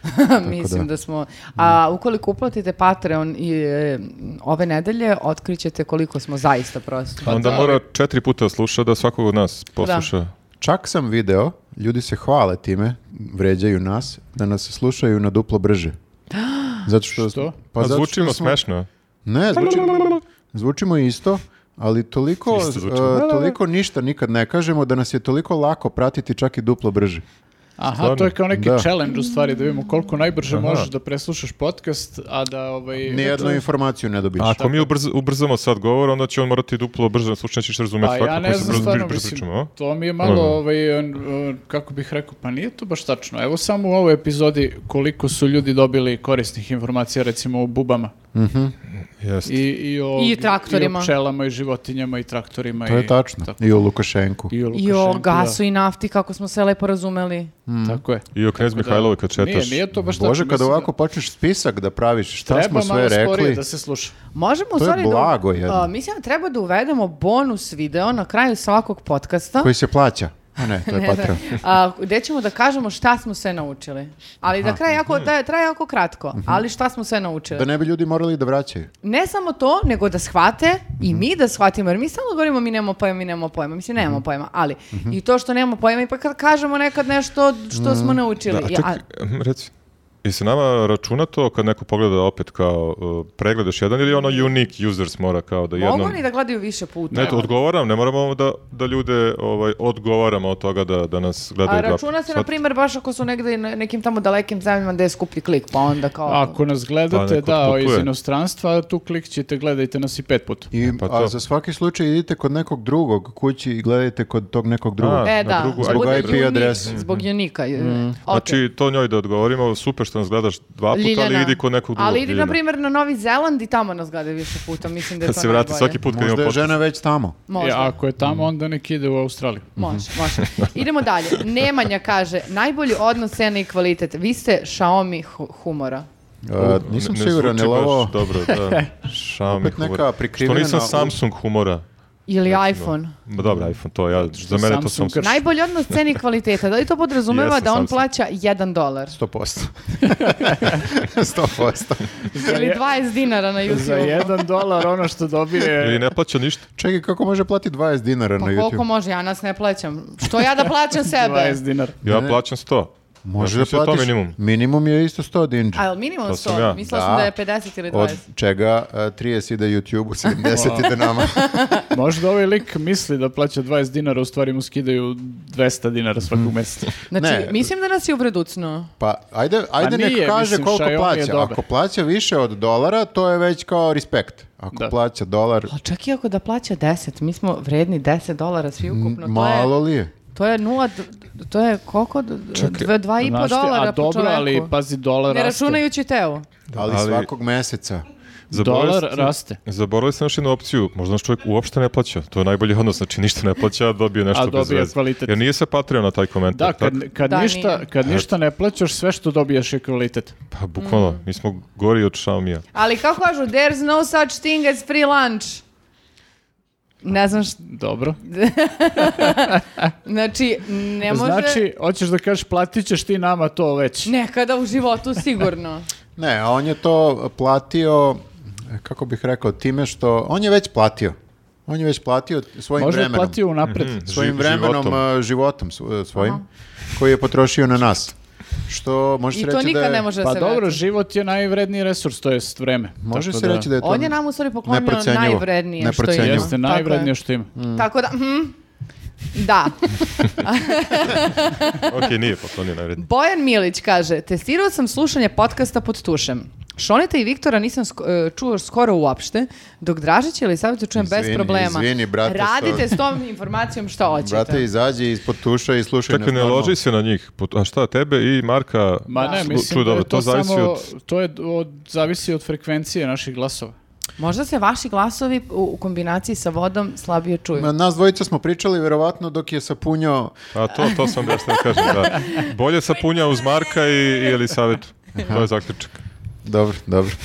[SPEAKER 3] Mislim da. smo...
[SPEAKER 4] Mm.
[SPEAKER 3] A ukoliko uplatite Patreon i e, ove nedelje, otkrićete koliko smo zaista prosti.
[SPEAKER 1] Pa
[SPEAKER 2] Onda mora četiri puta sluša da svakog od nas posluša.
[SPEAKER 4] Čak sam video, ljudi se hvale time, vređaju nas, da nas slušaju na duplo brže. Zato što,
[SPEAKER 1] Što?
[SPEAKER 2] Pa
[SPEAKER 4] zato što
[SPEAKER 2] zvučimo
[SPEAKER 4] smo-
[SPEAKER 2] smešno.
[SPEAKER 4] Ne, zvučimo, zvučimo isto, ali toliko,
[SPEAKER 2] Isto zvučimo.
[SPEAKER 4] e, toliko ništa nikad ne kažemo da nas je toliko lako pratiti čak i duplo brže.
[SPEAKER 1] Aha,
[SPEAKER 2] Stvarno?
[SPEAKER 1] to je kao neki
[SPEAKER 4] Da.
[SPEAKER 1] challenge u stvari, da vidimo koliko najbrže možeš da preslušaš podcast, a da ovaj...
[SPEAKER 4] Nijednu informaciju ne
[SPEAKER 1] Pa
[SPEAKER 4] dobiješ.
[SPEAKER 2] A ako mi ubrz- ubrzamo sad govor, onda će on morati duplo brže da sluša, nećeš razumeti
[SPEAKER 1] Pa
[SPEAKER 2] svakog
[SPEAKER 1] ja
[SPEAKER 2] koji
[SPEAKER 1] ne
[SPEAKER 2] se
[SPEAKER 1] znam
[SPEAKER 2] brz-
[SPEAKER 1] stvarno,
[SPEAKER 2] brz- brz-
[SPEAKER 1] mislim,
[SPEAKER 2] pričamo, a?
[SPEAKER 1] to mi je malo,
[SPEAKER 2] Aha.
[SPEAKER 1] ovaj, en- en- kako bih rekao, pa nije to baš tačno. Evo samo u ovoj epizodi koliko su ljudi dobili korisnih informacija, recimo o bubama
[SPEAKER 2] Jeste.
[SPEAKER 1] i, i o,
[SPEAKER 3] I traktorima.
[SPEAKER 1] I o pčelama i životinjama i traktorima.
[SPEAKER 4] To
[SPEAKER 1] i
[SPEAKER 4] je tačno.
[SPEAKER 1] Tako,
[SPEAKER 4] I o Lukašenku.
[SPEAKER 1] I o,
[SPEAKER 3] I
[SPEAKER 1] Lukašenku,
[SPEAKER 3] o
[SPEAKER 1] da.
[SPEAKER 3] gasu i nafti, kako smo se lepo razumeli.
[SPEAKER 1] Tako je.
[SPEAKER 2] I o knjez
[SPEAKER 1] Tako da,
[SPEAKER 2] Mihajlovi kad četaš.
[SPEAKER 1] Nije, nije to baš tačno.
[SPEAKER 4] Bože, kada
[SPEAKER 1] mislim da
[SPEAKER 4] ovako počneš spisak da praviš šta
[SPEAKER 1] Treba
[SPEAKER 4] smo sve
[SPEAKER 1] malo sporije
[SPEAKER 4] rekli,
[SPEAKER 1] da se sluša.
[SPEAKER 3] Možemo u
[SPEAKER 4] To je
[SPEAKER 3] stvari da-
[SPEAKER 4] blago jedno.
[SPEAKER 3] A, mislim da treba da uvedemo bonus video na kraju svakog podcasta.
[SPEAKER 4] koji se plaća. A ne, to je Patreon.
[SPEAKER 3] A, gde ćemo da kažemo šta smo sve naučili. Ali da traje jako,
[SPEAKER 4] Mhm.
[SPEAKER 3] da traje jako kratko, ali šta smo sve naučili.
[SPEAKER 4] Da ne bi ljudi morali da vraćaju.
[SPEAKER 3] Ne samo to, nego da shvate i
[SPEAKER 2] Mhm.
[SPEAKER 3] mi da shvatimo, jer mi stalno govorimo mi nemamo pojma, mi nemamo pojma, mislim
[SPEAKER 2] Mhm.
[SPEAKER 3] nemamo pojma, ali i to što nemamo pojma, ipak kad kažemo nekad nešto što smo naučili.
[SPEAKER 2] Mhm. Da, a
[SPEAKER 3] I-
[SPEAKER 2] čekaj, em, reci. I se nama računa to kad neko pogleda opet kao uh, pregledaš jedan ili ono unique users mora kao da
[SPEAKER 3] a mogu
[SPEAKER 2] jednom...
[SPEAKER 3] oni da gledaju više puta.
[SPEAKER 2] Ne, to odgovaram, ne moramo da, da ljude ovaj, odgovaramo od toga da, da nas gledaju.
[SPEAKER 3] A
[SPEAKER 2] dva
[SPEAKER 3] računa
[SPEAKER 2] puta.
[SPEAKER 3] se, na
[SPEAKER 2] Sad-
[SPEAKER 3] primjer, baš ako su negdje na nekim tamo dalekim zemljama gdje je skuplji klik, pa onda kao...
[SPEAKER 1] Ako nas
[SPEAKER 2] Pa
[SPEAKER 1] gledate,
[SPEAKER 2] neko
[SPEAKER 1] da,
[SPEAKER 2] otputuje.
[SPEAKER 1] iz inostranstva, tu klik ćete, gledajte nas i pet E, puta.
[SPEAKER 4] I,
[SPEAKER 2] pa to.
[SPEAKER 4] a za svaki slučaj idite kod nekog drugog kući i gledajte kod tog nekog drugog.
[SPEAKER 2] A, na
[SPEAKER 3] E, da,
[SPEAKER 2] drugu
[SPEAKER 3] zbog
[SPEAKER 4] IP
[SPEAKER 3] unika-
[SPEAKER 4] adrese.
[SPEAKER 3] Zbog unika. je. Ok.
[SPEAKER 2] Mhm. Znači, to njoj da odgovorimo, super što nas gledaš dva puta, ali
[SPEAKER 3] Ljiljana.
[SPEAKER 2] idi kod nekog drugog.
[SPEAKER 3] Ali idi, na
[SPEAKER 2] Ljiljana.
[SPEAKER 3] primjer, na Novi Zeland i tamo nas gleda više puta. Mislim da je
[SPEAKER 2] Da
[SPEAKER 3] to
[SPEAKER 2] se vrati
[SPEAKER 3] najbolje.
[SPEAKER 2] svaki put kad ima
[SPEAKER 4] Možda je
[SPEAKER 2] podcast.
[SPEAKER 4] žena već tamo.
[SPEAKER 1] E,
[SPEAKER 3] Možda.
[SPEAKER 1] ako je tamo, onda nek ide u Australiju.
[SPEAKER 3] Može, može. Idemo dalje. Nemanja kaže, najbolji odnos cena i kvalitet. Vi ste Xiaomi hu- humora.
[SPEAKER 4] A, E, nisam
[SPEAKER 2] Ne- ne
[SPEAKER 4] siguran,
[SPEAKER 2] zvuči
[SPEAKER 4] jel
[SPEAKER 2] baš
[SPEAKER 4] ovo...
[SPEAKER 2] Dobro, da. Xiaomi
[SPEAKER 4] Opet neka
[SPEAKER 2] humora.
[SPEAKER 4] prikrivena-
[SPEAKER 2] Što nisam Samsung humora.
[SPEAKER 3] Ili iPhone.
[SPEAKER 2] Ma dobro, iPhone, to ja, za mene
[SPEAKER 1] Samsung
[SPEAKER 2] to Samsung.
[SPEAKER 1] krši.
[SPEAKER 3] Najbolji odnos cena i kvaliteta. Da li to podrazumeva
[SPEAKER 2] Jeste,
[SPEAKER 3] da on
[SPEAKER 2] Samsung.
[SPEAKER 3] plaća 1 dolar?
[SPEAKER 4] 100%. 100%.
[SPEAKER 3] Ili 20 dinara na
[SPEAKER 1] Za
[SPEAKER 3] YouTube?
[SPEAKER 1] jedan dolar ono što
[SPEAKER 2] Ili
[SPEAKER 1] dobije...
[SPEAKER 2] ne plaća ništa.
[SPEAKER 4] Čekaj, kako može plati 20 dinara
[SPEAKER 3] Pa
[SPEAKER 4] na
[SPEAKER 3] koliko
[SPEAKER 4] YouTube?
[SPEAKER 3] može, ja nas ne plaćam. Što ja da plaćam sebe?
[SPEAKER 1] 20 dinara.
[SPEAKER 2] Ja
[SPEAKER 4] Ne.
[SPEAKER 2] plaćam 100.
[SPEAKER 4] Može
[SPEAKER 2] Ja
[SPEAKER 4] da
[SPEAKER 2] mislim je
[SPEAKER 4] platiš...
[SPEAKER 2] To minimum.
[SPEAKER 4] Minimum je isto 100 dinđa.
[SPEAKER 3] A jel minimum
[SPEAKER 2] To sam
[SPEAKER 3] 100?
[SPEAKER 2] ja.
[SPEAKER 3] Mislila sam da je
[SPEAKER 4] Da.
[SPEAKER 3] 50 ili 20.
[SPEAKER 4] Od čega a, 30 ide YouTube-u, 70 ide nama.
[SPEAKER 1] Možda ovaj lik misli da plaća 20 dinara, u stvari mu skidaju 200 dinara
[SPEAKER 2] Mhm.
[SPEAKER 1] svakog mjeseca.
[SPEAKER 3] Znači,
[SPEAKER 4] Ne.
[SPEAKER 3] mislim da nas je uvreducno.
[SPEAKER 4] Pa, ajde, ajde nek
[SPEAKER 1] nije,
[SPEAKER 4] kaže
[SPEAKER 1] mislim,
[SPEAKER 4] koliko
[SPEAKER 1] Xiaomi je
[SPEAKER 4] plaća.
[SPEAKER 1] dobar.
[SPEAKER 4] Ako plaća više od dolara, to je već kao respekt. Ako
[SPEAKER 1] Da.
[SPEAKER 4] plaća dolar,
[SPEAKER 3] Pa čak i ako da plaća 10, mi smo vredni 10 dolara svi ukupno.
[SPEAKER 4] malo li je?
[SPEAKER 3] Pa, To je, to je nula, d- to je koliko? D- Dva, dva Pa i po
[SPEAKER 1] Znaš ti,
[SPEAKER 3] dolara
[SPEAKER 1] a
[SPEAKER 3] po
[SPEAKER 1] dobro,
[SPEAKER 3] čoveku.
[SPEAKER 1] ali pazi, dolar
[SPEAKER 3] Ne
[SPEAKER 1] raste.
[SPEAKER 3] računajući teo.
[SPEAKER 4] Ali,
[SPEAKER 2] ali-
[SPEAKER 4] svakog meseca.
[SPEAKER 2] Zaboravili
[SPEAKER 1] Dolar
[SPEAKER 2] ste-
[SPEAKER 1] raste.
[SPEAKER 2] Zaboravili ste još jednu opciju, možda naš čovjek uopšte ne plaća, to je najbolji odnos, znači ništa ne plaća, a dobije nešto
[SPEAKER 1] A
[SPEAKER 2] bez
[SPEAKER 1] dobije
[SPEAKER 2] veze.
[SPEAKER 1] kvalitet.
[SPEAKER 2] Jer nije se patrio na taj komentar,
[SPEAKER 1] Da, kad,
[SPEAKER 2] tako?
[SPEAKER 1] kad,
[SPEAKER 3] Da,
[SPEAKER 1] ništa,
[SPEAKER 3] nije.
[SPEAKER 1] kad ništa ne plaćaš, sve što dobijaš je kvalitet.
[SPEAKER 2] Pa bukvalno,
[SPEAKER 1] Mm.
[SPEAKER 2] mi smo gori od Xiaomi-a.
[SPEAKER 3] Ali kako kažu, there's no such thing as free lunch. Ne znam što,
[SPEAKER 1] Dobro.
[SPEAKER 3] znači, ne može...
[SPEAKER 1] Znači, hoćeš da kažeš, platit ćeš ti nama to već.
[SPEAKER 3] Nekada u životu sigurno.
[SPEAKER 4] Ne, a on je to platio, kako bih rekao, time što... On je već platio. On je već platio svojim
[SPEAKER 1] Možda je
[SPEAKER 4] vremenom.
[SPEAKER 1] platio unapred.
[SPEAKER 4] Svojim
[SPEAKER 2] Ži-
[SPEAKER 4] vremenom,
[SPEAKER 2] životom.
[SPEAKER 4] životom, životom svo- svojim, koji je potrošio na nas. Što može
[SPEAKER 3] I
[SPEAKER 4] se
[SPEAKER 3] to
[SPEAKER 4] reći da
[SPEAKER 3] nikad
[SPEAKER 4] je...
[SPEAKER 3] ne može da
[SPEAKER 1] Pa
[SPEAKER 3] se
[SPEAKER 1] dobro,
[SPEAKER 3] vrati.
[SPEAKER 1] život je najvredniji resurs, to jest vreme.
[SPEAKER 4] Može
[SPEAKER 1] Tako
[SPEAKER 4] se reći da je to...
[SPEAKER 3] On je nam u stvari poklonio
[SPEAKER 4] Neprocenjivo.
[SPEAKER 3] najvrednije što ima.
[SPEAKER 4] Neprocenjivo.
[SPEAKER 1] Jeste
[SPEAKER 3] Tako je.
[SPEAKER 1] najvrednije što ima.
[SPEAKER 4] Mm.
[SPEAKER 3] Tako da, hm, da.
[SPEAKER 2] Ok, nije, pa to nije najrednije.
[SPEAKER 3] Bojan Milić kaže, testirao sam slušanje podcasta pod tušem. Šoneta i Viktora nisam sk- e, čuo skoro uopšte, dok Dražića ili Savicu čujem bez
[SPEAKER 4] Izvini,
[SPEAKER 3] problema.
[SPEAKER 4] izvini, brate, što-
[SPEAKER 3] Radite s tom informacijom šta hoćete.
[SPEAKER 4] Brate, izađi ispod tuša i slušaj
[SPEAKER 2] Čekaj,
[SPEAKER 4] nas
[SPEAKER 2] ne
[SPEAKER 4] normalno.
[SPEAKER 2] loži se na njih, Po- a šta, tebe i Marka
[SPEAKER 1] Ma
[SPEAKER 2] ču-
[SPEAKER 1] ne, mislim
[SPEAKER 2] čuj,
[SPEAKER 1] da
[SPEAKER 2] dobro,
[SPEAKER 1] je to,
[SPEAKER 2] zavisi
[SPEAKER 1] samo,
[SPEAKER 2] od...
[SPEAKER 1] to je od, zavisi od frekvencije naših glasova.
[SPEAKER 3] Možda se vaši glasovi u, u kombinaciji sa vodom slabije čuju.
[SPEAKER 4] Ma, Nas dvojica smo pričali verovatno dok je sapunjao
[SPEAKER 2] A to, to sam baš da kažem, da. Bolje sapunja uz Marka i, i Elisavetu. To je zaključak.
[SPEAKER 4] Dobro, dobro.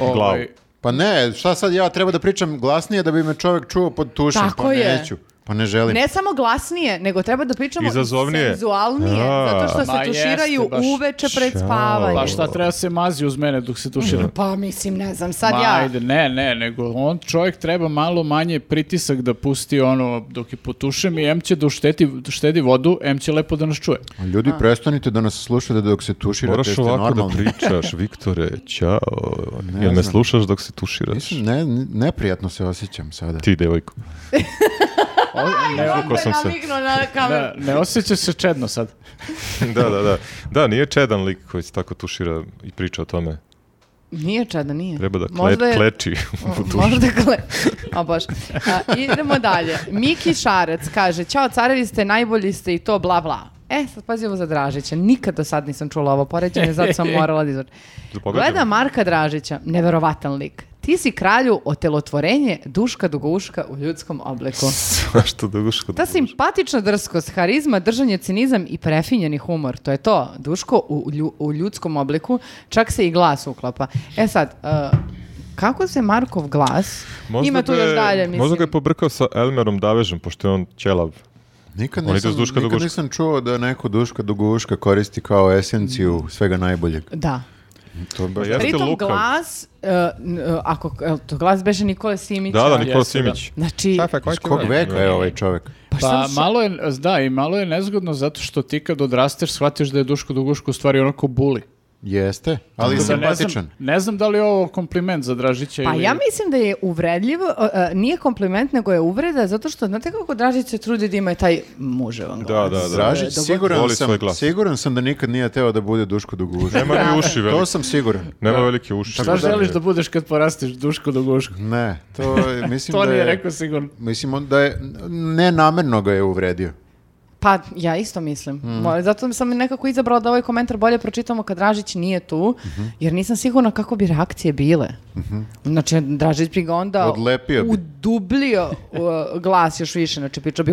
[SPEAKER 1] Ovaj,
[SPEAKER 4] Pa ne, šta sad ja treba da pričam glasnije da bi me čovjek čuo pod tušem,
[SPEAKER 3] Tako
[SPEAKER 4] pa
[SPEAKER 3] je.
[SPEAKER 4] neću. Pa ne želim.
[SPEAKER 3] Ne samo glasnije, nego treba da pričamo
[SPEAKER 2] Izazovnije.
[SPEAKER 3] senzualnije,
[SPEAKER 2] A.
[SPEAKER 3] zato što
[SPEAKER 1] Ma jeste,
[SPEAKER 3] se tuširaju
[SPEAKER 1] baš.
[SPEAKER 3] uveče pred
[SPEAKER 2] Ćao.
[SPEAKER 3] spavanje.
[SPEAKER 1] pa šta treba se mazi uz mene dok se
[SPEAKER 2] Mm.
[SPEAKER 1] tuširam?
[SPEAKER 3] Pa mislim, ne znam, sad
[SPEAKER 1] Ma,
[SPEAKER 3] ja...
[SPEAKER 1] ajde, ne, ne, nego on čovjek treba malo manje pritisak da pusti ono dok je potušem i M će da ušteti, štedi vodu, M će lepo da nas čuje.
[SPEAKER 4] Pa Ljudi, prestanite da nas slušate dok se tuširate,
[SPEAKER 2] Moraš
[SPEAKER 4] jeste
[SPEAKER 2] ovako da
[SPEAKER 4] normalni.
[SPEAKER 2] pričaš, Viktore, čao. Jel me
[SPEAKER 4] znam.
[SPEAKER 2] slušaš dok se tuširaš?
[SPEAKER 4] Mislim, ne, neprijatno se osjećam sada.
[SPEAKER 2] Ti, devojko.
[SPEAKER 1] O, ne,
[SPEAKER 2] Izvukao sam se.
[SPEAKER 3] Naviknuo na kameru.
[SPEAKER 1] da, ne osjeća se čedno sad.
[SPEAKER 2] da, da, da. Da, nije čedan lik koji se tako tušira i priča o tome.
[SPEAKER 3] Nije čada, nije.
[SPEAKER 2] Treba da kle-
[SPEAKER 3] Možda je-
[SPEAKER 2] kleči u tušu.
[SPEAKER 3] Možda kle... O bože. A, idemo dalje. Miki Šarac kaže, Ćao, carevi ste, najbolji ste i to, bla, bla. E, sad pazimo za Dražića. Nikad do sad nisam čula ovo poređenje, zato sam morala da izvrti.
[SPEAKER 2] Da pogledamo.
[SPEAKER 3] Gleda Marka Dražića, neverovatan lik. Ti si kralju otelotvorenje duška duguška u ljudskom obliku.
[SPEAKER 2] Svašta duguško.
[SPEAKER 3] Ta simpatična drskost, harizma, držanje, cinizam i prefinjeni humor, to je to. Duško u, lju- u ljudskom obliku, čak se i glas uklapa. E sad, uh, kako se Markov glas, ima tu
[SPEAKER 2] ga
[SPEAKER 3] još
[SPEAKER 2] je-
[SPEAKER 3] dalje, mislim.
[SPEAKER 2] Možda ga je pobrkao sa Elmerom Davežem, pošto je on ćelav.
[SPEAKER 4] Nikad
[SPEAKER 2] Oni idu
[SPEAKER 4] nisam,
[SPEAKER 2] s duška do
[SPEAKER 4] nikad
[SPEAKER 2] guška.
[SPEAKER 4] nisam čuo da neko duška duguška koristi kao esenciju svega najboljeg.
[SPEAKER 3] Da.
[SPEAKER 4] To baš...
[SPEAKER 2] Pa jeste
[SPEAKER 3] Pritom
[SPEAKER 2] lukav.
[SPEAKER 3] glas, uh, n- uh, ako, jel to glas beše Nikole Simića.
[SPEAKER 2] Da, da, Nikola
[SPEAKER 1] Jeste, da.
[SPEAKER 2] Simić.
[SPEAKER 3] Znači,
[SPEAKER 4] Iz kog veka je ovaj čovjek?
[SPEAKER 3] pa šta
[SPEAKER 1] Pa
[SPEAKER 3] sam-
[SPEAKER 1] malo je, da, i malo je nezgodno zato što ti kad odrasteš shvatiš da je Duško Duguško u stvari onako buli.
[SPEAKER 4] Jeste, ali je
[SPEAKER 1] Tako da Ne
[SPEAKER 4] simpatičan.
[SPEAKER 1] znam, ne znam da li je ovo kompliment za Dražića
[SPEAKER 3] Pa
[SPEAKER 1] ili...
[SPEAKER 3] ja mislim da je uvredljivo, uh, uh, nije kompliment, nego je uvreda, zato što, znate kako Dražić se trudi da ima taj muževan glas. E,
[SPEAKER 2] Da, da, da.
[SPEAKER 4] Dražić,
[SPEAKER 2] Dobro.
[SPEAKER 4] siguran
[SPEAKER 2] Voli svoj
[SPEAKER 4] sam,
[SPEAKER 2] glas.
[SPEAKER 4] siguran sam da nikad nije teo da bude Duško Duguška.
[SPEAKER 2] Nema ni uši
[SPEAKER 4] To
[SPEAKER 2] velike.
[SPEAKER 4] sam siguran.
[SPEAKER 2] Nema velike uši.
[SPEAKER 1] Pa Šta želiš da budeš kad porastiš Duško Duguško?
[SPEAKER 4] Ne, to je- mislim
[SPEAKER 1] To
[SPEAKER 4] da
[SPEAKER 1] nije
[SPEAKER 4] je...
[SPEAKER 1] rekao sigurno.
[SPEAKER 4] Mislim on da je, nenamerno ga je uvredio.
[SPEAKER 3] Pa ja isto mislim.
[SPEAKER 4] Mhm.
[SPEAKER 3] Mo- Zato sam nekako izabrala da ovaj komentar bolje pročitamo kad Dražić nije tu,
[SPEAKER 4] Mhm.
[SPEAKER 3] jer nisam sigurna kako bi reakcije bile. Znači, Dražić bi ga onda
[SPEAKER 4] Odlepio bi.
[SPEAKER 3] udublio uh, glas još više, znači pričao bi...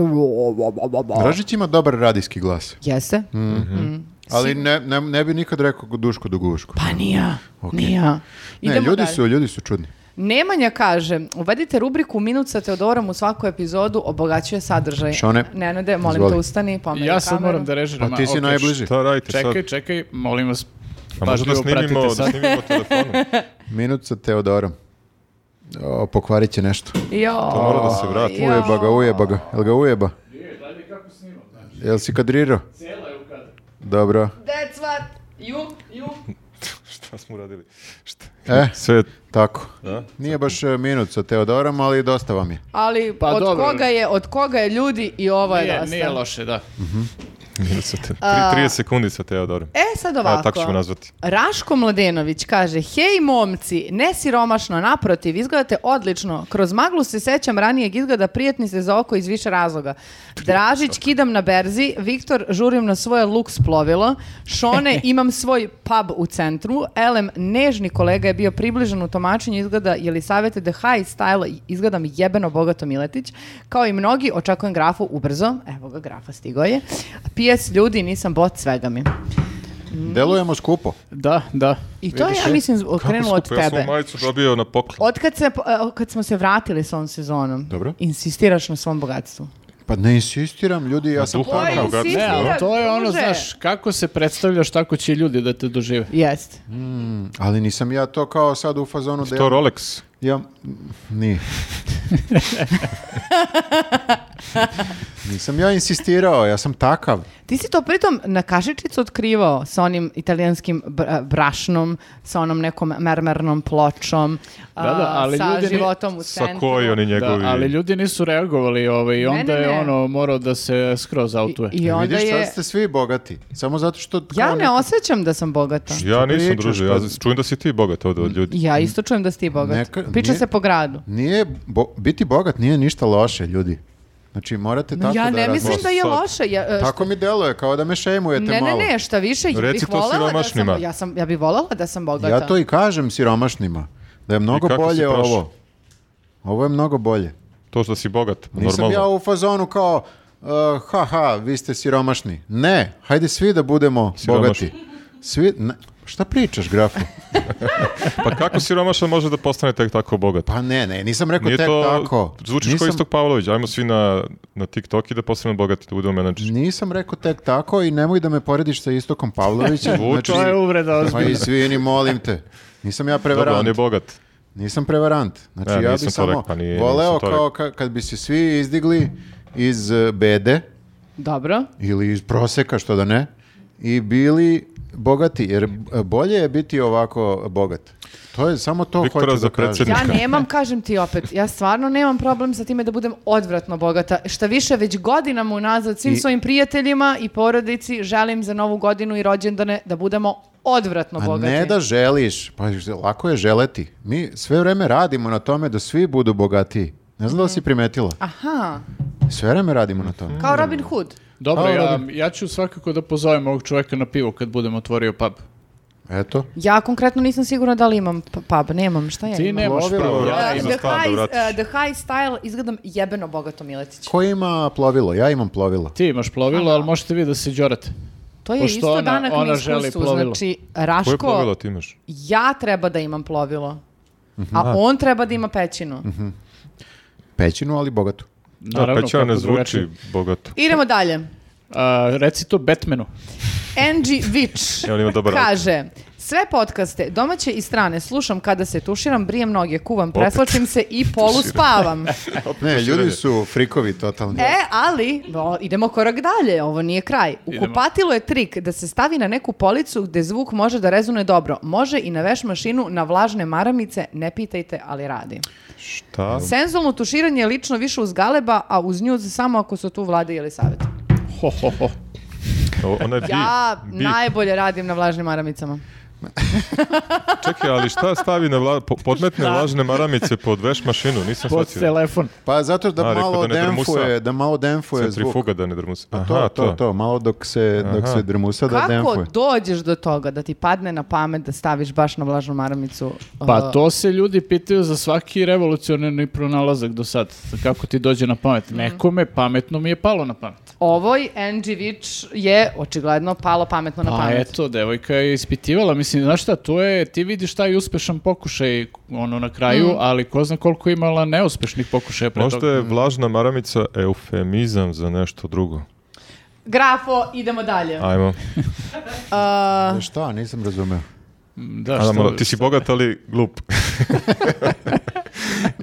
[SPEAKER 4] Dražić Mhm. ima dobar radijski glas,
[SPEAKER 3] Jeste? Mm.
[SPEAKER 4] ali ne, ne, ne bi nikad rekao duško do guško.
[SPEAKER 3] Pa nije, nije.
[SPEAKER 4] Ne,
[SPEAKER 3] Idemo
[SPEAKER 4] ljudi
[SPEAKER 3] dalje.
[SPEAKER 4] su, ljudi su čudni.
[SPEAKER 3] Nemanja kaže, uvedite rubriku Minut sa Teodorom u svaku epizodu, obogaćuje sadržaj.
[SPEAKER 4] Šone,
[SPEAKER 3] Nenade, molim
[SPEAKER 4] izvoli.
[SPEAKER 3] te ustani, pomeri
[SPEAKER 1] Ja sad
[SPEAKER 3] Pa kameru.
[SPEAKER 1] moram da režiram.
[SPEAKER 4] Pa ti
[SPEAKER 1] a,
[SPEAKER 4] si
[SPEAKER 1] ok,
[SPEAKER 4] najbliži.
[SPEAKER 2] Šta radite sad?
[SPEAKER 1] Čekaj, čekaj, molim vas.
[SPEAKER 2] A možda da
[SPEAKER 1] pažljivo pratite
[SPEAKER 2] snimimo, da
[SPEAKER 1] sad.
[SPEAKER 2] snimimo telefonom.
[SPEAKER 4] Minut sa Teodorom. O, pokvarit će nešto.
[SPEAKER 3] Jo,
[SPEAKER 2] To mora da se vrati.
[SPEAKER 3] Ja.
[SPEAKER 4] Ujeba ga, ujeba ga. Jel ga ujeba? Jel si kadrirao? Dobro.
[SPEAKER 3] that's what you, you
[SPEAKER 2] Šta smo uradili? Šta?
[SPEAKER 4] E,
[SPEAKER 2] Sve,
[SPEAKER 4] tako.
[SPEAKER 2] da?
[SPEAKER 4] Nije baš e, minut sa Teodorom, ali dosta vam je.
[SPEAKER 3] Ali
[SPEAKER 1] Pa
[SPEAKER 3] od
[SPEAKER 1] dobro.
[SPEAKER 3] koga je, od koga je ljudi i ovo je
[SPEAKER 1] Nije,
[SPEAKER 3] dosta.
[SPEAKER 1] nije loše, da.
[SPEAKER 2] Minut sa te- tri- 30 sekundi sa Teodorom.
[SPEAKER 3] E sad ovako.
[SPEAKER 2] A, tako ćemo nazvati.
[SPEAKER 3] Raško Mladenović kaže, hej momci, ne siromašno, naprotiv, izgledate odlično. Kroz maglu se sećam ranijeg izgleda, prijetni ste za oko iz više razloga. Dražić kidam na berzi, Viktor žurim na svoje luks plovilo, Šone imam svoj pub u centru, Elem nežni kolega je bio približan u tomačenju izgleda Jelisavete The High Style, izgledam jebeno bogato Miletić, kao i mnogi očekujem grafu ubrzo, evo ga grafa stigao je, PS ljudi nisam bot svega mi.
[SPEAKER 4] Delujemo skupo.
[SPEAKER 1] Da, da.
[SPEAKER 3] I to je,
[SPEAKER 1] Vidiš?
[SPEAKER 3] ja mislim, krenulo od
[SPEAKER 2] Skupo, Ja sam ovaj-
[SPEAKER 3] tebe.
[SPEAKER 2] ovu majicu dobio na poklon.
[SPEAKER 3] Od kad, se, e, kad smo se vratili s ovom sezonom,
[SPEAKER 4] Dobro.
[SPEAKER 3] insistiraš na svom bogatstvu.
[SPEAKER 4] Pa ne insistiram, ljudi, ja sam
[SPEAKER 2] duha Oj,
[SPEAKER 4] pokrao.
[SPEAKER 2] insi-
[SPEAKER 1] Ne, ali
[SPEAKER 2] Sira,
[SPEAKER 1] to je ono, znaš, kako se predstavljaš, tako će ljudi da te dožive.
[SPEAKER 3] Jeste.
[SPEAKER 4] Ali nisam ja to kao sad u fazonu da
[SPEAKER 2] To je
[SPEAKER 4] ja...
[SPEAKER 2] Rolex.
[SPEAKER 4] ja nije. nisam ja insistirao, ja sam takav.
[SPEAKER 3] Ti si to pritom na kašičicu otkrivao sa onim italijanskim br- e, brašnom, sa onom nekom mermernom pločom,
[SPEAKER 1] Da, da,
[SPEAKER 3] a,
[SPEAKER 1] ali
[SPEAKER 3] sa
[SPEAKER 1] ljudi ne-
[SPEAKER 3] životom u
[SPEAKER 2] Sa
[SPEAKER 3] centru.
[SPEAKER 2] koji oni
[SPEAKER 1] Da,
[SPEAKER 2] njegovi...
[SPEAKER 1] ali ljudi nisu reagovali ovaj, i
[SPEAKER 3] Ne,
[SPEAKER 1] onda
[SPEAKER 3] ne,
[SPEAKER 1] je
[SPEAKER 3] ne.
[SPEAKER 1] ono morao da se skroz
[SPEAKER 3] I,
[SPEAKER 1] autuje.
[SPEAKER 3] i onda
[SPEAKER 4] E, Vidiš,
[SPEAKER 3] je...
[SPEAKER 4] sad ste svi bogati. Samo zato što... kao
[SPEAKER 3] Ja ne
[SPEAKER 4] neko-
[SPEAKER 3] osjećam da sam bogata.
[SPEAKER 2] Ja nisam,
[SPEAKER 4] pričaš,
[SPEAKER 2] druže. Ja
[SPEAKER 4] pa-
[SPEAKER 2] čujem da si ti bogat ovdje od ljudi.
[SPEAKER 3] Ja isto čujem da si ti bogat.
[SPEAKER 4] Neka-
[SPEAKER 3] Priča
[SPEAKER 4] nije-
[SPEAKER 3] se po gradu.
[SPEAKER 4] Nije, bo- biti bogat nije ništa loše, ljudi. Znači, morate tako
[SPEAKER 3] ja
[SPEAKER 4] da
[SPEAKER 3] ne mislim
[SPEAKER 4] razmišljate.
[SPEAKER 3] da je
[SPEAKER 2] Sad.
[SPEAKER 3] loše. Ja, e,
[SPEAKER 4] Tako mi deluje, kao da me šejmujete
[SPEAKER 3] Ne, ne,
[SPEAKER 4] malo.
[SPEAKER 3] ne, šta više, ja
[SPEAKER 2] Reci
[SPEAKER 3] bih
[SPEAKER 2] to
[SPEAKER 3] voljela da sam,
[SPEAKER 2] siromašnima.
[SPEAKER 3] Dakle, ja sam, ja bih voljela da sam bogata.
[SPEAKER 4] Ja to i kažem siromašnima, da je mnogo
[SPEAKER 2] kako si
[SPEAKER 4] bolje
[SPEAKER 2] prošao?
[SPEAKER 4] ovo. Ovo je mnogo bolje.
[SPEAKER 2] To što si bogat,
[SPEAKER 4] Nisam
[SPEAKER 2] normalno.
[SPEAKER 4] ja u fazonu kao, uh, haha, vi ste siromašni. Ne, hajde svi da budemo
[SPEAKER 2] Siromašni.
[SPEAKER 4] bogati. Svi, ne, šta pričaš, grafu?
[SPEAKER 2] Pa kako siromašan može da postane tek tako bogat?
[SPEAKER 4] Pa ne, ne, nisam rekao
[SPEAKER 2] Nije
[SPEAKER 4] tek
[SPEAKER 2] to,
[SPEAKER 4] tako.
[SPEAKER 2] zvučiš kao
[SPEAKER 4] Nisam-
[SPEAKER 2] Istok Pavlović, ajmo svi na, na TikTok i da postanemo bogati, da budemo menadžeri.
[SPEAKER 4] Nisam rekao tek tako i nemoj da me porediš sa Istokom Pavlovićem.
[SPEAKER 2] Vuče.
[SPEAKER 1] To je uvreda
[SPEAKER 4] pa
[SPEAKER 1] ozbiljna.
[SPEAKER 4] izvini, molim te. Nisam ja
[SPEAKER 2] Dobro, on
[SPEAKER 4] prevarant.
[SPEAKER 2] je bogat.
[SPEAKER 4] Nisam prevarant. Znači,
[SPEAKER 2] Ne,
[SPEAKER 4] ja
[SPEAKER 2] nisam
[SPEAKER 4] bi
[SPEAKER 2] to
[SPEAKER 4] samo
[SPEAKER 2] rekao, pa nije-
[SPEAKER 4] voleo
[SPEAKER 2] nisam to
[SPEAKER 4] kao ka- kad bi se svi izdigli iz eh, bede
[SPEAKER 3] Dobro.
[SPEAKER 4] ili iz proseka, što da ne, i bili bogati, jer eh, bolje je biti ovako bogat. To je samo to
[SPEAKER 2] Viktora
[SPEAKER 4] hoću
[SPEAKER 2] za
[SPEAKER 4] da kažem.
[SPEAKER 2] predsjednika.
[SPEAKER 3] Ja nemam, kažem ti opet, ja stvarno nemam problem sa time da budem odvratno bogata. Šta više, već godinama unazad svim
[SPEAKER 4] I-
[SPEAKER 3] svojim prijateljima i porodici želim za novu godinu i rođendane da budemo odvratno
[SPEAKER 4] A
[SPEAKER 3] bogati.
[SPEAKER 4] ne da želiš, pa lako je želeti. Mi sve vreme radimo na tome da svi budu bogatiji. Ne znam da li
[SPEAKER 3] Mhm.
[SPEAKER 4] si primetila.
[SPEAKER 3] Aha,
[SPEAKER 4] Sve vreme radimo
[SPEAKER 3] Mhm.
[SPEAKER 4] na tome.
[SPEAKER 3] kao Robin Hood.
[SPEAKER 1] Dobro,
[SPEAKER 4] Hvala,
[SPEAKER 1] ja,
[SPEAKER 4] Robin.
[SPEAKER 1] ja ću svakako da pozovem ovog čoveka na pivo kad budem otvorio pub.
[SPEAKER 4] Eto.
[SPEAKER 3] Ja konkretno nisam sigurna da li imam p- pub, nemam, šta ja
[SPEAKER 1] Ti
[SPEAKER 3] imam?
[SPEAKER 1] nemaš
[SPEAKER 4] Plovilo,
[SPEAKER 1] pravo, ja
[SPEAKER 2] bravo.
[SPEAKER 3] Uh,
[SPEAKER 2] imam
[SPEAKER 1] imam.
[SPEAKER 3] the,
[SPEAKER 2] stan da
[SPEAKER 3] high,
[SPEAKER 2] vratiš.
[SPEAKER 3] uh, the high style izgledam jebeno bogato Miletić.
[SPEAKER 4] Ko ima plovilo? Ja imam plovilo.
[SPEAKER 1] Ti imaš plovilo, ali možete vi da se đorate.
[SPEAKER 3] To je
[SPEAKER 1] Pošto
[SPEAKER 3] isto
[SPEAKER 1] ona-
[SPEAKER 3] danak
[SPEAKER 1] ona
[SPEAKER 3] na
[SPEAKER 1] želi
[SPEAKER 3] iskustvu.
[SPEAKER 1] plovilo.
[SPEAKER 3] Znači,
[SPEAKER 2] Koje plovilo
[SPEAKER 3] Raško,
[SPEAKER 2] ti imaš?
[SPEAKER 3] ja treba da imam plovilo.
[SPEAKER 2] Mhm.
[SPEAKER 3] A on treba da ima pećinu.
[SPEAKER 4] Pećinu, ali bogatu.
[SPEAKER 1] Naravno,
[SPEAKER 2] da, pećina ne
[SPEAKER 1] kako
[SPEAKER 2] zvuči
[SPEAKER 1] drugačije.
[SPEAKER 2] bogato.
[SPEAKER 3] Idemo dalje.
[SPEAKER 1] A, reci to Batmanu.
[SPEAKER 3] Angie Witch
[SPEAKER 2] Evo, ima dobar
[SPEAKER 3] kaže sve podcaste, domaće i strane, slušam kada se tuširam, brijem noge, kuvam, preslačim se i polu spavam.
[SPEAKER 4] Ne, ljudi su frikovi totalni.
[SPEAKER 3] E, ali, o, idemo korak dalje, ovo nije kraj. U
[SPEAKER 1] Idemo.
[SPEAKER 3] kupatilu je trik da se stavi na neku policu gde zvuk može da rezone dobro. Može i na veš mašinu, na vlažne maramice, ne pitajte, ali radi.
[SPEAKER 2] Šta?
[SPEAKER 3] Senzualno tuširanje je lično više uz galeba, a uz nju samo ako su tu vlade ili savjet.
[SPEAKER 1] Ho, ho, ho.
[SPEAKER 2] O, Ona je bi,
[SPEAKER 3] Ja
[SPEAKER 2] bi.
[SPEAKER 3] najbolje radim na vlažnim maramicama.
[SPEAKER 2] Čekaj, ali šta stavi na vla... po- podmetne lažne maramice pod veš mašinu? Nisam
[SPEAKER 1] Pod
[SPEAKER 2] shvatio.
[SPEAKER 1] telefon.
[SPEAKER 4] Pa zato da
[SPEAKER 2] A, rekao
[SPEAKER 4] malo
[SPEAKER 2] da ne
[SPEAKER 4] demfuje,
[SPEAKER 2] drmusa.
[SPEAKER 4] da malo demfuje zvuk. Pa
[SPEAKER 2] Centrifuga da ne drmusi. Aha,
[SPEAKER 4] To, to, to, malo dok se, dok
[SPEAKER 2] Aha.
[SPEAKER 4] se drmusa da
[SPEAKER 3] Kako
[SPEAKER 4] demfuje.
[SPEAKER 3] dođeš do toga da ti padne na pamet da staviš baš na vlažnu maramicu?
[SPEAKER 1] Pa
[SPEAKER 3] uh,
[SPEAKER 1] to se ljudi pitaju za svaki revolucionarni pronalazak do sad. Kako ti dođe na pamet?
[SPEAKER 3] Mhm.
[SPEAKER 1] Nekome pametno mi je palo na pamet.
[SPEAKER 3] Ovoj Angie Witch je očigledno palo pametno na
[SPEAKER 1] Pa
[SPEAKER 3] pamet.
[SPEAKER 1] eto, devojka je ispitivala. Mislim, znaš šta, to je, ti vidiš taj uspešan pokušaj ono na kraju,
[SPEAKER 3] Mm.
[SPEAKER 1] ali ko zna koliko je imala neuspešnih pokušaja pre
[SPEAKER 2] Možda
[SPEAKER 1] toga.
[SPEAKER 2] je vlažna maramica eufemizam za nešto drugo.
[SPEAKER 3] Grafo, idemo dalje.
[SPEAKER 1] Pa.
[SPEAKER 2] Ajmo.
[SPEAKER 3] Uh,
[SPEAKER 4] E, Šta, nisam razumeo.
[SPEAKER 1] Da,
[SPEAKER 2] Adam, ono,
[SPEAKER 1] što-
[SPEAKER 2] ti si bogat, ali glup.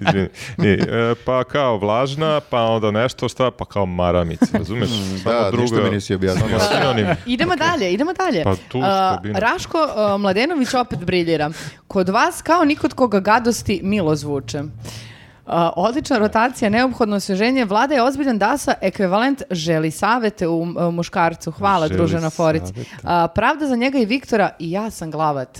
[SPEAKER 2] Izvini. Nije, e, pa kao vlažna, pa onda nešto šta, pa kao maramica, razumeš? Samo
[SPEAKER 4] Mm, Da,
[SPEAKER 2] drugo-
[SPEAKER 4] ništa mi nisi objasnio.
[SPEAKER 2] Samo sinonim.
[SPEAKER 3] idemo dalje, idemo dalje.
[SPEAKER 2] Pa tu
[SPEAKER 3] Uh,
[SPEAKER 2] što bi na-
[SPEAKER 3] Raško uh, Mladenović opet briljira. Kod vas kao nikod koga gadosti milo zvuče. Uh, odlična rotacija, neophodno osveženje. Vlada je ozbiljan dasa, ekvivalent želi savete u uh, muškarcu. Hvala,
[SPEAKER 2] Želi
[SPEAKER 3] druže na forici.
[SPEAKER 2] savete.
[SPEAKER 3] Uh, pravda za njega i Viktora i ja sam glavat.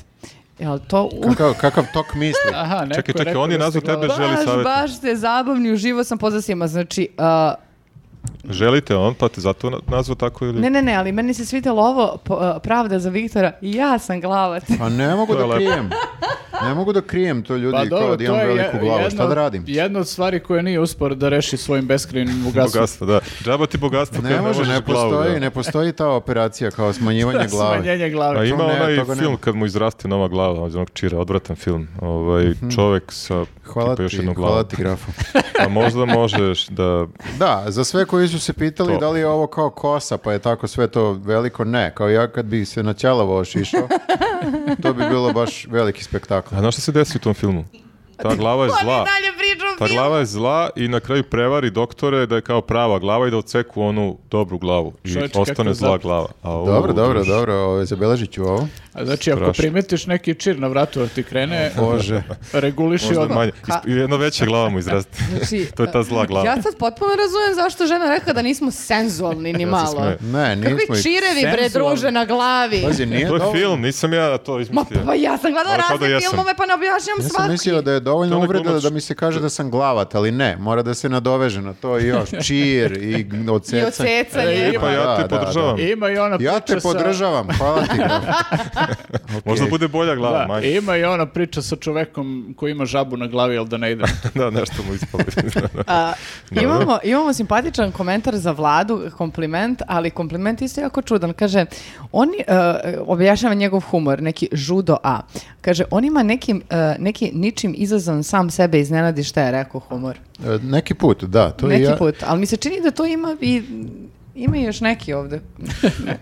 [SPEAKER 3] Jel to... u-
[SPEAKER 4] Kakav, kakav tok misli.
[SPEAKER 1] Aha, neko
[SPEAKER 2] Čekaj, čekaj,
[SPEAKER 1] rekao
[SPEAKER 2] on je
[SPEAKER 1] da
[SPEAKER 2] nazvao
[SPEAKER 1] ste
[SPEAKER 2] tebe
[SPEAKER 1] gledali.
[SPEAKER 2] želi
[SPEAKER 3] baš,
[SPEAKER 2] savete.
[SPEAKER 3] baš ste zabavni, uživo sam pozdrav svima. Znači, uh,
[SPEAKER 2] Želite on, pa te zato na- nazvao tako ili...
[SPEAKER 3] Ne, ne, ne, ali meni se svitalo ovo po- uh, pravda za Viktora i ja sam glavat.
[SPEAKER 4] Pa ne mogu
[SPEAKER 2] To je
[SPEAKER 4] da
[SPEAKER 2] lepo.
[SPEAKER 4] krijem. Ne mogu da krijem to ljudi
[SPEAKER 1] Pa
[SPEAKER 4] kao
[SPEAKER 1] dobro,
[SPEAKER 4] da
[SPEAKER 1] to
[SPEAKER 4] imam
[SPEAKER 1] je
[SPEAKER 4] veliku
[SPEAKER 1] je-
[SPEAKER 4] glavu. Šta
[SPEAKER 1] jedna-
[SPEAKER 4] da radim?
[SPEAKER 1] Jedna od stvari koje nije uspor da reši svojim beskrajnim bogatstvom.
[SPEAKER 2] Bogatstvo, da. Džaba ti bogatstvo
[SPEAKER 4] Ne
[SPEAKER 2] kad
[SPEAKER 4] može,
[SPEAKER 2] možeš
[SPEAKER 4] ne
[SPEAKER 2] glavu, da.
[SPEAKER 4] postoji, ne postoji ta operacija kao smanjivanje glave.
[SPEAKER 1] Smanjenje
[SPEAKER 2] A
[SPEAKER 1] glave.
[SPEAKER 2] ima
[SPEAKER 4] ne,
[SPEAKER 2] onaj
[SPEAKER 4] toga
[SPEAKER 2] film
[SPEAKER 4] nema.
[SPEAKER 2] kad mu izraste nova glava, od onog čira, odvratan film. Ovaj, čovek sa
[SPEAKER 4] Mhm. Hvala
[SPEAKER 2] tipa, još
[SPEAKER 4] ti,
[SPEAKER 2] jednom
[SPEAKER 4] hvala
[SPEAKER 2] glavom.
[SPEAKER 4] ti grafu.
[SPEAKER 2] A možda možeš da...
[SPEAKER 4] Da, za sve koji su se pitali
[SPEAKER 2] To.
[SPEAKER 4] da li je ovo kao kosa, pa je tako sve to veliko, ne. Kao ja kad bi se na ćelavo ošišao, to bi bilo baš veliki spektakl.
[SPEAKER 2] A znaš šta se desi u tom filmu? Ta glava je
[SPEAKER 3] On je
[SPEAKER 2] zla.
[SPEAKER 3] dalje pričao
[SPEAKER 2] Ta
[SPEAKER 3] film.
[SPEAKER 2] glava je zla i na kraju prevari doktore da je kao prava glava i da odseku onu dobru glavu. I
[SPEAKER 1] Čovječe,
[SPEAKER 2] ostane
[SPEAKER 1] kakav
[SPEAKER 2] zla
[SPEAKER 1] zapad.
[SPEAKER 2] glava. A, u,
[SPEAKER 4] Dobro, dobro,
[SPEAKER 2] druže.
[SPEAKER 4] dobro, ove, zabeležit ću ovo.
[SPEAKER 1] A znači, ako
[SPEAKER 2] Strašno.
[SPEAKER 1] primetiš neki čir na vratu, ti krene,
[SPEAKER 4] Bože.
[SPEAKER 1] reguliši
[SPEAKER 2] Možda
[SPEAKER 1] odmah.
[SPEAKER 2] manje. Isp- Jedna veća glava mu izraste.
[SPEAKER 3] Znači,
[SPEAKER 2] to je ta zla glava.
[SPEAKER 3] Ja sad potpuno razumem zašto je žena rekla da nismo senzualni ni
[SPEAKER 2] Ja se
[SPEAKER 3] malo.
[SPEAKER 2] smijem.
[SPEAKER 4] Ne, nismo
[SPEAKER 3] Kakvi
[SPEAKER 4] ih...
[SPEAKER 3] čirevi bre
[SPEAKER 1] Senzualni.
[SPEAKER 3] druže na glavi.
[SPEAKER 4] Pazi, nije
[SPEAKER 2] To je
[SPEAKER 4] dovoljno-
[SPEAKER 2] film, nisam ja to
[SPEAKER 3] Ma
[SPEAKER 2] izmislio.
[SPEAKER 3] pa ja sam gledala
[SPEAKER 2] Pa Ali kao da
[SPEAKER 3] razne
[SPEAKER 2] jesam.
[SPEAKER 3] filmove pa ne objašnjam
[SPEAKER 4] Ja sam
[SPEAKER 3] svaki.
[SPEAKER 4] mislio da je
[SPEAKER 2] To
[SPEAKER 4] dovoljno
[SPEAKER 2] je onaj
[SPEAKER 4] uvreda
[SPEAKER 2] glumac-
[SPEAKER 4] da mi se kaže da sam sam glavat, ali ne, mora da se nadoveže na to i još čir i
[SPEAKER 3] I
[SPEAKER 4] oceca.
[SPEAKER 3] odsecanje.
[SPEAKER 2] Pa ja te podržavam.
[SPEAKER 1] Ima i ona
[SPEAKER 4] Ja
[SPEAKER 1] priča
[SPEAKER 4] te
[SPEAKER 1] sa-
[SPEAKER 4] podržavam, hvala ti.
[SPEAKER 2] Možda bude bolja glava,
[SPEAKER 1] Da, e-
[SPEAKER 2] majke.
[SPEAKER 1] ima i ona priča sa čovekom koji ima žabu na glavi, ali da ne ide.
[SPEAKER 2] da, nešto mu ispali.
[SPEAKER 3] A, imamo, imamo simpatičan komentar za vladu, kompliment, ali kompliment isto jako čudan. Kaže, on e, objašnjava njegov humor, neki žudo A. Kaže, on ima neki, neki ničim izazvan sam sebe iznenadi šta je rekao humor.
[SPEAKER 4] E, Neki put, da. To i
[SPEAKER 3] neki
[SPEAKER 4] ja,
[SPEAKER 3] put, ali mi se čini da to ima i ima i još neki ovde.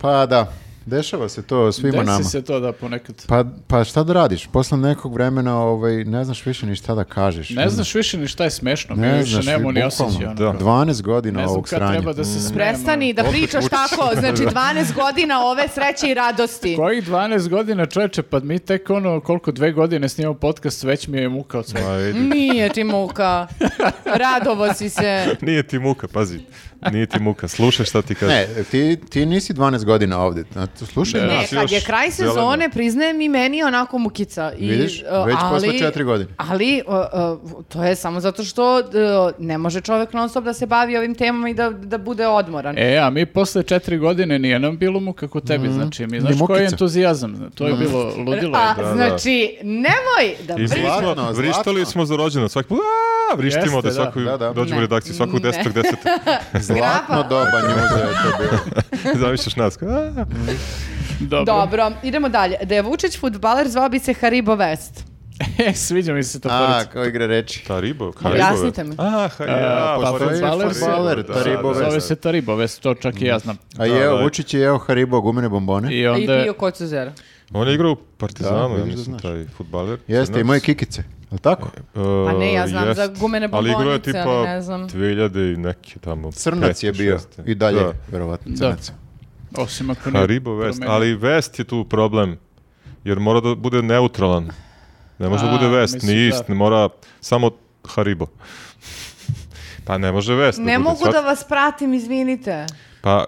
[SPEAKER 4] Pa da, dešava se to svima
[SPEAKER 1] Desi
[SPEAKER 4] nama.
[SPEAKER 1] se to da ponekad.
[SPEAKER 4] Pa, pa šta da radiš? Posle nekog vremena ovaj, ne znaš više ni šta da kažeš.
[SPEAKER 1] Ne znaš više ni šta je smešno, mi
[SPEAKER 4] Ne
[SPEAKER 1] više
[SPEAKER 4] znaš,
[SPEAKER 1] nemamo ni
[SPEAKER 4] bukvalno.
[SPEAKER 1] osjećaj. ono.
[SPEAKER 2] Da.
[SPEAKER 4] 12 godina
[SPEAKER 1] Ne znam
[SPEAKER 4] ovog
[SPEAKER 1] kad
[SPEAKER 4] sranja.
[SPEAKER 1] treba da se smijemo.
[SPEAKER 3] Prestani da pričaš tako, znači 12 godina ove sreće i radosti.
[SPEAKER 1] Kojih 12 godina čoveče, pa mi tek ono koliko dve godine snimamo podcast, već mi je muka od svega.
[SPEAKER 2] Ma, vidi.
[SPEAKER 3] Nije ti muka. Radovo si se.
[SPEAKER 2] Nije ti muka, pazi. Nije ti muka. Slušaj šta ti kaže.
[SPEAKER 4] Ne, ti, ti nisi 12 godina ovdje. Slušaj
[SPEAKER 2] Ne.
[SPEAKER 4] nas.
[SPEAKER 3] Ne,
[SPEAKER 2] Nas
[SPEAKER 3] kad je
[SPEAKER 2] još
[SPEAKER 3] kraj
[SPEAKER 2] zeleno.
[SPEAKER 3] sezone, priznajem i meni je onako mukica. I,
[SPEAKER 4] Vidiš,
[SPEAKER 3] e,
[SPEAKER 4] već
[SPEAKER 3] ali-
[SPEAKER 4] posle četiri godine.
[SPEAKER 3] Ali, e, e, to je samo zato što e, ne može čovjek non stop da se bavi ovim temama i da, da bude odmoran.
[SPEAKER 1] E, a mi posle četiri godine nije nam bilo muka kod tebi, znači, mi znaš koji je
[SPEAKER 4] Mm. mukica. Mm.
[SPEAKER 1] entuzijazam, to je bilo ludilo.
[SPEAKER 3] A,
[SPEAKER 1] je.
[SPEAKER 2] da.
[SPEAKER 3] znači, nemoj da
[SPEAKER 2] I
[SPEAKER 3] pričaš.
[SPEAKER 4] Zlatno,
[SPEAKER 2] zlatno,
[SPEAKER 4] zlatno.
[SPEAKER 2] vrištali smo za rođendan, svaki put, aaa, vrištimo
[SPEAKER 1] Jeste, da.
[SPEAKER 2] da svaku,
[SPEAKER 4] Da, da.
[SPEAKER 2] dođemo u
[SPEAKER 3] Ne.
[SPEAKER 2] redakciju svakog
[SPEAKER 3] Ne.
[SPEAKER 2] 10. 10.
[SPEAKER 4] Zlatno
[SPEAKER 3] Grapa.
[SPEAKER 4] doba njuza je to bilo.
[SPEAKER 2] Zamišljaš nas, aaa.
[SPEAKER 1] Dobro.
[SPEAKER 3] Dobro, idemo dalje. Da je Vučić futbaler, zvao bi se Haribo Vest.
[SPEAKER 1] E, sviđa mi se ta
[SPEAKER 4] A,
[SPEAKER 1] poruca.
[SPEAKER 4] kao igre reči.
[SPEAKER 2] Ta ribo, kao
[SPEAKER 3] Objasnite mi.
[SPEAKER 2] A, ha, ja,
[SPEAKER 4] pa
[SPEAKER 2] postoji
[SPEAKER 1] fudbaler,
[SPEAKER 4] fudbaler,
[SPEAKER 2] da,
[SPEAKER 4] ta
[SPEAKER 2] da,
[SPEAKER 4] ribo
[SPEAKER 2] da.
[SPEAKER 4] vest. Mm.
[SPEAKER 1] Zove se Taribovest, to čak i ja znam.
[SPEAKER 4] A
[SPEAKER 2] Da,
[SPEAKER 4] jeo,
[SPEAKER 2] da.
[SPEAKER 4] Vučić je jeo Haribo gumene bombone.
[SPEAKER 1] I onda
[SPEAKER 3] I pio
[SPEAKER 1] je
[SPEAKER 3] kocu zera.
[SPEAKER 2] On je igrao u Partizanu,
[SPEAKER 4] Da,
[SPEAKER 2] ja
[SPEAKER 4] vidiš da
[SPEAKER 2] mislim,
[SPEAKER 4] znaš.
[SPEAKER 2] taj futbaler.
[SPEAKER 4] Jeste, i moje kikice. Jel tako?
[SPEAKER 2] Pa
[SPEAKER 3] ne, ja znam za gumene
[SPEAKER 2] Ali igrao je
[SPEAKER 3] bombonice,
[SPEAKER 2] tipa
[SPEAKER 3] ali ne znam.
[SPEAKER 2] 2000 i neke tamo.
[SPEAKER 4] Crnac je
[SPEAKER 2] pete,
[SPEAKER 4] bio
[SPEAKER 2] šeste.
[SPEAKER 4] i dalje,
[SPEAKER 2] Da.
[SPEAKER 4] verovatno,
[SPEAKER 1] Da.
[SPEAKER 4] crnac.
[SPEAKER 1] osim ako nije
[SPEAKER 2] Haribo Vest,
[SPEAKER 1] promenio.
[SPEAKER 2] ali Vest je tu problem, jer mora da bude neutralan. Ne može da
[SPEAKER 1] A,
[SPEAKER 2] bude Vest,
[SPEAKER 1] misliš
[SPEAKER 2] ni
[SPEAKER 1] da.
[SPEAKER 2] ist, ne mora samo Haribo. Pa ne može Vest.
[SPEAKER 3] Ne
[SPEAKER 2] bude,
[SPEAKER 3] mogu
[SPEAKER 2] shvat-
[SPEAKER 3] da vas pratim, izvinite.
[SPEAKER 2] Pa,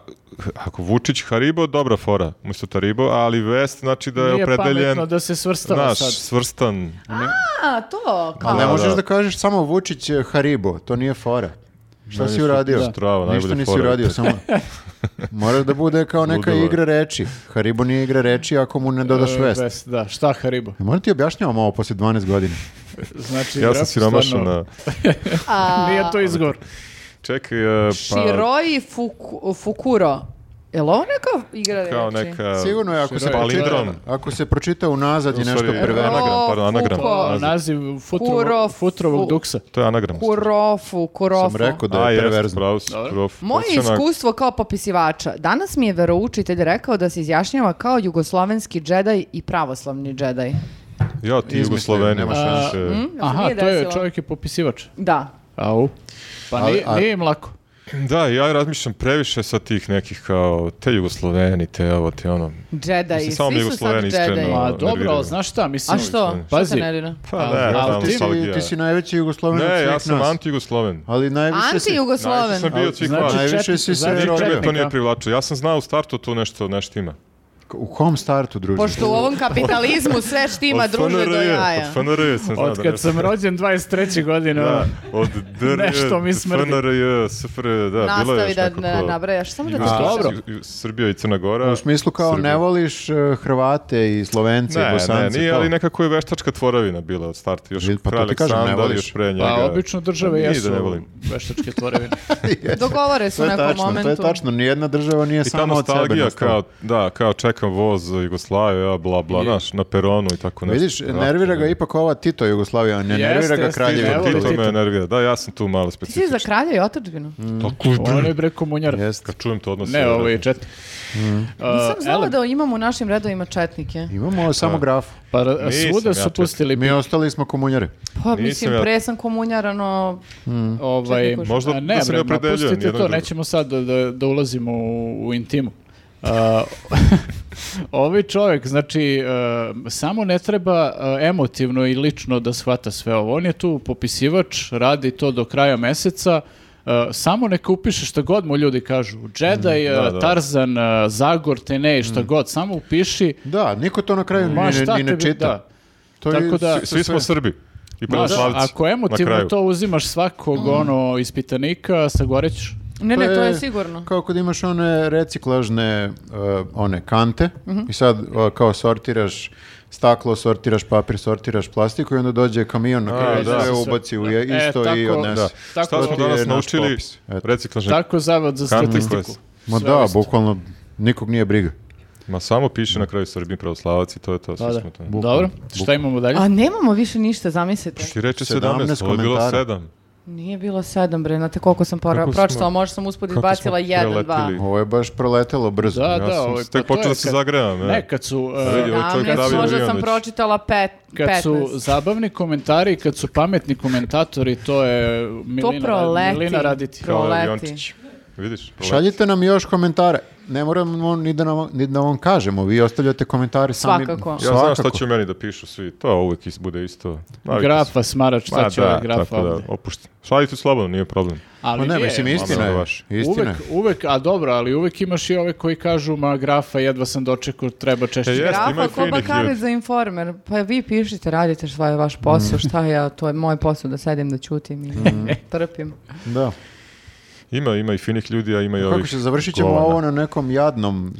[SPEAKER 2] ako Vučić Haribo, dobra fora, umjesto Taribo, ali Vest znači da je
[SPEAKER 1] Nije
[SPEAKER 2] opredeljen,
[SPEAKER 1] pametno da se svrstava
[SPEAKER 2] znaš,
[SPEAKER 1] sad.
[SPEAKER 2] svrstan.
[SPEAKER 3] A, to, kao.
[SPEAKER 4] Ali ne
[SPEAKER 2] Da,
[SPEAKER 4] možeš
[SPEAKER 2] da.
[SPEAKER 4] da kažeš samo Vučić je Haribo, to nije fora. Šta
[SPEAKER 2] Meni
[SPEAKER 4] si
[SPEAKER 2] su
[SPEAKER 4] uradio?
[SPEAKER 2] ti strava,
[SPEAKER 4] Ništa
[SPEAKER 2] najbolja
[SPEAKER 4] nisi
[SPEAKER 2] fora.
[SPEAKER 4] uradio, samo... Mora da bude kao neka
[SPEAKER 2] Ludilo je.
[SPEAKER 4] igra reči. Haribo nije igra reči ako mu ne dodaš
[SPEAKER 1] E,
[SPEAKER 4] vest. E,
[SPEAKER 1] vest, Da, šta Haribo?
[SPEAKER 4] Moram ti objašnjavam ovo poslije 12 godina.
[SPEAKER 1] Znači,
[SPEAKER 2] Ja sam
[SPEAKER 1] rap
[SPEAKER 2] siromašan
[SPEAKER 1] stvarno-
[SPEAKER 2] na...
[SPEAKER 3] A,
[SPEAKER 1] Nije to izgovor.
[SPEAKER 2] Čekaj, e, pa...
[SPEAKER 3] Shiroi Fuku, Fukuro. Je li ovo neka igra reči?
[SPEAKER 2] Kao
[SPEAKER 1] znači.
[SPEAKER 2] neka...
[SPEAKER 4] Sigurno je ako se,
[SPEAKER 1] Široj-
[SPEAKER 4] pročita,
[SPEAKER 2] Palindrom.
[SPEAKER 4] ako se pročita unazad je
[SPEAKER 2] E, U
[SPEAKER 4] nešto
[SPEAKER 2] stvari,
[SPEAKER 4] preveno.
[SPEAKER 2] Anagram, pardon, anagram.
[SPEAKER 3] Fuko.
[SPEAKER 1] Pa, naziv
[SPEAKER 2] Naziv.
[SPEAKER 1] futrovo-
[SPEAKER 3] Kuro-
[SPEAKER 1] futrovog
[SPEAKER 3] fu-
[SPEAKER 1] duksa.
[SPEAKER 2] e, To je anagram.
[SPEAKER 3] Kurofu, kurofu.
[SPEAKER 4] Sam rekao da
[SPEAKER 2] A,
[SPEAKER 4] je
[SPEAKER 2] jest,
[SPEAKER 4] perverzno.
[SPEAKER 2] pravo si,
[SPEAKER 1] Dobro.
[SPEAKER 2] prof.
[SPEAKER 3] Moje
[SPEAKER 2] Ocena-
[SPEAKER 3] iskustvo kao popisivača. Danas mi je veroučitelj rekao da se izjašnjava kao jugoslovenski džedaj i pravoslavni džedaj.
[SPEAKER 2] Ja, ti
[SPEAKER 4] Izmislio,
[SPEAKER 2] Jugosloveni.
[SPEAKER 4] nema
[SPEAKER 2] znaš, e,
[SPEAKER 3] se
[SPEAKER 1] Aha,
[SPEAKER 3] nije
[SPEAKER 1] to je
[SPEAKER 3] desilo?
[SPEAKER 1] čovjek je popisivač.
[SPEAKER 3] Da.
[SPEAKER 1] Au. Pa
[SPEAKER 4] Ali-
[SPEAKER 1] nije,
[SPEAKER 4] a-
[SPEAKER 1] nije im lako.
[SPEAKER 2] Da, ja razmišljam previše sa tih nekih kao te Jugosloveni, te ovo, te ono.
[SPEAKER 3] Džedaj.
[SPEAKER 2] Mislim, samo mi
[SPEAKER 3] Svi su sad
[SPEAKER 2] Jugoslaveni
[SPEAKER 3] džedaj.
[SPEAKER 2] iskreno.
[SPEAKER 1] Pa
[SPEAKER 2] A,
[SPEAKER 1] dobro,
[SPEAKER 2] nerviraju me.
[SPEAKER 1] ali znaš šta, mislim...
[SPEAKER 3] A što? Što
[SPEAKER 1] Pazi.
[SPEAKER 3] se nervira?
[SPEAKER 2] Pa ne,
[SPEAKER 1] ali
[SPEAKER 2] tamo
[SPEAKER 1] ti
[SPEAKER 4] Ti
[SPEAKER 1] si-
[SPEAKER 2] nostalgija.
[SPEAKER 4] si, ti si najveći jugosloven od
[SPEAKER 2] Ne,
[SPEAKER 4] svih
[SPEAKER 2] ja sam
[SPEAKER 4] nas.
[SPEAKER 2] anti-Jugosloven.
[SPEAKER 4] Ali najviše si...
[SPEAKER 2] Najviše
[SPEAKER 3] Anti-Jugosloven.
[SPEAKER 2] sam bio od svih vas.
[SPEAKER 1] Znači,
[SPEAKER 4] Najviše
[SPEAKER 1] četnik-
[SPEAKER 4] si se
[SPEAKER 1] znači,
[SPEAKER 4] verovao.
[SPEAKER 2] Nikad me to
[SPEAKER 1] četnika.
[SPEAKER 2] nije privlačilo. Ja sam znao u startu tu nešto, nešto ima.
[SPEAKER 4] U kom startu, druže?
[SPEAKER 3] Pošto u ovom kapitalizmu sve štima
[SPEAKER 2] Od
[SPEAKER 3] druže do
[SPEAKER 2] FNRJ,
[SPEAKER 3] jaja.
[SPEAKER 2] Od FNRJ sam znao
[SPEAKER 1] Od
[SPEAKER 2] da
[SPEAKER 1] kad
[SPEAKER 2] nešto-
[SPEAKER 1] sam rođen 23. godine, ono-
[SPEAKER 2] Da, od DRJ,
[SPEAKER 1] Nešto mi smrdi.
[SPEAKER 2] FNRJ, SFRJ, da, bilo je
[SPEAKER 3] Nastavi
[SPEAKER 2] još
[SPEAKER 3] da
[SPEAKER 2] nekako...
[SPEAKER 3] da nabrajaš. Samo da ti
[SPEAKER 2] Jugoslavija,
[SPEAKER 1] dobro.
[SPEAKER 2] Ju- Ju- Srbija i Crna Gora.
[SPEAKER 4] U smislu kao
[SPEAKER 2] Srbija.
[SPEAKER 4] ne voliš eh, Hrvate i Slovence i
[SPEAKER 2] Ne, ne,
[SPEAKER 4] Bosance.
[SPEAKER 2] nije,
[SPEAKER 4] to.
[SPEAKER 2] ali nekako je veštačka tvoravina bila od starta. Još
[SPEAKER 4] Vidi, pa to
[SPEAKER 2] kralj
[SPEAKER 4] ti kažem, ne
[SPEAKER 2] Aleksandar,
[SPEAKER 4] voliš.
[SPEAKER 2] još pre njega.
[SPEAKER 1] Pa obično države
[SPEAKER 2] Nije da
[SPEAKER 1] jesu
[SPEAKER 2] ne volim.
[SPEAKER 1] veštačke tvorevine.
[SPEAKER 3] Dogovore su
[SPEAKER 4] To
[SPEAKER 3] u
[SPEAKER 4] je
[SPEAKER 3] nekom
[SPEAKER 4] tačno,
[SPEAKER 3] momentu.
[SPEAKER 4] to je tačno. Nijedna država nije
[SPEAKER 2] I ta
[SPEAKER 4] samo od sebe.
[SPEAKER 2] nostalgija
[SPEAKER 4] nastala.
[SPEAKER 2] kao, da, kao čekam voz za Jugoslaviju, ja, bla, bla, znaš, na peronu i tako nešto.
[SPEAKER 4] Vidiš, nervira ga ipak ova Tito Jugoslavija, ne
[SPEAKER 1] Jeste,
[SPEAKER 4] nervira ga
[SPEAKER 1] jeste, ne
[SPEAKER 4] kraljevina.
[SPEAKER 1] voli
[SPEAKER 2] Tito
[SPEAKER 4] Tito.
[SPEAKER 1] Tito.
[SPEAKER 2] me nervira. Da, ja sam tu malo
[SPEAKER 3] Ti si za
[SPEAKER 2] specifičan.
[SPEAKER 3] kralja i otačbinu?
[SPEAKER 4] Mm.
[SPEAKER 2] Tako je,
[SPEAKER 1] On je bre komunjar.
[SPEAKER 4] Jeste. Mm.
[SPEAKER 2] Kad čujem to odnosno.
[SPEAKER 1] Ne, ovaj, ovo je četnik. A,
[SPEAKER 3] Nisam
[SPEAKER 4] Uh,
[SPEAKER 3] znala
[SPEAKER 1] Elem,
[SPEAKER 3] da imamo u našim redovima četnike.
[SPEAKER 4] Imamo samo grafu.
[SPEAKER 1] Pa ra-
[SPEAKER 2] Nisam
[SPEAKER 1] svuda
[SPEAKER 2] ja
[SPEAKER 1] su
[SPEAKER 2] četnik.
[SPEAKER 1] pustili
[SPEAKER 4] Mi ostali smo komunjari.
[SPEAKER 3] Pa
[SPEAKER 2] Nisam
[SPEAKER 3] mislim,
[SPEAKER 2] ja-
[SPEAKER 3] pre sam komunjarano...
[SPEAKER 1] ovaj
[SPEAKER 3] Četnik
[SPEAKER 2] Možda
[SPEAKER 1] a ne,
[SPEAKER 2] da se ne
[SPEAKER 1] bre, ma
[SPEAKER 2] opredeljujem
[SPEAKER 1] pustite
[SPEAKER 2] jedno i
[SPEAKER 1] to,
[SPEAKER 2] drugo.
[SPEAKER 1] nećemo sad da, da, da ulazimo u, u intimu. A, ovaj čovjek, znači, e, samo ne treba e, emotivno i lično da shvata sve ovo. On je tu popisivač, radi to do kraja meseca, e, samo neka upiše šta god mu ljudi kažu. Jedi, e,
[SPEAKER 2] Mm, da, da.
[SPEAKER 1] Tarzan, e, Zagor, Tenej, šta god, samo upiši.
[SPEAKER 4] Da, niko to na kraju Mm. ni,
[SPEAKER 1] Ma
[SPEAKER 4] ne-
[SPEAKER 1] šta
[SPEAKER 4] ni ne
[SPEAKER 1] tebi-
[SPEAKER 4] čita.
[SPEAKER 1] da.
[SPEAKER 4] To je
[SPEAKER 1] Tako da-
[SPEAKER 2] Svi smo Srbi. i
[SPEAKER 1] Znaš,
[SPEAKER 2] pravoslavci.
[SPEAKER 1] ako emotivno to uzimaš svakog
[SPEAKER 4] Mm.
[SPEAKER 1] ono ispitanika, sagorećeš.
[SPEAKER 3] Ne, ne, to je
[SPEAKER 4] E,
[SPEAKER 3] sigurno.
[SPEAKER 4] Kao kad imaš one reciklažne uh, one kante
[SPEAKER 3] Mhm.
[SPEAKER 4] i sad uh, kao sortiraš staklo, sortiraš papir, sortiraš plastiku i onda dođe kamion na
[SPEAKER 2] A,
[SPEAKER 4] kraju i
[SPEAKER 2] da.
[SPEAKER 4] sve ubaci u je,
[SPEAKER 1] E,
[SPEAKER 4] isto i
[SPEAKER 1] tako-
[SPEAKER 4] odnese.
[SPEAKER 1] Da.
[SPEAKER 2] Šta
[SPEAKER 1] Tako
[SPEAKER 2] smo
[SPEAKER 1] ti
[SPEAKER 4] je
[SPEAKER 2] danas
[SPEAKER 4] naš
[SPEAKER 2] naučili?
[SPEAKER 4] popis. Eto.
[SPEAKER 2] Reciklažne
[SPEAKER 1] Tako zavod za
[SPEAKER 2] Kante
[SPEAKER 1] statistiku.
[SPEAKER 2] quest.
[SPEAKER 4] Ma
[SPEAKER 1] Sve
[SPEAKER 4] da,
[SPEAKER 1] isto.
[SPEAKER 4] bukvalno nikog nije briga.
[SPEAKER 2] Ma samo piše na kraju Srbin pravoslavac i to je to.
[SPEAKER 1] Da,
[SPEAKER 2] svi
[SPEAKER 1] da.
[SPEAKER 2] smo to.
[SPEAKER 1] Dobro, šta imamo dalje?
[SPEAKER 3] A nemamo više ništa, zamislite.
[SPEAKER 2] Ti Znači, reče 17,
[SPEAKER 4] 17
[SPEAKER 2] ovo je bilo
[SPEAKER 4] komentara.
[SPEAKER 2] 7.
[SPEAKER 3] Nije bilo sedam, bre, znate koliko sam pora-
[SPEAKER 2] Kako smo-
[SPEAKER 3] pročitala, možda sam usput
[SPEAKER 2] kako
[SPEAKER 3] izbacila
[SPEAKER 2] smo
[SPEAKER 3] jedan, dva.
[SPEAKER 2] preleteli.
[SPEAKER 4] Ovo je baš proletelo brzo.
[SPEAKER 1] Da,
[SPEAKER 2] Ja
[SPEAKER 1] da,
[SPEAKER 2] sam
[SPEAKER 1] ovaj,
[SPEAKER 2] tek
[SPEAKER 1] pa to
[SPEAKER 2] počeo
[SPEAKER 1] je
[SPEAKER 2] da se e.
[SPEAKER 1] kad-
[SPEAKER 2] zagravam, ja.
[SPEAKER 1] Ne, kad su... uh,
[SPEAKER 2] Vidi, ovo je čovjek
[SPEAKER 3] Sedamnaest,
[SPEAKER 2] Davide
[SPEAKER 3] možda sam
[SPEAKER 2] Ivanović.
[SPEAKER 3] pročitala pet,
[SPEAKER 1] Kad su
[SPEAKER 3] 15.
[SPEAKER 1] zabavni komentari, kad su pametni komentatori, to je Milina,
[SPEAKER 3] proleti.
[SPEAKER 1] Milina raditi.
[SPEAKER 3] Pro-
[SPEAKER 2] Kao
[SPEAKER 3] Proleti.
[SPEAKER 2] aviončić. Vidiš? proleti.
[SPEAKER 4] Šaljite nam još komentare. Ne moramo ni da, nam, ni da vam kažemo, vi ostavljate komentare sami.
[SPEAKER 3] Svakako. Ja
[SPEAKER 2] Ja znam šta će meni da pišu svi, to uvijek is- bude isto. Navikao sam.
[SPEAKER 1] Grafa, smarač, šta
[SPEAKER 2] Ma
[SPEAKER 1] će ovaj
[SPEAKER 2] da,
[SPEAKER 1] grafa
[SPEAKER 2] tako da,
[SPEAKER 1] ovdje?
[SPEAKER 2] opušten. Šaljite slobodno, nije problem.
[SPEAKER 1] Ali
[SPEAKER 4] Ma ne,
[SPEAKER 1] je, ono,
[SPEAKER 4] mislim,
[SPEAKER 1] ma-
[SPEAKER 4] istina je.
[SPEAKER 2] baš.
[SPEAKER 4] Istina je.
[SPEAKER 1] Uvek, uvek, a dobro, ali uvek imaš i ove koji kažu, ma grafa, jedva sam dočekao, treba češće.
[SPEAKER 2] E, je. Jeste, ima
[SPEAKER 3] Rafa
[SPEAKER 2] i finih
[SPEAKER 3] Kobakarić
[SPEAKER 2] ljudi.
[SPEAKER 3] za informer. Pa vi pišite, radite šta je vaš posao,
[SPEAKER 2] Mm.
[SPEAKER 3] šta ja, to je moj posao da sedim, da ćutim i trpim.
[SPEAKER 4] Da.
[SPEAKER 2] Ima, ima i finih ljudi, a ima i ovih...
[SPEAKER 4] Kako će, završit ćemo
[SPEAKER 2] govana.
[SPEAKER 4] ovo na nekom jadnom...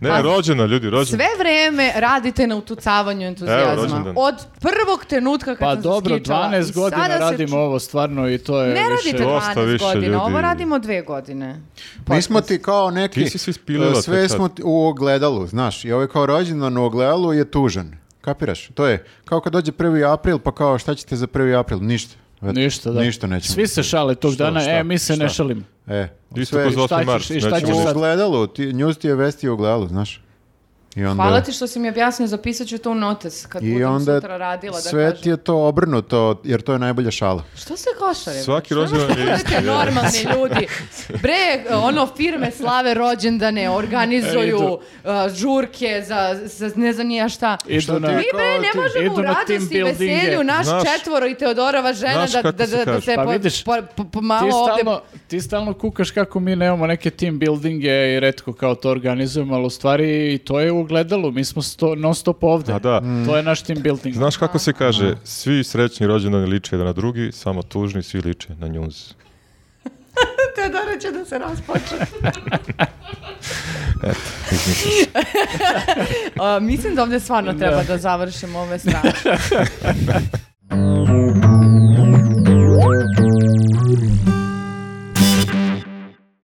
[SPEAKER 2] Ne, rođena, ljudi, rođena.
[SPEAKER 3] Sve vrijeme radite na utucavanju
[SPEAKER 2] Evo,
[SPEAKER 3] entuzijazma.
[SPEAKER 2] rođendan.
[SPEAKER 3] Od prvog trenutka kad
[SPEAKER 1] Pa
[SPEAKER 3] sam
[SPEAKER 1] dobro,
[SPEAKER 3] skičala.
[SPEAKER 1] 12
[SPEAKER 3] I sada
[SPEAKER 1] godina
[SPEAKER 3] se
[SPEAKER 1] radimo
[SPEAKER 3] ču-
[SPEAKER 1] ovo stvarno i to je
[SPEAKER 3] Ne
[SPEAKER 1] više...
[SPEAKER 3] radite
[SPEAKER 2] Dosta
[SPEAKER 3] 12
[SPEAKER 2] više
[SPEAKER 3] godina, ovo
[SPEAKER 2] ljudi.
[SPEAKER 3] radimo dve godine.
[SPEAKER 1] Pa
[SPEAKER 4] Mi smo ti kao neki...
[SPEAKER 2] Ti si se ispilila
[SPEAKER 4] e, Sve
[SPEAKER 2] tek sad.
[SPEAKER 4] smo ti u ogledalu, znaš. I ovaj kao rođendan u ogledalu je tužan. Kapiraš? To je kao kad dođe 1. april, pa kao šta ćete za 1. april? Ništa. Eto,
[SPEAKER 1] Ništa, da.
[SPEAKER 4] Ništa nećemo.
[SPEAKER 1] Svi se šale tog dana,
[SPEAKER 2] šta,
[SPEAKER 1] e, mi se ne
[SPEAKER 2] šta?
[SPEAKER 1] šalimo.
[SPEAKER 4] E,
[SPEAKER 2] Isto
[SPEAKER 4] sve
[SPEAKER 2] ko za
[SPEAKER 1] šta
[SPEAKER 2] 8.
[SPEAKER 1] ćeš
[SPEAKER 2] mart.
[SPEAKER 1] i šta
[SPEAKER 2] nećemo
[SPEAKER 1] ćeš
[SPEAKER 2] ništa.
[SPEAKER 4] u
[SPEAKER 1] sad?
[SPEAKER 4] ogledalu, ti, news ti je vesti u ogledalu, znaš. I onda...
[SPEAKER 3] Hvala ti što si mi objasnio, zapisat ću to u notes kad
[SPEAKER 4] I
[SPEAKER 3] budem
[SPEAKER 4] onda
[SPEAKER 3] sutra radila da
[SPEAKER 4] sve
[SPEAKER 3] kažem.
[SPEAKER 4] ti je to obrnuto, jer to je najbolja šala.
[SPEAKER 3] Što se košarimo?
[SPEAKER 2] Svaki rođendan je isti, je.
[SPEAKER 3] normalni ljudi. Bre, ono, firme slave rođendane, organizuju
[SPEAKER 1] Idu.
[SPEAKER 3] uh, žurke za, za ne znam ni ja šta.
[SPEAKER 2] E,
[SPEAKER 1] Idu na...
[SPEAKER 3] Mi bre, ne
[SPEAKER 4] ti-
[SPEAKER 3] možemo
[SPEAKER 1] idu na
[SPEAKER 3] u radosti i
[SPEAKER 1] team buildinge.
[SPEAKER 3] veselju naš
[SPEAKER 2] Znaš-
[SPEAKER 3] četvoro i Teodorova žena
[SPEAKER 2] Znaš
[SPEAKER 3] da,
[SPEAKER 2] kako
[SPEAKER 3] da,
[SPEAKER 2] se
[SPEAKER 3] da, da
[SPEAKER 2] kaže.
[SPEAKER 3] se
[SPEAKER 1] Pa
[SPEAKER 3] po-
[SPEAKER 1] vidiš,
[SPEAKER 3] po- po- po- malo
[SPEAKER 1] Ti
[SPEAKER 3] ovdje...
[SPEAKER 1] stalno, ti stalno kukaš kako mi nemamo neke team buildinge i redko kao to organizujemo, ali u stvari i to je u gledalu, mi smo sto, non stop ovde.
[SPEAKER 2] A da.
[SPEAKER 1] To je naš team building.
[SPEAKER 2] Znaš kako se kaže, svi srećni rođendani liče jedan na drugi, samo tužni svi liče na njuz.
[SPEAKER 3] Teodora će da se raspoče. A, mislim da ovdje stvarno treba da završimo ove strane.